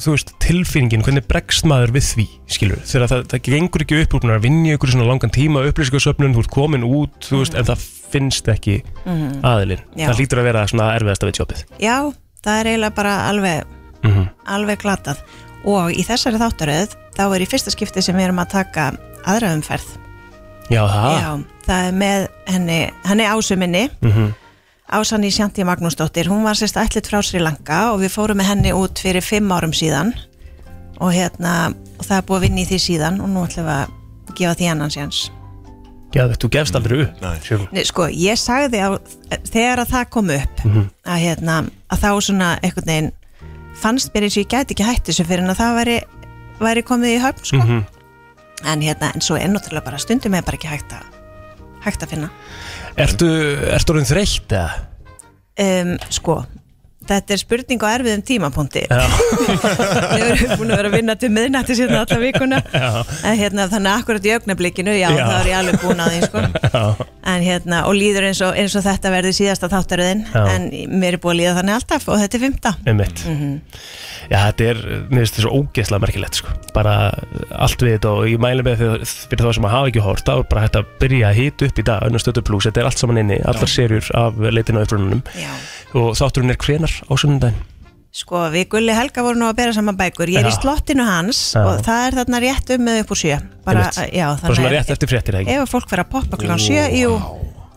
Speaker 3: þú veist, tilfinningin, hvernig bregst maður við því, skilur, þegar það, það gengur ekki upp úr að vinja ykkur í svona langan tíma upplýsingasöfnun, þú ert komin út, þú veist, en það finnst ekki
Speaker 1: Mhm.
Speaker 3: aðilinn.
Speaker 1: Já.
Speaker 3: Það hlýtur að vera svona erfiðasta við sjópið.
Speaker 1: Já, það er eiginlega bara alveg
Speaker 3: Mhm.
Speaker 1: alveg glatað og í þessari þáttaröð þá er í fyrsta skipti sem við erum að taka aðra umferð
Speaker 3: Já, það.
Speaker 1: Já, það er með henni, henni ásuminni
Speaker 3: Mhm.
Speaker 1: Ásan í Sjanti Magnúsdóttir, hún var sérst ætlit frá Sri Lanka og við fórum með henni út fyrir fimm árum síðan og hérna, og það er búið að vinna í því síðan og nú ætlum við að gefa því annan séns
Speaker 3: Geðveikt, þú gefst aldrei upp. Nei.
Speaker 1: Nei, Sko, ég sagði á, þegar að það kom upp að, hérna, að þá svona einhvern veginn fannst mér eins og ég gæti ekki hætt þessu fyrir en að það væri, væri komið í höfn sko.
Speaker 3: Mhm.
Speaker 1: en hérna, en svo er náttúrulega bara stundum er bara ekki hægt að hægt að finna
Speaker 3: Ertu, ertu orðin þreytt eða?
Speaker 1: um, sko, þetta er spurning á erfiðum tímapunkti
Speaker 3: Já.
Speaker 1: *laughs* við erum búin að vera að vinna til miðnætti síðan alla vikuna
Speaker 3: Já.
Speaker 1: en, hérna, þannig að akkurat í augnablikinu, já,
Speaker 3: Já.
Speaker 1: já. það er ég alveg búin að því sko. en hérna, og líður eins og, eins og þetta verði síðasta þáttaröðin
Speaker 3: Já.
Speaker 1: en mér er búið að líða þannig alltaf og þetta er fymta
Speaker 3: Einmitt.
Speaker 4: Mhm.
Speaker 3: Já, þetta er, mér finnst þetta svo ógeðslega merkilegt sko. bara allt við þetta og ég mæli með fyrir, fyrir þá sem að hafa ekki hórt þá er bara hægt að byrja að hita upp í dag önnum stötu pluss, þetta er allt saman inni, allar serjur af leitinu á upprununum og þátturinn er hvenar á sunnundaginn
Speaker 1: sko, við Gulli Helga vorum nú að bera saman bækur ég er
Speaker 3: Já.
Speaker 1: í slottinu hans
Speaker 3: Já.
Speaker 1: og það er þarna rétt um með upp úr sjö bara,
Speaker 3: Einmitt.
Speaker 1: já,
Speaker 3: bara svona
Speaker 1: þannig
Speaker 3: rétt eftir fréttir eða
Speaker 1: að
Speaker 3: ekki
Speaker 1: ef að fólk vera að poppa klukkan sjö
Speaker 3: Vá.
Speaker 1: jú,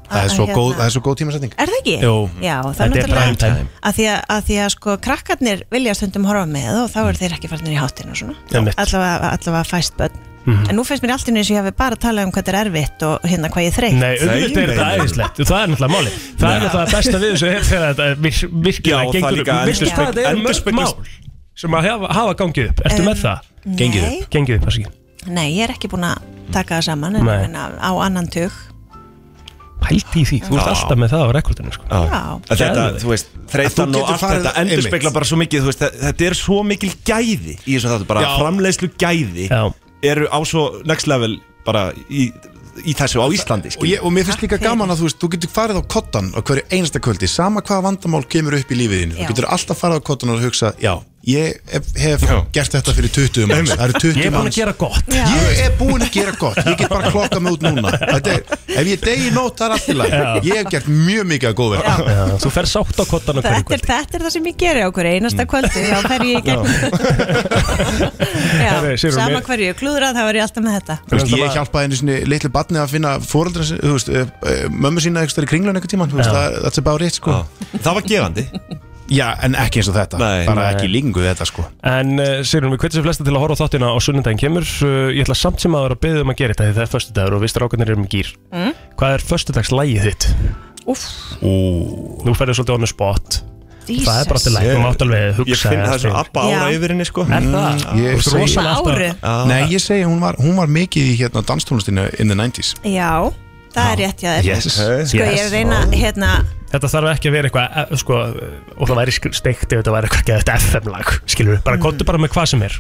Speaker 2: Það er svo
Speaker 1: Hérna.
Speaker 2: góð, það er svo góð tímasetning
Speaker 1: er það ekki?
Speaker 2: Jú.
Speaker 1: já, það
Speaker 2: Þetta er
Speaker 1: er
Speaker 2: prime time.
Speaker 1: náttúrulega að því að, að því að sko, krakkarnir vilja stundum horfa með og þá eru þeir ekki farnir í hátinn og svona
Speaker 3: Einmitt.
Speaker 1: allavega, allavega fæst börn
Speaker 3: Mhm.
Speaker 1: en nú finnst mér allt í einu sem ég hafi bara talað um hvað þetta er erfitt og hérna hvað ég er þreytt
Speaker 3: Nei, auðvitað er þetta æðislegt, og það er náttúrulega máli Það er
Speaker 1: Nei.
Speaker 3: náttúrulega besta við þessu er þegar þetta vir-
Speaker 4: Já,
Speaker 3: virkilega
Speaker 4: og það
Speaker 3: gengur upp
Speaker 4: líka
Speaker 3: Veistu
Speaker 4: endurspegl-
Speaker 3: hvað þetta eru mörg
Speaker 4: endurspeglast-
Speaker 3: mál sem að hafa, hafa gangið upp, ertu
Speaker 1: Um,
Speaker 3: með það?
Speaker 1: Gengið nei. upp.
Speaker 3: Gengið upp, afsakið.
Speaker 1: Nei, ég er ekki búin að taka það saman en,
Speaker 3: Nei.
Speaker 1: en á, á annan tök
Speaker 3: Pældi í því, þú ert
Speaker 4: Já.
Speaker 3: alltaf með það á rekordinu sko.
Speaker 1: Já.
Speaker 4: Að Þetta, þú veist, þreytan
Speaker 2: Að þú
Speaker 4: og
Speaker 2: getur
Speaker 4: allt
Speaker 2: farið
Speaker 4: þetta endur spekla bara svo mikið, þú veist, þe- þetta er svo mikil gæði í þessum þáttu, bara
Speaker 2: Já.
Speaker 4: framleiðslu gæði
Speaker 2: Já.
Speaker 4: eru á svo next level bara í, í þessu á Íslandi sko.
Speaker 2: og, ég, og mér finnst líka gaman að þú veist, þú getur farið á kottan á hverju einasta kvöldi, sama hvaða vandamál kemur upp í lífiðinu,
Speaker 4: Já.
Speaker 2: þú getur alltaf farið á kottan og hugsa, já, ég hef, hef gert þetta fyrir 20 manns, það eru 20 manns
Speaker 3: Ég er búin að gera gott
Speaker 2: Já. Ég er búin að gera gott, ég get bara klokka mig út núna Þetta er, Ef ég degi nótt, það er allt í lagi
Speaker 3: Já.
Speaker 2: Ég hef gert mjög mikið að góð verða
Speaker 3: Já, þú fer sátt á kottan og
Speaker 1: þetta, er- þetta er það sem ég geri á
Speaker 2: Mm.
Speaker 1: hverju einasta kvöldi þá fer ég í
Speaker 2: *laughs*
Speaker 1: gegn Já,
Speaker 2: Herri, Sigrún,
Speaker 1: sama
Speaker 2: mér-
Speaker 1: hverju ég klúðrað þá er ég alltaf með þetta
Speaker 2: Þú veist, ég hjálpaði einu sinni litlu batni að finna fóreldra, þú veist, eh, eh, mömmu sína eitthvað stær í kringlun einhvern tímann, þú veist,
Speaker 4: Já.
Speaker 2: það- that's about it, sko
Speaker 4: Það var gefandi
Speaker 2: Já, en ekki eins og þetta, bara
Speaker 3: Nei.
Speaker 2: ekki líkingu við þetta, sko
Speaker 3: En uh, Sigrun, við hvetjum sem flesta til að horfa á þáttina á sunnundaginn kemur uh, Ég ætla samt sem aður að beða um að gera þetta því það er föstudagur og við strákarnir erum í gýr
Speaker 1: Mm.
Speaker 3: Hvað er föstudagslægið þitt?
Speaker 1: Úff.
Speaker 2: Mm,
Speaker 3: Ú. Nú ferðu svolítið on the spot
Speaker 1: Jesus.
Speaker 3: Það er bara til læg, þú mátt alveg hugsa
Speaker 4: Ég finn það sem
Speaker 3: aðeins.
Speaker 4: abba ára
Speaker 1: Já.
Speaker 4: yfir henni sko
Speaker 3: Er það?
Speaker 2: Mm, ég
Speaker 3: Þú ert
Speaker 2: segi-
Speaker 3: rosalega alltaf-
Speaker 2: Ah. Nei, ég segi, hún var, hún var mikið í hérna danstónlistinu in the 90s
Speaker 1: Já, það er rétt hjá þér
Speaker 2: Yes.
Speaker 1: Sko, ég er að reyna, hérna
Speaker 3: Þetta þarf ekki að vera eitthvað, eh, sko, og það væri steikt ef þetta væri eitthvað geðið FM-lag, skilur við, bara mm. bara með hvað sem er,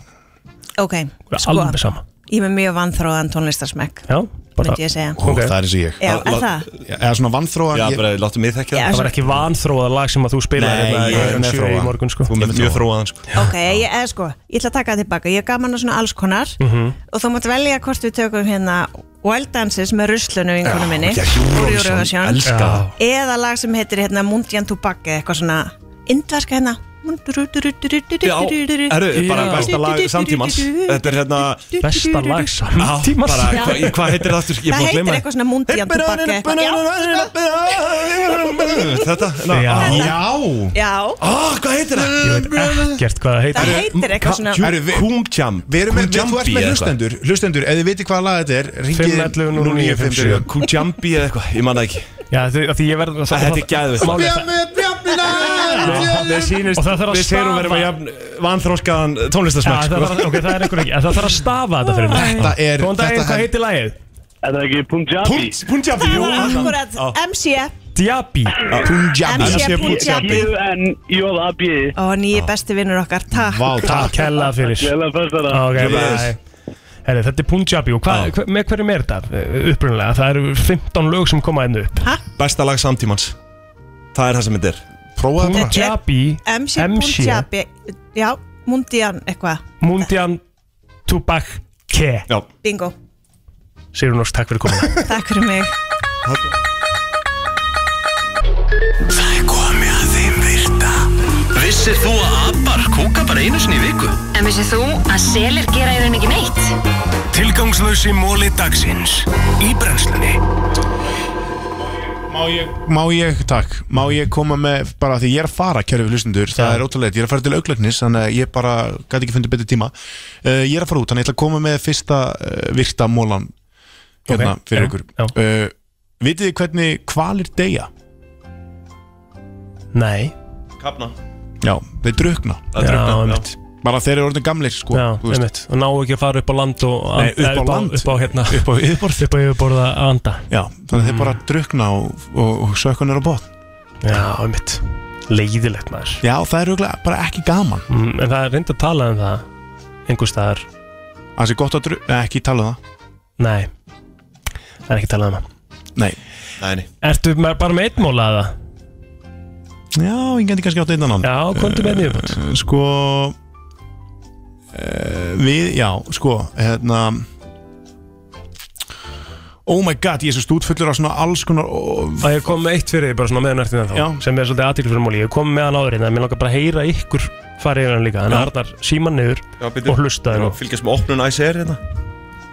Speaker 1: Ok,
Speaker 3: bara
Speaker 1: sko
Speaker 3: alveg sama.
Speaker 1: Ég er með mjög vanþróðan tónlistarsmekk
Speaker 3: Já,
Speaker 1: bara Myndi ég segja
Speaker 2: Og það er eins og ég
Speaker 1: Já, er það?
Speaker 2: Eða svona vanþróan
Speaker 4: Já, bara láttu mig þekki
Speaker 1: Já,
Speaker 3: Það var ekki vanþróðað lag sem að þú spilaði
Speaker 4: Nei,
Speaker 3: hérna í
Speaker 4: ég er
Speaker 3: Klukkan
Speaker 4: með
Speaker 3: sjö í
Speaker 4: þróaðan.
Speaker 3: morgun sko
Speaker 4: Þú er með mjög þróaðan sko
Speaker 1: Ok, ég, eða sko, ég ætla að taka það tilbaka Ég er gaman að svona alls konar
Speaker 3: Mhm.
Speaker 1: Og þú mátt velja hvort við tökum hérna Wild Dances með ruslunum vinkunum minni
Speaker 7: já,
Speaker 1: úr
Speaker 7: Eurovision,
Speaker 1: Eurovision.
Speaker 7: elska það.
Speaker 1: Eða lag sem heitir hérna Mundian Tobacco Eitthvað svona indverska hérna
Speaker 4: Já, eru, Eh, bara besta lag samtímans Þetta er hérna
Speaker 1: Besta lag
Speaker 3: samtímans?
Speaker 4: Já, bara, hva, hvað heitir það aftur? Ég er búin að
Speaker 1: Það heitir
Speaker 4: gleyma
Speaker 1: eitthvað svona Mundian Tobacco eitthvað. Já,
Speaker 4: því. Þetta? ná,
Speaker 3: Já.
Speaker 4: á,
Speaker 1: Já
Speaker 4: Ah, hvað heitir það? Ég veit
Speaker 3: Ekkert hvað það heitir
Speaker 1: Það heitir eitthvað svona
Speaker 4: Kumjamp
Speaker 2: Við erum með, við, þú ert með hlustendur Hlustendur, ef þið veitir hvaða lag þetta er Ringið
Speaker 4: 511 0957. Kumjambi eða eitthvað, ég manna ekki
Speaker 3: Já, því því ég verð
Speaker 4: Það þetta er gæðvist
Speaker 3: Málið er það-
Speaker 4: Við
Speaker 3: Og
Speaker 4: sínist,
Speaker 3: það þarf að
Speaker 4: við séum verið með sko.
Speaker 3: stafa-
Speaker 2: eh,
Speaker 4: jafn vanþróskaðan tónlistarsmæk
Speaker 2: sko.
Speaker 3: Já, það þarf- ok, það er einhver ekki En Það þarf að stafa þetta fyrir mig
Speaker 4: Þetta er-
Speaker 3: Góðan daginn,
Speaker 4: þetta
Speaker 3: hvað
Speaker 4: er-
Speaker 3: heitir lagið? Þetta er ekki Punjabi
Speaker 4: Punjabi,
Speaker 1: Það var akkurat MC
Speaker 3: Diabi
Speaker 1: Punjabi. MC Punjabi.
Speaker 3: J-A-B
Speaker 1: Og nýji besti vinnur okkar, takk
Speaker 3: Takk hella fyrir
Speaker 1: Hella fyrir það.
Speaker 3: Ok,
Speaker 1: Yes.
Speaker 3: bye Herri, þetta er Punjabi og hvað, hva, með hverjum er þetta eh, upprunalega? Það eru 15 lög sem koma einu upp
Speaker 4: Besta lag samtímans Það er það sem þetta er Prófa
Speaker 3: það bara. Punjabi,
Speaker 1: MC Punjabi Já, Mundian eitthvað
Speaker 3: Mundian Tupac Ke
Speaker 4: Já
Speaker 1: Bingo,
Speaker 3: Sigur Nórs, takk fyrir komuna
Speaker 1: takk fyrir mig
Speaker 9: *laughs* Það er komið að þeim virta Vissir þú að abar kúka bara einu sinni í viku?
Speaker 14: En vissið þú að selir gera í raun ekki neitt?
Speaker 9: Tilgangslösi móli dagsins Í brennslunni
Speaker 2: Má ég Má ég, takk, má ég koma með bara því ég er að fara, kæru við hlustendur það er ótrúlega, ég er að fara til auglagnis þannig að ég bara gæti ekki fundið betri tíma uh, ég er að fara út, þannig ég ætla að koma með fyrsta uh, virta mólan hérna
Speaker 3: Ok,
Speaker 2: fyrir
Speaker 3: já,
Speaker 2: ykkur uh, Vitið þið hvernig kvalir deyja?
Speaker 3: Nei
Speaker 4: Kapna
Speaker 2: Já, þeir drukna,
Speaker 4: Það drukna, já.
Speaker 3: einmitt.
Speaker 2: bara þeir eru orðin gamlir sko,
Speaker 3: Já,
Speaker 2: þú veist.
Speaker 3: einmitt Og ná ekki að fara upp á land og
Speaker 2: Nei, upp á
Speaker 3: eh,
Speaker 2: land.
Speaker 3: Upp á hérna
Speaker 2: Upp á yfirborð
Speaker 3: Upp á yfirborð að anda
Speaker 2: Já, þannig að þeir bara drukna og, og, og sökun eru á botn
Speaker 3: Já, einmitt Leiðilegt maður
Speaker 2: Já, það er auðvitað bara ekki gaman
Speaker 3: mm, En það er reynd að tala um það Einhvers staðar
Speaker 2: Það sé gott að dru... Nei, ekki tala um
Speaker 3: það Nei, það er ekki talað um það
Speaker 2: Nei
Speaker 4: Nei
Speaker 3: Ertu ma- bara með einn móla að það?
Speaker 2: Já, ég geti kannski átt einn annan
Speaker 3: Já, komdu með
Speaker 9: Eh,
Speaker 2: Sko uh,
Speaker 3: nýjum
Speaker 2: Við, já, sko Hérna Oh my god, ég er svo stútfullur af svona alls konar og...
Speaker 3: Að ég kom með eitt fyrir þig bara svona meðan ertu þannig þá Sem er svolítið aðtíkl fyrir móli Ég kom með hann áður hérna, en það Mér langar bara að heyra ykkur farið yfir hann líka Þannig
Speaker 4: Já.
Speaker 3: að Arnar síman niður
Speaker 4: Já, byrju.
Speaker 3: og hlustaði nú
Speaker 4: Við Fylgjast með opnun ICR hérna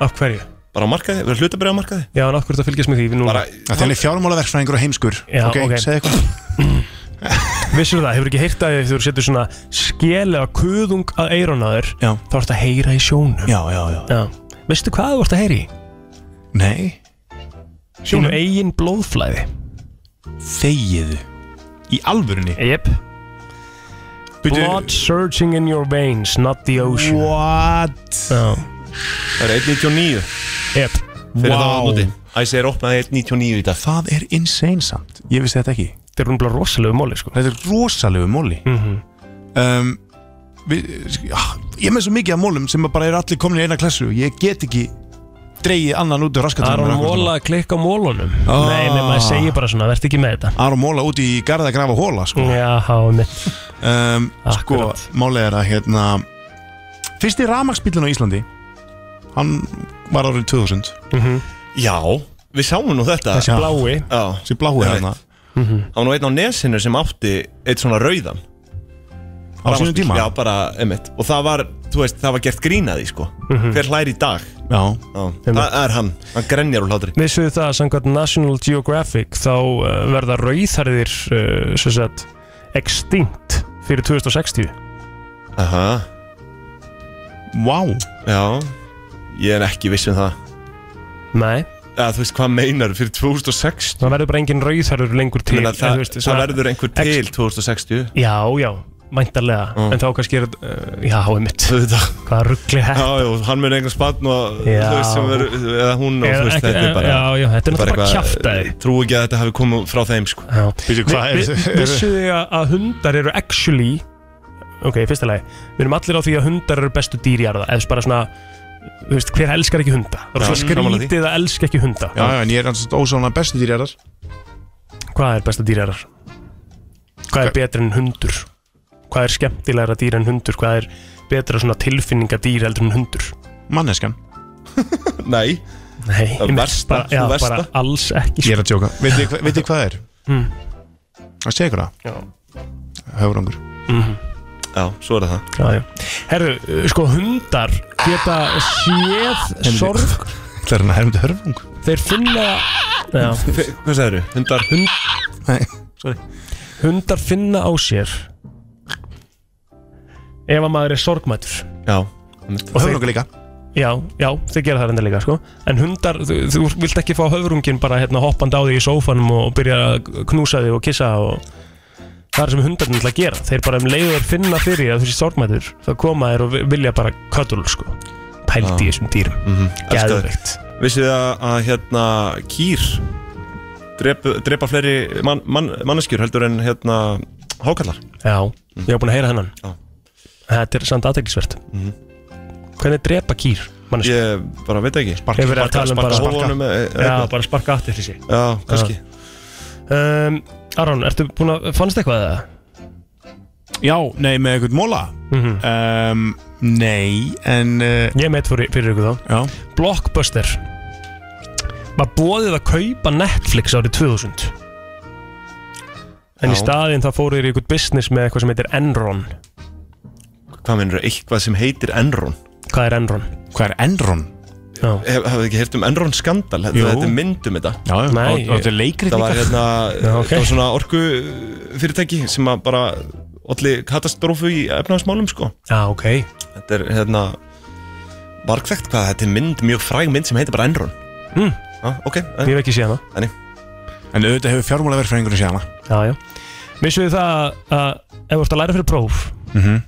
Speaker 3: Af hverju?
Speaker 4: Bara á markaði, við erum hlutabrið á markaði
Speaker 3: Já, en af hverju þetta fylgjast með því núna?
Speaker 4: Bara,
Speaker 2: Það er fjármálaverkfræðingur og heimskur
Speaker 3: Já,
Speaker 2: Ok,
Speaker 3: ok.
Speaker 2: segðu eitthvað
Speaker 3: Vissur það, hefur ekki heyrt að þegar þú setur svona skeli eða kuðung að eyrun á þér
Speaker 2: Já.
Speaker 3: Þá ertu að heyra í sjónum
Speaker 2: Já, já, já,
Speaker 3: já. Veistu hvað þú ert að heyra í?
Speaker 2: Nei
Speaker 3: Sjónum eigin blóðflæði
Speaker 2: Þegiðu Í alvörunni?
Speaker 3: Jep Blood surging in your veins, not the ocean
Speaker 2: What?
Speaker 3: Já
Speaker 4: Það er 1.99
Speaker 3: Yep
Speaker 4: Fyrir
Speaker 2: Vá.
Speaker 4: það var núti ICR opnaði 1.99 í dag
Speaker 2: Það er insane samt Ég vissi þetta ekki
Speaker 3: Þetta er umblá rosalegu móli sko
Speaker 2: Þetta er rosalegu móli
Speaker 3: mm -hmm.
Speaker 2: um, við, ah, Ég er með svo mikið af mólum sem bara er allir komin í eina klassu Ég get ekki dreigið annan út af raskatunum
Speaker 3: Aron Móla að klikka á mólunum
Speaker 2: Ah.
Speaker 3: Nei, nema ég segi bara svona, verð ekki með þetta
Speaker 2: Aron Móla út í garða að grafa hóla sko.
Speaker 3: Já, mitt
Speaker 2: um, Sko, málið er að hérna Fyrsti rafmaksbílun á Íslandi Hann var árið 2000
Speaker 4: Já, við sáum nú þetta
Speaker 2: Þessi blái.
Speaker 4: Já
Speaker 2: Þessi blái
Speaker 4: Ég
Speaker 2: hérna.
Speaker 4: veit. Það var nú einn á nesinu sem átti eitt svona rauðan
Speaker 2: Á sínum tíma?
Speaker 4: Já, bara, emitt Og það var, þú veist, það var gert grínaði, sko
Speaker 3: Mhm.
Speaker 4: Hver hlær í dag
Speaker 2: Já,
Speaker 4: Það er hann, hann grenjar úr hlátri
Speaker 3: Vissuð þið það að samkvæmt National Geographic þá uh, verða rauðharðir uh, sem sagt extinct fyrir 2060
Speaker 4: Aha
Speaker 2: Vá wow.
Speaker 4: Já, ég er ekki viss um það
Speaker 3: Nei
Speaker 4: Eða, þú veist, hvað meinar fyrir 2060
Speaker 3: Það verður bara engin rauðharður lengur til
Speaker 4: Til, meina,
Speaker 3: en
Speaker 4: það,
Speaker 3: þú veist,
Speaker 4: það
Speaker 3: svona-
Speaker 4: verður einhver
Speaker 3: ex-
Speaker 4: til 2060
Speaker 3: Já, já, mæntarlega
Speaker 4: Mm.
Speaker 3: En þá kannski er, uh, já, einmitt Hvaða ruggli hætt
Speaker 4: Já, já, hann mun einhvers barn og
Speaker 3: Já.
Speaker 4: þú veist sem verður, eða hún og
Speaker 3: Eða
Speaker 4: þú veist,
Speaker 3: ekki-
Speaker 4: þetta er bara
Speaker 3: Eh, já, já, þetta er náttúrulega bara
Speaker 4: eitthvað-
Speaker 3: kjaftæði.
Speaker 4: Trú ekki að þetta hafi komið frá þeim, sko
Speaker 2: Býtu,
Speaker 3: Vissuð þið að að hundar eru actually Ok, í fyrsta lagi Við erum allir á því að hundar eru bestu dýr í arða Ef bara svona þú veist, hver elskar ekki hunda
Speaker 2: Já,
Speaker 3: það er svo
Speaker 2: sammála því.
Speaker 3: skrítið að elska ekki hunda
Speaker 2: Já, já, en ég er ansett ósána bestu dýrjarar
Speaker 3: hvað er besta dýrærar hvað er betra en hundur hvað er skemmtilegra dýr en hundur hvað er betra svona tilfinninga dýr heldur en hundur
Speaker 2: Manneskan
Speaker 15: Nei
Speaker 3: Nei,
Speaker 2: Það
Speaker 3: einmitt,
Speaker 2: versta,
Speaker 3: bara,
Speaker 2: sú
Speaker 3: já,
Speaker 2: versta.
Speaker 3: bara alls ekki sko.
Speaker 2: Ég er að djóka Veit þið hva- vitið hvað er?
Speaker 3: Mm.
Speaker 2: Að segja ykkur það?
Speaker 3: Já
Speaker 2: Höfrangur
Speaker 3: Mhm.
Speaker 15: Já, svo er það
Speaker 3: Já, já. Herru, uh, sko hundar geta séð sorg
Speaker 2: Það er hann að hermdi hörfung
Speaker 3: Þeir finna Já.
Speaker 15: Hvað sagður þau? Hundar
Speaker 3: Hund...
Speaker 2: Nei,
Speaker 3: sorry Hundar finna á sér Ef að maður er sorgmætur
Speaker 15: Já
Speaker 2: Og höfrungur líka
Speaker 3: Já, já, þeir gera það reynda líka sko En hundar, þú, þú vilt ekki fá höfrungin bara hérna, hoppandi á þig í sófanum og byrja að knúsa þig og kissa og það er sem hundarnir ætla að gera Þeir bara um leiður finna fyrir því að þú sé sorgmætur þá koma þeir og vi- vilja bara köttul sko Pælt í þessum dýrum mm -hmm. Geðveikt
Speaker 15: mhm. Vissið þið að, að hérna kýr drep, drepa fleiri man, man, manneskjur heldur en hérna hákallar
Speaker 3: Já, ég hef búin að heyra hennan
Speaker 15: Já.
Speaker 3: Þetta er samt aðteglisvert Hvernig drepa kýr? Manneski?
Speaker 15: Ég bara veit ekki
Speaker 3: Sparka, Hefur verið að tala um bara
Speaker 15: hófunum eða
Speaker 3: Já,
Speaker 15: eitthvað.
Speaker 3: bara sparka aftur þessi
Speaker 15: Já, kannski
Speaker 3: um, Aron, ertu búin að, fannst eitthvað eða?
Speaker 2: Já, nei, með eitthvað móla um, Nei, en uh,
Speaker 3: Mhm. Ég meit fyrir, fyrir ykkur þá
Speaker 2: Já
Speaker 3: Blockbuster Var bóðið að kaupa Netflix árið 2000 En í
Speaker 15: Já.
Speaker 3: staðinn það fóruð þér í eitthvað business með eitthvað sem heitir Enron
Speaker 15: Hvað mennur eitthvað sem heitir Enron?
Speaker 3: Hvað er Enron?
Speaker 2: Hvað er Enron?
Speaker 15: Hef- Hafið ekki heyrt um Enron skandal? Þetta
Speaker 2: Jú.
Speaker 15: þetta er myndum þetta
Speaker 2: Já, já, Nei, og- og þetta er leikrit
Speaker 15: Það var
Speaker 2: líka.
Speaker 15: hérna,
Speaker 2: Já, ok.
Speaker 15: það var svona orku fyrirtæki sem að bara allir katastrófu í efnaðismálum sko
Speaker 3: Já, ok
Speaker 15: Þetta er hérna vargþekkt hvað, þetta er mynd, mjög fræg mynd sem heitir bara Enron
Speaker 3: mm.
Speaker 15: ah, Ok,
Speaker 3: Ég hef ekki séð hana
Speaker 15: Þannig
Speaker 2: En auðvitað hefur fjármálaverfræðingurinn séð hana
Speaker 3: Já, já Vissu þið það að ef þú ert að læra fyrir próf
Speaker 2: mm -hmm.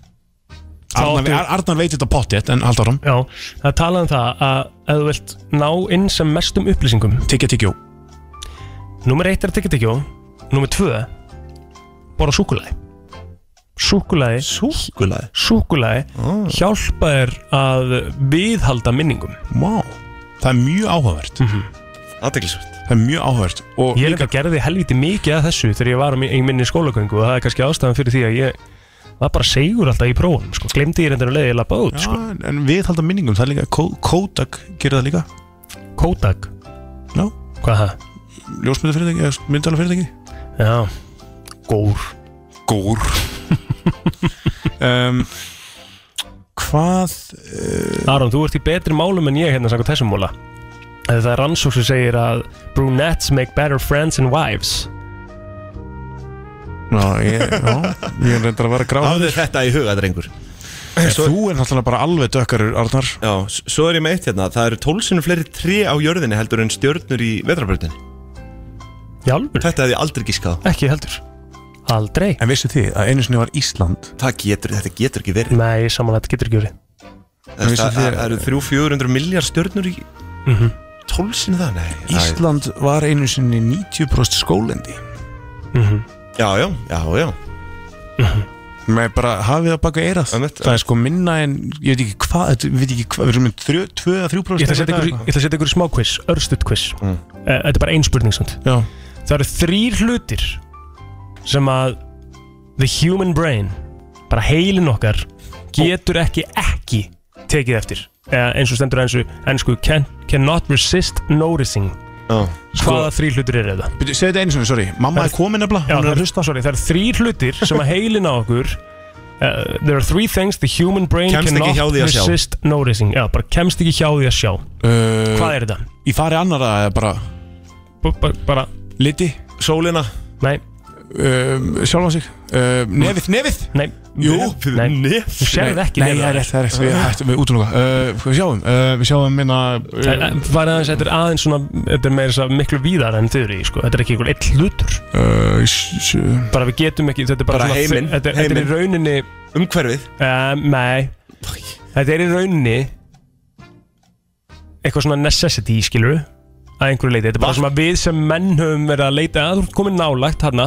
Speaker 3: Þá áttu-
Speaker 2: Arnar, Arnar veit þetta pottið, en haldur áram
Speaker 3: Já, það er talað um það að ef þú vilt ná inn sem mestum upplýsingum
Speaker 2: Tyggja tyggjó
Speaker 3: Númer eitt er að tyggja tyggjó Númer tvö Borða súkulaði Súkulaði
Speaker 15: Súkulaði
Speaker 3: Súkulaði Hjálpa þér að viðhalda minningum
Speaker 2: Vá, það er mjög áhugavert mm -hmm.
Speaker 15: Aðdeglisvert
Speaker 2: Það er mjög áhugavert og
Speaker 3: Ég líka gerði helviti mikið að þessu þegar ég var á mi- í minni skólagöngu og það er kannski ástæðan fyrir því að ég var bara segur alltaf í prófunum sko. Glemdi ég reyndinu leiði að lappa út sko.
Speaker 2: en, en viðhalda minningum, það er líka Ko- Kodak gerir það líka
Speaker 3: Kodak?
Speaker 2: Já
Speaker 3: Hvað er það?
Speaker 2: Ljósmyndafyrirtæki, eða myndalafyrirtæki
Speaker 3: Já, gór
Speaker 2: *laughs* Gór um, Hvað uh,
Speaker 3: Aron, þú ert í betri málum en ég hérna sangu þessum múla Það er rannsók sem segir að Brunettes make better friends and wives
Speaker 2: Já, ég, já, ég er reyndar að vera gráð
Speaker 15: Hafðu þetta í huga, drengur
Speaker 2: Svo... Þú er náttúrulega bara alveg dökkarur, Arnar
Speaker 15: Já, s- svo er ég með eitt hérna Það eru tólsinu fleiri tré á jörðinni heldur en stjörnur í vetrabröðinni
Speaker 3: Jálfur
Speaker 15: Þetta hefði ég aldrei gískað á.
Speaker 3: Ekki heldur Aldrei
Speaker 2: En vissu þið að einu sinni var Ísland
Speaker 15: Það getur, þetta getur ekki verið
Speaker 3: Nei, samanlega, þetta getur ekki verið
Speaker 15: Það
Speaker 2: vissuð
Speaker 15: það- það eru Mhm.
Speaker 2: þið-
Speaker 15: 300-400 miljard stjörnur í
Speaker 3: mm -hmm.
Speaker 15: tólsinu það, nei
Speaker 2: Ísland var einu sinni 90% skólendi
Speaker 3: Mhm.
Speaker 15: Já, já, já, já
Speaker 2: Með bara hafið að baka eirað Það er sko minna en, ég veit ekki hvað þetta- Við veit ekki hvað, við erum með 2-3%
Speaker 3: Ég ætla að setja ykkur, í- ég ætla að setja ykkur í smá quiz, örstutt quiz mm. Þetta er bara ein spurning samt
Speaker 2: Já.
Speaker 3: Það eru þrýr hlutir sem að the human brain, bara heilin okkar getur ekki ekki tekið eftir Eða eins og stendur ensu, ennsku can, cannot resist noticing
Speaker 15: oh.
Speaker 3: Hvaða þrýr hlutir eru þetta?
Speaker 2: Byrju, segðu þetta einu sinni, sorry Mamma er komin nefnilega,
Speaker 3: Já,
Speaker 2: hún
Speaker 3: það
Speaker 2: er að
Speaker 3: eru- sorry, það eru þrýr hlutir sem að heilin á okkur uh, There are three things the human brain
Speaker 2: Kemst ekki hjá
Speaker 3: cannot
Speaker 2: því að sjá.
Speaker 3: resist noticing Já, bara kemst ekki hjá því að sjá
Speaker 2: Uh,
Speaker 3: Hvað er þetta?
Speaker 2: Í fari annara eða bara
Speaker 3: bara, bara
Speaker 2: Liti
Speaker 15: Sólina
Speaker 3: Nei
Speaker 2: uh, Sjálfa sig uh, Nefið, nefið
Speaker 3: Nei
Speaker 2: Jú
Speaker 15: Nei. Nefið. Þú sérð
Speaker 2: Nei,
Speaker 15: ekki
Speaker 2: Nei,
Speaker 15: nefið
Speaker 2: það
Speaker 15: á þér.
Speaker 2: er rétt, það er rétt Við, hættum- við útlunum uh, Við sjáum uh, Við sjáum minna
Speaker 3: Það
Speaker 2: uh,
Speaker 3: er- var aðeins, þetta er aðeins svona þetta er meira svo miklu víðar en þau eru í sko. þetta er ekki einhver eitt hlutur
Speaker 2: uh, s- s-
Speaker 3: bara við getum ekki, þetta er bara,
Speaker 15: Bara
Speaker 3: svona
Speaker 15: heiminn,
Speaker 3: þetta, er- þetta er í
Speaker 15: heiminn.
Speaker 3: rauninni
Speaker 15: Umhverfið?
Speaker 3: Uh, nei, þetta er í rauninni eitthvað svona necessity skilur að einhverju leiti, þetta er bara svona við sem menn höfum verið að leita að þú ert komin nálægt hérna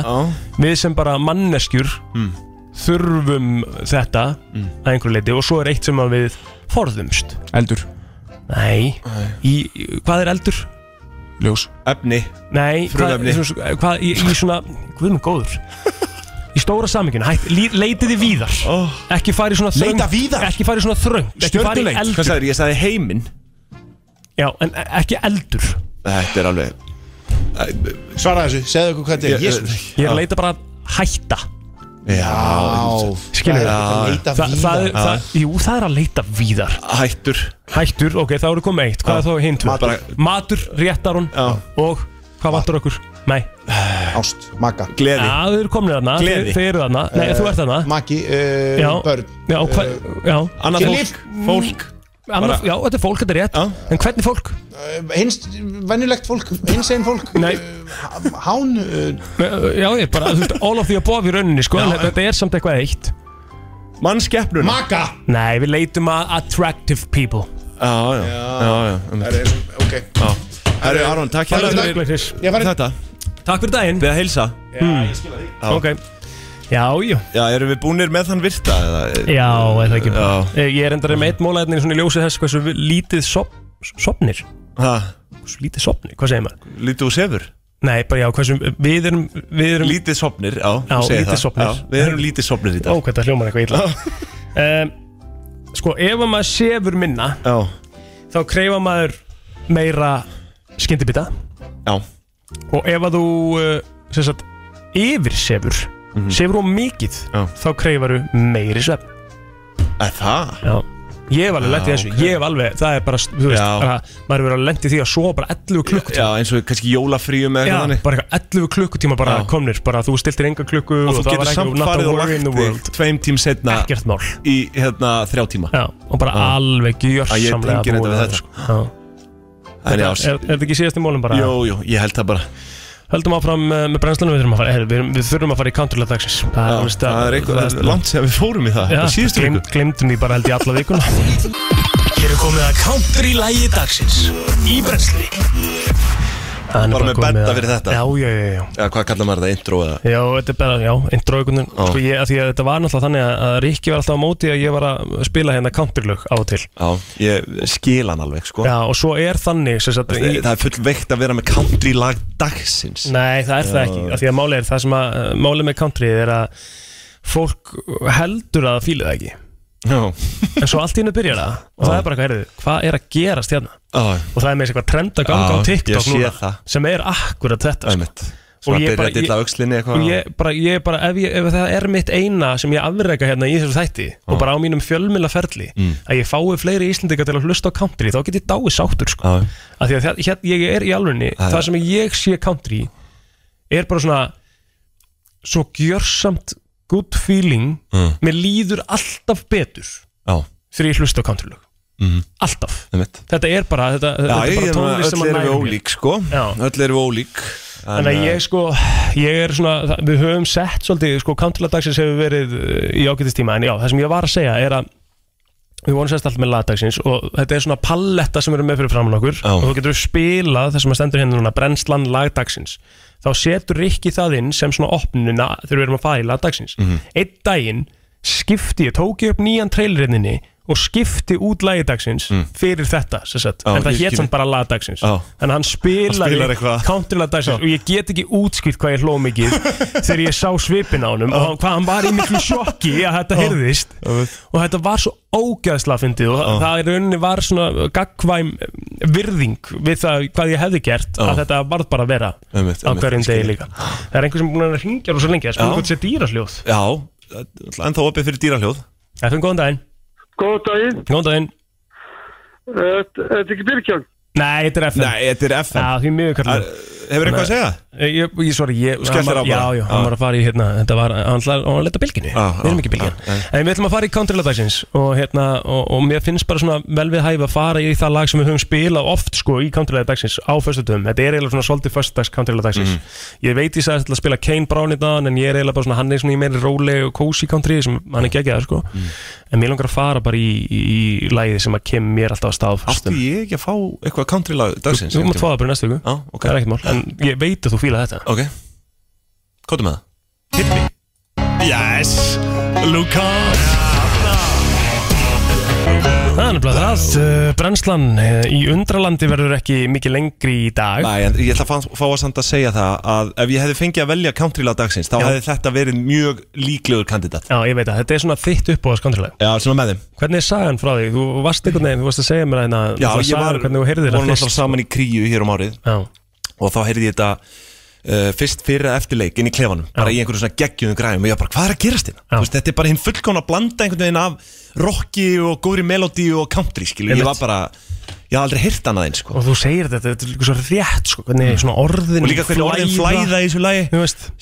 Speaker 3: við sem bara manneskjur
Speaker 15: Mm.
Speaker 3: þurfum þetta að einhverju leiti og svo er eitt sem að við forðumst
Speaker 2: Eldur
Speaker 3: Nei, í, í- hvað er eldur?
Speaker 2: Ljós
Speaker 4: Efni
Speaker 3: Nei, hvað,
Speaker 4: Frumefni.
Speaker 3: svona- hvað í, í svona, guðum góður Í stóra saminginu, hætt, lí- leitiði víðar Ekki farið svona þröng
Speaker 4: Leita Oh. víðar?
Speaker 3: Ekki farið svona þröng Ekki fara í
Speaker 4: Stjörnuleit
Speaker 3: eldur
Speaker 4: Hvað sagður, ég sagði heiminn
Speaker 3: Já, en e- ekki eldur
Speaker 4: Þetta er alveg
Speaker 2: Svara þessu, segðu okkur hvað þetta er Jesús.
Speaker 3: Ég er
Speaker 4: Ah.
Speaker 3: að leita bara að hætta
Speaker 4: Já
Speaker 3: Skilur
Speaker 4: Já.
Speaker 3: Þa, það, er-
Speaker 4: Ah.
Speaker 3: það, Jú, það er að leita víðar
Speaker 4: Hættur
Speaker 3: Hættur, ok, þá eru komið eitt Hvað er
Speaker 4: Já.
Speaker 3: þá hinn tvö?
Speaker 4: Ah. Matur. Ah.
Speaker 3: Matur, réttar hún Og hvað vantur okkur? Nei
Speaker 15: Ást, maka
Speaker 4: Gleði
Speaker 3: Já, þau eru komnir þarna
Speaker 15: Gleði.
Speaker 3: Þau eru þarna Nei,
Speaker 15: Eh,
Speaker 3: þú ert þarna
Speaker 15: Maki, uh,
Speaker 3: Já.
Speaker 15: börn
Speaker 3: Já, hva,
Speaker 4: eh,
Speaker 3: já.
Speaker 15: annað Kynlíf. fólk. Fólk.
Speaker 3: Annað,
Speaker 15: Bara-
Speaker 3: Já, þetta er fólk, þetta er rétt
Speaker 4: Ah.
Speaker 3: En hvernig fólk?
Speaker 15: Hins, venjulegt fólk, hinsegin fólk
Speaker 3: Nei
Speaker 15: Hán uh,
Speaker 3: Já, ég bara, þú veist, all of því að bofi í rauninni, sko
Speaker 15: Já,
Speaker 3: en
Speaker 15: en-
Speaker 3: Þetta er samt eitthvað eitt
Speaker 4: Mannskeppnuna
Speaker 15: Maka
Speaker 3: Nei, við leitum að attractive people
Speaker 4: Já, já, já, já
Speaker 2: Það er, ok
Speaker 4: Herru, Aron, takk
Speaker 3: Takk
Speaker 4: hérna
Speaker 3: fyrir dag.
Speaker 4: fyrir þetta
Speaker 3: Takk fyrir daginn
Speaker 4: Beða heilsa
Speaker 3: Já, ég skil að því Ok Já, já
Speaker 4: Já, erum við búnir með þann virta? eða-
Speaker 3: Já, eða ekki
Speaker 4: Já
Speaker 3: Eh, Ég er endari með eitt mólæðin svona í ljósi þess hversu við- lítið sop, sopnir
Speaker 4: Hæ?
Speaker 3: Hversu lítið sopnir, hvað segir maður?
Speaker 4: Lítið og sefur?
Speaker 3: Nei, bara já, hversu við erum, við erum
Speaker 4: Lítið sopnir, já
Speaker 3: Já,
Speaker 4: þú segir
Speaker 3: lítið
Speaker 4: það.
Speaker 3: sopnir.
Speaker 4: Já, Við erum lítið sopnir
Speaker 3: Ó,
Speaker 4: í dag
Speaker 3: hvað þetta hljómar eitthvað illa um, Sko, ef að maður sefur minna
Speaker 4: Já.
Speaker 3: Þá kreifa maður meira skyndibita
Speaker 4: Já
Speaker 3: Og ef að þú, uh, sem sagt, yfir sefur
Speaker 4: Mhm.
Speaker 3: Sefur hún mikið Já. Þá kreifaru meiri svefn
Speaker 4: Er það?
Speaker 3: Já Ég hef alveg lent í
Speaker 4: Já,
Speaker 3: þessu, ég hef alveg, það er bara, þú veist,
Speaker 4: Já.
Speaker 3: bara, maður hefur verið lent í því að sofa bara 11 klukk
Speaker 4: Já, eins og kannski jólafríum eða
Speaker 3: Já,
Speaker 4: eitthvað þannig
Speaker 3: bara eitthvað 11 klukkutíma bara
Speaker 4: Já.
Speaker 3: komnir bara þú stiltir enga klukku
Speaker 4: Og þú
Speaker 3: það var
Speaker 4: getur
Speaker 3: ekki-
Speaker 4: samt
Speaker 3: not a
Speaker 4: farið og
Speaker 3: worry in
Speaker 4: lagt
Speaker 3: the world.
Speaker 4: þig tveim tím setna
Speaker 3: Ekkert mál
Speaker 4: Í hérna þrjá tíma
Speaker 3: Já, og bara alveg
Speaker 4: Að ég
Speaker 3: gjörsamlega
Speaker 4: tengir
Speaker 3: búið
Speaker 4: þetta við
Speaker 3: að þetta,
Speaker 4: þetta sko.
Speaker 3: Er,
Speaker 4: En já,
Speaker 3: er þetta ekki síðast í mólum bara?
Speaker 4: Jú, jú, ég held það bara
Speaker 3: Höldum áfram eh, með brennslunum við þurfum að fara Heyrðu, við, erum- við þurfum að fara í counterlega dagsins Það
Speaker 4: Já,
Speaker 3: veist
Speaker 4: það er eitthvað-
Speaker 3: það-
Speaker 4: langt sem við fórum í það,
Speaker 3: Já,
Speaker 4: bara síðustu
Speaker 3: gleym-
Speaker 4: viku.
Speaker 3: Gleymdum því bara held ég alla vikuna
Speaker 9: Hér er komið að counter í lægi dagsins Í brensli
Speaker 3: Það er
Speaker 4: Bara með
Speaker 3: komið
Speaker 4: betta
Speaker 3: að-
Speaker 4: fyrir þetta.
Speaker 3: Já, já, já, já
Speaker 4: Já, hvað kallar maður það? Intro eða?
Speaker 3: Já, þetta er bara, já, intro einhvern veginn Sko ég, að því að þetta var náttúrulega þannig að- að Rikki var alltaf á móti að ég var að spila hérna counterlög á og til
Speaker 4: Já, ég skil hann alveg sko
Speaker 3: Já, og svo er þannig sem sagt,
Speaker 4: Það
Speaker 3: í,
Speaker 4: það er fullveikt að vera með country lag dagsins
Speaker 3: Nei, það er það ekki af Því að málið er það sem að uh, málið með country er að fólk heldur að það fíli það ekki
Speaker 4: Já.
Speaker 3: En svo allt í hennu byrjar það og það er bara eitthvað erðu, hvað er að gerast hérna
Speaker 4: Já.
Speaker 3: og það er með þess eitthvað trend að ganga á
Speaker 4: Já, ég
Speaker 3: TikTok
Speaker 4: sé
Speaker 3: núna
Speaker 4: það.
Speaker 3: sem er akkurat þetta sko.
Speaker 4: Einmitt. Svona byrja að dilla öxlinni eitthvað.
Speaker 3: og ég bara, ég bara ef, ég, ef það er mitt eina sem ég afreika hérna í þessu þætti og bara á mínum fjölmila ferli
Speaker 4: Mm.
Speaker 3: að ég fái fleiri íslendingar til að hlusta á country þá get ég dáið sáttur sko.
Speaker 4: Já.
Speaker 3: af því að það, hér, ég er í alvegni
Speaker 4: Já,
Speaker 3: það
Speaker 4: já.
Speaker 3: sem ég sé country er bara svona svo gjörsamt good feeling
Speaker 4: Mm.
Speaker 3: mér líður alltaf betur
Speaker 4: Já.
Speaker 3: þegar ég hlusta á country lög
Speaker 4: Mhm.
Speaker 3: alltaf
Speaker 4: Einmitt.
Speaker 3: þetta er bara, þetta,
Speaker 4: Já,
Speaker 3: þetta er
Speaker 4: ég
Speaker 3: bara
Speaker 4: er bara
Speaker 3: tónlist sem
Speaker 4: öll
Speaker 3: að
Speaker 4: erum
Speaker 3: næra
Speaker 4: við
Speaker 3: mér.
Speaker 4: ólík sko
Speaker 3: Já.
Speaker 4: Öll erum við ólík
Speaker 3: Þannig að ég sko, ég er svona, það- við höfum sett svolítið, sko, counterlagdagsins hefur verið uh, í ágættistíma, en já, það sem ég var að segja er að við vorum sérst alltaf með lagdagsins og þetta er svona palletta sem eru með fyrir framann okkur og þú getur spilað það sem að stendur hérna núna, brennslan lagdagsins, þá setur Rikki það inn sem svona opnuna þegar við erum að fara í lagdagsins. Mm Einn daginn skipti ég, tók ég upp nýjan trailerinn og skipti út lagdagsins fyrir þetta, sem sagt,
Speaker 4: Já,
Speaker 3: en það
Speaker 4: ég
Speaker 3: hétt
Speaker 4: skil.
Speaker 3: samt bara lagdagsins
Speaker 4: Já.
Speaker 3: en hann spilaði
Speaker 4: spilar eitthvað.
Speaker 3: counterlega dagsins og ég get ekki útskipt hvað ég hló mikið
Speaker 4: *laughs*
Speaker 3: þegar ég sá svipin á honum og hann- hvað hann var í miklu sjokki að þetta heyrðist og þetta var svo ógæðsla fyndið og það- það í rauninni var svona gagkvæm virðing við það hvað ég hefði gert að þetta varð bara að vera
Speaker 4: Einmitt,
Speaker 3: á
Speaker 4: einmitt,
Speaker 3: hverjum
Speaker 4: skil
Speaker 3: degi
Speaker 4: ég.
Speaker 3: líka það er einhver sem er búin að hringja rosa lengi það
Speaker 4: Já.
Speaker 3: spilur hvort sé dýrasljóð
Speaker 4: Já, en þá opið fyrir dýrahljóð
Speaker 3: FM, góðan daginn
Speaker 6: Góðan daginn
Speaker 3: Góðan daginn
Speaker 6: Þetta er ekki Birkján
Speaker 3: Nei, þetta er FM
Speaker 4: Nei, þetta er FM
Speaker 3: Já, því miður kallar
Speaker 4: Hefur eitthvað að segja?
Speaker 3: Eh, Ég, ég sorry, ég
Speaker 4: Þú skellir
Speaker 3: hann
Speaker 4: á
Speaker 3: var-
Speaker 4: bara.
Speaker 3: Já, já, hann
Speaker 4: Já.
Speaker 3: var að fara í hérna Þetta var, hann var að leta bylginu Við erum ekki bylgin En við ætlum að fara í country lagdagsins og, hérna, og, og mér finnst bara svona vel við hæfi að fara í það lag sem við höfum spilað oft sko í country lagdagsins á föstutum Þetta er eiginlega svona svolítið föstudags country lagdagsins
Speaker 4: Mm.
Speaker 3: Ég veit ég sagði að spila Kane Brown í dag en ég er eiginlega bara svona hann er svona í meiri róleg og cozy country sem hann er geggjað sko En mér langar að fara bara í, í, í lagið sem að kem mér alltaf að stað á
Speaker 4: Átti
Speaker 3: föstutum
Speaker 4: ég ekki að fá eitthvað country lag dagsins?
Speaker 3: Þú mátt fá það bara í næstu viku
Speaker 4: Já, ok
Speaker 3: Það er ekkert mál En ég veit að þú fíla þetta
Speaker 4: Ok Kóttu með það Hit me Yes Luca
Speaker 3: Það er nefnilega það, uh, brennslan eh, í undralandi verður ekki mikið lengri í dag
Speaker 4: Nei, en ég ætla að fá, fá að samt að segja það að ef ég hefði fengið að velja countrylag dagsins þá
Speaker 3: Já.
Speaker 4: hefði þetta verið mjög líklegur kandidat
Speaker 3: Já, ég veit að þetta er svona þitt uppbóðas countrylag
Speaker 4: Já, svona með þeim
Speaker 3: Hvernig er sagan frá því? Þú varst einhvern veginn, þú varst að segja mér hérna
Speaker 4: Já,
Speaker 3: náttúrulega
Speaker 4: ég
Speaker 3: sagan,
Speaker 4: var,
Speaker 3: Hvernig þú heyrðir
Speaker 4: vorum
Speaker 3: þetta
Speaker 4: alltaf saman í kríu hér um árið
Speaker 3: Já.
Speaker 4: og þá heyrði ég þetta uh, fyrst fyrir að eftir leik inn í klefanum, bara í einhverjum svona geggjum græjum og ég bara, hvað er að gerast hérna? Þú Veist, þetta er bara hinn fullkona að blanda einhvern veginn af rocki og góðri melodi og country, skilu, ég
Speaker 3: Einmitt.
Speaker 4: var bara ég hafði aldrei heyrt annað eins, sko
Speaker 3: Og þú segir þetta, þetta er líka svo rétt sko, Hvernig svona orðin
Speaker 4: Mm. og líka hvernig orðin flæða í þessu lagi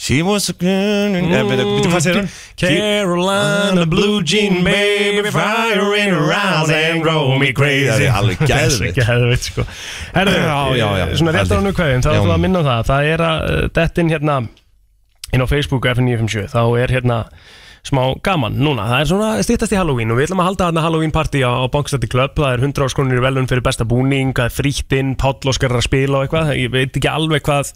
Speaker 4: She was a girl
Speaker 3: Mm.
Speaker 4: in- Eh, veitu- veitu hvað segir hann?
Speaker 3: Carolina blue jean baby firing around and roll me crazy
Speaker 4: Það er alveg geðveikt.
Speaker 3: Geðveikt sko Herðu,
Speaker 4: Já, já, já.
Speaker 3: Svona rétt á hann umkvæðin, þá
Speaker 4: Já.
Speaker 3: ætlum við að minna á það Það er að uh, dettin hérna inn á Facebook FN957 Þá er hérna smá gaman núna Það er svona stýttast í Halloween og við ætlum að halda þarna Halloween party á, á Bankstætti Club Það er 100 áskonir í velun fyrir besta búning Það er frýttinn, Páll Óskar er að spila og eitthvað Ég veit ekki alveg hvað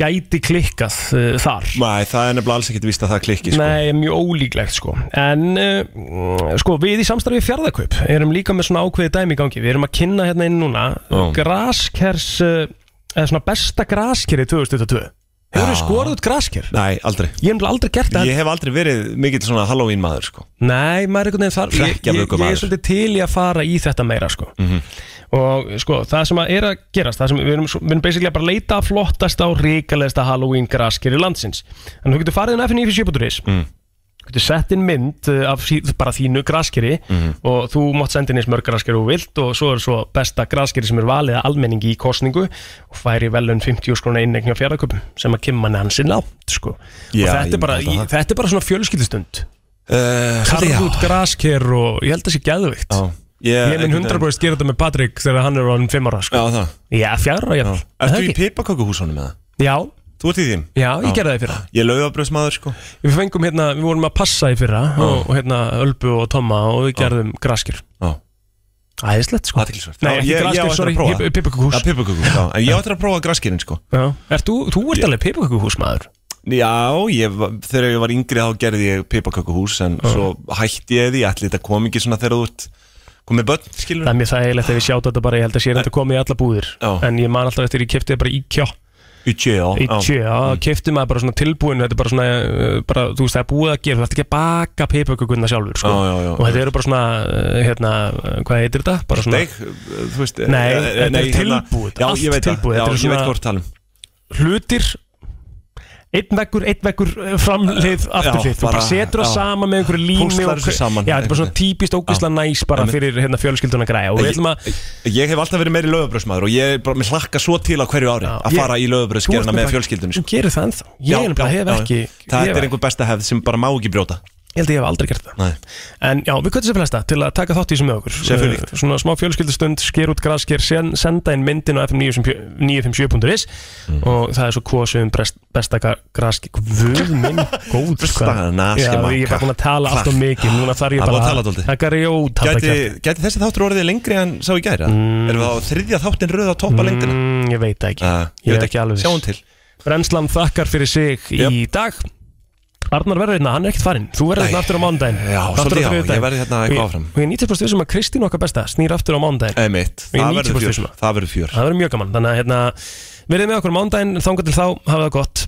Speaker 3: gæti klikkað uh, þar
Speaker 4: Nei, það er nefnilega alls ekkert víst að það klikki sko.
Speaker 3: Nei, mjög ólíklegt sko En uh, sko, við í samstarfi fjárðakaup erum líka með svona ákveði dæmi í gangi Við erum að kynna hérna inn núna
Speaker 4: Já.
Speaker 3: Graskers, uh, eða svona besta graskeri 2022 Hefur þið skorað út grasker?
Speaker 4: Nei, aldrei
Speaker 3: Ég hef aldrei gert það
Speaker 4: Ég hef aldrei verið mikill svona Halloween maður sko.
Speaker 3: Nei, maður er einhvern veginn þar ég, ég, ég
Speaker 4: Hrekkjavökumaður.
Speaker 3: er svolítið til í að fara í þetta meira sko
Speaker 4: Mhm.
Speaker 3: Og sko, það sem að er að gerast það sem við erum, svo- við erum basically að bara leita að flottasta og ríkalegasta Halloween graskeri landsins En þú getur farið inn á FNF7.is
Speaker 4: Mhm.
Speaker 3: mm. Þú sett inn mynd uh, af sí- bara þínu graskeri
Speaker 4: Mhm.
Speaker 3: og þú mátt senda inn eins mörg graskeri og þú vilt og svo er svo besta graskeri sem er valið að almenningi í kostningu og færi velun 50 skrona innegni á fjárðaköpum sem að kemma hansinn látt sko.
Speaker 4: Já,
Speaker 3: og þetta er,
Speaker 4: ég
Speaker 3: bara,
Speaker 4: myndi halda
Speaker 3: í,
Speaker 4: það.
Speaker 3: þetta er bara svona fjölskyldustund
Speaker 4: uh,
Speaker 3: Karð
Speaker 4: já.
Speaker 3: út grasker og ég held að það sé gæðvikt
Speaker 4: Ég-
Speaker 3: Ég minn 100% gera þetta með Patrik þegar hann er á hann 5 ára sko.
Speaker 4: Já, það
Speaker 3: Já, fjara, já
Speaker 4: Ertu í pipakökuhúsunum með það?
Speaker 3: Já
Speaker 4: Þú ert í þeim?
Speaker 3: Já, ég gerði það í fyrra
Speaker 4: Ég laugabröðs maður sko
Speaker 3: Við fengum hérna, við vorum að passa í fyrra og, og hérna Ölbu og Tomma og við gerðum graskir
Speaker 4: Já.
Speaker 3: Æðislegt sko
Speaker 4: Athyglisvert.
Speaker 3: Nei,
Speaker 4: Já,
Speaker 3: ekki
Speaker 4: ég- ég á
Speaker 3: graskir,
Speaker 4: eftir
Speaker 3: sorry,
Speaker 4: að prófa það.
Speaker 3: pipakuhús
Speaker 4: Já, piparkökuhús, já. En ég ætti að prófa graskirinn sko
Speaker 3: Já, Ert þú, þú ert alveg pipakukuhús maður
Speaker 4: Já, ég, var- þegar ég var yngri þá gerði ég pipakökuhús En svo hætti ég því, ætli þetta kom ekki svona þegar þú ert Komið börn, skilur
Speaker 3: Það er mjög þægilegt að við sjáta þetta bara, ég held að sé þetta komið í alla búðir
Speaker 4: Já.
Speaker 3: En ég man alltaf eftir ég kefti bara í kjá
Speaker 4: Ikea
Speaker 3: Í tjö, já,
Speaker 4: Mm.
Speaker 3: kefti maður bara svona tilbúin Þetta er bara svona, uh, bara, þú veist, það er búið að gera Þú ætti ekki að baka peipakökunna sjálfur sko.
Speaker 4: Já, já, já.
Speaker 3: Og þetta eru bara svona, uh, hérna, uh, hvað heitir þetta? Bara svona
Speaker 4: Steik, uh, þú veist
Speaker 3: Nei,
Speaker 4: eh, eh,
Speaker 3: þetta er
Speaker 4: hérna-
Speaker 3: tilbúið,
Speaker 4: Já,
Speaker 3: allt
Speaker 4: ég veit það,
Speaker 3: tilbúið,
Speaker 4: já,
Speaker 3: þetta eru
Speaker 4: ég veit
Speaker 3: svona-
Speaker 4: hvort um. talum
Speaker 3: hlutir Einn veggur, einn veggur, uh, framhlið, afturhlið Þú bara
Speaker 4: bara-
Speaker 3: setur það
Speaker 4: Eh, já.
Speaker 3: saman með einhverju lími
Speaker 4: Púslar
Speaker 3: og-
Speaker 4: þessu saman,
Speaker 3: Já, þetta er bara svona típist ógisla næs bara
Speaker 4: Einmitt. Eh,
Speaker 3: fyrir hérna, fjölskylduna græja Og
Speaker 4: Ég-
Speaker 3: við ætlum að
Speaker 4: Ég hef alltaf verið meiri lögabröðsmaður og ég er bara, mér hlakka svo til á hverju ári að
Speaker 3: Ég-
Speaker 4: fara í
Speaker 3: Þú
Speaker 4: lögabröðskerna
Speaker 3: ert
Speaker 4: með
Speaker 3: nefnilega-
Speaker 4: fjölskyldunni
Speaker 3: Þú gerir það ennþá Ég
Speaker 4: Já,
Speaker 3: er nefnilega
Speaker 4: já,
Speaker 3: hef
Speaker 4: já, já.
Speaker 3: ekki
Speaker 4: Það
Speaker 3: ég hef-
Speaker 4: er einhver besta hefð sem bara má ekki brjóta
Speaker 3: Ég held að ég hef aldrei gert það
Speaker 4: Nei.
Speaker 3: En já, við kvöldum sér flesta til að taka þátt í þessum með okkur
Speaker 4: Selvfølgelig.
Speaker 3: Eh, Svona smá fjölskyldustund, sker út grasker sen, Senda inn myndin á fm957.is
Speaker 4: Mm.
Speaker 3: Og það er svo kosu um brest, besta grasker Guð
Speaker 4: *laughs*
Speaker 3: minn, góð
Speaker 4: Besta
Speaker 3: hvað- Já, ég
Speaker 4: naskemaka.
Speaker 3: er bara búin að tala allt og mikið Núna þarf ég
Speaker 4: Það er
Speaker 3: bara
Speaker 4: búin að tala dálítið.
Speaker 3: Takk að rjóta
Speaker 4: Gæti, gæti þessi þáttur orðið lengri en sá í gæra? Mm. Erum við á þriðja þáttin röð á toppa lengdina?
Speaker 3: Mm, ég veit það ekki
Speaker 4: ég
Speaker 3: Ég
Speaker 4: veit
Speaker 3: er ekki
Speaker 4: ekki.
Speaker 3: alveg
Speaker 4: Sjáum til.
Speaker 3: Brennslan þakkar fyrir sig í dag Arnar verður hérna, hann er ekkert farinn Þú verður
Speaker 4: Nei.
Speaker 3: hérna aftur á mánudaginn
Speaker 4: Já,
Speaker 3: Aftur á
Speaker 4: svolítið já, ég
Speaker 3: þriðjudaginn.
Speaker 4: verð hérna
Speaker 3: Og
Speaker 4: eitthvað
Speaker 3: ég-
Speaker 4: áfram. Eh.
Speaker 3: Og ég nýtti fyrst vissum að Kristín okkar besta snýr aftur á mánudaginn
Speaker 4: Einmitt,
Speaker 3: Og ég
Speaker 4: það
Speaker 3: nýtti
Speaker 4: verður
Speaker 3: fórst
Speaker 4: fjör
Speaker 3: þessum.
Speaker 4: Það verður fjör
Speaker 3: Það verður mjög gaman Þannig að hérna, verðið með okkur á mánudaginn Þangar til þá, hafa það gott